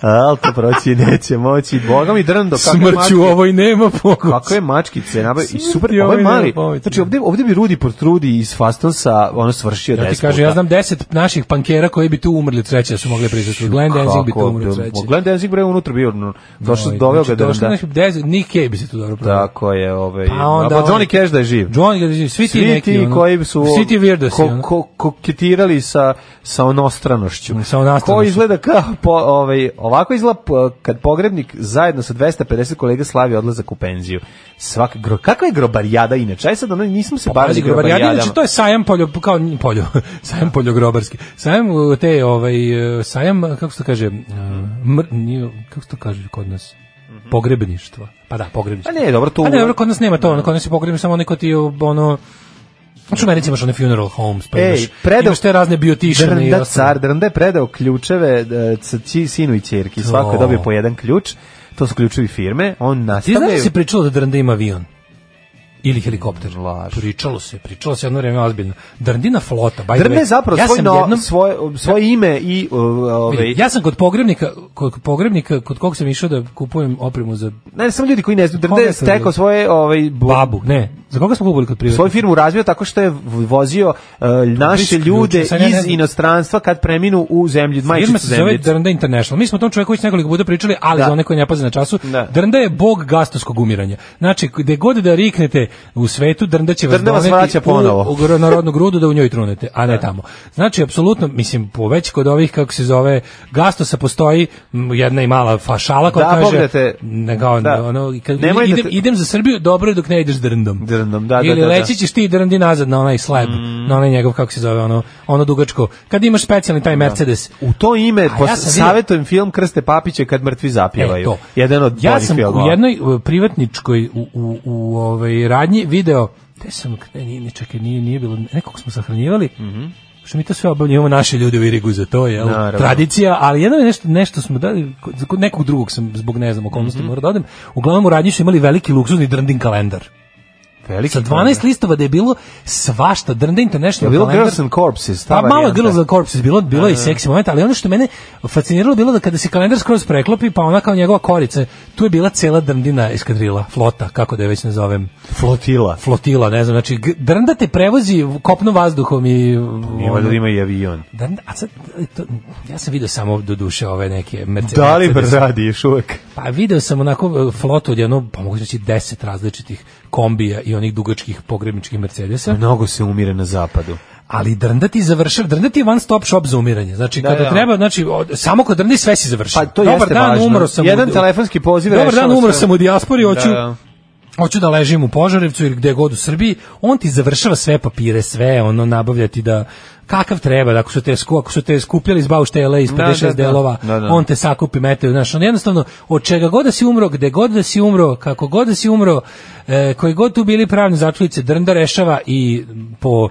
[SPEAKER 5] ali to proći neće moći. Boga mi drndo, kakve mačke.
[SPEAKER 6] Smrću ovoj nema pokusa.
[SPEAKER 5] Kakve mačkice, nabavio. I super,
[SPEAKER 6] Smrti
[SPEAKER 5] ovaj
[SPEAKER 6] ovaj
[SPEAKER 5] mali.
[SPEAKER 6] nema pameti.
[SPEAKER 5] Znači, ovde, ovde bi Rudi Portrudi iz Fastonsa, ono svršio
[SPEAKER 6] Ja ti
[SPEAKER 5] deset
[SPEAKER 6] kažem, ja
[SPEAKER 5] puta.
[SPEAKER 6] znam deset naših pankera koji bi tu umrli od sreće da su mogli prisustvovati. Glenn Danzig bi tu
[SPEAKER 5] Kako
[SPEAKER 6] umrli od
[SPEAKER 5] bi-
[SPEAKER 6] sreće.
[SPEAKER 5] Glenn Danzig bre unutra bio, no, došao,
[SPEAKER 6] Ovaj,
[SPEAKER 5] doveo ga
[SPEAKER 6] znači,
[SPEAKER 5] da
[SPEAKER 6] došlo
[SPEAKER 5] da.
[SPEAKER 6] nekih deset- Nick Cave bi se tu dobro proveo.
[SPEAKER 5] Tako je, ovaj.
[SPEAKER 6] Pa onda
[SPEAKER 5] a pa
[SPEAKER 6] ovaj-
[SPEAKER 5] Johnny Cash da je živ.
[SPEAKER 6] John Gazin, svi ti
[SPEAKER 5] svi
[SPEAKER 6] neki,
[SPEAKER 5] ti
[SPEAKER 6] ono,
[SPEAKER 5] koji su
[SPEAKER 6] svi ti weirdosi,
[SPEAKER 5] ko,
[SPEAKER 6] ono.
[SPEAKER 5] ko, koketirali sa sa onostranošću.
[SPEAKER 6] Sa onostranošću.
[SPEAKER 5] Ko izgleda kao po, ovaj ovako izgleda po- kad pogrebnik zajedno sa 250 kolega slavi odlazak u penziju. Svak gro, kakva je grobarijada inače? Aj sad ono, nismo se bavili
[SPEAKER 6] Pa Pazi, grobarijada,
[SPEAKER 5] grobarijadama.
[SPEAKER 6] znači to je sajam poljo, kao nije poljo, sajam poljogrobarski. Sajam uh, te, ovaj, uh, sajam, uh, kako se to kaže, uh, mr, nije, kako se to kaže kod nas, pogrebništva. Pa da, pogrebništva.
[SPEAKER 5] A Mhm. ne, dobro, to-
[SPEAKER 6] A ne, dobro, kod nas nema to, ono, kod nas je pogrebni samo neko ti, uh, ono, Znači, u Americi imaš one funeral homes, pa imaš,
[SPEAKER 5] Ej, predao-
[SPEAKER 6] imaš te razne biotišane i
[SPEAKER 5] Drnda
[SPEAKER 6] ostalo.
[SPEAKER 5] car, Drnda je predao ključeve e, c- ci- sinu i ćerki. Svako je
[SPEAKER 6] To.
[SPEAKER 5] dobio po jedan ključ. To su ključevi firme. On
[SPEAKER 6] Ti znaš da
[SPEAKER 5] nastavlja...
[SPEAKER 6] se pričalo da Drnda ima avion? Ili helikopter. Pričalo se, pričalo se jedno vreme ozbiljno. Drndina flota, by the
[SPEAKER 5] Drnda je
[SPEAKER 6] way.
[SPEAKER 5] zapravo
[SPEAKER 6] ja
[SPEAKER 5] svoj
[SPEAKER 6] sam
[SPEAKER 5] no-
[SPEAKER 6] jednom-
[SPEAKER 5] svoje, svoje ime i... uh, ovaj,
[SPEAKER 6] Vidi, Ja sam kod pogrebnika, kod pogrebnika, kod kog sam išao da kupujem opremu za
[SPEAKER 5] Ne, samo ljudi koji ne znaju, Drnda
[SPEAKER 6] Koga
[SPEAKER 5] je
[SPEAKER 6] sam
[SPEAKER 5] stekao
[SPEAKER 6] vidio?
[SPEAKER 5] svoje ovaj bu-
[SPEAKER 6] babu, ne, za koga smo kupili kod privatnika?
[SPEAKER 5] svoju firmu razvio tako što je v- vozio e, naše
[SPEAKER 6] Blisk
[SPEAKER 5] ljude
[SPEAKER 6] ključ, sad ja ne
[SPEAKER 5] iz
[SPEAKER 6] znam.
[SPEAKER 5] inostranstva kad preminu u zemlji,
[SPEAKER 6] Firma
[SPEAKER 5] majčicu
[SPEAKER 6] se zove
[SPEAKER 5] zemlji.
[SPEAKER 6] Drnda International. Mi smo o tom čovjeku već nekoliko puta pričali, ali
[SPEAKER 5] Da.
[SPEAKER 6] za one koji ne paze na času,
[SPEAKER 5] Da.
[SPEAKER 6] Drnda je bog gastovskog umiranja. Znači, gde god da riknete u svetu, Drnda će vas
[SPEAKER 5] Drnda vas
[SPEAKER 6] doneti
[SPEAKER 5] vraća ponovo.
[SPEAKER 6] u, u narodnu grudu da u njoj trunete, a ne tamo. Znači, apsolutno, mislim, po već kod ovih, kako se zove, gastosa postoji m, jedna i mala fašala koja
[SPEAKER 5] Da,
[SPEAKER 6] kaže...
[SPEAKER 5] pogledajte.
[SPEAKER 6] Ne, kao,
[SPEAKER 5] Da.
[SPEAKER 6] ono, kad
[SPEAKER 5] Nemoj da
[SPEAKER 6] idem,
[SPEAKER 5] te-
[SPEAKER 6] idem za Srbiju, dobro je dok ne ideš Drndom.
[SPEAKER 5] Drndom, da, da,
[SPEAKER 6] Ili
[SPEAKER 5] da, Mm. da.
[SPEAKER 6] leći ćeš ti drndi nazad na onaj slab, na onaj njegov, kako se zove, ono, ono dugačko. Kad imaš specijalni
[SPEAKER 5] Da.
[SPEAKER 6] taj Mercedes,
[SPEAKER 5] U to ime
[SPEAKER 6] A
[SPEAKER 5] pos-
[SPEAKER 6] ja sam vidio-
[SPEAKER 5] savjetujem film Krste Papiće kad mrtvi zapjevaju.
[SPEAKER 6] E, to.
[SPEAKER 5] Jedan od
[SPEAKER 6] ja
[SPEAKER 5] boljih
[SPEAKER 6] sam
[SPEAKER 5] filmova.
[SPEAKER 6] u jednoj e, privatničkoj u, u, u ovaj radnji video te sam ne, nije, nije, čekaj, nije, nije bilo nekog smo sahranjivali. Mhm. što mi to sve obavljamo, imamo naše ljude u Irigu za to, je
[SPEAKER 5] Naravno.
[SPEAKER 6] tradicija, ali jedno je nešto, nešto smo dali, kod- za kod nekog
[SPEAKER 5] Mhm.
[SPEAKER 6] da drugog sam zbog ne znam okolnosti morao da odem, uglavnom u radnji su imali veliki luksuzni drndin kalendar.
[SPEAKER 5] Veliki
[SPEAKER 6] Sa 12 listova da je bilo svašta, Drnda International
[SPEAKER 5] Je bilo
[SPEAKER 6] kalendar.
[SPEAKER 5] Girls and Corpses, ta
[SPEAKER 6] Pa malo je
[SPEAKER 5] varijanta.
[SPEAKER 6] Girls and Corpses, bilo, bilo je i
[SPEAKER 5] Da, da.
[SPEAKER 6] seksi moment, ali ono što je mene fasciniralo bilo da kada se kalendar skroz preklopi, pa ona kao njegova korica, tu je bila cela Drndina eskadrila, flota, kako da je već nazovem.
[SPEAKER 5] Flotila.
[SPEAKER 6] Flotila, ne znam, znači g- Drnda te prevozi kopno vazduhom i...
[SPEAKER 5] Nije valjda da ima i avion.
[SPEAKER 6] Drnda, a sad, e, to, ja sam video samo do duše ove neke Mercedes.
[SPEAKER 5] Da li radi još uvek?
[SPEAKER 6] Pa video sam onako e, flotu od jedno, pa mogu reći, deset različitih kombija i onih dugačkih pogrebničkih Mercedesa.
[SPEAKER 5] Mnogo se umire na zapadu.
[SPEAKER 6] Ali drnda ti završava, drnda ti je one stop shop za umiranje. Znači,
[SPEAKER 5] Da,
[SPEAKER 6] kada
[SPEAKER 5] da.
[SPEAKER 6] treba, znači, od- samo kod drndi sve si završio.
[SPEAKER 5] Pa to
[SPEAKER 6] Dobar
[SPEAKER 5] jeste
[SPEAKER 6] dan,
[SPEAKER 5] važno.
[SPEAKER 6] umro sam.
[SPEAKER 5] Jedan
[SPEAKER 6] u-
[SPEAKER 5] telefonski poziv
[SPEAKER 6] Dobar
[SPEAKER 5] rešava
[SPEAKER 6] dan, umro
[SPEAKER 5] sve.
[SPEAKER 6] sam u dijaspori,
[SPEAKER 5] Da,
[SPEAKER 6] hoću...
[SPEAKER 5] da.
[SPEAKER 6] Hoću da ležim u Požarevcu ili gde god u Srbiji, on ti završava sve papire, sve, ono nabavljati da kakav treba, da ako su te sku, ako su te skupljali iz bauštela iz
[SPEAKER 5] Da,
[SPEAKER 6] 56
[SPEAKER 5] da, da.
[SPEAKER 6] delova,
[SPEAKER 5] Da, da.
[SPEAKER 6] on te sakupi mete, znaš, on jednostavno od čega god da si umro, gde god da si umro, kako god da si umro, e, koji god tu bili pravni začulice, drnda rešava i po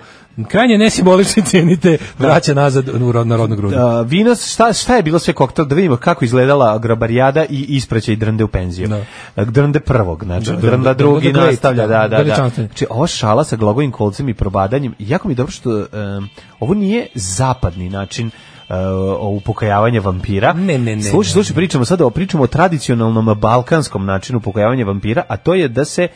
[SPEAKER 6] krajnje nesimbolične cenite vraća
[SPEAKER 5] Da.
[SPEAKER 6] nazad u rod, na rodnu grudu.
[SPEAKER 5] Uh, vino, šta, šta je bilo sve koktel, da vidimo kako izgledala grabarijada i ispraćaj drnde u penziju. Da. Drnde prvog, znači,
[SPEAKER 6] Da,
[SPEAKER 5] drnda,
[SPEAKER 6] Drnda-
[SPEAKER 5] drugi
[SPEAKER 6] Drnda Great,
[SPEAKER 5] nastavlja,
[SPEAKER 6] da,
[SPEAKER 5] da, da, da.
[SPEAKER 6] veličanstveni.
[SPEAKER 5] Znači, ova šala sa glagovim kolcem i probadanjem, jako mi je dobro što um, ovo nije zapadni način uh, upokajavanja vampira.
[SPEAKER 6] Ne, ne, ne,
[SPEAKER 5] Slušaj,
[SPEAKER 6] ne.
[SPEAKER 5] slušaj, pričamo sada o pričamo o tradicionalnom balkanskom načinu upokajavanja vampira, a to je da se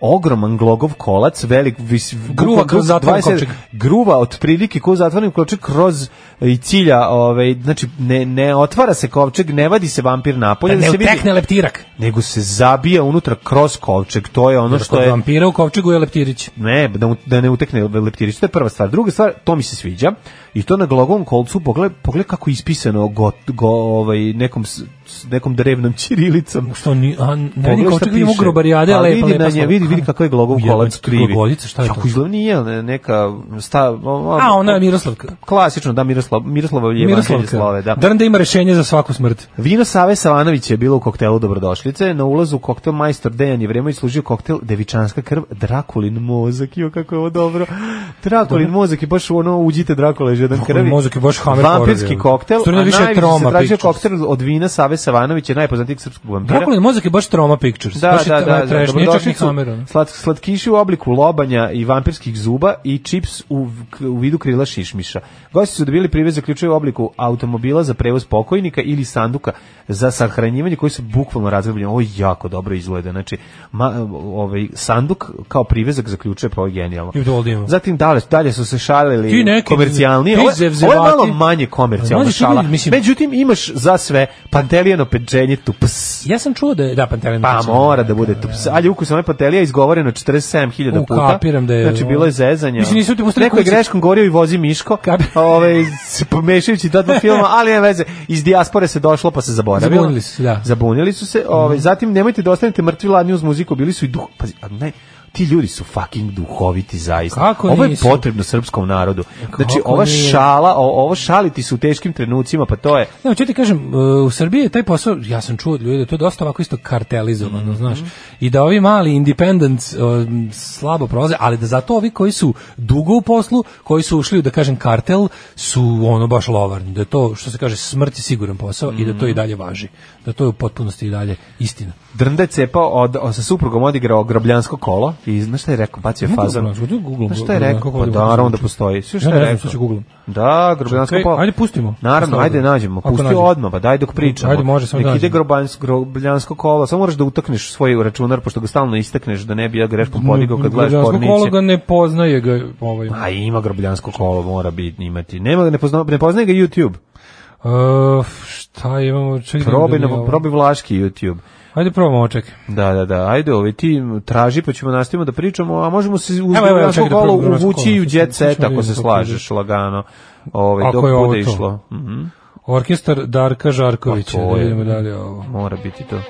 [SPEAKER 5] ogroman glogov kolac, velik, vis,
[SPEAKER 6] Gruva kroz zatvoren
[SPEAKER 5] 20
[SPEAKER 6] kovčeg.
[SPEAKER 5] gruva otprilike ko zatvoren kovčeg kroz e, i cilja, ovaj znači ne ne otvara se kovčeg, ne vadi se vampir napolje,
[SPEAKER 6] Da
[SPEAKER 5] da,
[SPEAKER 6] ne
[SPEAKER 5] se
[SPEAKER 6] utekne
[SPEAKER 5] vidi,
[SPEAKER 6] leptirak.
[SPEAKER 5] nego se zabija unutra kroz kovčeg. To je ono
[SPEAKER 6] Jer
[SPEAKER 5] što
[SPEAKER 6] kod
[SPEAKER 5] je
[SPEAKER 6] vampira u kovčegu je leptirić.
[SPEAKER 5] ne, da, mu- da ne utekne leptirić, to je prva stvar. Druga stvar, to mi se sviđa, i to na glogovom kolcu, pogled, pogled kako je ispisano go, go, ovaj, nekom, s- s- nekom drevnom čirilicom.
[SPEAKER 6] Što ni, a, ne vidim
[SPEAKER 5] Pogledaj šta
[SPEAKER 6] kovčeg, vidimo
[SPEAKER 5] piše.
[SPEAKER 6] grobarijade,
[SPEAKER 5] Pa
[SPEAKER 6] lepa,
[SPEAKER 5] vidi
[SPEAKER 6] lepa
[SPEAKER 5] na nje,
[SPEAKER 6] slova.
[SPEAKER 5] vidi, vidi kako je glogov
[SPEAKER 6] Jebote,
[SPEAKER 5] kolac krivi.
[SPEAKER 6] glagoljica, šta je to?
[SPEAKER 5] Jako izgleda nije ne- neka sta... o- o-
[SPEAKER 6] A, ona je Miroslavka.
[SPEAKER 5] Klasično, da, Miroslav, Miroslava je Miroslavka. Slove, da.
[SPEAKER 6] Drnda ima rešenje za svaku smrt.
[SPEAKER 5] Vino Save Savanović je bilo u koktelu Dobrodošlice. Na ulazu u koktel majstor Dejan Jevremović služio koktel Devičanska krv, Drakulin mozak. Jo, kako je ovo dobro. Drakulin mozak je baš ono, uđite Drakule, jedan
[SPEAKER 6] Da. Drakulin
[SPEAKER 5] krvi.
[SPEAKER 6] mozak je baš hammer horror,
[SPEAKER 5] Vampirski
[SPEAKER 6] je.
[SPEAKER 5] koktel, a
[SPEAKER 6] Stvarno je više
[SPEAKER 5] najviše
[SPEAKER 6] troma
[SPEAKER 5] se tražio
[SPEAKER 6] pictures.
[SPEAKER 5] koktel od Vina Save Savanovića, najpoznatijeg srpskog vampira.
[SPEAKER 6] Drakulin mozak je baš Troma Pictures.
[SPEAKER 5] Da,
[SPEAKER 6] baš je
[SPEAKER 5] da,
[SPEAKER 6] tra-
[SPEAKER 5] da,
[SPEAKER 6] trash,
[SPEAKER 5] da,
[SPEAKER 6] nije čak ni
[SPEAKER 5] dobrodošli su
[SPEAKER 6] Hammer, ono.
[SPEAKER 5] Slat, slatkiši u obliku lobanja i vampirskih zuba i čips u, v- u vidu krila šišmiša. Gosti su dobili privez zaključuje u obliku automobila za prevoz pokojnika ili sanduka za sahranjivanje koji su bukvalno razgrbljeni. Ovo jako dobro izgleda. Znači, ma, ovaj, sanduk kao privezak zaključuje, pa ovo je genijalno.
[SPEAKER 6] I to ovdje imamo.
[SPEAKER 5] Zatim dalje, dalje su se šalili
[SPEAKER 6] Ti neki-
[SPEAKER 5] komercijalnije.
[SPEAKER 6] ti
[SPEAKER 5] Ovo, je- ovo je malo
[SPEAKER 6] zevzevati.
[SPEAKER 5] manje komercijalna
[SPEAKER 6] Mlađe, ti
[SPEAKER 5] šala.
[SPEAKER 6] vidi, mislim-
[SPEAKER 5] Međutim, imaš za sve pantelijano pečenje tu ps.
[SPEAKER 6] Ja sam čuo da je, da, Pantelion.
[SPEAKER 5] Pa mora da bude. tups. Ali ukus ove patelija izgovoreno 47.000
[SPEAKER 6] U,
[SPEAKER 5] puta.
[SPEAKER 6] kapiram da je-
[SPEAKER 5] Znači bilo je zezanje.
[SPEAKER 6] Mislim, nisu ti pustili
[SPEAKER 5] Neko je
[SPEAKER 6] kući.
[SPEAKER 5] greškom govorio i vozi Miško. Ovaj se pomešajući ta dva filma, ali nema veze. Iz dijaspore se došlo pa se zaboravilo.
[SPEAKER 6] Zabunili su se, da. Mhm.
[SPEAKER 5] Zabunili su se. Ovaj zatim nemojte da ostanete mrtvi ladni uz muziku, bili su i duh. Pazi, a naj ti ljudi su fucking duhoviti zaista.
[SPEAKER 6] Kako
[SPEAKER 5] ovo je
[SPEAKER 6] nisu?
[SPEAKER 5] potrebno srpskom narodu. Znači
[SPEAKER 6] Kako
[SPEAKER 5] ova
[SPEAKER 6] nije?
[SPEAKER 5] šala, o- ovo šaliti su u teškim trenucima, pa to je
[SPEAKER 6] Ne, hoću ti kažem, uh, u Srbiji je taj posao, ja sam čuo od ljudi, da je to dosta ovako isto kartelizovano,
[SPEAKER 5] Mhm,
[SPEAKER 6] znaš, i da ovi mali independents um, slabo prolaze, ali da zato ovi koji su dugo u poslu, koji su ušli u, da kažem, kartel, su ono baš lovarni, da je to, što se kaže, smrt je siguran posao i da
[SPEAKER 5] Mhm.
[SPEAKER 6] to i dalje važi, da to je u potpunosti i dalje istina.
[SPEAKER 5] Drnda je cepao od, o, sa suprugom odigrao grobljansko kolo i znaš šta je rekao, bacio je
[SPEAKER 6] Mogu
[SPEAKER 5] fazan.
[SPEAKER 6] Grobljansko, ću Google,
[SPEAKER 5] Znaš šta je
[SPEAKER 6] Grobljansko
[SPEAKER 5] rekao?
[SPEAKER 6] kolo
[SPEAKER 5] Pa
[SPEAKER 6] da
[SPEAKER 5] naravno da
[SPEAKER 6] uzmem.
[SPEAKER 5] postoji. Sve
[SPEAKER 6] Ja
[SPEAKER 5] šta
[SPEAKER 6] ne
[SPEAKER 5] je
[SPEAKER 6] znam,
[SPEAKER 5] rekao?
[SPEAKER 6] sad ću googlam.
[SPEAKER 5] Da, grobljansko
[SPEAKER 6] Čekaj,
[SPEAKER 5] kolo.
[SPEAKER 6] ajde, pustimo.
[SPEAKER 5] Naravno,
[SPEAKER 6] Ostavimo.
[SPEAKER 5] ajde nađemo.
[SPEAKER 6] Ako
[SPEAKER 5] Pusti
[SPEAKER 6] nađemo.
[SPEAKER 5] odmah, pa daj dok pričamo.
[SPEAKER 6] Ajde, može, samo
[SPEAKER 5] Nek ide
[SPEAKER 6] nađemo.
[SPEAKER 5] grobansko- grobljansko kolo, samo moraš da utakneš svoj računar, pošto ga stalno istakneš, da ne bi ja greškom podigao kad gledaš
[SPEAKER 6] Građansko kolo
[SPEAKER 5] porniće.
[SPEAKER 6] ga ne poznaje ga ovaj.
[SPEAKER 5] A ima grobljansko kolo, mora biti imati. Nema, ga, ne, pozna, ne poznaje ga YouTube.
[SPEAKER 6] Uh, šta imamo? Čekaj, da
[SPEAKER 5] Probaj,
[SPEAKER 6] mi
[SPEAKER 5] na-
[SPEAKER 6] ovo-
[SPEAKER 5] probaj vlaški YouTube.
[SPEAKER 6] Ajde probamo, čekaj.
[SPEAKER 5] Da, da, da. Ajde, ovaj ti traži pa ćemo nastavimo da pričamo, a možemo se uz
[SPEAKER 6] Evo, evo,
[SPEAKER 5] Građansko
[SPEAKER 6] čekaj da
[SPEAKER 5] kolo
[SPEAKER 6] probam Građansko
[SPEAKER 5] uvući
[SPEAKER 6] kolo.
[SPEAKER 5] i u jet
[SPEAKER 6] Sad
[SPEAKER 5] set
[SPEAKER 6] ćemo
[SPEAKER 5] ako
[SPEAKER 6] vidjeti
[SPEAKER 5] se
[SPEAKER 6] kako
[SPEAKER 5] slažeš lagano. Ovaj
[SPEAKER 6] Ako
[SPEAKER 5] dok
[SPEAKER 6] je ovo
[SPEAKER 5] bude
[SPEAKER 6] to.
[SPEAKER 5] išlo. Mhm.
[SPEAKER 6] Orkestar Darka Žarkovića.
[SPEAKER 5] Pa to
[SPEAKER 6] da
[SPEAKER 5] je.
[SPEAKER 6] vidimo dalje ovo.
[SPEAKER 5] Mora biti to.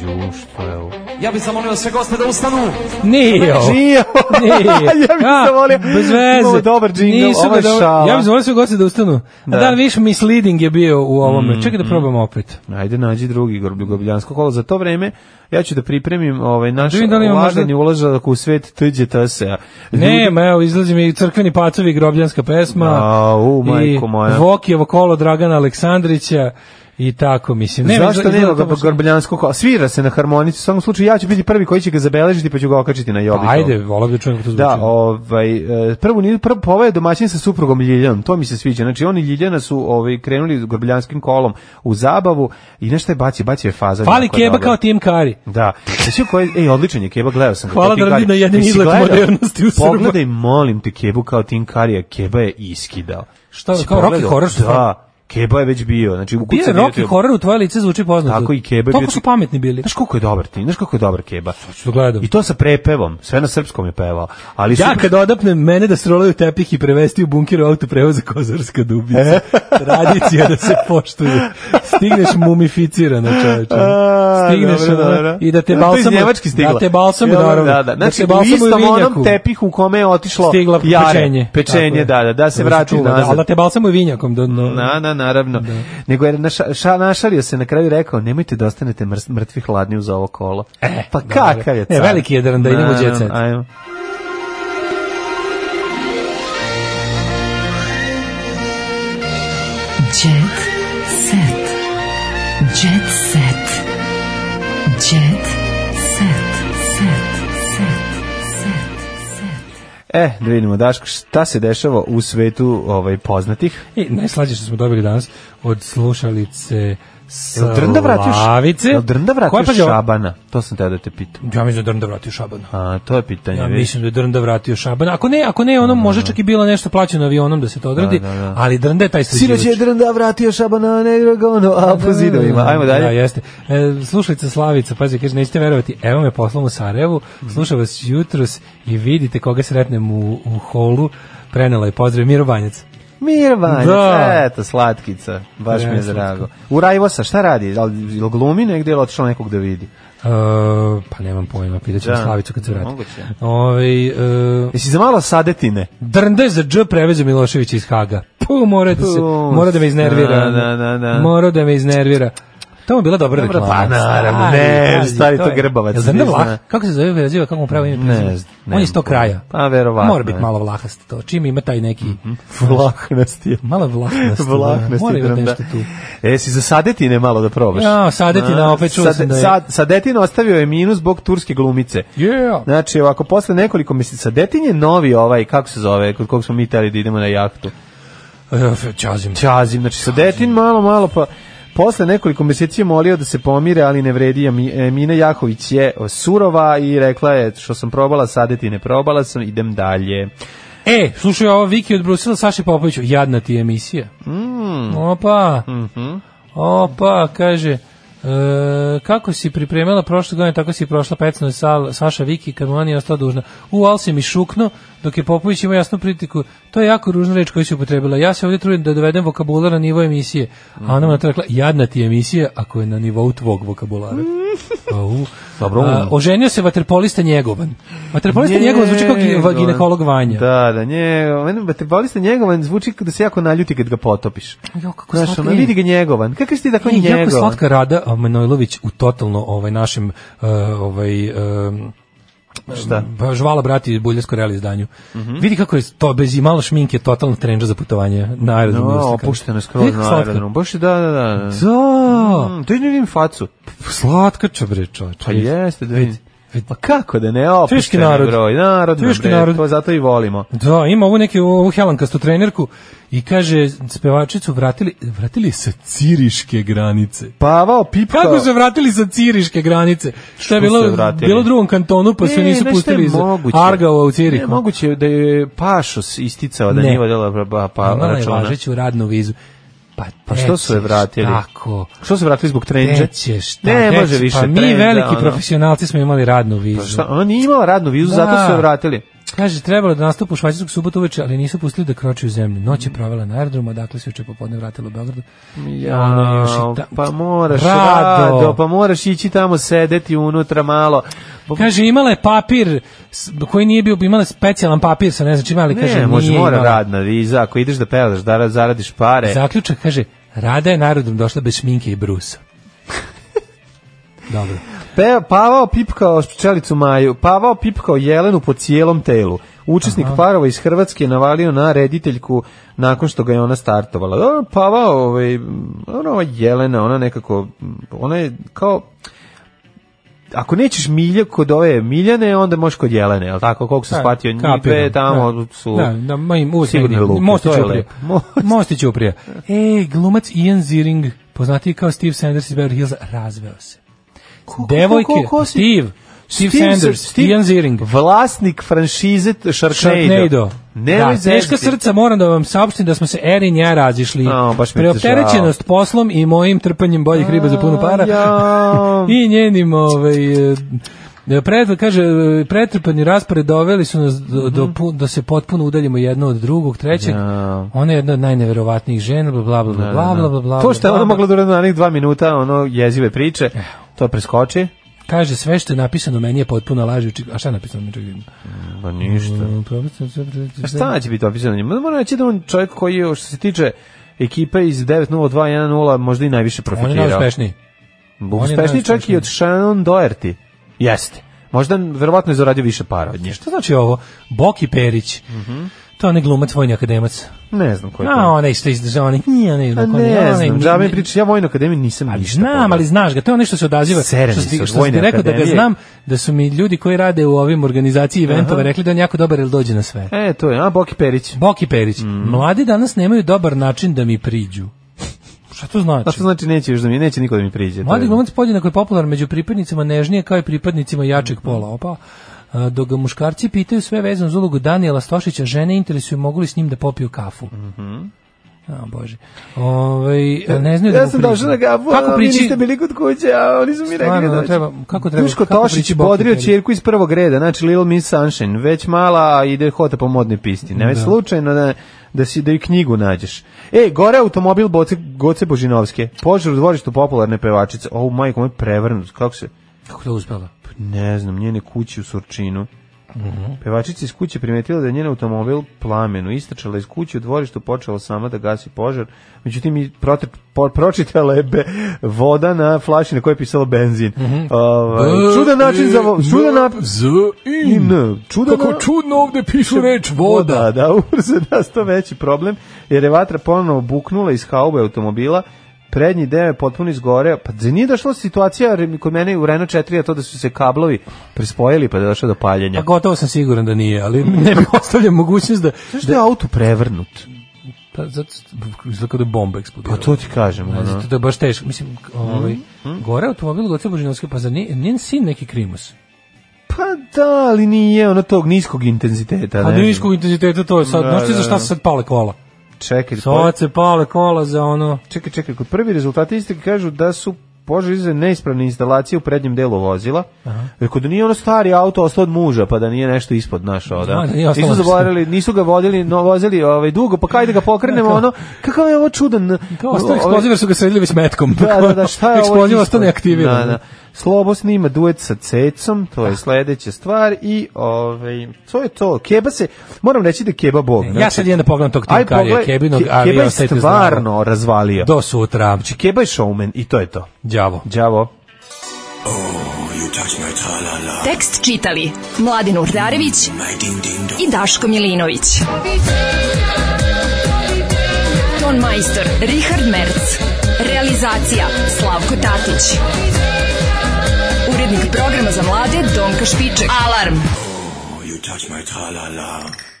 [SPEAKER 5] Ju, što je ovo?
[SPEAKER 12] Ja bih zamolio sve goste da ustanu.
[SPEAKER 6] Nije ovo.
[SPEAKER 5] Nije
[SPEAKER 6] Nije.
[SPEAKER 5] ja bih
[SPEAKER 6] A,
[SPEAKER 5] se volio.
[SPEAKER 6] Bez veze.
[SPEAKER 5] Imamo dobar džingl,
[SPEAKER 6] Nisu
[SPEAKER 5] ovo
[SPEAKER 6] ga
[SPEAKER 5] je
[SPEAKER 6] dobro-
[SPEAKER 5] šala.
[SPEAKER 6] Ja bih zamolio sve goste da ustanu. A
[SPEAKER 5] Da.
[SPEAKER 6] da, viš misleading je bio u ovome.
[SPEAKER 5] Mm,
[SPEAKER 6] Čekaj da
[SPEAKER 5] mm.
[SPEAKER 6] probamo opet.
[SPEAKER 5] Ajde, nađi drugi grob- grobljansko kolo. Za to vreme ja ću da pripremim ovaj naš
[SPEAKER 6] Da vidim da li ima možda-
[SPEAKER 5] ulaganje ulazak u svet tuđe tase.
[SPEAKER 6] Ne, ma evo, izlazi mi crkveni pacovi i grobljanska pesma.
[SPEAKER 5] Au, majko moja.
[SPEAKER 6] I Vokijevo kolo Dragana Aleksandrića. I tako, mislim.
[SPEAKER 5] Ne, Zašto
[SPEAKER 6] izgleda-
[SPEAKER 5] nema
[SPEAKER 6] izgleda to
[SPEAKER 5] ga
[SPEAKER 6] baš-
[SPEAKER 5] Gorbljansko ko? Svira se na harmonici, u svakom slučaju ja ću biti prvi koji će ga zabeležiti pa ću ga okačiti na jobi.
[SPEAKER 6] Ajde, volao bih da čujem kako to zvuči.
[SPEAKER 5] Da, ovaj e, prvo ni prvo ovaj domaćin sa suprugom Ljiljanom, to mi se sviđa. Znači oni Ljiljana su ovaj krenuli Gorbljanskim kolom u zabavu i nešto je bacio, bacio je faza.
[SPEAKER 6] Fali
[SPEAKER 5] jako je
[SPEAKER 6] keba
[SPEAKER 5] dobar.
[SPEAKER 6] kao Tim Kari.
[SPEAKER 5] Da. Znači, koji, ej, odličan je Keba, gledao sam ga.
[SPEAKER 6] Hvala
[SPEAKER 5] to Tim
[SPEAKER 6] da radi
[SPEAKER 5] Curry.
[SPEAKER 6] na jednom
[SPEAKER 5] Jesi
[SPEAKER 6] izletu
[SPEAKER 5] gledao?
[SPEAKER 6] modernosti u Srba.
[SPEAKER 5] Pogledaj, molim te, Kebu kao Tim Karija, Keba je iskidao.
[SPEAKER 6] Šta,
[SPEAKER 5] Si
[SPEAKER 6] kao Rocky
[SPEAKER 5] pogledao?
[SPEAKER 6] Horror Story?
[SPEAKER 5] Da, Keba je već bio. Znači, u
[SPEAKER 6] Bio je Rocky Horror u tvoje lice zvuči poznato.
[SPEAKER 5] Tako i Keba. je bio-
[SPEAKER 6] Toliko su pametni bili.
[SPEAKER 5] Znaš koliko je dobar ti? Znaš kako je dobar Keba?
[SPEAKER 6] gledam.
[SPEAKER 5] I to sa prepevom. Sve na srpskom je pevao. Ali
[SPEAKER 6] Ja
[SPEAKER 5] super-
[SPEAKER 6] kad odapnem mene da strolaju tepih i prevesti u bunkiru auto prevoza Kozarska
[SPEAKER 5] E.
[SPEAKER 6] dubica. Tradicija da se poštuje. Stigneš mumificirana čoveče.
[SPEAKER 5] A,
[SPEAKER 6] Stigneš
[SPEAKER 5] dobro,
[SPEAKER 6] ono,
[SPEAKER 5] dobro.
[SPEAKER 6] i da te
[SPEAKER 5] To je iz
[SPEAKER 6] balsamu
[SPEAKER 5] Njemačke stigla.
[SPEAKER 6] da te balsamu
[SPEAKER 5] Ja,
[SPEAKER 6] naravno.
[SPEAKER 5] Da, da. Znači,
[SPEAKER 6] te
[SPEAKER 5] u
[SPEAKER 6] balsamu
[SPEAKER 5] istom onom
[SPEAKER 6] vinjaku.
[SPEAKER 5] tepihu u kome je otišlo
[SPEAKER 6] stigla
[SPEAKER 5] jare.
[SPEAKER 6] pečenje. Tako
[SPEAKER 5] Pečenje,
[SPEAKER 6] je.
[SPEAKER 5] da, da, da se
[SPEAKER 6] Dobro
[SPEAKER 5] vrati
[SPEAKER 6] čulo, da,
[SPEAKER 5] nazad.
[SPEAKER 6] ali da te Da. balsamu vinjakom. Da, no.
[SPEAKER 5] Na, na, naravno. Nego je naša, ša, našario se na kraju i rekao, nemojte da ostanete mrs- mrtvi hladni uz ovo kolo. E, pa kakav je
[SPEAKER 6] E, veliki je dran da idemo u Jet Set.
[SPEAKER 5] Ajmo.
[SPEAKER 4] Jet set. Jet set. Jet set. Set. Set. Set.
[SPEAKER 5] E, da vidimo, Daško, šta se dešava u svetu ovaj, poznatih?
[SPEAKER 6] I najslađe što smo dobili danas od slušalice
[SPEAKER 5] Jel drnda vratio,
[SPEAKER 6] Slavice.
[SPEAKER 5] jel drnda
[SPEAKER 6] Koja, pa
[SPEAKER 5] vratio
[SPEAKER 6] pazi, ovo-
[SPEAKER 5] Šabana? To sam teo da te pitam.
[SPEAKER 6] Ja mislim da je drnda vratio Šabana.
[SPEAKER 5] A, to je pitanje.
[SPEAKER 6] Ja
[SPEAKER 5] vidiš.
[SPEAKER 6] mislim da je Drnda vratio Šabana. Ako ne, ako ne, ono može čak i bilo nešto plaćeno avionom da se to odradi,
[SPEAKER 5] Da, da, da.
[SPEAKER 6] ali Drnda je taj
[SPEAKER 5] Sinoć je
[SPEAKER 6] sređivač.
[SPEAKER 5] drnda vratio Šabana Nedragono, a po zidovima. Ajmo dalje.
[SPEAKER 6] Da, jeste. E, slušajte Slavica, pazi, kaže, nećete verovati, evo me poslom u Sarajevu,
[SPEAKER 5] Mhm.
[SPEAKER 6] slušam vas jutros i vidite koga sretnem u, u holu, prenela je pozdrav, Miro Banjac.
[SPEAKER 5] Mirvanic,
[SPEAKER 6] Da.
[SPEAKER 5] eto, slatkica, baš
[SPEAKER 6] Ne,
[SPEAKER 5] mi je
[SPEAKER 6] slatka.
[SPEAKER 5] drago. U Rajvosa, šta radi? Da Jel jel glumi negde ili otišao nekog da vidi?
[SPEAKER 6] E, pa nemam pojma, pitat ćemo
[SPEAKER 5] Da.
[SPEAKER 6] Slavicu kad se vrati.
[SPEAKER 5] Moguće.
[SPEAKER 6] Ovaj, e,
[SPEAKER 5] Jesi za malo sadetine?
[SPEAKER 6] Drnda je za dž prevezao Milošević iz Haga. Pu, mora da se,
[SPEAKER 5] Pu,
[SPEAKER 6] mora da me
[SPEAKER 5] da,
[SPEAKER 6] iznervira.
[SPEAKER 5] da, da, da.
[SPEAKER 6] Mora da me iznervira. To mu je bila dobra
[SPEAKER 5] Dobra,
[SPEAKER 6] reklama.
[SPEAKER 5] pa naravno,
[SPEAKER 6] Stari,
[SPEAKER 5] ne,
[SPEAKER 6] pazi,
[SPEAKER 5] stari, to
[SPEAKER 6] je-
[SPEAKER 5] grbavac,
[SPEAKER 6] Jel Drnda
[SPEAKER 5] ne
[SPEAKER 6] Vlah?
[SPEAKER 5] zna.
[SPEAKER 6] Kako se zove preziva, kako mu pravo ime
[SPEAKER 5] Ne
[SPEAKER 6] prezime?
[SPEAKER 5] znam, ne
[SPEAKER 6] On je iz tog
[SPEAKER 5] znam.
[SPEAKER 6] kraja.
[SPEAKER 5] Pa, verovatno,
[SPEAKER 6] Mora biti
[SPEAKER 5] je. Mhm.
[SPEAKER 6] malo vlahast to. Čim ima taj neki...
[SPEAKER 5] Vlahnast je.
[SPEAKER 6] Malo vlahnast.
[SPEAKER 5] Vlahnast
[SPEAKER 6] Mora
[SPEAKER 5] je
[SPEAKER 6] imati
[SPEAKER 5] drnda.
[SPEAKER 6] da nešto tu.
[SPEAKER 5] Jesi za sadetine malo da probaš?
[SPEAKER 6] Ja, sadetina,
[SPEAKER 5] A,
[SPEAKER 6] opet čuo sam da je-
[SPEAKER 5] sad- sadetina ostavio je minus zbog turske glumice.
[SPEAKER 6] Yeah.
[SPEAKER 5] Znači, ovako, posle nekoliko mjeseci, sadetin je novi ovaj, kako se zove, kod kog smo mi tali da idemo na jahtu.
[SPEAKER 6] E, Ćazim.
[SPEAKER 5] Ćazim, znači sa detin malo, malo pa Posle nekoliko mjeseci je molio da se pomire, ali ne vredi. Ami- Emina Jahović je surova i rekla je što sam probala, sadeti ne probala sam, idem dalje.
[SPEAKER 6] E, slušaj ovo Viki od Brusila, Saši Popoviću, jadna ti je emisija.
[SPEAKER 5] Mm.
[SPEAKER 6] Opa.
[SPEAKER 5] Mhm.
[SPEAKER 6] Opa, kaže, e, kako si pripremila prošle godine, tako si prošla pecno je sal, Saša Viki, kad mu ona nije ostala dužna. U, al si mi šukno, dok je Popović ima jasnu pritiku. To je jako ružna reč koju si upotrebila. Ja se ovdje trudim da dovedem vokabular na nivo emisije. A ona mu je na to rekla, jadna ti je emisija ako je na nivou tvog vokabulara. Au.
[SPEAKER 5] Mm. Dobro.
[SPEAKER 6] A, oženio se vaterpolista Njegovan. Vaterpolista Njegovan zvuči kao gi- ginekolog Vanja.
[SPEAKER 5] Da, da, njegovan. Meni vaterpolista njegovan zvuči da se jako naljuti kad ga potopiš.
[SPEAKER 6] Pa Jo, kako
[SPEAKER 5] Znaš,
[SPEAKER 6] slatka
[SPEAKER 5] ono,
[SPEAKER 6] je.
[SPEAKER 5] vidi ga njegovan. Kako si ti da tako
[SPEAKER 6] E, jako
[SPEAKER 5] njegovan?
[SPEAKER 6] slatka Rada Manojlović u totalno ovaj našem eh, ovaj em,
[SPEAKER 5] Šta? Mhm.
[SPEAKER 6] ba- žvala brati Buljevsko real izdanju. Vidi kako je to bez i malo šminke totalno trendža za putovanje na aerodromu.
[SPEAKER 5] No,
[SPEAKER 6] Ustakar.
[SPEAKER 5] opušteno je skroz
[SPEAKER 6] Vidi kako
[SPEAKER 5] na
[SPEAKER 6] slatka.
[SPEAKER 5] aerodromu. Baš je, da, da, da. da.
[SPEAKER 6] Da,
[SPEAKER 5] Mm, to je ne vidim facu.
[SPEAKER 6] slatka čobre čoveče.
[SPEAKER 5] Pa jeste, da vidim. Pa kako da ne,
[SPEAKER 6] Teški
[SPEAKER 5] opušten
[SPEAKER 6] Mm. narod.
[SPEAKER 5] broj, narod,
[SPEAKER 6] Teški
[SPEAKER 5] bre,
[SPEAKER 6] narod.
[SPEAKER 5] to zato i volimo.
[SPEAKER 6] Da, ima ovu neku ovu helankastu trenerku i kaže spevačicu vratili vratili sa ciriške granice.
[SPEAKER 5] Pavao Pipka.
[SPEAKER 6] Kako se vratili sa ciriške granice? Što je bilo,
[SPEAKER 5] se vratili?
[SPEAKER 6] bilo u drugom kantonu pa se
[SPEAKER 5] E, znaš
[SPEAKER 6] nisu
[SPEAKER 5] šta je
[SPEAKER 6] pustili iz
[SPEAKER 5] moguće?
[SPEAKER 6] Argava u
[SPEAKER 5] Ne,
[SPEAKER 6] Cirihu.
[SPEAKER 5] moguće je da je Pašos isticao da
[SPEAKER 6] Ne.
[SPEAKER 5] nije vodila pa, pa
[SPEAKER 6] Imala je
[SPEAKER 5] računa.
[SPEAKER 6] važeću radnu vizu. Pa,
[SPEAKER 5] Pa što su je
[SPEAKER 6] nećeš
[SPEAKER 5] vratili?
[SPEAKER 6] Tako.
[SPEAKER 5] Što su vratili zbog trendže?
[SPEAKER 6] Nećeš, da,
[SPEAKER 5] Ne,
[SPEAKER 6] nećeš.
[SPEAKER 5] može više
[SPEAKER 6] Pa mi
[SPEAKER 5] trenda,
[SPEAKER 6] veliki
[SPEAKER 5] ono. Pa
[SPEAKER 6] profesionalci smo imali radnu vizu.
[SPEAKER 5] Šta, ona nije imala radnu vizu,
[SPEAKER 6] Da.
[SPEAKER 5] zato su je vratili.
[SPEAKER 6] Kaže, trebalo da nastupu u Švajcarsku subotu uveče, ali nisu pustili da kroči u zemlju. Noć je provela na aerodromu, odakle se juče popodne vratila u Beogradu.
[SPEAKER 5] Ja,
[SPEAKER 6] Ono, još i ta-
[SPEAKER 5] pa moraš
[SPEAKER 6] Rado.
[SPEAKER 5] rado, pa moraš ići tamo sedeti unutra malo. Pa,
[SPEAKER 6] Kaže, imala je papir s- koji nije bio, imala je specijalan papir sa ne znam čime, ali kaže,
[SPEAKER 5] ne, može
[SPEAKER 6] Da nije
[SPEAKER 5] mora
[SPEAKER 6] imala.
[SPEAKER 5] radna viza, ako ideš da pevaš, da ra- zaradiš pare.
[SPEAKER 6] Zaključak kaže, Rada je narodom došla bez šminke i brusa. Dobro.
[SPEAKER 5] Pe, pavao pipkao špčelicu Maju, pavao pipkao Jelenu po cijelom telu. Učesnik parova iz Hrvatske je navalio na rediteljku nakon što ga je ona startovala. Dobro, Pava, ovaj, ona ova Jelena, ona nekako, ona je kao, ako nećeš milja kod ove Miljane, onda možeš kod Jelene, je li tako? Koliko sam
[SPEAKER 6] Da,
[SPEAKER 5] shvatio, njipe
[SPEAKER 6] kapiram,
[SPEAKER 5] tamo
[SPEAKER 6] da.
[SPEAKER 5] su
[SPEAKER 6] Da, da, ma im uvek
[SPEAKER 5] sigurne
[SPEAKER 6] negdje.
[SPEAKER 5] luke.
[SPEAKER 6] Most i
[SPEAKER 5] to je
[SPEAKER 6] ćuprije.
[SPEAKER 5] lepo.
[SPEAKER 6] Mosti Ćuprija. E, glumac Ian Ziering, poznatiji kao Steve Sanders iz Beverly Hillsa, razveo se. Devojke,
[SPEAKER 5] ko- ko si?
[SPEAKER 6] Steve, Steve,
[SPEAKER 5] se-
[SPEAKER 6] Sanders,
[SPEAKER 5] Steve-
[SPEAKER 6] Ian Ziering.
[SPEAKER 5] Vlasnik franšize t- Sharknado.
[SPEAKER 6] Sharknado.
[SPEAKER 5] Nemoj
[SPEAKER 6] da, teška
[SPEAKER 5] zezati.
[SPEAKER 6] srca moram da vam saopštim da smo se Eri i ja razišli.
[SPEAKER 5] A, baš mi je
[SPEAKER 6] Preopterećenost poslom i mojim trpanjem boljih riba za puno para. I njenim ovaj e, Pred, kaže, e, pretrpani raspored doveli su nas do, do,
[SPEAKER 5] Mhm.
[SPEAKER 6] pu- da se potpuno udaljimo jedno od drugog, trećeg. Ona je jedna od najneverovatnijih žena, bla, bla, bla, bla, bla, bla, bla.
[SPEAKER 5] Da, To što je
[SPEAKER 6] bla,
[SPEAKER 5] ona
[SPEAKER 6] bla.
[SPEAKER 5] mogla da uradi na onih dva minuta, ono jezive priče, to preskoči.
[SPEAKER 6] Kaže, sve što je napisano meni je potpuno lažući. A šta je napisano? Čekaj, vidim.
[SPEAKER 5] Pa ništa. A šta će biti opisano njima? Moram reći da je on čovjek koji je, što se tiče ekipe iz 90210, možda i najviše
[SPEAKER 6] On je
[SPEAKER 5] profitirao.
[SPEAKER 6] najuspešniji. On je
[SPEAKER 5] Uspešniji čak i
[SPEAKER 6] najuspešniji.
[SPEAKER 5] od Shannon Doherty. Jeste. Možda, verovatno je zaradio više para od nje.
[SPEAKER 6] Šta znači ovo? Boki Perić.
[SPEAKER 5] Mhm.
[SPEAKER 6] To je onaj glumac, vojni akademac.
[SPEAKER 5] Ne znam ko je
[SPEAKER 6] A,
[SPEAKER 5] to.
[SPEAKER 6] onaj što je iz onaj, nije, onaj,
[SPEAKER 5] A
[SPEAKER 6] onaj,
[SPEAKER 5] Pa ne
[SPEAKER 6] onaj,
[SPEAKER 5] znam, džabe mi pričaš, ja vojnu akademiju nisam ništa.
[SPEAKER 6] Znam, ali znaš ga, to je ono što se odaziva.
[SPEAKER 5] Seren
[SPEAKER 6] što
[SPEAKER 5] si
[SPEAKER 6] si,
[SPEAKER 5] od
[SPEAKER 6] što si
[SPEAKER 5] Vojne
[SPEAKER 6] ti rekao da ga
[SPEAKER 5] akademije.
[SPEAKER 6] znam, da su mi ljudi koji rade u ovim organizaciji eventova
[SPEAKER 5] Aha.
[SPEAKER 6] rekli da je on jako dobar jer dođe na sve.
[SPEAKER 5] E, to je, a Boki Perić.
[SPEAKER 6] Boki Perić,
[SPEAKER 5] Mhm.
[SPEAKER 6] mladi danas nemaju dobar način da mi priđu. Šta to znači?
[SPEAKER 5] A što znači neće još da mi, neće niko da mi priđe. to
[SPEAKER 6] Mladi
[SPEAKER 5] je-
[SPEAKER 6] glumac podjednako je popularan među pripadnicima nežnije kao i pripadnicima jačeg
[SPEAKER 5] Mhm.
[SPEAKER 6] pola. Opa, a, dok ga muškarci pitaju sve vezano za ulogu Danijela Stošića, žene interesuju mogu li s njim da popiju kafu.
[SPEAKER 5] Mhm.
[SPEAKER 6] A, bože. Ovaj, ne znaju da
[SPEAKER 5] E, ja
[SPEAKER 6] mu
[SPEAKER 5] sam
[SPEAKER 6] priđu.
[SPEAKER 5] došao na gavu,
[SPEAKER 6] Kako
[SPEAKER 5] a vi
[SPEAKER 6] prići-
[SPEAKER 5] niste bili kod kuće, a oni su mi rekli
[SPEAKER 6] Stvarno,
[SPEAKER 5] da
[SPEAKER 6] ono,
[SPEAKER 5] dođem.
[SPEAKER 6] treba- kako treba-
[SPEAKER 5] Duško
[SPEAKER 6] kako
[SPEAKER 5] Tošić
[SPEAKER 6] prići
[SPEAKER 5] je
[SPEAKER 6] Boki
[SPEAKER 5] bodrio
[SPEAKER 6] Perić?
[SPEAKER 5] čirku iz prvog reda, znači Little Miss Sunshine, već mala a ide hota po modnoj pisti. Ne već
[SPEAKER 6] Da.
[SPEAKER 5] slučajno da, da, si, da i knjigu nađeš. E, gore automobil Boce, Goce Božinovske, požar u dvorištu popularne pevačice. O, majko, moj prevrnut, kako se...
[SPEAKER 6] Kako to uspela?
[SPEAKER 5] Ne znam, njene kući u Surčinu. Pevačica iz kuće primetila da je njen automobil plamenu. Istračala iz kuće u dvorištu, počela sama da gasi požar. Međutim, i prote- po- pročitala je be- voda na flaši na kojoj je pisalo benzin. Ovaj, čudan način za... vo- Čudan nap-
[SPEAKER 6] E, Z,
[SPEAKER 5] I N. Čudan na-
[SPEAKER 6] čudno ovde pišu reč
[SPEAKER 5] voda. Da, ubrzo je nastao veći problem, jer je vatra ponovno buknula iz haube automobila, prednji deo je potpuno izgoreo. Pa zar nije došla situacija re- kod mene u Renault 4, a to da su se kablovi prispojili pa da je došlo do paljenja.
[SPEAKER 6] A gotovo sam siguran da nije, ali ne mi ostavlja mogućnost da...
[SPEAKER 5] Zašto je auto prevrnut?
[SPEAKER 6] Pa, zato, zato kao da je bomba eksplodirala.
[SPEAKER 5] Pa to ti kažem.
[SPEAKER 6] Ne,
[SPEAKER 5] ono.
[SPEAKER 6] zato da je baš teško. Mislim, ovaj,
[SPEAKER 5] Mhm,
[SPEAKER 6] gore automobil Goce Božinovske, pa zar nije, njen sin neki krimus?
[SPEAKER 5] Pa da, ali nije ono tog niskog intenziteta.
[SPEAKER 6] A
[SPEAKER 5] ne znam.
[SPEAKER 6] Pa niskog intenziteta to je sad,
[SPEAKER 5] Da,
[SPEAKER 6] znaš ti za
[SPEAKER 5] da, Pa
[SPEAKER 6] šta
[SPEAKER 5] da.
[SPEAKER 6] se sad pale kola?
[SPEAKER 5] Čekaj, pa-
[SPEAKER 6] Sad se pale kola za ono...
[SPEAKER 5] Čekaj, čekaj, kod prvi rezultati istrage kažu da su požar izazvao neispravne instalacije u prednjem delu vozila. Rekao da nije ono stari auto ostao od muža, pa da nije nešto ispod našao, da.
[SPEAKER 6] Da, da nije ostalo
[SPEAKER 5] nisu
[SPEAKER 6] nešto.
[SPEAKER 5] zaboravili, nisu ga vodili, no, vozili ovaj, dugo, pa kaj da ga pokrenemo, ono, kakav je ovo čudan...
[SPEAKER 6] Kao ostao
[SPEAKER 5] ovaj-
[SPEAKER 6] eksploziv jer su ga sredili već metkom.
[SPEAKER 5] Da, da, da, šta je ovo?
[SPEAKER 6] Eksploziv
[SPEAKER 5] ispod?
[SPEAKER 6] ostao neaktiviran.
[SPEAKER 5] Da, da. Slobo snima duet sa Cecom, to
[SPEAKER 6] Da.
[SPEAKER 5] je sledeća stvar i ovaj to je to. Keba se, moram reći da je Keba bog.
[SPEAKER 6] Ja sad idem da pogledam tog Tim Karija Kebinog, ali
[SPEAKER 5] Keba je
[SPEAKER 6] ostajte zdravi.
[SPEAKER 5] stvarno razvalio.
[SPEAKER 6] Do sutra.
[SPEAKER 5] Znači, Keba je showman i to je to.
[SPEAKER 6] Đavo.
[SPEAKER 5] Đavo.
[SPEAKER 4] Tekst čitali Mladin Urdarević i Daško Milinović. Ton majstor Richard Merc. Realizacija Slavko Tatić. Urednik programa za mlade Donka Špiček. Alarm!
[SPEAKER 13] You touch my tra-la-la.